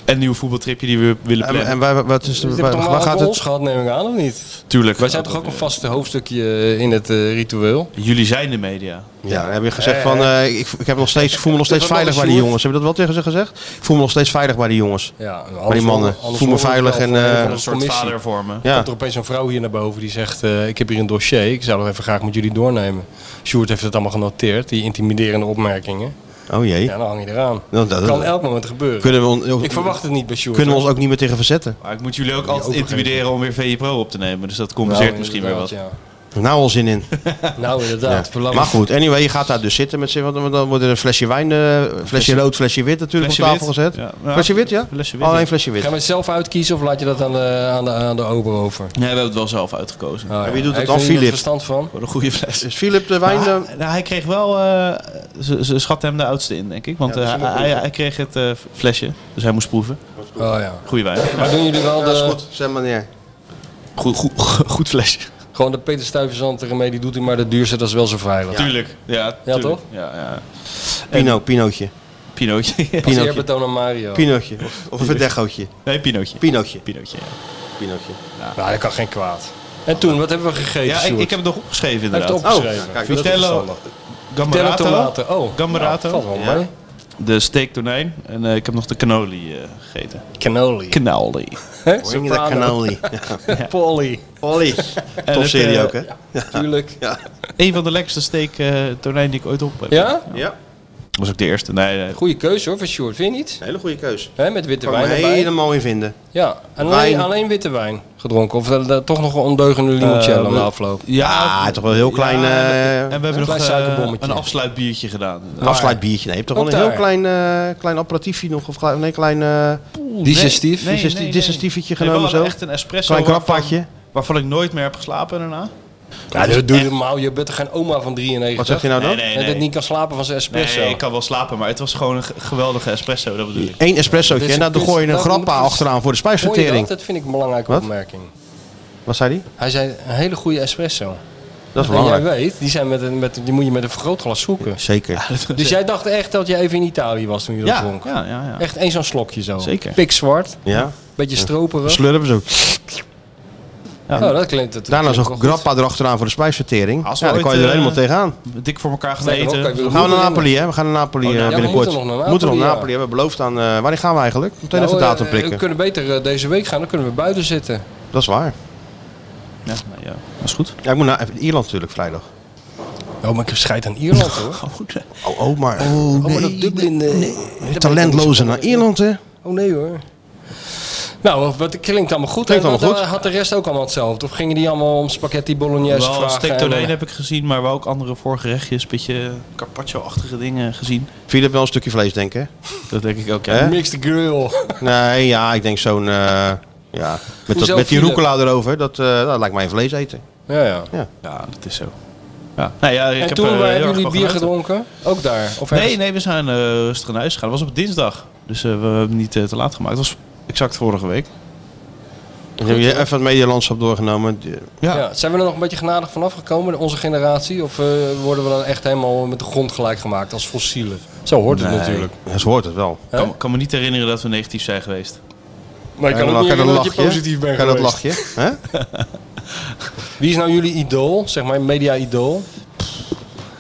[SPEAKER 10] een nieuw voetbaltripje die we willen
[SPEAKER 6] En,
[SPEAKER 10] plannen.
[SPEAKER 6] en wij, wat is de,
[SPEAKER 7] Je hebt
[SPEAKER 6] waar,
[SPEAKER 7] toch
[SPEAKER 6] waar
[SPEAKER 7] wel
[SPEAKER 6] gaat
[SPEAKER 7] gaat ons
[SPEAKER 6] het?
[SPEAKER 7] gehad, neem ik aan, of niet?
[SPEAKER 10] Tuurlijk.
[SPEAKER 7] Wij zijn toch ook een vast hoofdstukje in het eh, ritueel?
[SPEAKER 10] Jullie zijn de media.
[SPEAKER 6] Ja, dan heb je gezegd
[SPEAKER 7] Eh,
[SPEAKER 6] van,
[SPEAKER 7] eh.
[SPEAKER 6] eh, ik, ik, heb nog steeds, ik voel me nog steeds
[SPEAKER 7] Wat nog
[SPEAKER 6] veilig
[SPEAKER 7] eens,
[SPEAKER 6] bij die
[SPEAKER 7] Sjoerd?
[SPEAKER 6] jongens. Heb je dat wel tegen ze gezegd? Ik voel me nog steeds veilig bij die jongens.
[SPEAKER 7] Ja,
[SPEAKER 6] bij die mannen. Ik voel me veilig en... eh,
[SPEAKER 10] een soort vader voor me.
[SPEAKER 6] Ja.
[SPEAKER 7] Ja. Komt er opeens een vrouw hier naar boven die zegt: eh, Ik heb hier een dossier, ik zou dat even graag met jullie doornemen. Sjoerd heeft het allemaal genoteerd, die intimiderende opmerkingen.
[SPEAKER 6] Oh jee.
[SPEAKER 7] Ja, dan hang je eraan.
[SPEAKER 6] Nou, dat-
[SPEAKER 7] kan elk moment gebeuren.
[SPEAKER 6] Kunnen we on-
[SPEAKER 7] ik verwacht het niet bij Sjoerd.
[SPEAKER 6] Kunnen we
[SPEAKER 7] hoor.
[SPEAKER 6] ons ook niet meer tegen verzetten?
[SPEAKER 10] Maar ik moet jullie ook
[SPEAKER 7] Ja,
[SPEAKER 10] altijd
[SPEAKER 7] overgeven.
[SPEAKER 10] intimideren om weer VE Pro op te nemen. Dus dat compenseert
[SPEAKER 7] Nou,
[SPEAKER 10] misschien weer wat.
[SPEAKER 7] inderdaad,
[SPEAKER 6] Nou, al zin in.
[SPEAKER 7] ja. Nou, inderdaad.
[SPEAKER 6] Ja.
[SPEAKER 7] belangrijk.
[SPEAKER 6] Maar goed, anyway, je gaat daar dus zitten met z'n want dan wordt er een flesje wijn, eh, flesje rood, flesje wit natuurlijk
[SPEAKER 7] Flesje
[SPEAKER 6] op tafel
[SPEAKER 7] wit?
[SPEAKER 6] gezet.
[SPEAKER 7] Ja.
[SPEAKER 6] Flesje wit, ja?
[SPEAKER 10] Flesje wit,
[SPEAKER 6] Alleen
[SPEAKER 10] ja.
[SPEAKER 6] flesje wit.
[SPEAKER 7] Gaan we het zelf uitkiezen of laat je dat aan de, aan de, aan de ober over?
[SPEAKER 10] Nee, we hebben het wel zelf uitgekozen.
[SPEAKER 7] Ah, ja.
[SPEAKER 6] En wie doet het
[SPEAKER 7] Heeft
[SPEAKER 6] dan?
[SPEAKER 7] er iemand
[SPEAKER 6] Philip.
[SPEAKER 7] verstand van?
[SPEAKER 10] Voor een goede fles.
[SPEAKER 6] Is Philip de wijn?
[SPEAKER 10] Maar
[SPEAKER 6] eh,
[SPEAKER 10] hij- nou, hij kreeg wel... eh, ze, ze schatten hem de oudste in, denk ik. Want
[SPEAKER 6] Ja, dus
[SPEAKER 10] eh,
[SPEAKER 6] je moet
[SPEAKER 10] hij,
[SPEAKER 6] proeven.
[SPEAKER 10] hij kreeg het eh, flesje. Dus hij moest proeven.
[SPEAKER 7] Oh ja.
[SPEAKER 10] Goeie wijn.
[SPEAKER 7] Maar doen jullie wel
[SPEAKER 6] Ja,
[SPEAKER 7] de,
[SPEAKER 6] is goed. Zet maar neer.
[SPEAKER 10] Goed, goed, goed flesje.
[SPEAKER 7] gewoon de Peter Stuyvesant remedie die doet hij maar de duurste, dat is wel zo veilig.
[SPEAKER 10] Tuurlijk. Ja, tuurlijk.
[SPEAKER 7] toch?
[SPEAKER 10] Ja, ja. Oh.
[SPEAKER 6] Pino, Pinootje.
[SPEAKER 10] Pinootje.
[SPEAKER 7] Passeer
[SPEAKER 6] Pinootje.
[SPEAKER 7] betoon aan Mario.
[SPEAKER 6] Pinootje. Of, of een verdegootje.
[SPEAKER 10] Nee, Pinootje.
[SPEAKER 6] Pinootje.
[SPEAKER 10] Pinootje, ja.
[SPEAKER 6] Pinootje.
[SPEAKER 7] Nou, dat kan geen kwaad. En toen, wat hebben we gegeten,
[SPEAKER 10] Ja, ik,
[SPEAKER 7] Sjoerd?
[SPEAKER 10] ik heb het nog opgeschreven
[SPEAKER 7] Hij heeft
[SPEAKER 10] inderdaad.
[SPEAKER 7] het opgeschreven.
[SPEAKER 6] Oh, kijk, dat is
[SPEAKER 10] Vitello,
[SPEAKER 7] verstandig. Vitello
[SPEAKER 10] Gambarato,
[SPEAKER 7] tomaten. Oh,
[SPEAKER 10] Gambarato.
[SPEAKER 7] nou, valt wel
[SPEAKER 10] Ja.
[SPEAKER 7] mee.
[SPEAKER 10] de steak tonijn en eh, ik heb nog de cannoli eh, gegeten.
[SPEAKER 7] Cannoli.
[SPEAKER 10] Cannoli.
[SPEAKER 7] Hè?
[SPEAKER 6] Breng je dat
[SPEAKER 7] Soprano.
[SPEAKER 6] cannoli.
[SPEAKER 7] Polly.
[SPEAKER 6] Ollie.
[SPEAKER 10] En
[SPEAKER 6] Top
[SPEAKER 10] het,
[SPEAKER 6] serie
[SPEAKER 10] eh,
[SPEAKER 6] ook, hè?
[SPEAKER 7] Tuurlijk.
[SPEAKER 10] Een van de lekkerste steak eh, tonijn die ik ooit op heb.
[SPEAKER 7] Ja?
[SPEAKER 6] Ja.
[SPEAKER 10] Was ook de eerste. Nee, nee.
[SPEAKER 7] Goeie keuze hoor, voor Sjoerd. Vind je niet?
[SPEAKER 6] Hele goede keus.
[SPEAKER 7] Hè, met witte
[SPEAKER 6] Kan ik me
[SPEAKER 7] wijn erbij.
[SPEAKER 6] helemaal in vinden.
[SPEAKER 7] Ja, en alleen,
[SPEAKER 6] Wijn.
[SPEAKER 7] alleen witte wijn gedronken. Of eh, toch nog een ondeugende limoncello
[SPEAKER 10] Eh, we-
[SPEAKER 7] na afloop.
[SPEAKER 10] Ja,
[SPEAKER 6] Ah, toch wel een heel klein eh,
[SPEAKER 10] en we hebben nog
[SPEAKER 7] klein
[SPEAKER 10] eh,
[SPEAKER 7] suikerbommetje.
[SPEAKER 10] een afsluitbiertje gedaan.
[SPEAKER 6] afsluitbiertje. Nee, je hebt toch wel
[SPEAKER 7] Ook
[SPEAKER 6] een heel
[SPEAKER 7] daar.
[SPEAKER 6] klein, eh, klein aperitiefje nog. Of klein, nee, klein... eh,
[SPEAKER 7] Digestief.
[SPEAKER 10] Nee, nee,
[SPEAKER 6] Digesti-
[SPEAKER 10] nee, nee.
[SPEAKER 6] digestiefetje
[SPEAKER 10] Nee, we
[SPEAKER 6] genomen
[SPEAKER 10] hadden
[SPEAKER 6] zo.
[SPEAKER 10] echt een espresso
[SPEAKER 6] Klein
[SPEAKER 10] waarvan-
[SPEAKER 6] krappadje.
[SPEAKER 10] waarvan ik nooit meer heb geslapen daarna.
[SPEAKER 7] Ja, dat doe je normaal. Je bent toch geen oma van
[SPEAKER 6] Wat
[SPEAKER 7] 93?
[SPEAKER 6] zeg je nou dan?
[SPEAKER 10] Nee, nee,
[SPEAKER 7] En
[SPEAKER 10] nee.
[SPEAKER 7] dat niet kan slapen van zijn espresso.
[SPEAKER 10] Nee, ik kan wel slapen, maar het was gewoon een ge- geweldige espresso, dat bedoel ik.
[SPEAKER 6] Eén espressootje
[SPEAKER 7] Dit is
[SPEAKER 6] en
[SPEAKER 7] een
[SPEAKER 6] Nou, dan gooi je een
[SPEAKER 7] kunst-
[SPEAKER 6] grappa
[SPEAKER 7] Dus dat-
[SPEAKER 6] achteraan voor de
[SPEAKER 7] Hoor je dat?
[SPEAKER 6] spijsvertering.
[SPEAKER 7] Dat vind ik een belangrijke
[SPEAKER 6] Wat?
[SPEAKER 7] opmerking.
[SPEAKER 6] Wat zei die?
[SPEAKER 7] Hij zei, een hele goede espresso.
[SPEAKER 6] Dat is
[SPEAKER 7] En jij
[SPEAKER 6] belangrijk.
[SPEAKER 7] weet, die, zijn met een, met, die moet je met een vergrootglas zoeken.
[SPEAKER 6] Zeker.
[SPEAKER 7] Dus jij dacht echt dat je even in Italië was toen je dat
[SPEAKER 10] Ja,
[SPEAKER 7] dronk?
[SPEAKER 10] ja, ja, ja.
[SPEAKER 7] Echt één zo'n slokje zo.
[SPEAKER 10] Zeker.
[SPEAKER 7] Pikzwart,
[SPEAKER 6] Ja.
[SPEAKER 7] beetje stroperig.
[SPEAKER 6] Slurpen zo.
[SPEAKER 7] oh, dat klinkt het.
[SPEAKER 6] Daarna
[SPEAKER 7] klinkt
[SPEAKER 6] zo'n
[SPEAKER 7] wel goed.
[SPEAKER 6] grappa erachteraan voor de spijsvertering.
[SPEAKER 10] Als we
[SPEAKER 6] Ja, dan
[SPEAKER 10] ooit,
[SPEAKER 6] kan je er
[SPEAKER 10] eh,
[SPEAKER 6] helemaal tegenaan.
[SPEAKER 10] Dik voor elkaar gaan
[SPEAKER 7] Sterker nog,
[SPEAKER 10] eten.
[SPEAKER 7] kijk,
[SPEAKER 6] We gaan
[SPEAKER 7] moeten
[SPEAKER 6] naar
[SPEAKER 7] nog-
[SPEAKER 6] Napoli, hè? We gaan naar Napoli eh,
[SPEAKER 7] Oh, ja, we
[SPEAKER 6] binnenkort.
[SPEAKER 7] moeten nog naar
[SPEAKER 6] We moeten nog
[SPEAKER 7] Napoli,
[SPEAKER 6] naar
[SPEAKER 7] ja.
[SPEAKER 6] Napoli. We hebben beloofd aan. eh wanneer gaan we eigenlijk? Meteen
[SPEAKER 7] Nou,
[SPEAKER 6] even datum
[SPEAKER 7] eh,
[SPEAKER 6] prikken.
[SPEAKER 7] We kunnen beter eh, deze week gaan, dan kunnen we buiten zitten.
[SPEAKER 6] Dat is waar.
[SPEAKER 10] Ja, nou ja, dat is goed.
[SPEAKER 6] Ja, ik moet naar Ierland natuurlijk vrijdag.
[SPEAKER 7] Oh, maar ik scheid aan Ierland hoor.
[SPEAKER 6] Oh, oh maar.
[SPEAKER 7] Oh, maar dat Dublin... eh, daar ben ik
[SPEAKER 6] Talentlozen naar
[SPEAKER 7] niet zo van.
[SPEAKER 6] Ierland, hè?
[SPEAKER 7] Oh nee hoor. Nou, wat klinkt allemaal goed.
[SPEAKER 6] Klinkt
[SPEAKER 7] En
[SPEAKER 6] allemaal
[SPEAKER 7] had,
[SPEAKER 6] goed.
[SPEAKER 7] Had de rest ook allemaal hetzelfde? Of gingen die allemaal om spaghetti bolognese
[SPEAKER 10] Wel een
[SPEAKER 7] vragen?
[SPEAKER 10] steak
[SPEAKER 7] en,
[SPEAKER 10] tonijn
[SPEAKER 7] eh,
[SPEAKER 10] heb ik gezien, maar wel ook andere voorgerechtjes. Een beetje carpaccio-achtige dingen gezien.
[SPEAKER 6] Philip wel een stukje vlees, denk ik. hè?
[SPEAKER 10] Dat denk ik ook, ja.
[SPEAKER 6] Hè?
[SPEAKER 7] Mixed grill.
[SPEAKER 6] Nee, ja, ik denk zo'n. eh, ja. Met, dat,
[SPEAKER 7] Hoezo,
[SPEAKER 6] met die
[SPEAKER 7] Philip?
[SPEAKER 6] roecola erover. Dat, eh, dat lijkt mij een vlees eten.
[SPEAKER 7] Ja, ja.
[SPEAKER 10] Ja, dat is zo. Ja. Nou ja, ik
[SPEAKER 7] en
[SPEAKER 10] heb,
[SPEAKER 7] toen
[SPEAKER 10] eh,
[SPEAKER 7] wij
[SPEAKER 10] heel erg
[SPEAKER 7] hebben jullie
[SPEAKER 10] van
[SPEAKER 7] bier
[SPEAKER 10] genoten.
[SPEAKER 7] gedronken? Ook daar? Of
[SPEAKER 10] Nee,
[SPEAKER 7] ergens?
[SPEAKER 10] nee, we zijn eh, rustig naar huis gegaan. Dat was op dinsdag. Dus eh, we hebben niet eh, te laat gemaakt. Dat was exact vorige week.
[SPEAKER 6] Dan heb je even het medialandschap doorgenomen. Die-
[SPEAKER 10] Ja.
[SPEAKER 7] Ja, zijn we er nog een beetje genadig vanaf gekomen, onze generatie? Of eh, worden we dan echt helemaal met de grond gelijk gemaakt als fossielen? Zo hoort het natuurlijk.
[SPEAKER 6] Dat hoort het wel.
[SPEAKER 10] Ik kan, kan me niet herinneren dat we negatief zijn geweest.
[SPEAKER 7] Maar ik
[SPEAKER 6] Kijk
[SPEAKER 7] kan ook niet
[SPEAKER 6] dat
[SPEAKER 7] dat je
[SPEAKER 6] lachje.
[SPEAKER 7] positief bent
[SPEAKER 6] Kijk dat
[SPEAKER 7] geweest.
[SPEAKER 6] lachje. hè?
[SPEAKER 7] Wie is nou jullie idool? Zeg maar media-idool?
[SPEAKER 10] We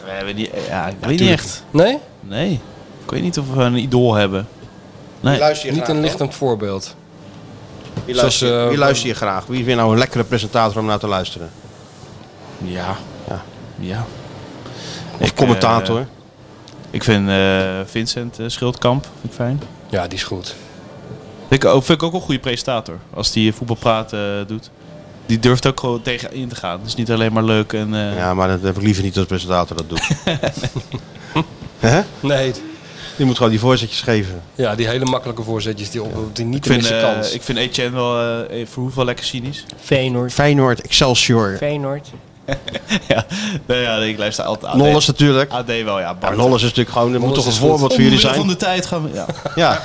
[SPEAKER 10] hebben niet, eh, ja, ik weet niet echt.
[SPEAKER 7] Nee?
[SPEAKER 10] Nee. Ik weet niet of we een idool hebben. Nee.
[SPEAKER 6] Luister
[SPEAKER 7] Niet een lichtend voorbeeld.
[SPEAKER 6] Wie
[SPEAKER 7] Zoals,
[SPEAKER 6] luister,
[SPEAKER 7] eh,
[SPEAKER 6] wie luister je graag? Wie vind je nou een lekkere presentator om naar te luisteren?
[SPEAKER 10] Ja.
[SPEAKER 6] Ja.
[SPEAKER 10] Ja.
[SPEAKER 6] Of commentator?
[SPEAKER 10] eh, Ik vind eh, Vincent eh, Schildkamp vind ik fijn.
[SPEAKER 7] Ja, die is goed.
[SPEAKER 10] Vind ik, ook, vind ik ook een goede presentator. Als die voetbalpraat eh doet. Die durft ook gewoon tegen in te gaan. Dus niet alleen maar leuk en... eh,
[SPEAKER 6] ja, maar dat heb ik liever niet als presentator dat doet. Hè?
[SPEAKER 7] Nee.
[SPEAKER 6] Die moet gewoon die voorzetjes geven.
[SPEAKER 7] Ja, die hele makkelijke voorzetjes die, op, die niet
[SPEAKER 10] Ik
[SPEAKER 7] te
[SPEAKER 10] vind,
[SPEAKER 7] missen
[SPEAKER 10] eh,
[SPEAKER 7] kans.
[SPEAKER 10] ik vind Etienne wel eh voor hoeveel lekker cynisch.
[SPEAKER 7] Feyenoord.
[SPEAKER 6] Feyenoord, Excelsior.
[SPEAKER 7] Feyenoord.
[SPEAKER 10] ja, nee, ja, ik luister altijd AD.
[SPEAKER 6] Nolles natuurlijk.
[SPEAKER 10] AD wel, ja.
[SPEAKER 6] Ja,
[SPEAKER 10] Bart.
[SPEAKER 6] Nolles is natuurlijk gewoon, er moet
[SPEAKER 10] Nolles
[SPEAKER 6] toch een
[SPEAKER 10] is goed.
[SPEAKER 6] voorbeeld voor jullie
[SPEAKER 10] Omwille
[SPEAKER 6] zijn.
[SPEAKER 10] van de tijd gaan we... Ja.
[SPEAKER 6] Ja.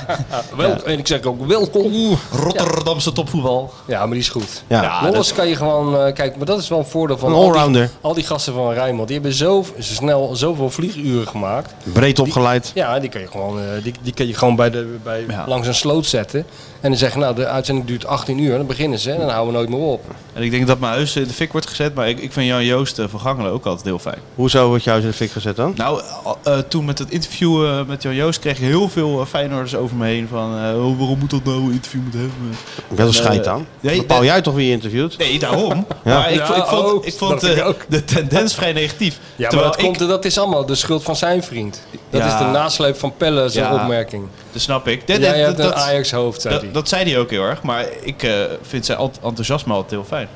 [SPEAKER 7] Welkom, En ik zeg ook welkom.
[SPEAKER 10] Rotterdamse topvoetbal.
[SPEAKER 7] Ja, maar die is goed.
[SPEAKER 6] Ja.
[SPEAKER 7] Ja, Nolles kan je gewoon... eh, kijk, maar dat is wel een voordeel van...
[SPEAKER 6] Een
[SPEAKER 7] al die- Al
[SPEAKER 6] allrounder.
[SPEAKER 7] die, gasten van Rijnmond. Die hebben zo snel zoveel vlieguren gemaakt.
[SPEAKER 6] Breed opgeleid.
[SPEAKER 7] Ja, die kan je gewoon, eh, die, die kan je gewoon bij de, bij, langs een sloot zetten. En dan zeggen, nou, de uitzending duurt 18 uur. Dan beginnen ze en dan houden we nooit meer op.
[SPEAKER 10] En ik denk dat mijn huis in de fik wordt gezet, maar ik, ik vind Jan Joost eh, van Gangelen ook altijd heel fijn.
[SPEAKER 6] Hoezo wordt jou in de fik gezet dan?
[SPEAKER 10] Nou, eh, eh, toen met het interview eh, met Jan Joost kreeg ik heel veel uh, Feyenoorders over me heen van eh, oh, waarom moet dat nou een interview met hem?
[SPEAKER 6] Ik ben
[SPEAKER 10] En,
[SPEAKER 6] er schijt
[SPEAKER 10] eh,
[SPEAKER 6] aan.
[SPEAKER 10] nee,
[SPEAKER 6] Bepaal
[SPEAKER 10] dat-
[SPEAKER 6] jij toch wie je interviewt?
[SPEAKER 10] Nee, daarom.
[SPEAKER 6] Ja.
[SPEAKER 10] Maar ik,
[SPEAKER 7] Ja,
[SPEAKER 10] vo- ik vond,
[SPEAKER 7] oh,
[SPEAKER 10] ik vond
[SPEAKER 7] dat
[SPEAKER 10] eh,
[SPEAKER 7] ik ook.
[SPEAKER 10] de tendens vrij negatief.
[SPEAKER 7] Ja, maar
[SPEAKER 10] Terwijl
[SPEAKER 7] dat,
[SPEAKER 10] ik-
[SPEAKER 7] komt, dat is allemaal de schuld van zijn vriend. Dat
[SPEAKER 10] Ja.
[SPEAKER 7] is de nasleep van Pelle, zijn
[SPEAKER 10] Ja.
[SPEAKER 7] opmerking.
[SPEAKER 10] Dat snap ik.
[SPEAKER 7] Jij hebt een Ajax-hoofd, zei
[SPEAKER 10] dat,
[SPEAKER 7] hij.
[SPEAKER 10] dat zei hij ook heel erg, maar ik eh, vind zijn ent- enthousiasme altijd heel fijn.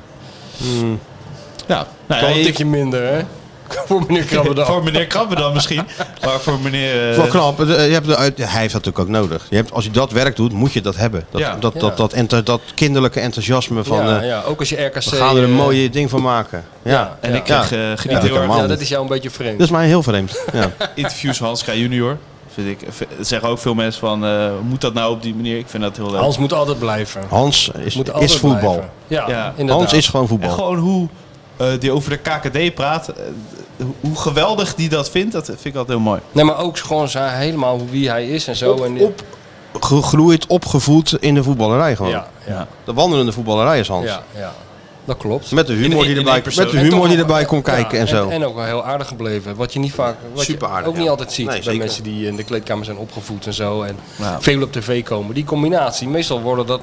[SPEAKER 7] Hmm.
[SPEAKER 10] Ja, nou,
[SPEAKER 7] kan
[SPEAKER 10] ja,
[SPEAKER 7] een
[SPEAKER 10] ik-
[SPEAKER 7] tikje minder, hè? voor meneer Krabbedam.
[SPEAKER 10] voor meneer Krabbedam misschien, maar voor meneer...
[SPEAKER 6] Het
[SPEAKER 10] eh,
[SPEAKER 6] is wel knap. Je hebt de, uit- hij heeft dat natuurlijk ook nodig. Je hebt, als je dat werk doet, moet je dat hebben. Dat,
[SPEAKER 7] Ja.
[SPEAKER 6] dat, dat,
[SPEAKER 7] Ja.
[SPEAKER 6] dat, ento- dat kinderlijke enthousiasme van...
[SPEAKER 7] ja,
[SPEAKER 6] eh,
[SPEAKER 7] ja, ook als je RKC...
[SPEAKER 6] We gaan er een
[SPEAKER 7] eh,
[SPEAKER 6] mooie ding van maken. Ja.
[SPEAKER 10] en ik
[SPEAKER 6] Ja.
[SPEAKER 10] eh, geniet
[SPEAKER 6] Ja,
[SPEAKER 10] heel erg.
[SPEAKER 6] helemaal
[SPEAKER 7] Ja, dat
[SPEAKER 6] niet.
[SPEAKER 7] is jou een beetje vreemd.
[SPEAKER 6] Dat is mij heel vreemd. Ja.
[SPEAKER 10] Interviews van Hans Kraaij junior. Vind ik, v- zeggen ook veel mensen van, eh, moet dat nou op die manier? Ik vind dat heel leuk.
[SPEAKER 7] Hans moet altijd blijven.
[SPEAKER 6] Hans is,
[SPEAKER 7] Moet
[SPEAKER 6] is
[SPEAKER 7] altijd
[SPEAKER 6] voetbal.
[SPEAKER 7] blijven. Ja, inderdaad.
[SPEAKER 6] Hans is gewoon voetbal.
[SPEAKER 10] En gewoon hoe eh, die over de KKD praat, eh, hoe- hoe geweldig die dat vindt, dat vind ik altijd heel mooi.
[SPEAKER 7] Nee, maar ook gewoon zijn, helemaal wie hij is en zo. en,
[SPEAKER 6] op, Gegroeid, opgevoed in de voetballerij gewoon.
[SPEAKER 7] Ja, ja.
[SPEAKER 6] De wandelende voetballerij is Hans.
[SPEAKER 7] Ja, ja, dat klopt.
[SPEAKER 6] Met de humor
[SPEAKER 7] In- in-
[SPEAKER 6] die
[SPEAKER 7] in
[SPEAKER 6] erbij-
[SPEAKER 7] één persoon.
[SPEAKER 6] met de
[SPEAKER 7] En
[SPEAKER 6] humor
[SPEAKER 7] toch
[SPEAKER 6] die
[SPEAKER 7] wel-
[SPEAKER 6] erbij komt
[SPEAKER 7] ja,
[SPEAKER 6] kijken en zo.
[SPEAKER 7] En ook wel heel aardig gebleven. Wat je niet vaak, wat
[SPEAKER 6] Super
[SPEAKER 7] je
[SPEAKER 6] aardig,
[SPEAKER 7] ook niet
[SPEAKER 6] ja.
[SPEAKER 7] altijd ziet
[SPEAKER 6] Nee,
[SPEAKER 7] bij
[SPEAKER 6] zeker.
[SPEAKER 7] mensen die in de kleedkamer zijn opgevoed en zo. En
[SPEAKER 6] Ja.
[SPEAKER 7] veel op tv komen. Die combinatie, meestal worden dat,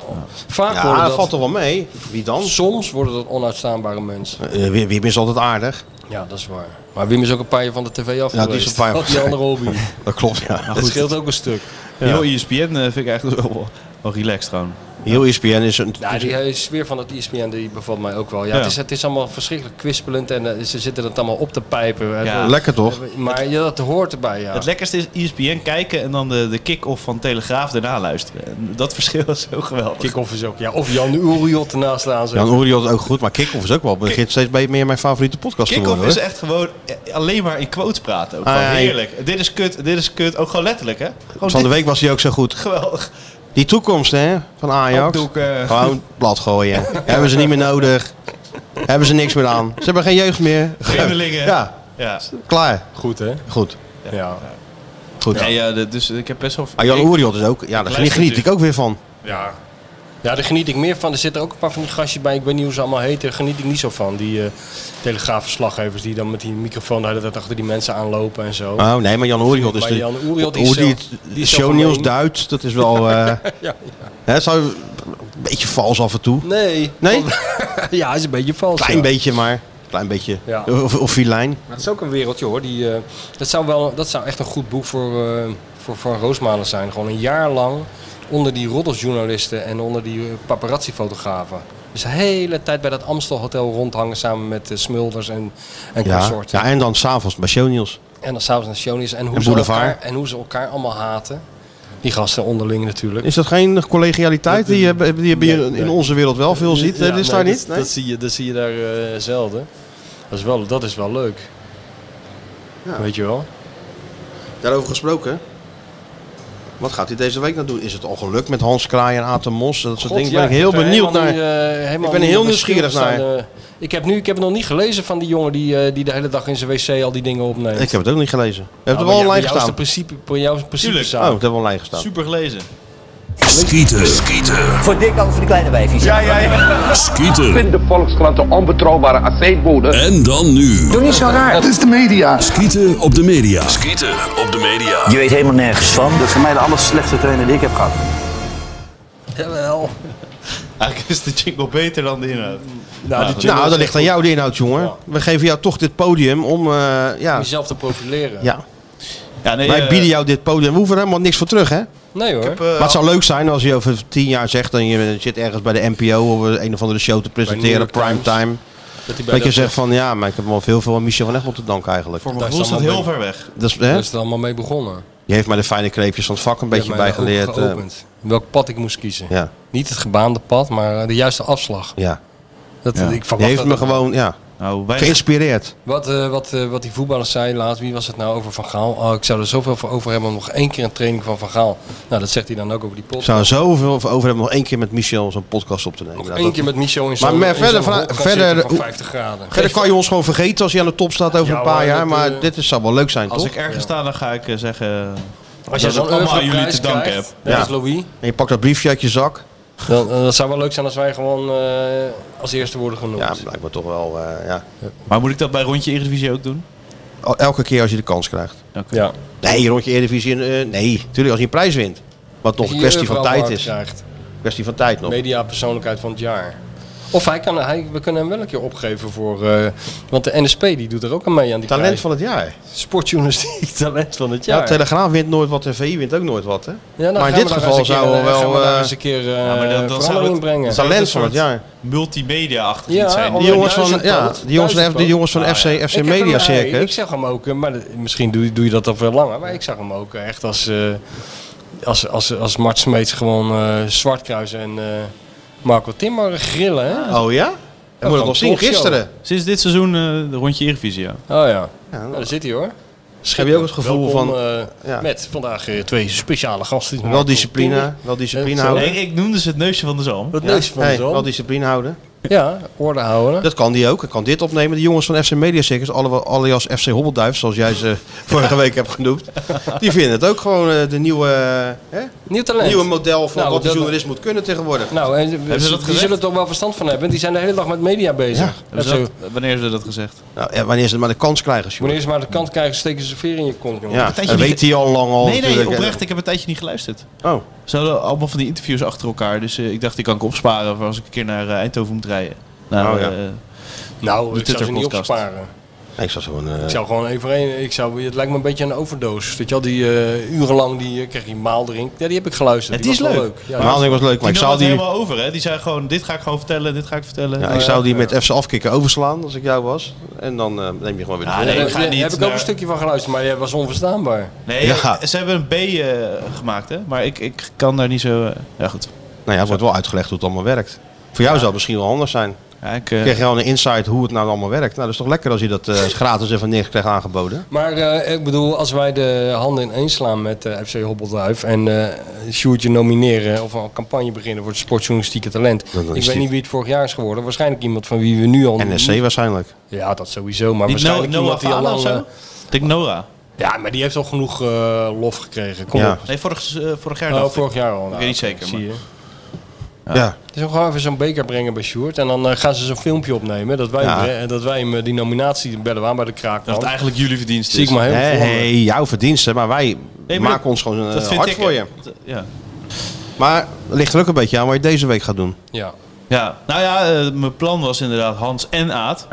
[SPEAKER 7] vaak
[SPEAKER 6] Ja,
[SPEAKER 7] worden
[SPEAKER 6] dat
[SPEAKER 7] dat...
[SPEAKER 6] valt toch wel mee? Wie dan?
[SPEAKER 7] Soms worden dat onuitstaanbare mensen.
[SPEAKER 6] Eh, Wim Wim is altijd aardig.
[SPEAKER 7] Ja, dat is waar. Maar Wim is ook een paar jaar van de tv af
[SPEAKER 6] Ja, die
[SPEAKER 7] geweest.
[SPEAKER 6] is een paar jaar
[SPEAKER 7] Dat die andere hobby.
[SPEAKER 6] Dat klopt, ja.
[SPEAKER 7] Dat scheelt ook een stuk.
[SPEAKER 10] Heel ESPN eh, vind ik eigenlijk wel, wel relaxed gewoon.
[SPEAKER 6] Heel E ESPN is een...
[SPEAKER 7] Ja, die eh, sfeer van het E ESPN die bevalt mij ook wel. Dus- Ja,
[SPEAKER 10] Ja.
[SPEAKER 7] Het, is, het is allemaal verschrikkelijk kwispelend en eh, ze zitten het allemaal op te pijpen.
[SPEAKER 10] Ja.
[SPEAKER 6] Lekker toch?
[SPEAKER 7] Maar ja, dat hoort erbij, ja.
[SPEAKER 10] Het lekkerste is E ESPN kijken en dan de, de kick-off van Telegraaf daarna luisteren. En dat verschil is zo geweldig.
[SPEAKER 7] Kick-off is ook, ja. Of Jan Uriot ernaast aan
[SPEAKER 6] Jan Oriol is ook goed, maar Kickoff is ook wel. begint steeds bij- meer mijn favoriete podcast te
[SPEAKER 10] Kick-off
[SPEAKER 6] worden.
[SPEAKER 10] is
[SPEAKER 6] hoor.
[SPEAKER 10] echt gewoon eh, alleen maar in quotes praten. Ook.
[SPEAKER 6] Ah,
[SPEAKER 10] Gewoon
[SPEAKER 6] ja, ja.
[SPEAKER 10] heerlijk. Dit is kut, dit is kut. Ook gewoon letterlijk, hè? Gewoon
[SPEAKER 6] Van de
[SPEAKER 10] oh, dit-
[SPEAKER 6] week was hij ook zo goed.
[SPEAKER 10] Geweldig.
[SPEAKER 6] Die toekomst hè, van Ajax.
[SPEAKER 10] Opdoeken.
[SPEAKER 6] Gewoon plat gooien. Hebben ze niet meer nodig. Hebben ze niks meer aan. Ze hebben geen jeugd meer.
[SPEAKER 10] Vreemdelingen.
[SPEAKER 6] Ja,
[SPEAKER 10] Ja.
[SPEAKER 6] klaar.
[SPEAKER 7] Goed, hè?
[SPEAKER 6] Goed.
[SPEAKER 7] Ja.
[SPEAKER 6] Goed.
[SPEAKER 10] Nee, ja, de- dus ik heb best wel...
[SPEAKER 6] Ah, Jan
[SPEAKER 10] ik-
[SPEAKER 6] Oriol is ook... Ja, daar
[SPEAKER 10] luister
[SPEAKER 6] geniet, geniet ik
[SPEAKER 10] natuurlijk.
[SPEAKER 6] ook weer van.
[SPEAKER 7] Ja. Ja, daar geniet ik meer van. Er zitten ook een paar van die gastjes bij. Ik weet niet hoe ze allemaal heten. Daar geniet ik niet zo van. Die eh telegraafverslaggevers die dan met die microfoon de hele tijd achter die mensen aanlopen en zo.
[SPEAKER 6] Oh nee, maar Jan Oriol is
[SPEAKER 7] Maar
[SPEAKER 6] de...
[SPEAKER 7] Jan Oriol is
[SPEAKER 6] Hoe
[SPEAKER 7] zelf-
[SPEAKER 6] die het
[SPEAKER 7] die is
[SPEAKER 6] shownieuws
[SPEAKER 7] zelf alleen.
[SPEAKER 6] duidt, dat is wel... eh
[SPEAKER 7] ja.
[SPEAKER 6] hè, zou, een beetje vals af en toe.
[SPEAKER 7] Nee.
[SPEAKER 6] Nee?
[SPEAKER 7] ja, is een beetje vals.
[SPEAKER 6] Klein
[SPEAKER 7] ja.
[SPEAKER 6] beetje maar. Klein beetje.
[SPEAKER 7] Ja.
[SPEAKER 6] Of, of filijn.
[SPEAKER 7] Maar het is ook een wereldje hoor. Die, eh, dat, zou wel, dat zou echt een goed boek voor, eh, voor, voor Roosmalen zijn. Gewoon een jaar lang onder die roddelsjournalisten en onder die eh, paparazzi-fotografen. Dus de hele tijd bij dat Amstel Hotel rondhangen samen met eh, Smulders en, en
[SPEAKER 6] Ja.
[SPEAKER 7] consorten.
[SPEAKER 6] ja, en dan s'avonds bij shownieuws.
[SPEAKER 7] En dan s'avonds naar Shonies en hoe,
[SPEAKER 6] En
[SPEAKER 7] ze
[SPEAKER 6] Boulevard.
[SPEAKER 7] elkaar, en hoe ze elkaar allemaal haten. Die gasten onderling natuurlijk.
[SPEAKER 6] Is dat geen collegialiteit die je, die je
[SPEAKER 7] Nee, nee.
[SPEAKER 6] in onze wereld wel veel ziet?
[SPEAKER 7] Ja,
[SPEAKER 6] dat is
[SPEAKER 7] nee,
[SPEAKER 6] daar
[SPEAKER 7] dat-
[SPEAKER 6] niet?
[SPEAKER 7] Dat, zie, je, dat zie je daar eh, zelden. Dat is wel, dat is wel leuk. Weet je wel?
[SPEAKER 6] Daarover gesproken. Wat gaat hij deze week nou doen? Is het al gelukt met Hans Kraai en Aten Mos? Dat soort
[SPEAKER 7] God,
[SPEAKER 6] dingen.
[SPEAKER 7] ja,
[SPEAKER 6] ben ik heel
[SPEAKER 7] heb er
[SPEAKER 6] benieuwd
[SPEAKER 7] helemaal
[SPEAKER 6] naar.
[SPEAKER 7] niet, eh, helemaal
[SPEAKER 6] ik ben heel
[SPEAKER 7] niet op mijn
[SPEAKER 6] nieuwsgierig
[SPEAKER 7] stil
[SPEAKER 6] naar.
[SPEAKER 7] gestaan, eh. ik, heb nu, ik heb nog niet gelezen van die jongen die, eh, die de hele dag in zijn wc al die dingen opneemt.
[SPEAKER 6] Ik heb het ook niet gelezen. Heb
[SPEAKER 7] Nou,
[SPEAKER 6] het wel
[SPEAKER 7] bij jou- bij
[SPEAKER 6] online
[SPEAKER 7] jou is
[SPEAKER 6] gestaan?
[SPEAKER 7] de principe, bij jou is het principe
[SPEAKER 6] Tuurlijk.
[SPEAKER 7] zaak.
[SPEAKER 6] Oh, het hebben we online gestaan.
[SPEAKER 10] Super gelezen.
[SPEAKER 5] Skieten. Skieten.
[SPEAKER 14] Voor dik over de kleine wijfjes. Ja, ja, ja.
[SPEAKER 5] Skieten.
[SPEAKER 14] vind de Volkskrant een onbetrouwbare aceetbode.
[SPEAKER 5] En dan nu.
[SPEAKER 14] Doe niet zo raar. Dat is de media.
[SPEAKER 5] Skieten op de media. Skieten op de media.
[SPEAKER 14] Je weet helemaal nergens van. Dat is voor mij de aller slechtste trainer die ik heb gehad.
[SPEAKER 7] Jawel. Nou,
[SPEAKER 10] Eigenlijk is de jingle beter dan de inhoud.
[SPEAKER 7] die
[SPEAKER 10] goed.
[SPEAKER 6] Nou, dat ligt aan jou de inhoud, jongen. We geven jou toch dit podium om... eh, ja.
[SPEAKER 7] Om jezelf te profileren.
[SPEAKER 6] ja.
[SPEAKER 10] Ja, nee,
[SPEAKER 6] Wij
[SPEAKER 10] eh,
[SPEAKER 6] bieden jou dit podium. We hoeven er helemaal niks voor terug, hè?
[SPEAKER 7] Nee hoor.
[SPEAKER 6] maar het zou leuk zijn als je over tien jaar zegt... en je zit ergens bij de NPO of een of andere show te
[SPEAKER 7] New
[SPEAKER 6] presenteren,
[SPEAKER 7] York
[SPEAKER 6] primetime.
[SPEAKER 7] Times. Dat hij
[SPEAKER 6] Dat
[SPEAKER 7] bij
[SPEAKER 6] je
[SPEAKER 7] dat-
[SPEAKER 6] zegt van ja, maar ik heb wel veel, veel aan Michel van Egmond te danken eigenlijk.
[SPEAKER 10] Voor mijn gevoel staat heel ver weg.
[SPEAKER 6] Dat is,
[SPEAKER 7] Daar
[SPEAKER 6] hè?
[SPEAKER 7] is het allemaal mee begonnen.
[SPEAKER 6] Je heeft mij de fijne kreepjes van het vak een beetje
[SPEAKER 7] Die hebben mij de
[SPEAKER 6] bijgeleerd.
[SPEAKER 7] ogen geopend. Welk pad ik moest kiezen.
[SPEAKER 6] eh, ja,
[SPEAKER 7] Niet het gebaande pad, maar eh, de juiste afslag.
[SPEAKER 6] ja.
[SPEAKER 7] Dat,
[SPEAKER 6] ja.
[SPEAKER 7] ik
[SPEAKER 6] Die
[SPEAKER 7] verwacht
[SPEAKER 6] heeft
[SPEAKER 7] dat
[SPEAKER 6] me
[SPEAKER 7] ook.
[SPEAKER 6] gewoon, ja.
[SPEAKER 10] Nou, wij...
[SPEAKER 6] Geïnspireerd.
[SPEAKER 7] Wat, eh, wat, eh, wat die voetballers zeiden laatst, wie was het nou over Van Gaal? Oh, ik zou er zoveel voor over hebben om nog één keer een training van Van Gaal. Nou, dat zegt hij dan ook over die
[SPEAKER 6] Ik
[SPEAKER 7] podcast.
[SPEAKER 6] zou er zoveel voor over hebben om nog één keer met Michel zo'n podcast op te nemen.
[SPEAKER 7] één keer met Michel in
[SPEAKER 6] Maar,
[SPEAKER 7] zo'n- in
[SPEAKER 6] verder,
[SPEAKER 7] zo'n
[SPEAKER 6] vra-
[SPEAKER 7] hok gaan
[SPEAKER 6] verder,
[SPEAKER 7] zitten van 50 graden.
[SPEAKER 6] verder kan je ons gewoon vergeten als je aan de top staat over
[SPEAKER 7] Ja,
[SPEAKER 6] een paar
[SPEAKER 7] hoor,
[SPEAKER 6] jaar.
[SPEAKER 7] dat,
[SPEAKER 6] Maar
[SPEAKER 7] eh,
[SPEAKER 6] dit is, zou wel leuk zijn,
[SPEAKER 10] Als
[SPEAKER 6] toch?
[SPEAKER 10] ik ergens sta, dan ga ik eh, zeggen...
[SPEAKER 7] Als
[SPEAKER 10] dat
[SPEAKER 7] je zo'n
[SPEAKER 10] het allemaal aan
[SPEAKER 7] Europrijs
[SPEAKER 10] jullie te danken
[SPEAKER 7] krijgt,
[SPEAKER 10] hebt.
[SPEAKER 7] net als Louis.
[SPEAKER 6] En je pakt dat briefje uit je zak.
[SPEAKER 7] Dan, dan- dat zou wel leuk zijn als wij gewoon eh, als eerste worden genoemd.
[SPEAKER 6] Ja, blijkbaar toch wel. eh, ja.
[SPEAKER 10] Maar moet ik dat bij rondje Eredivisie ook doen?
[SPEAKER 6] Al- Elke keer als je de kans krijgt.
[SPEAKER 7] Ja.
[SPEAKER 6] Nee, rondje Eredivisie. eh, nee, natuurlijk als je een prijs wint. Wat nog
[SPEAKER 7] je
[SPEAKER 6] een kwestie van
[SPEAKER 7] overal
[SPEAKER 6] tijd
[SPEAKER 7] markt
[SPEAKER 6] is.
[SPEAKER 7] krijgt.
[SPEAKER 6] Kwestie van tijd nog.
[SPEAKER 7] Media persoonlijkheid van het jaar. Of hij kan, hij, we kunnen hem wel een keer opgeven voor... eh, want de NSP die doet er ook aan mee aan die
[SPEAKER 6] Talent
[SPEAKER 7] prijs.
[SPEAKER 6] van het jaar.
[SPEAKER 7] Sportjournalistiek talent van het
[SPEAKER 6] Ja,
[SPEAKER 7] jaar.
[SPEAKER 6] Telegraaf wint nooit wat en VI wint ook nooit wat. Hè?
[SPEAKER 7] nou,
[SPEAKER 6] maar in
[SPEAKER 7] gaan
[SPEAKER 6] dit
[SPEAKER 7] we daar
[SPEAKER 6] geval
[SPEAKER 7] eens een keer,
[SPEAKER 6] zou we
[SPEAKER 7] eh, gaan
[SPEAKER 6] wel.
[SPEAKER 7] we daar
[SPEAKER 6] eh,
[SPEAKER 7] eens een keer, eh,
[SPEAKER 10] maar dan- dan zou
[SPEAKER 7] verandering
[SPEAKER 10] het-
[SPEAKER 7] brengen.
[SPEAKER 10] zou
[SPEAKER 6] Talent
[SPEAKER 10] een
[SPEAKER 6] van het
[SPEAKER 10] soort
[SPEAKER 6] jaar.
[SPEAKER 10] Multimedia-achtig
[SPEAKER 7] Ja,
[SPEAKER 10] iets zijn.
[SPEAKER 7] onder
[SPEAKER 6] die jongens van,
[SPEAKER 7] duizendpoot.
[SPEAKER 6] ja, die jongens van, F- die jongens van
[SPEAKER 7] Ah,
[SPEAKER 6] FC,
[SPEAKER 7] ja.
[SPEAKER 6] FC
[SPEAKER 7] Ik heb hem-
[SPEAKER 6] Media
[SPEAKER 7] nee,
[SPEAKER 6] Circus.
[SPEAKER 7] ik zag hem ook, eh, maar dat- misschien doe, je- doe je dat al veel langer. Maar ik zag hem ook eh, echt als, eh als, als, als Mart Smeets gewoon eh Zwartkruis en eh, Marco Timmer grillen. Hè?
[SPEAKER 10] Ah.
[SPEAKER 6] Oh ja?
[SPEAKER 7] Ja,
[SPEAKER 6] Ik moet
[SPEAKER 7] van
[SPEAKER 6] het nog zien.
[SPEAKER 7] talkshow.
[SPEAKER 6] Gisteren.
[SPEAKER 10] Sinds dit seizoen eh, de rondje Eredivisie, ja.
[SPEAKER 7] Oh ja, nou, daar zit hij hoor.
[SPEAKER 6] Dus Heb je ook het gevoel
[SPEAKER 7] Welkom,
[SPEAKER 6] van.
[SPEAKER 7] eh, Met vandaag eh, twee speciale gasten.
[SPEAKER 6] Wel
[SPEAKER 7] Marco
[SPEAKER 6] discipline,
[SPEAKER 7] Timmer.
[SPEAKER 6] wel discipline
[SPEAKER 7] En zo.
[SPEAKER 6] houden.
[SPEAKER 10] Ik, ik noemde ze het neusje van de zalm.
[SPEAKER 7] Het
[SPEAKER 6] Ja,
[SPEAKER 7] neusje van
[SPEAKER 6] hey,
[SPEAKER 7] de zon.
[SPEAKER 6] wel discipline houden.
[SPEAKER 7] Ja, orde houden.
[SPEAKER 6] Dat kan die ook. Ik kan dit opnemen. De jongens van FC Media Circus, alle- alias FC Hobbelduif, zoals jij ze vorige week hebt genoemd. Die vinden het ook gewoon eh, de nieuwe, eh, hè?
[SPEAKER 7] Nieuw talent.
[SPEAKER 6] nieuwe model van
[SPEAKER 7] Nou,
[SPEAKER 6] wat de
[SPEAKER 7] dat-
[SPEAKER 6] journalist moet kunnen tegenwoordig.
[SPEAKER 7] Nou, en,
[SPEAKER 10] ze dat
[SPEAKER 7] die
[SPEAKER 10] gezegd?
[SPEAKER 7] zullen er toch wel verstand van hebben. want Die zijn de hele dag met media bezig.
[SPEAKER 10] Hebben ze
[SPEAKER 7] Zo-
[SPEAKER 10] dat- wanneer hebben ze dat gezegd?
[SPEAKER 6] Nou, ja, wanneer ze maar de kans krijgen, jongen.
[SPEAKER 7] Wanneer ze maar de kant krijgen, steken ze veer in je kont. jongen.
[SPEAKER 6] Ja,
[SPEAKER 10] tijdje
[SPEAKER 6] dat
[SPEAKER 10] niet-
[SPEAKER 6] weet hij al lang al.
[SPEAKER 10] nee, nee,
[SPEAKER 6] Oh, natuurlijk, hè.
[SPEAKER 10] oprecht. Ik heb een tijdje niet geluisterd.
[SPEAKER 6] Oh.
[SPEAKER 10] Ze hadden allemaal van die interviews achter elkaar. Dus eh, ik dacht, die kan ik opsparen voor als ik een keer naar eh, Eindhoven moet rijden. Nou,
[SPEAKER 6] Oh, ja.
[SPEAKER 10] eh,
[SPEAKER 7] Nou,
[SPEAKER 10] de
[SPEAKER 7] ik zou ze niet
[SPEAKER 10] Twitter-podcast.
[SPEAKER 7] opsparen.
[SPEAKER 6] Nee, ik zag zo'n.
[SPEAKER 7] Ik
[SPEAKER 6] eh,
[SPEAKER 7] zou gewoon één voor één. Ik zou, het lijkt me een beetje een overdoos. Weet je wel, die eh, urenlang die, eh, kreeg die maaldrink. Ja, die heb ik geluisterd.
[SPEAKER 10] Het is
[SPEAKER 7] was wel
[SPEAKER 10] leuk.
[SPEAKER 7] Ja, dus-
[SPEAKER 6] Maar Haalding was leuk, maar
[SPEAKER 10] die
[SPEAKER 6] ik
[SPEAKER 10] nam
[SPEAKER 6] zou
[SPEAKER 10] het
[SPEAKER 6] die,
[SPEAKER 10] helemaal over, hè? Die zei gewoon, dit ga ik gewoon vertellen, dit ga ik vertellen. Eh,
[SPEAKER 6] ja, ik zou die met FC afkikken overslaan als ik jou was. En dan eh, neem je gewoon weer de
[SPEAKER 10] Ah,
[SPEAKER 6] volgende.
[SPEAKER 10] nee, ik ga
[SPEAKER 7] daar
[SPEAKER 10] niet
[SPEAKER 7] heb ik ook
[SPEAKER 10] naar-
[SPEAKER 7] een stukje van geluisterd, maar die was onverstaanbaar.
[SPEAKER 10] Nee,
[SPEAKER 6] Ja.
[SPEAKER 10] ze hebben een B eh, gemaakt, hè? Maar ik, ik kan daar niet zo... eh, ja, goed.
[SPEAKER 6] Nou ja, het wordt wel uitgelegd hoe het allemaal werkt. Voor jou zou het misschien wel anders zijn.
[SPEAKER 10] Ja, ik, eh,
[SPEAKER 6] Krijg je al een insight hoe het nou allemaal werkt. Nou, dat is toch lekker als je dat eh, gratis even niks krijgt aangeboden.
[SPEAKER 7] Maar eh, ik bedoel, als wij de handen ineen slaan met eh, FC Hobbelduif en eh Sjoerdje nomineren of een campagne beginnen voor het sportjournalistieke talent.
[SPEAKER 6] Dan is
[SPEAKER 7] ik weet
[SPEAKER 6] die-
[SPEAKER 7] niet wie het vorig jaar is geworden. Waarschijnlijk iemand van wie we nu al...
[SPEAKER 6] NSC waarschijnlijk.
[SPEAKER 7] Ja, dat sowieso. Maar
[SPEAKER 10] Niet
[SPEAKER 7] waarschijnlijk
[SPEAKER 10] No-
[SPEAKER 7] iemand die
[SPEAKER 10] Noah
[SPEAKER 7] al lang...
[SPEAKER 10] Fala of
[SPEAKER 7] eh,
[SPEAKER 10] Ik denk Nora.
[SPEAKER 7] ja, maar die heeft al genoeg eh, lof gekregen. Kom
[SPEAKER 6] Ja.
[SPEAKER 7] op.
[SPEAKER 10] Nee, vorig, eh, vorig jaar
[SPEAKER 7] Oh,
[SPEAKER 10] dacht ik.
[SPEAKER 7] vorig jaar al.
[SPEAKER 10] Ik
[SPEAKER 7] Nou,
[SPEAKER 10] weet niet zeker,
[SPEAKER 7] zie
[SPEAKER 10] maar...
[SPEAKER 7] je.
[SPEAKER 6] Ja.
[SPEAKER 7] Dus we gewoon even zo'n beker brengen bij Sjoerd. En dan eh, gaan ze zo'n filmpje opnemen. Dat wij,
[SPEAKER 6] Ja.
[SPEAKER 7] hem, eh, dat wij hem eh, die nominatie bellen we aan bij de kraakman.
[SPEAKER 10] Dat het eigenlijk jullie verdienst
[SPEAKER 7] Zie
[SPEAKER 10] is.
[SPEAKER 7] ik maar heel
[SPEAKER 6] Hey,
[SPEAKER 7] voor me.
[SPEAKER 6] hey, jouw verdiensten, maar wij
[SPEAKER 10] Nee, maar
[SPEAKER 6] maken ons gewoon eh,
[SPEAKER 10] dat vind
[SPEAKER 6] hard
[SPEAKER 10] ik,
[SPEAKER 6] voor
[SPEAKER 10] eh,
[SPEAKER 6] je.
[SPEAKER 10] dat- Ja.
[SPEAKER 6] Maar het ligt er ook een beetje aan wat je deze week gaat doen.
[SPEAKER 7] Ja.
[SPEAKER 10] ja. Nou ja, eh, mijn plan was inderdaad Hans en Aad.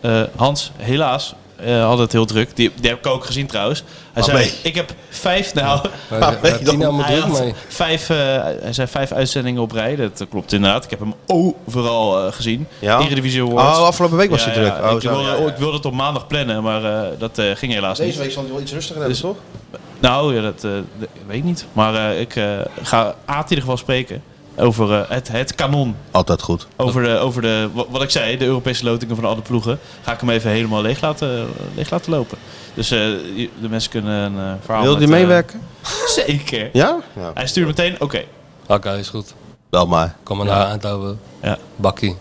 [SPEAKER 10] Eh, Hans, helaas, eh, had het heel druk. Die, die heb ik ook gezien trouwens. Hij
[SPEAKER 6] Waar
[SPEAKER 10] zei,
[SPEAKER 6] mee?
[SPEAKER 10] ik heb vijf... Nou,
[SPEAKER 7] Waar- waar
[SPEAKER 6] weet
[SPEAKER 7] heeft
[SPEAKER 6] je dan?
[SPEAKER 7] die nou allemaal
[SPEAKER 10] hij,
[SPEAKER 7] druk
[SPEAKER 10] had
[SPEAKER 7] mee?
[SPEAKER 10] vijf, eh, hij zei vijf uitzendingen op rij. Dat klopt inderdaad. Ik heb hem overal eh, gezien.
[SPEAKER 6] Ja?
[SPEAKER 10] Eredivisie Awards.
[SPEAKER 6] Oh, afgelopen week was
[SPEAKER 10] Ja,
[SPEAKER 6] hij
[SPEAKER 10] ja,
[SPEAKER 6] druk. Oh,
[SPEAKER 10] ik,
[SPEAKER 6] zo.
[SPEAKER 10] wilde, ik wilde het op maandag plannen, maar eh, dat eh, ging helaas niet.
[SPEAKER 6] Deze week zal hij wel iets rustiger hebben, toch?
[SPEAKER 10] Nou, ja, dat eh, dat weet ik niet. Maar eh, ik eh, ga Aad in ieder geval spreken over eh, het, het kanon.
[SPEAKER 6] Altijd goed.
[SPEAKER 10] Over, de, over de, wa- wat ik zei, de Europese lotingen van alle ploegen. Ga ik hem even helemaal leeg laten, leeg laten lopen. Dus eh, je- de mensen kunnen een eh, verhaal...
[SPEAKER 6] Wil
[SPEAKER 10] met,
[SPEAKER 6] die
[SPEAKER 10] eh,
[SPEAKER 6] meewerken?
[SPEAKER 10] zeker.
[SPEAKER 6] Ja? Ja.
[SPEAKER 10] Hij stuurt meteen, oké.
[SPEAKER 7] Oké, is goed.
[SPEAKER 6] Wel maar.
[SPEAKER 7] Kom maar naar Eindhoven.
[SPEAKER 10] Ja.
[SPEAKER 7] Bakkie.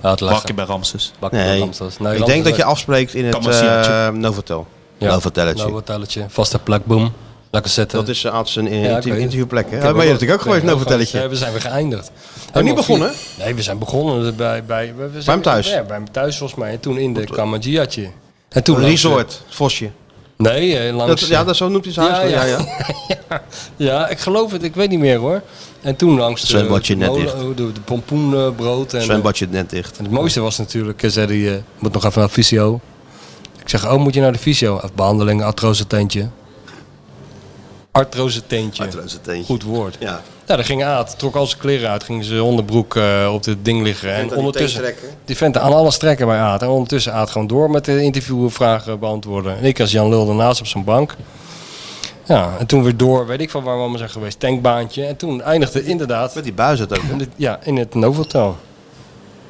[SPEAKER 7] Uitleggen.
[SPEAKER 10] Bakje bij Ramses.
[SPEAKER 7] Bakkie bij
[SPEAKER 6] Nee,
[SPEAKER 7] Ramsters. Nee,
[SPEAKER 6] ik
[SPEAKER 7] Ramsters
[SPEAKER 6] denk dat je
[SPEAKER 7] ook.
[SPEAKER 6] afspreekt in het
[SPEAKER 10] Kamasiatje.
[SPEAKER 6] eh Novotel.
[SPEAKER 7] Ja.
[SPEAKER 6] Novotelletje.
[SPEAKER 7] Nou, hotelletje. Vaste plek, boom. Lekker zitten.
[SPEAKER 6] Dat is Aad's een
[SPEAKER 7] Ja, ik
[SPEAKER 6] interview-
[SPEAKER 7] weet het.
[SPEAKER 6] interviewplek, hè?
[SPEAKER 7] Ik
[SPEAKER 6] Daar
[SPEAKER 7] heb
[SPEAKER 6] ben je
[SPEAKER 7] ook-
[SPEAKER 6] natuurlijk ook geweest,
[SPEAKER 7] ik heb
[SPEAKER 6] Novotelletje.
[SPEAKER 7] Ja, we zijn weer geëindigd.
[SPEAKER 6] Oh, niet
[SPEAKER 7] Helemaal
[SPEAKER 6] begonnen?
[SPEAKER 7] vier- Nee, we zijn begonnen bij... Bij, we- we zijn-
[SPEAKER 6] hem thuis?
[SPEAKER 7] Ja, bij hem thuis volgens mij. En toen in de Kamagiatje. En toen langs de-
[SPEAKER 6] Resort, Vosje.
[SPEAKER 7] Nee, eh, langs...
[SPEAKER 6] Dat, ja, dat zo noemt hij zijn huis.
[SPEAKER 7] Ja,
[SPEAKER 6] Ja,
[SPEAKER 7] ja.
[SPEAKER 6] ja.
[SPEAKER 7] Ja, ik geloof het. Ik weet niet meer hoor. En toen langs de,
[SPEAKER 6] Zwembadje net
[SPEAKER 7] molen-
[SPEAKER 6] dicht.
[SPEAKER 7] de, de pompoenbrood. En,
[SPEAKER 6] Zwembadje net dicht.
[SPEAKER 7] en het mooiste was natuurlijk, eh, zei hij, eh, moet nog even naar de fysio. Ik zeg, oh, moet je naar de fysio? Of Behandeling, artrozeteentje. Artrozeteentje.
[SPEAKER 6] Artrozeteentje.
[SPEAKER 7] Goed woord.
[SPEAKER 6] Ja.
[SPEAKER 7] Nou, daar ging Aad, trok al zijn kleren uit, ging zijn onderbroek eh, op dit ding liggen.
[SPEAKER 6] aan
[SPEAKER 7] En
[SPEAKER 6] die
[SPEAKER 7] ondertussen,
[SPEAKER 6] teen trekken.
[SPEAKER 7] die vent aan alles trekken bij Aad. En ondertussen Aad gewoon door met de interviewvragen beantwoorden. En ik als Jan Lul daarnaast op zijn bank. Ja, en toen weer door, weet ik van waar we allemaal zijn geweest, tankbaantje. En toen eindigde inderdaad
[SPEAKER 6] Met die buis het ook. hè?
[SPEAKER 7] in het, ja, in het Novotel.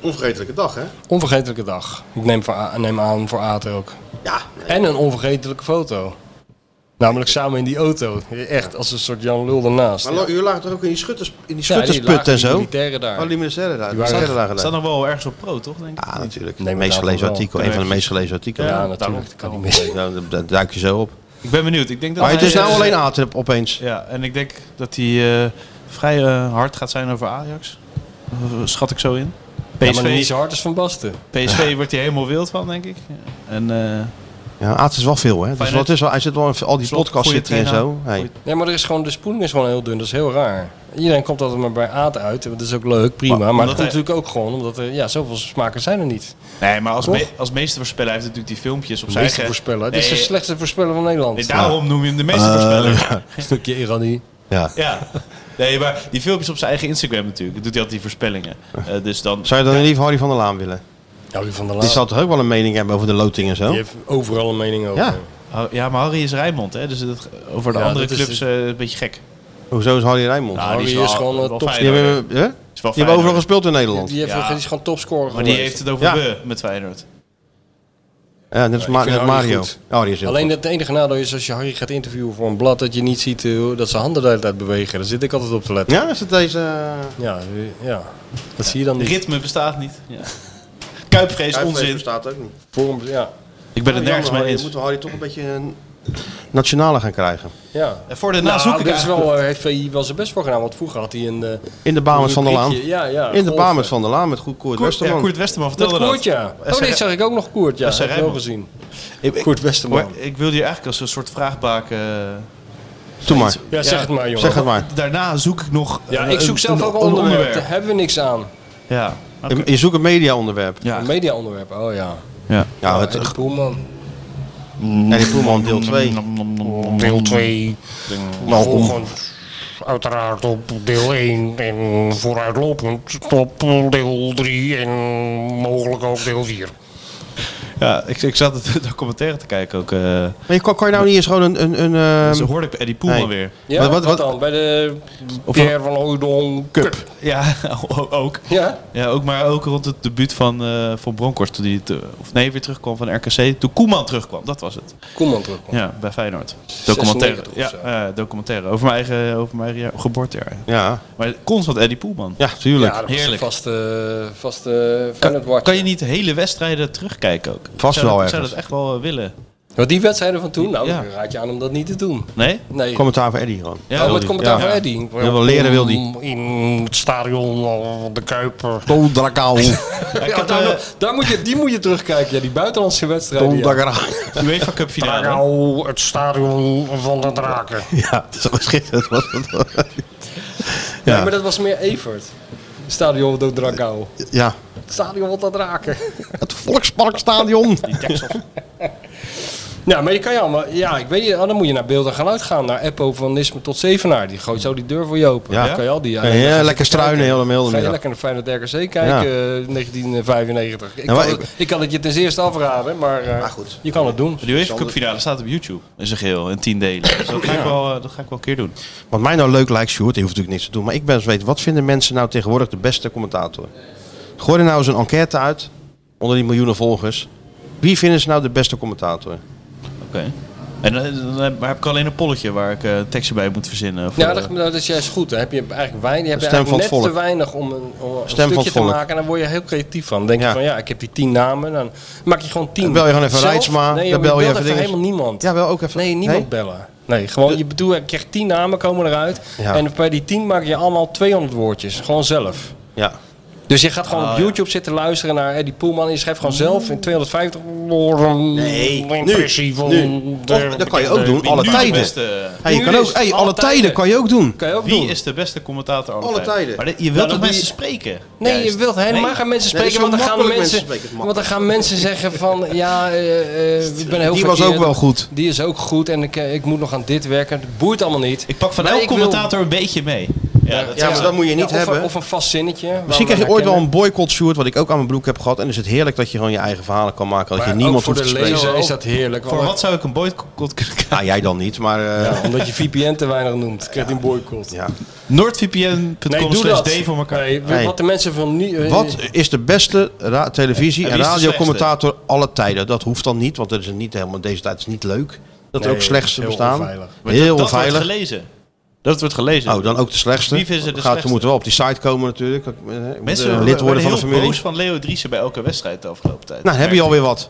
[SPEAKER 16] Onvergetelijke dag, hè?
[SPEAKER 7] Onvergetelijke dag. Ik neem, voor, A- neem aan voor Aad ook.
[SPEAKER 16] Ja.
[SPEAKER 7] En een onvergetelijke foto. Namelijk samen in die auto. Echt als een soort Jan Lul ernaast.
[SPEAKER 16] Maar u lag toch ook in die schutters, in die
[SPEAKER 7] Ja, die
[SPEAKER 16] schuttersput
[SPEAKER 7] lagen
[SPEAKER 16] en
[SPEAKER 7] die
[SPEAKER 16] zo?
[SPEAKER 7] militairen daar.
[SPEAKER 16] Oh, die militairen daar.
[SPEAKER 7] Die
[SPEAKER 16] Die
[SPEAKER 7] waren-
[SPEAKER 16] militairen lagen
[SPEAKER 7] Staat
[SPEAKER 16] daar.
[SPEAKER 10] nog wel ergens op pro, toch? Denk ik?
[SPEAKER 6] Ja, Ah, natuurlijk.
[SPEAKER 7] Nee,
[SPEAKER 6] Het
[SPEAKER 7] maar
[SPEAKER 6] meest
[SPEAKER 7] daarvan
[SPEAKER 6] gelezen
[SPEAKER 7] wel.
[SPEAKER 6] artikel. Een van de meest gelezen artikelen.
[SPEAKER 7] Ja, natuurlijk. Dat kan niet
[SPEAKER 6] mis. Daar duik je zo op.
[SPEAKER 10] Ik ben benieuwd. Ik denk dat
[SPEAKER 6] Maar het
[SPEAKER 10] hij,
[SPEAKER 6] is nou
[SPEAKER 10] eh,
[SPEAKER 6] alleen Atep opeens.
[SPEAKER 10] Ja, en ik denk dat hij eh, vrij eh, hard gaat zijn over Ajax. Eh, Schat ik zo in.
[SPEAKER 7] Ja, maar niet zo hard als Van Basten.
[SPEAKER 10] PSV wordt hij helemaal wild van, denk ik. En eh,
[SPEAKER 6] Ja, Aad is wel veel, hè? Dus
[SPEAKER 10] Feyenoord.
[SPEAKER 6] wat is wel, hij zit wel in al die
[SPEAKER 10] Slot,
[SPEAKER 6] podcasts
[SPEAKER 10] goede
[SPEAKER 6] zit hij en
[SPEAKER 10] trainer.
[SPEAKER 6] zo. Hey.
[SPEAKER 7] Nee, maar er is gewoon, de spoeling is gewoon heel dun. Dat is heel raar. Iedereen komt altijd maar bij Aad uit. Dat is ook leuk, prima.
[SPEAKER 10] Maar
[SPEAKER 7] Maar,
[SPEAKER 10] omdat
[SPEAKER 7] dat komt
[SPEAKER 10] hij-
[SPEAKER 7] natuurlijk ook gewoon omdat er ja, zoveel smaken zijn er niet.
[SPEAKER 10] Nee, maar als,
[SPEAKER 7] Toch?
[SPEAKER 10] me- als meestervoorspeller heeft hij natuurlijk die filmpjes op zijn
[SPEAKER 7] Meeste
[SPEAKER 10] eigen...
[SPEAKER 7] voorspeller. Dit is de
[SPEAKER 10] Nee,
[SPEAKER 7] slechtste voorspeller van Nederland.
[SPEAKER 10] nee, daarom noem je hem de
[SPEAKER 7] Eh,
[SPEAKER 10] meestervoorspeller.
[SPEAKER 7] Stukje ironie.
[SPEAKER 6] Ja.
[SPEAKER 10] ja. Nee, maar die filmpjes op zijn eigen Instagram natuurlijk. Dat doet hij altijd die voorspellingen. Eh, dus dan...
[SPEAKER 6] Zou je dan in ieder geval Harry van der Laan willen?
[SPEAKER 7] Harry van der
[SPEAKER 6] Die
[SPEAKER 7] Laan.
[SPEAKER 6] zal toch ook wel een mening hebben over de loting en zo?
[SPEAKER 7] Die heeft overal een mening over.
[SPEAKER 6] Ja.
[SPEAKER 10] Oh, Ja, maar Harry is Rijnmond, hè? Dus dat, over de
[SPEAKER 7] Ja,
[SPEAKER 10] andere
[SPEAKER 7] dat is
[SPEAKER 10] clubs eh, een beetje gek.
[SPEAKER 6] Hoezo is Harry Rijnmond?
[SPEAKER 10] Nou, die is Harry is wel- gewoon, eh, wel topscorer.
[SPEAKER 6] Die
[SPEAKER 10] Feyenoord.
[SPEAKER 6] hebben, hè?
[SPEAKER 10] Is wel
[SPEAKER 6] Die hebben
[SPEAKER 10] Feyenoord.
[SPEAKER 6] overal gespeeld in Nederland.
[SPEAKER 7] Die, heeft,
[SPEAKER 10] Ja.
[SPEAKER 7] die is gewoon topscorer
[SPEAKER 10] Maar die
[SPEAKER 7] geworden.
[SPEAKER 10] heeft het over
[SPEAKER 6] Ja.
[SPEAKER 10] we met Feyenoord.
[SPEAKER 6] Ja, net als
[SPEAKER 7] Ik
[SPEAKER 6] Ma-
[SPEAKER 7] vind
[SPEAKER 6] net
[SPEAKER 7] Harry
[SPEAKER 6] Mario.
[SPEAKER 7] goed.
[SPEAKER 6] Oh, die is heel
[SPEAKER 7] Alleen
[SPEAKER 6] goed.
[SPEAKER 7] het enige nadeel is als je Harry gaat interviewen voor een blad dat je niet ziet eh, hoe- dat zijn handen de hele tijd bewegen. Daar zit ik altijd op te letten.
[SPEAKER 6] Ja, is het deze...
[SPEAKER 7] Ja, eh, ja. dat zie je dan
[SPEAKER 10] De
[SPEAKER 7] niet.
[SPEAKER 10] ritme bestaat niet. Ja. Kuipvrees,
[SPEAKER 6] Kuipvrees
[SPEAKER 10] onzin.
[SPEAKER 6] bestaat ook niet.
[SPEAKER 7] Vorm, ja.
[SPEAKER 10] Ik ben het nergens
[SPEAKER 6] Oh, jammer,
[SPEAKER 10] mee
[SPEAKER 6] Harry.
[SPEAKER 10] eens.
[SPEAKER 6] Moeten we Harry toch een beetje een nationale gaan krijgen?
[SPEAKER 7] Ja.
[SPEAKER 10] En voor de
[SPEAKER 7] nou,
[SPEAKER 10] nazoek ik
[SPEAKER 7] dit is
[SPEAKER 10] eigenlijk-
[SPEAKER 7] wel, eh, heeft VI wel zijn best voor gedaan, want vroeger had hij een... eh,
[SPEAKER 6] In de baan met Van der Laan.
[SPEAKER 7] rubriekje. Ja, ja.
[SPEAKER 6] in de baan
[SPEAKER 7] golven.
[SPEAKER 6] met Van der Laan met goed Koert
[SPEAKER 7] Koert-
[SPEAKER 6] Westerman.
[SPEAKER 10] ja, Koert Westerman vertelde
[SPEAKER 7] Met Koert,
[SPEAKER 10] dat.
[SPEAKER 7] ja.
[SPEAKER 10] SR
[SPEAKER 7] Oh, nee, zag ik ook nog Koert, ja.
[SPEAKER 10] SR
[SPEAKER 7] Heb ik wel
[SPEAKER 10] Rijnmond.
[SPEAKER 7] gezien. Koert Westerman.
[SPEAKER 10] Maar Ik wilde hier eigenlijk als een soort vraagbaak... eh,
[SPEAKER 6] Doe maar.
[SPEAKER 7] Ja, zeg het maar, jongen.
[SPEAKER 6] Zeg het maar.
[SPEAKER 10] Daarna zoek ik nog...
[SPEAKER 7] Ja,
[SPEAKER 10] eh,
[SPEAKER 7] ik zoek
[SPEAKER 10] een-
[SPEAKER 7] zelf
[SPEAKER 10] een-
[SPEAKER 7] ook
[SPEAKER 10] een
[SPEAKER 7] onderwerpen. Daar hebben we niks aan.
[SPEAKER 10] Ja.
[SPEAKER 6] Je- Je zoekt een media-onderwerp.
[SPEAKER 10] Ja.
[SPEAKER 7] Een media-onderwerp, oh ja.
[SPEAKER 10] Ja.
[SPEAKER 6] Ja, Nou, het,
[SPEAKER 7] Eddie Poelman.
[SPEAKER 6] Eddie Poelman, deel 2.
[SPEAKER 17] Deel 2.
[SPEAKER 7] Nou,
[SPEAKER 6] Welkom.
[SPEAKER 17] Volgens uiteraard op deel 1 en vooruitlopend op deel 3 en mogelijk ook deel 4.
[SPEAKER 10] Ja, ik, ik zat het documentaire te kijken ook. eh
[SPEAKER 6] Maar je, kan, kan je nou niet eens gewoon een... een, een eh,
[SPEAKER 10] zo hoorde ik Eddie Poelman
[SPEAKER 6] nee.
[SPEAKER 10] weer.
[SPEAKER 7] Ja, wat, dan? Bij de Pierre van Oudon Cup.
[SPEAKER 10] Ja, ook.
[SPEAKER 7] Ja?
[SPEAKER 10] Ja, ook, maar ook rond het debuut van, eh, van Bronkhorst. Toen hij te- of nee, weer terugkwam van RKC. Toen Koeman terugkwam, dat was het.
[SPEAKER 7] Koeman terugkwam.
[SPEAKER 10] Ja, bij Feyenoord. Documentaire.
[SPEAKER 7] 96
[SPEAKER 10] Ja, eh, documentaire. Over mijn eigen, over mijn eigen geboortejaar.
[SPEAKER 6] Ja.
[SPEAKER 10] Maar constant Eddie Poelman.
[SPEAKER 6] Ja,
[SPEAKER 7] Ja, dat was
[SPEAKER 10] Heerlijk.
[SPEAKER 7] een vaste, vaste
[SPEAKER 10] Kan,
[SPEAKER 7] Feyenoord-watcher.
[SPEAKER 10] kan je niet hele wedstrijden terugkijken ook?
[SPEAKER 6] Vast
[SPEAKER 10] zou
[SPEAKER 6] wel
[SPEAKER 10] dat, zou
[SPEAKER 6] ergens.
[SPEAKER 10] dat echt wel eh, willen.
[SPEAKER 7] Want die wedstrijden van toen, nou,
[SPEAKER 10] Ja.
[SPEAKER 7] dan raad je aan om dat niet te doen.
[SPEAKER 10] Nee?
[SPEAKER 7] Nee.
[SPEAKER 6] Commentaar van Eddie gewoon.
[SPEAKER 7] Ja, met commentaar van Eddie.
[SPEAKER 6] Je wil leren wil die.
[SPEAKER 17] In het stadion of de Kuiper.
[SPEAKER 6] Tondrakaal.
[SPEAKER 7] Ja, daar, daar moet je, die moet je terugkijken, ja, die buitenlandse wedstrijden. Ja.
[SPEAKER 10] UEFA Cup finale.
[SPEAKER 17] Nou, het stadion van de draken.
[SPEAKER 6] Ja, dat was schitterend. Was dat.
[SPEAKER 7] Nee,
[SPEAKER 6] ja.
[SPEAKER 7] maar dat was meer Evert. Stadion do Dragao.
[SPEAKER 6] ja,
[SPEAKER 7] Stadion wat dat raken.
[SPEAKER 6] het Volksparkstadion.
[SPEAKER 7] Ja, maar je kan je allemaal... Ja, ik weet niet. ah, Dan moet je naar beeld en geluid gaan. Naar Eppo van Nisme tot Zevenaar. Die gooit zo die deur voor je open.
[SPEAKER 6] Ja.
[SPEAKER 7] Dan kan je al die...
[SPEAKER 6] Kan je
[SPEAKER 7] dan ga
[SPEAKER 6] lekker
[SPEAKER 7] zitten
[SPEAKER 6] struinen
[SPEAKER 7] kijken.
[SPEAKER 6] heel de- heel de
[SPEAKER 7] Ga je
[SPEAKER 6] middag.
[SPEAKER 7] lekker naar Feyenoord RKC
[SPEAKER 6] Ja.
[SPEAKER 7] kijken. eh, 1995. Ik,
[SPEAKER 6] Ja, maar
[SPEAKER 7] kan
[SPEAKER 6] ik-
[SPEAKER 7] het, ik kan het je ten eerste afraden. Maar, eh, je kan het doen.
[SPEAKER 10] De UEFA Cup finale staat op YouTube. In zijn geheel, in tien delen. Dus dat ga ik wel, eh, dat ga ik wel een keer doen.
[SPEAKER 6] Wat mij nou leuk lijkt, Sjoerd, je hoeft natuurlijk niks te doen. Maar ik ben eens weten, wat vinden mensen nou tegenwoordig de beste commentator? Gooi er nou eens een enquête uit, onder die miljoenen volgers. Wie vinden ze nou de beste commentator?
[SPEAKER 10] Oké. En eh, dan heb, maar heb ik alleen een polletje waar ik eh, een tekstje bij moet verzinnen. Voor,
[SPEAKER 7] Ja, dat, nou, dat is juist goed. Dan heb je eigenlijk, weinig, je hebt
[SPEAKER 10] Stem
[SPEAKER 7] eigenlijk net
[SPEAKER 10] van het
[SPEAKER 7] te weinig om een, om een
[SPEAKER 10] Stem van
[SPEAKER 7] stukje
[SPEAKER 10] het
[SPEAKER 7] te
[SPEAKER 10] volk.
[SPEAKER 7] maken. En dan word je heel creatief van. Dan denk je van ja, ik heb die tien namen. Dan maak je gewoon tien.
[SPEAKER 6] Dan bel je gewoon even
[SPEAKER 7] Zelf?
[SPEAKER 6] Reitsma,
[SPEAKER 7] Nee,
[SPEAKER 6] dan
[SPEAKER 7] joh,
[SPEAKER 6] bel je
[SPEAKER 7] belt
[SPEAKER 6] even dinges.
[SPEAKER 7] helemaal niemand. Ja,
[SPEAKER 6] wel ook even.
[SPEAKER 7] Nee, niemand bellen. Nee, gewoon je bedoelt, ik krijg tien namen komen eruit.
[SPEAKER 6] Ja.
[SPEAKER 7] En bij die tien maak je allemaal 200 woordjes. Gewoon zelf.
[SPEAKER 6] Ja.
[SPEAKER 7] Dus je gaat gewoon
[SPEAKER 10] Ah,
[SPEAKER 7] op
[SPEAKER 10] ja.
[SPEAKER 7] YouTube zitten luisteren naar Eddie Poelman. En je schrijft gewoon zelf in 250 woorden.
[SPEAKER 6] Nee, nu,
[SPEAKER 17] impressie van
[SPEAKER 6] nu.
[SPEAKER 17] de-
[SPEAKER 6] Of, dat kan je ook doen,
[SPEAKER 10] Wie
[SPEAKER 6] alle
[SPEAKER 10] nu de
[SPEAKER 6] tijden.
[SPEAKER 10] beste-
[SPEAKER 6] Hey, je
[SPEAKER 10] Nu
[SPEAKER 6] kan
[SPEAKER 10] is
[SPEAKER 6] ook, hey, alle tijden kan je ook doen.
[SPEAKER 7] Kan je ook
[SPEAKER 10] Wie
[SPEAKER 7] doen.
[SPEAKER 10] is de beste commentator alle,
[SPEAKER 6] Alle tijden.
[SPEAKER 10] Maar dit- je
[SPEAKER 7] Nou,
[SPEAKER 10] wilt
[SPEAKER 7] dat
[SPEAKER 10] toch
[SPEAKER 7] doe
[SPEAKER 10] mensen
[SPEAKER 7] je-
[SPEAKER 10] spreken?
[SPEAKER 7] Nee, je
[SPEAKER 10] Juist.
[SPEAKER 7] wilt helemaal
[SPEAKER 10] Nee.
[SPEAKER 7] geen mensen
[SPEAKER 10] Nee, het
[SPEAKER 7] spreken, want,
[SPEAKER 10] is
[SPEAKER 7] dan
[SPEAKER 10] zo
[SPEAKER 7] gaan
[SPEAKER 10] makkelijk
[SPEAKER 7] mensen,
[SPEAKER 10] mensen spreken,
[SPEAKER 7] want dan gaan mensen zeggen van, ja, eh, eh, ik ben heel
[SPEAKER 6] Die was
[SPEAKER 7] verkeerd.
[SPEAKER 6] ook wel goed.
[SPEAKER 7] Die is ook goed en ik, eh, ik moet nog aan dit werken. Het boeit allemaal niet.
[SPEAKER 10] Nou, Ik pak van elk
[SPEAKER 7] elke
[SPEAKER 10] commentator een beetje mee.
[SPEAKER 6] Ja, maar dat moet je niet
[SPEAKER 7] Ja, of een-
[SPEAKER 6] hebben.
[SPEAKER 7] Of een vast zinnetje. waar
[SPEAKER 6] Misschien
[SPEAKER 7] we
[SPEAKER 6] krijg je ooit wel
[SPEAKER 7] herkennen.
[SPEAKER 6] een boycott shoot, wat ik ook aan mijn broek heb gehad. En is het heerlijk dat je gewoon je eigen verhalen kan maken. Dat
[SPEAKER 7] Maar
[SPEAKER 6] je
[SPEAKER 7] ook
[SPEAKER 6] niemand
[SPEAKER 7] voor
[SPEAKER 6] hoeft te
[SPEAKER 7] de
[SPEAKER 6] spreken.
[SPEAKER 7] lezer is dat heerlijk,
[SPEAKER 6] Voor
[SPEAKER 7] want-
[SPEAKER 6] wat zou ik een
[SPEAKER 10] Ah.
[SPEAKER 6] boycott kunnen krijgen? Nou, jij dan niet, maar... eh,
[SPEAKER 7] Ja, omdat je VPN te weinig noemt, krijgt hij een boycott. Ja.
[SPEAKER 6] NoordVPN.com slash D
[SPEAKER 7] voor elkaar. Nee,
[SPEAKER 6] Nee.
[SPEAKER 7] Wat de mensen van nu... eh,
[SPEAKER 6] Wat is de beste ra- televisie-
[SPEAKER 7] En
[SPEAKER 6] en,
[SPEAKER 7] wie is de
[SPEAKER 6] radiocommentator alle tijden? Dat hoeft dan niet, want dat is niet helemaal, deze tijd is niet leuk. Dat er
[SPEAKER 10] Nee,
[SPEAKER 6] ook slechtste
[SPEAKER 10] heel
[SPEAKER 6] bestaan.
[SPEAKER 10] onveilig. Maar dat-
[SPEAKER 6] Heel
[SPEAKER 10] dat wordt
[SPEAKER 6] onveilig.
[SPEAKER 10] gelezen. Dat wordt gelezen.
[SPEAKER 6] Oh, dan ook de slechtste.
[SPEAKER 10] Wie vinden ze de
[SPEAKER 6] Gaat,
[SPEAKER 10] slechtste?
[SPEAKER 6] We moeten wel op die site komen natuurlijk. Ik moet, eh, ik moet,
[SPEAKER 10] Mensen
[SPEAKER 6] eh,
[SPEAKER 10] worden
[SPEAKER 6] lid worden van de
[SPEAKER 10] heel
[SPEAKER 6] familie.
[SPEAKER 10] boos van Leo Driessen bij elke wedstrijd de afgelopen tijd.
[SPEAKER 6] Nou, dan heb je alweer wat.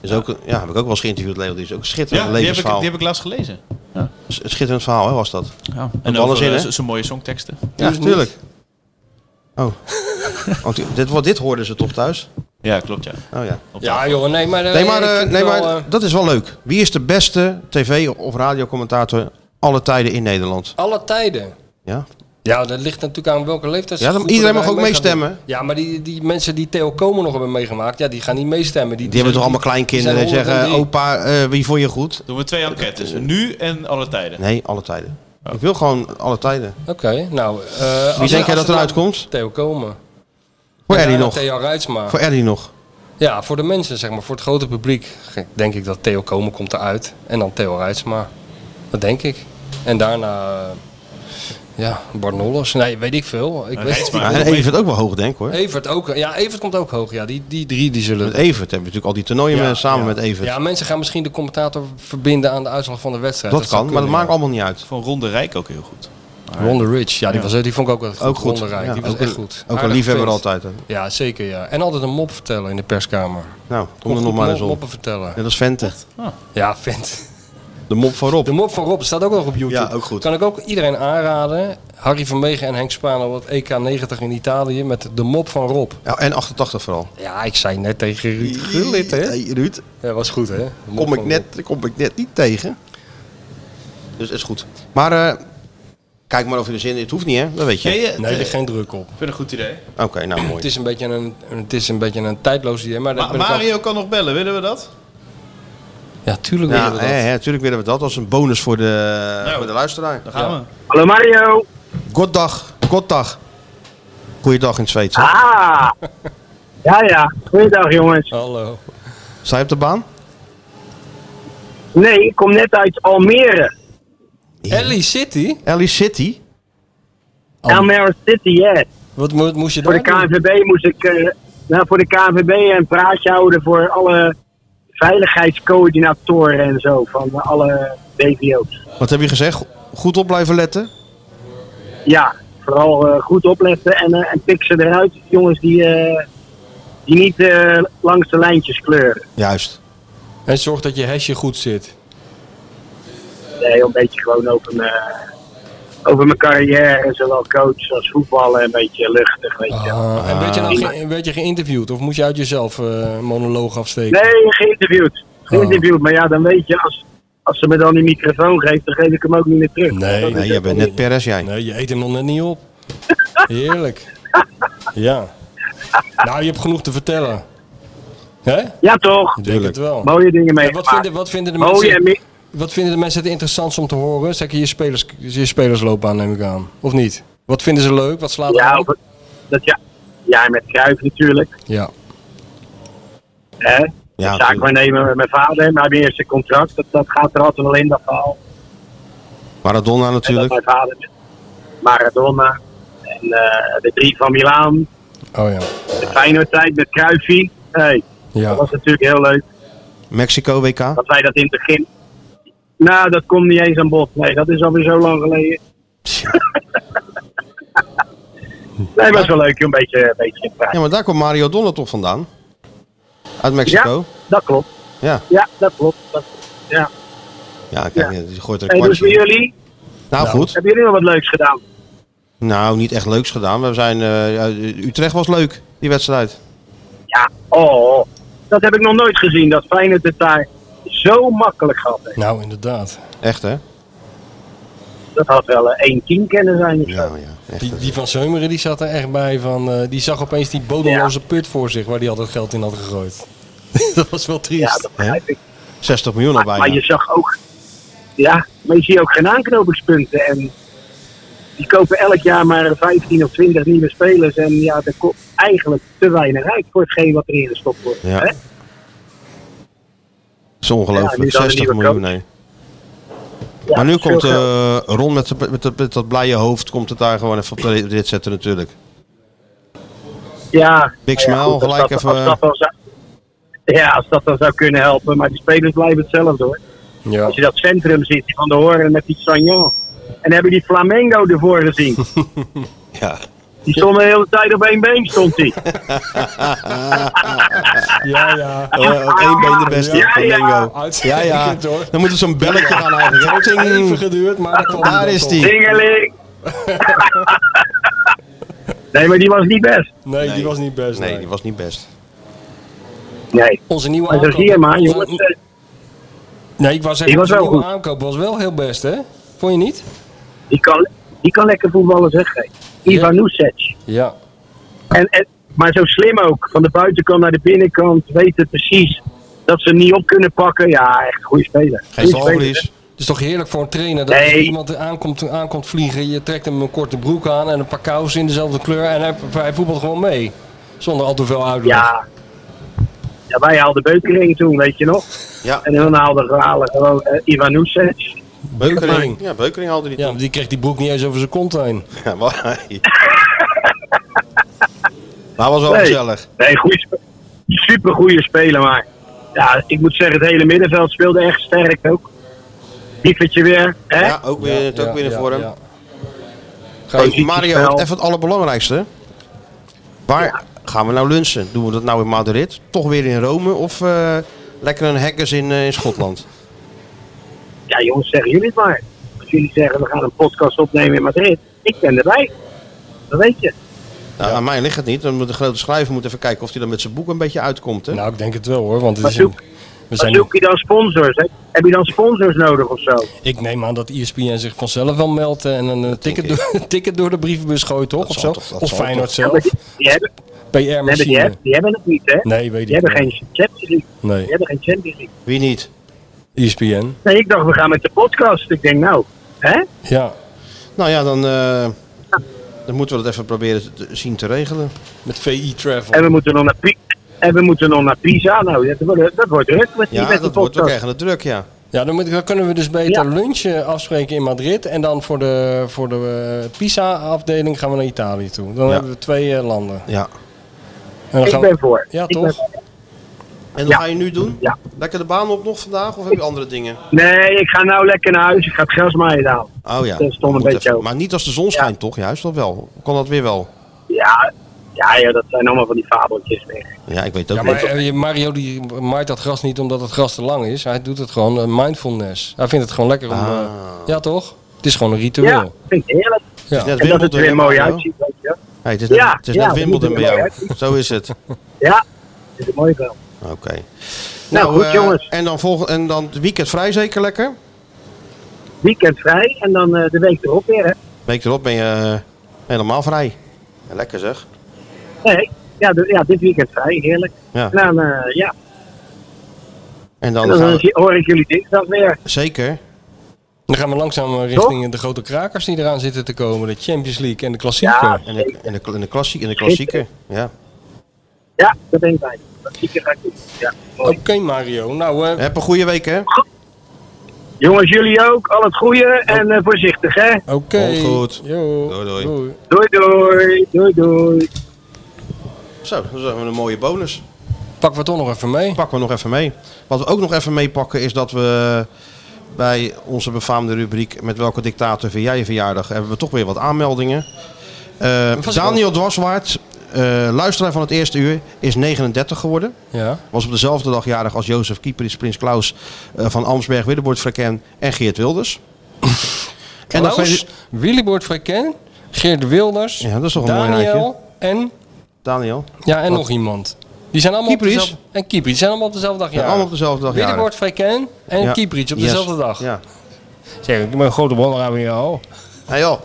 [SPEAKER 6] Is ook, een- ja, heb ik ook wel eens geïnterviewd, Leo. Die is ook een schitterend
[SPEAKER 10] Ja, die heb, ik,
[SPEAKER 6] levensverhaal.
[SPEAKER 10] die heb ik laatst gelezen. Ja.
[SPEAKER 6] S- Schitterend verhaal, hè, was dat.
[SPEAKER 10] Ja.
[SPEAKER 6] En
[SPEAKER 10] En
[SPEAKER 6] alles in,
[SPEAKER 10] over
[SPEAKER 6] hè?
[SPEAKER 10] eh, z- zijn mooie songteksten.
[SPEAKER 6] Ja, natuurlijk. Oh. oh die- dit, wat- dit hoorden ze toch thuis?
[SPEAKER 10] Ja, klopt ja.
[SPEAKER 6] Oh ja.
[SPEAKER 7] Ja joh, nee maar... eh,
[SPEAKER 6] Nee, maar,
[SPEAKER 7] ik
[SPEAKER 6] eh,
[SPEAKER 7] vind
[SPEAKER 6] nee,
[SPEAKER 7] wel,
[SPEAKER 6] maar
[SPEAKER 7] eh,
[SPEAKER 6] dat is wel leuk. Wie is de beste tv- of radiocommentator alle tijden in Nederland?
[SPEAKER 7] Alle tijden.
[SPEAKER 6] Ja?
[SPEAKER 7] Ja, dat ligt natuurlijk aan welke leeftijd. ze
[SPEAKER 6] Ja, dan-
[SPEAKER 7] goed
[SPEAKER 6] iedereen mag
[SPEAKER 7] erbij
[SPEAKER 6] ook
[SPEAKER 7] mee gaan
[SPEAKER 6] meestemmen.
[SPEAKER 7] doen. Ja, maar die, die mensen die Theo Komen nog hebben meegemaakt, ja, die gaan niet meestemmen. Die,
[SPEAKER 6] Die hebben toch allemaal kleinkinderen en
[SPEAKER 7] die zijn
[SPEAKER 6] zeggen...
[SPEAKER 7] 103.
[SPEAKER 6] opa, eh, wie vond je goed?
[SPEAKER 10] Doen we twee enquêtes. Nu en alle tijden.
[SPEAKER 6] Nee, alle tijden. Ik wil gewoon alle tijden.
[SPEAKER 7] Oké, nou... eh, als-
[SPEAKER 6] denk jij
[SPEAKER 7] als
[SPEAKER 6] dat
[SPEAKER 7] het
[SPEAKER 6] eruit
[SPEAKER 7] nou-
[SPEAKER 6] komt?
[SPEAKER 7] Theo Komen.
[SPEAKER 6] Voor
[SPEAKER 7] En
[SPEAKER 6] Ellie
[SPEAKER 7] daarna
[SPEAKER 6] nog.
[SPEAKER 7] Theo Reitsma.
[SPEAKER 6] Voor Ellie nog.
[SPEAKER 7] Ja, voor de mensen, zeg maar. Voor het grote publiek denk ik dat Theo Komen komt eruit. En dan Theo Reitsma. Dat denk ik. En daarna... eh, ja, Barnolos. Nee, weet ik veel. Ik weet het
[SPEAKER 6] Ja,
[SPEAKER 7] niet.
[SPEAKER 6] en Evert ook wel hoog, denk ik, hoor.
[SPEAKER 7] Evert ook. Ja, Evert komt ook hoog. Ja, die, die drie die zullen...
[SPEAKER 6] Met Evert hebben we natuurlijk al die toernooien
[SPEAKER 7] Ja,
[SPEAKER 6] met- samen
[SPEAKER 7] ja.
[SPEAKER 6] met Evert.
[SPEAKER 7] Ja, mensen gaan misschien de commentator verbinden aan de uitslag van de wedstrijd.
[SPEAKER 6] dat kan, maar dat maakt allemaal niet uit.
[SPEAKER 10] Van Ronde Rijk ook heel goed.
[SPEAKER 7] Ronde Rich, ja, die, Was, die vond ik ook wel goed.
[SPEAKER 6] Ook goed.
[SPEAKER 7] Ronde Rijk,
[SPEAKER 6] Ja,
[SPEAKER 7] die was
[SPEAKER 6] ook
[SPEAKER 7] echt
[SPEAKER 6] een-
[SPEAKER 7] goed.
[SPEAKER 6] ook een
[SPEAKER 7] Aardig
[SPEAKER 6] liefhebber
[SPEAKER 7] vent.
[SPEAKER 6] altijd, hè?
[SPEAKER 7] Ja, zeker ja. En altijd een mop vertellen in de perskamer.
[SPEAKER 6] Nou,
[SPEAKER 7] Kon
[SPEAKER 6] kom er nog
[SPEAKER 7] goed
[SPEAKER 6] maar
[SPEAKER 7] mo-
[SPEAKER 6] eens op.
[SPEAKER 7] moppen vertellen.
[SPEAKER 6] Net als Vente.
[SPEAKER 7] Ja, vent.
[SPEAKER 6] De mop van Rob.
[SPEAKER 7] De mop van Rob staat ook nog op YouTube.
[SPEAKER 6] Ja, ook goed.
[SPEAKER 7] Kan ik ook iedereen aanraden. Harry Vermegen en Henk Spaan op het EK90 in Italië met de mop van Rob.
[SPEAKER 6] Ja, en 88 vooral.
[SPEAKER 7] Ja, ik zei net tegen Ruud Gullit, hè?
[SPEAKER 6] Hey, Ruud,
[SPEAKER 7] Ja, was goed, hè? De mop
[SPEAKER 6] kom ik,
[SPEAKER 7] van
[SPEAKER 6] net, kom ik net niet tegen. Dus is goed. Maar eh, kijk maar of je er zin in Het hoeft niet, hè? Dat weet je.
[SPEAKER 7] Nee, eh, Nee, er is geen druk op.
[SPEAKER 10] Ik vind het een goed idee.
[SPEAKER 6] Oké, nou mooi.
[SPEAKER 7] Het is een beetje een, het is een, beetje een tijdloos idee, maar, dat
[SPEAKER 10] Ma-
[SPEAKER 7] ben ik al-
[SPEAKER 10] Mario kan nog bellen, willen we dat?
[SPEAKER 7] Ja, tuurlijk
[SPEAKER 6] Ja,
[SPEAKER 7] willen we dat.
[SPEAKER 6] hè, hè, tuurlijk willen we dat als een bonus voor de, voor de luisteraar.
[SPEAKER 10] Nou, Daar gaan we.
[SPEAKER 12] Hallo Mario.
[SPEAKER 6] Goddag, goddag. Goeiedag in het Zweeds. hè?
[SPEAKER 12] Ah. Ja, ja. Goeiedag jongens.
[SPEAKER 7] Hallo.
[SPEAKER 6] Sta je op de baan?
[SPEAKER 12] Nee, ik kom net uit Almere.
[SPEAKER 7] Ellie City?
[SPEAKER 6] Ellie City?
[SPEAKER 17] Oh.
[SPEAKER 12] Almere City, yes.
[SPEAKER 7] Wat mo- moest je
[SPEAKER 12] Voor de
[SPEAKER 7] daar doen?
[SPEAKER 12] KNVB moest ik eh, nou, voor de KNVB een praatje houden voor alle veiligheidscoördinatoren en zo van alle BVO's.
[SPEAKER 6] Wat heb je gezegd? Goed op blijven letten?
[SPEAKER 12] Ja, vooral eh, goed opletten en, eh, en pik ze eruit, die jongens die, eh, die niet eh, langs de lijntjes kleuren.
[SPEAKER 6] Juist.
[SPEAKER 7] En zorg dat je hesje goed zit.
[SPEAKER 12] Nee, een eh, beetje gewoon over mijn, over mijn carrière, zowel coach als voetballen, een beetje luchtig, weet je. wel.
[SPEAKER 6] Ah.
[SPEAKER 7] En werd je, nou ge- werd je geïnterviewd of moest je uit jezelf eh, een monoloog afsteken?
[SPEAKER 12] Nee, geïnterviewd. Geïnterviewd, maar ja, dan weet je, als, als ze me dan die microfoon geeft, dan geef ik hem ook niet meer terug. Dat
[SPEAKER 7] Nee,
[SPEAKER 12] is
[SPEAKER 6] Nee, jij
[SPEAKER 12] het
[SPEAKER 6] bent
[SPEAKER 12] dan
[SPEAKER 6] net Perez, jij.
[SPEAKER 7] nee, je eet hem nog net niet op. Heerlijk. Ja. Nou, je hebt genoeg te vertellen. Hè?
[SPEAKER 12] Ja, toch?
[SPEAKER 7] Ik denk het wel.
[SPEAKER 12] Mooie dingen mee.
[SPEAKER 7] En wat, vinden, wat, vinden de
[SPEAKER 12] Mooie
[SPEAKER 7] mensen,
[SPEAKER 12] en mi-
[SPEAKER 7] wat vinden de mensen het interessantst om te horen? Zeker je, spelers, je spelersloopbaan neem ik aan. Of niet? Wat vinden ze leuk? Wat slaat
[SPEAKER 12] Ja,
[SPEAKER 7] aan?
[SPEAKER 12] of- dat ja. ja, met Kruijf natuurlijk.
[SPEAKER 7] Ja.
[SPEAKER 12] Hè? Ja, Zaakwaarnemer met mijn vader, mijn eerste contract, dat, dat gaat er altijd wel in, dat verhaal.
[SPEAKER 6] Maradona
[SPEAKER 12] En dat
[SPEAKER 6] natuurlijk.
[SPEAKER 12] mijn vader met Maradona en eh, de drie van Milaan,
[SPEAKER 7] Oh ja.
[SPEAKER 12] de Feyenoord-tijd met Kruijfie. Hey,
[SPEAKER 7] Ja.
[SPEAKER 12] Dat was natuurlijk heel leuk
[SPEAKER 6] Mexico WK.
[SPEAKER 12] dat wij dat in het begin... Nou, dat komt niet eens aan bod. Nee, dat is alweer zo lang geleden. nee, maar is wel leuk, een beetje, een beetje in praat.
[SPEAKER 6] Ja, maar daar komt Mario Donner toch vandaan? Uit Mexico?
[SPEAKER 12] Ja, dat klopt.
[SPEAKER 6] Ja.
[SPEAKER 12] Ja, dat klopt. Dat, ja.
[SPEAKER 6] Ja, kijk, die gooit er een
[SPEAKER 12] Hey,
[SPEAKER 6] kwartje.
[SPEAKER 12] dus voor
[SPEAKER 6] in.
[SPEAKER 12] jullie?
[SPEAKER 6] Nou, goed.
[SPEAKER 12] Hebben jullie nog wat leuks gedaan?
[SPEAKER 6] Nou, niet echt leuks gedaan. We zijn, eh, ja, Utrecht was leuk, die wedstrijd.
[SPEAKER 12] Ja, oh, dat heb ik nog nooit gezien. Dat Feyenoord het daar zo makkelijk gehad heeft.
[SPEAKER 7] Nou, inderdaad.
[SPEAKER 6] Echt, hè?
[SPEAKER 12] Dat had wel eh, 1-10 kennen zijn. of zo.
[SPEAKER 6] Oh,
[SPEAKER 7] Die, die van Seumeren die zat er echt bij van. eh, die zag opeens die bodemloze put voor zich waar die al dat geld in had gegooid. dat was wel triest.
[SPEAKER 12] Ja, dat begrijp ik.
[SPEAKER 6] 60 miljoen al bijna.
[SPEAKER 12] Maar je zag ook, ja, maar je ziet ook geen aanknopingspunten. En Die kopen elk jaar maar 15 of 20 nieuwe spelers. En ja, er komt eigenlijk te weinig uit voor hetgeen wat erin gestopt wordt.
[SPEAKER 6] Ja.
[SPEAKER 12] Hè?
[SPEAKER 6] is ongelooflijk.
[SPEAKER 12] Ja, nu dan de
[SPEAKER 6] 60
[SPEAKER 12] nieuwe
[SPEAKER 6] miljoen,
[SPEAKER 12] coach.
[SPEAKER 6] nee.
[SPEAKER 12] Ja,
[SPEAKER 6] maar nu
[SPEAKER 12] veel
[SPEAKER 6] komt
[SPEAKER 12] geld.
[SPEAKER 6] eh Ron met, de- met, de- met dat blije hoofd, komt het daar gewoon even op de rit zetten natuurlijk.
[SPEAKER 12] Ja.
[SPEAKER 6] eh, Big
[SPEAKER 12] nou
[SPEAKER 6] smile,
[SPEAKER 12] ja, goed, als
[SPEAKER 6] gelijk
[SPEAKER 12] dat-
[SPEAKER 6] even-
[SPEAKER 12] Als dat dan zou- ja, als dat dan zou kunnen helpen. Maar die spelers blijven hetzelfde hoor. Als je dat centrum ziet die van de Horen met die Sagnon. En hebben die Flamengo ervoor gezien.
[SPEAKER 6] Ja.
[SPEAKER 12] Die stond de hele tijd op één been, stond hij.
[SPEAKER 3] Ja, ja.
[SPEAKER 6] Op Eh, één been de beste,
[SPEAKER 3] Ja, ja.
[SPEAKER 6] Flamengo. Ja,
[SPEAKER 3] Uitstekend,
[SPEAKER 6] ja.
[SPEAKER 3] hoor.
[SPEAKER 6] Dan moet er zo'n belletje gaan eigenlijk.
[SPEAKER 3] Het heeft even
[SPEAKER 6] Ting.
[SPEAKER 3] geduurd, maar dat kwam
[SPEAKER 6] Daar
[SPEAKER 3] dan
[SPEAKER 6] is
[SPEAKER 3] toch.
[SPEAKER 6] die.
[SPEAKER 12] Dingeling. Nee, maar die was niet best.
[SPEAKER 3] Nee, die was niet best.
[SPEAKER 6] Nee, die was niet best.
[SPEAKER 12] Nee.
[SPEAKER 7] Onze nieuwe
[SPEAKER 12] Maar zo
[SPEAKER 7] aankoop.
[SPEAKER 12] zie je maar,
[SPEAKER 7] onze-
[SPEAKER 12] jongens. eh,
[SPEAKER 7] Nee, ik wou zeggen,
[SPEAKER 12] Die was
[SPEAKER 7] onze
[SPEAKER 12] wel
[SPEAKER 7] nieuwe
[SPEAKER 12] goed.
[SPEAKER 7] aankoop was wel heel best, hè? Vond je niet?
[SPEAKER 12] Die kan, die kan lekker voetballen, zeg. hè. Ivan Nusic.
[SPEAKER 7] Ja.
[SPEAKER 12] En, en, maar zo slim ook. Van de buitenkant naar de binnenkant. Weten precies dat ze hem niet op kunnen pakken. Ja, echt goede speler. Goeie speler.
[SPEAKER 7] Het is toch heerlijk voor een trainer dat
[SPEAKER 12] Nee.
[SPEAKER 7] als iemand aankomt, aankomt vliegen, je trekt hem een korte broek aan en een paar kousen in dezelfde kleur en hij, hij voetbalt gewoon mee. Zonder al te veel uitleg.
[SPEAKER 12] Ja. Ja, wij haalden Beukering toen, weet je nog?
[SPEAKER 6] Ja.
[SPEAKER 12] En dan haalden we halen gewoon eh, Ivan Nusic.
[SPEAKER 6] Beukering. Ja, Beukering haalde die
[SPEAKER 7] Ja, die kreeg die broek niet eens over zijn kont heen.
[SPEAKER 6] Ja, maar... Maar was wel
[SPEAKER 12] Nee.
[SPEAKER 6] gezellig.
[SPEAKER 12] Nee, goeie, spe- supergoeie speler, maar ja, ik moet zeggen, het hele middenveld speelde echt sterk ook. Diepertje weer, hè?
[SPEAKER 6] Ja, ook weer, het ook weer in vorm.
[SPEAKER 12] Positiespel.
[SPEAKER 6] Hey, Mario, wat even het allerbelangrijkste. Waar gaan we nou lunchen? Doen we dat nou in Madrid? Toch weer in Rome? Of eh, lekker een hackers in, eh, in Schotland?
[SPEAKER 12] Ja, jongens, zeggen jullie het maar. Als jullie zeggen, we gaan een podcast opnemen in Madrid, ik ben erbij. Dat weet je.
[SPEAKER 6] Nou, Aan mij ligt het niet. Dan moet de grote schrijver moet even kijken of hij dan met zijn boek een beetje uitkomt. Hè?
[SPEAKER 7] Nou, ik denk het wel hoor. Want het
[SPEAKER 12] Maar
[SPEAKER 7] is een-
[SPEAKER 12] zoek-
[SPEAKER 7] we
[SPEAKER 12] Maar
[SPEAKER 7] zijn
[SPEAKER 12] zoek je dan sponsors? Hè? Heb je dan sponsors nodig of zo?
[SPEAKER 7] Ik neem aan dat E ESPN zich vanzelf wel meldt en een eh, ticket, door, ticket door de brievenbus gooit, toch? Of,
[SPEAKER 12] zal
[SPEAKER 7] zo?
[SPEAKER 12] toch- dat
[SPEAKER 7] of
[SPEAKER 12] zal
[SPEAKER 7] Feyenoord
[SPEAKER 12] toch. Ja, maar
[SPEAKER 7] zelf.
[SPEAKER 12] Die hebben, die, hebben, die,
[SPEAKER 7] PR-machine.
[SPEAKER 12] hebben, die hebben het niet, hè?
[SPEAKER 7] Nee, weet
[SPEAKER 12] die
[SPEAKER 7] ik
[SPEAKER 12] hebben geen
[SPEAKER 7] niet.
[SPEAKER 12] Champions League.
[SPEAKER 7] Nee. E
[SPEAKER 12] Die hebben geen Champions League.
[SPEAKER 6] Wie niet?
[SPEAKER 7] ESPN.
[SPEAKER 12] Nee, ik dacht, we gaan met de podcast. Ik denk, nou, hè?
[SPEAKER 7] Ja.
[SPEAKER 6] Nou ja, dan, eh, dan moeten we dat even proberen te, zien te regelen.
[SPEAKER 7] Met VI Travel.
[SPEAKER 12] En we moeten nog naar Pi- en we moeten nog naar Pisa. Nou, dat wordt, dat wordt druk met die
[SPEAKER 6] Ja,
[SPEAKER 12] met die
[SPEAKER 6] dat wordt ook
[SPEAKER 12] podcast.
[SPEAKER 6] echt een druk, ja.
[SPEAKER 7] Ja, dan, moet- dan kunnen we dus beter lunchen afspreken in Madrid. En dan voor de, voor de eh, Pisa-afdeling gaan we naar Italië toe. Dan
[SPEAKER 6] Ja.
[SPEAKER 7] hebben we twee eh, landen.
[SPEAKER 6] ja.
[SPEAKER 7] En dan
[SPEAKER 6] Ik
[SPEAKER 7] gaan we-
[SPEAKER 6] ben voor.
[SPEAKER 7] Ja,
[SPEAKER 6] Ik
[SPEAKER 7] toch?
[SPEAKER 6] ben En wat ga je nu doen? Lekker de baan op nog vandaag? Of heb je andere dingen?
[SPEAKER 12] Nee, ik ga nou lekker naar huis. Ik ga het grasmaaien halen.
[SPEAKER 6] Oh ja.
[SPEAKER 12] Dat stond een
[SPEAKER 6] Moet
[SPEAKER 12] beetje
[SPEAKER 6] even-
[SPEAKER 12] over.
[SPEAKER 6] Maar niet als de zon schijnt, toch? Juist dat wel. Kan dat weer wel?
[SPEAKER 12] Ja, ja, ja, dat zijn allemaal van die fabeltjes weer.
[SPEAKER 6] Ja, ik weet het
[SPEAKER 7] Ja,
[SPEAKER 6] ook
[SPEAKER 7] maar
[SPEAKER 6] niet.
[SPEAKER 7] eh, je- Mario die maait dat gras niet omdat het gras te lang is. Hij doet het gewoon eh, mindfulness. Hij vindt het gewoon lekker om... eh,
[SPEAKER 12] Ah.
[SPEAKER 7] ja, toch? Het is gewoon een ritueel.
[SPEAKER 12] Ja, vind ik heerlijk.
[SPEAKER 7] Ja.
[SPEAKER 6] net
[SPEAKER 12] En dat het
[SPEAKER 6] Wimbledon,
[SPEAKER 12] er
[SPEAKER 6] hè,
[SPEAKER 12] weer mooi
[SPEAKER 6] Mario?
[SPEAKER 12] uitziet, weet je wel.
[SPEAKER 6] Hey, het is net,
[SPEAKER 12] Ja,
[SPEAKER 6] het is
[SPEAKER 12] ja,
[SPEAKER 6] net
[SPEAKER 12] we
[SPEAKER 6] Wimbledon bij
[SPEAKER 12] moeten
[SPEAKER 6] jou.
[SPEAKER 12] er
[SPEAKER 6] Zo is het. Oké.
[SPEAKER 12] Ja, het is mooi wel. Nou, goed,
[SPEAKER 6] eh,
[SPEAKER 12] jongens.
[SPEAKER 6] En dan, volg en dan het weekend vrij zeker lekker?
[SPEAKER 12] Weekend vrij en dan eh, de week erop weer, hè?
[SPEAKER 6] Week erop ben je eh, helemaal vrij. Ja, lekker zeg.
[SPEAKER 12] Nee, ja, de- ja dit weekend vrij, heerlijk.
[SPEAKER 6] Ja.
[SPEAKER 12] En dan, eh, ja,
[SPEAKER 6] En
[SPEAKER 12] en
[SPEAKER 6] dan,
[SPEAKER 12] dan,
[SPEAKER 6] gaan
[SPEAKER 12] eh,
[SPEAKER 6] we-
[SPEAKER 12] hoor ik jullie dinsdag weer.
[SPEAKER 6] Zeker.
[SPEAKER 7] Dan gaan we langzaam eh, richting de grote krakers die eraan zitten te komen. De Champions League en de klassieker.
[SPEAKER 12] Ja,
[SPEAKER 6] En de, en de, en de, klassie- en de klassieker. Ja.
[SPEAKER 12] Ja, dat ben ik bij. Dat zieke ga ik doen. Ja, mooi.
[SPEAKER 7] Oké Mario, nou... eh,
[SPEAKER 6] Heb een goede week hè.
[SPEAKER 12] Jongens, jullie ook. Al het goede en eh, voorzichtig, hè?
[SPEAKER 7] Oké.
[SPEAKER 6] Komt goed.
[SPEAKER 7] Yo.
[SPEAKER 6] Doei, doei.
[SPEAKER 7] Doei.
[SPEAKER 12] Doei, doei. Doei, doei.
[SPEAKER 6] Zo, dat is even een mooie bonus.
[SPEAKER 7] Pakken we toch nog even mee?
[SPEAKER 6] Pakken we nog even mee. Wat we ook nog even meepakken is dat we bij onze befaamde rubriek met welke dictator vind jij je verjaardag hebben we toch weer wat aanmeldingen. Eh,
[SPEAKER 7] was ik
[SPEAKER 6] Daniel Dwarswaard, eh, luisteraar van het eerste uur, is 39 geworden.
[SPEAKER 7] Ja.
[SPEAKER 6] Was op dezelfde dag jarig als Jozef Kieperis, Prins Klaus eh, van amsberg Willeboord Freken en Geert Wilders.
[SPEAKER 7] En
[SPEAKER 6] dan
[SPEAKER 7] Klaus, Willybord Freken, Geert Wilders,
[SPEAKER 6] Ja, dat is toch een mooi rijtje.
[SPEAKER 7] Daniel en...
[SPEAKER 6] Daniel.
[SPEAKER 7] Ja, en
[SPEAKER 6] Wat?
[SPEAKER 7] nog iemand. Die zijn allemaal
[SPEAKER 6] Kiepries?
[SPEAKER 7] op dezelfde... En Kiepries, die zijn allemaal op dezelfde dag.
[SPEAKER 6] Ja, allemaal op dezelfde dag jarig.
[SPEAKER 7] Willybord Freken en
[SPEAKER 6] Ja.
[SPEAKER 7] Kiepries op
[SPEAKER 6] Yes.
[SPEAKER 7] dezelfde dag.
[SPEAKER 6] Ja.
[SPEAKER 7] Zeg, ik ben een grote wonder aan jou.
[SPEAKER 6] Hey joh.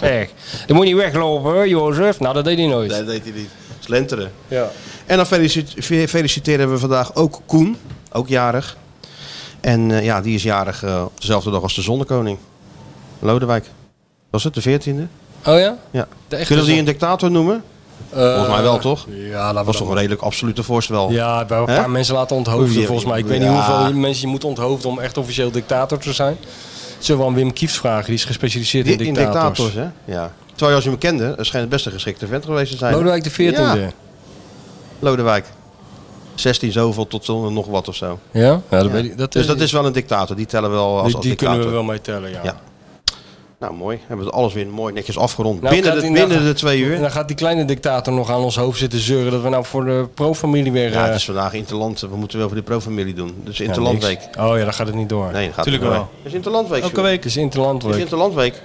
[SPEAKER 7] Zeg, je moet niet weglopen hoor, Jozef. Nou, dat deed hij nooit.
[SPEAKER 6] dat deed hij niet. Slenteren.
[SPEAKER 7] Ja.
[SPEAKER 6] En dan felicit- fe- feliciteren we vandaag ook Koen, ook jarig. En eh, ja, die is jarig eh, op dezelfde dag als de Zonnekoning. Lodewijk. Was het de 14e?
[SPEAKER 7] Oh ja?
[SPEAKER 6] Ja.
[SPEAKER 7] De echte
[SPEAKER 6] Kunnen we die een
[SPEAKER 7] zon.
[SPEAKER 6] dictator noemen? volgens mij wel, toch?
[SPEAKER 7] Eh, Ja, dat
[SPEAKER 6] was toch een redelijk absolute voorstel.
[SPEAKER 7] Ja, we hebben een
[SPEAKER 6] Hè?
[SPEAKER 7] paar mensen laten onthoofden
[SPEAKER 6] Hoeveel-
[SPEAKER 7] volgens mij. Ik weet
[SPEAKER 6] Ja.
[SPEAKER 7] niet hoeveel mensen je moet onthoofden om echt officieel dictator te zijn. Zullen we aan Wim Kieft vragen, die is gespecialiseerd in
[SPEAKER 6] In, in
[SPEAKER 7] dictators.
[SPEAKER 6] dictators, hè? Ja. Terwijl je als je hem kende, eh, schijnt het best een geschikte vent geweest te zijn.
[SPEAKER 7] Lodewijk de 14e.
[SPEAKER 6] Ja. Lodewijk. 16 zoveel tot zo'n nog wat of zo.
[SPEAKER 7] Ja? Ja, dat weet ik- dat
[SPEAKER 6] dus
[SPEAKER 7] is-
[SPEAKER 6] dat is wel een dictator. Die tellen we wel als,
[SPEAKER 7] Die-
[SPEAKER 6] als
[SPEAKER 7] die
[SPEAKER 6] dictator.
[SPEAKER 7] kunnen we wel mee tellen, ja.
[SPEAKER 6] Nou, mooi. Hebben we alles weer mooi netjes afgerond.
[SPEAKER 7] Nou,
[SPEAKER 6] binnen
[SPEAKER 7] gaat
[SPEAKER 6] de,
[SPEAKER 7] die- nou,
[SPEAKER 6] binnen de twee uur.
[SPEAKER 7] En dan gaat die kleine dictator nog aan ons hoofd zitten zeuren dat we nou voor de pro-familie weer...
[SPEAKER 6] Ja,
[SPEAKER 7] eh,
[SPEAKER 6] het is vandaag Interland. We moeten wel voor de profamilie doen. Dus
[SPEAKER 7] ja,
[SPEAKER 6] Interlandweek.
[SPEAKER 7] niks. Oh ja, dan gaat het niet door.
[SPEAKER 6] Nee, dat gaat
[SPEAKER 7] Tuurlijk
[SPEAKER 6] niet door.
[SPEAKER 7] wel.
[SPEAKER 6] Het is Interlandweek.
[SPEAKER 7] Elke
[SPEAKER 6] joh.
[SPEAKER 7] week is
[SPEAKER 6] Het is
[SPEAKER 7] Interlandweek.
[SPEAKER 6] Interlandweek.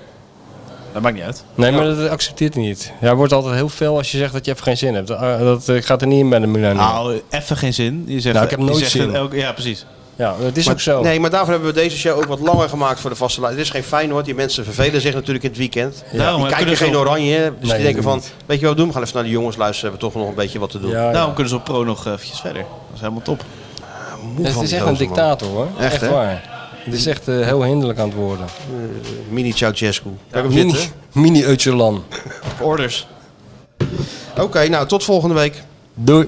[SPEAKER 9] Dat maakt niet uit.
[SPEAKER 7] Nee, maar dat accepteert hij niet. Jij wordt altijd heel fel als je zegt dat je even geen zin hebt. Dat, eh, Dat eh, gaat er niet in bij de millennium.
[SPEAKER 9] Nou, even geen zin. Je zegt,
[SPEAKER 7] Nou, ik heb
[SPEAKER 9] je
[SPEAKER 7] nooit
[SPEAKER 9] zegt
[SPEAKER 7] zin.
[SPEAKER 9] het elke- ja, precies.
[SPEAKER 7] Ja, dat is
[SPEAKER 6] Maar-
[SPEAKER 7] ook zo.
[SPEAKER 6] Nee, maar daarvoor hebben we deze show ook wat langer gemaakt voor de vaste lijn. Het is geen Feyenoord. Die mensen vervelen zich natuurlijk in het weekend.
[SPEAKER 9] maar
[SPEAKER 6] die
[SPEAKER 9] kunnen
[SPEAKER 6] kijken
[SPEAKER 9] ze
[SPEAKER 6] geen
[SPEAKER 9] op-
[SPEAKER 6] oranje. hè. Dus
[SPEAKER 9] Nee,
[SPEAKER 6] die denken
[SPEAKER 9] dat
[SPEAKER 6] van,
[SPEAKER 9] niet.
[SPEAKER 6] weet je wat we doen? We gaan even naar de jongens luisteren. We hebben toch nog een beetje wat te doen.
[SPEAKER 7] Ja,
[SPEAKER 9] Daarom kunnen ze op pro nog eventjes verder. Dat is helemaal top.
[SPEAKER 6] Moe
[SPEAKER 7] het
[SPEAKER 6] van
[SPEAKER 7] is
[SPEAKER 6] die
[SPEAKER 7] echt een
[SPEAKER 6] gozer, man.
[SPEAKER 7] dictator hoor. Echt,
[SPEAKER 6] Echt, hè?
[SPEAKER 7] waar. Het is echt eh, heel hinderlijk aan het worden.
[SPEAKER 6] Mini Ceausescu. Kijk hem
[SPEAKER 7] mini
[SPEAKER 6] zitten.
[SPEAKER 7] mini Öcalan.
[SPEAKER 9] Orders.
[SPEAKER 6] Oké, nou tot volgende week.
[SPEAKER 7] Doei.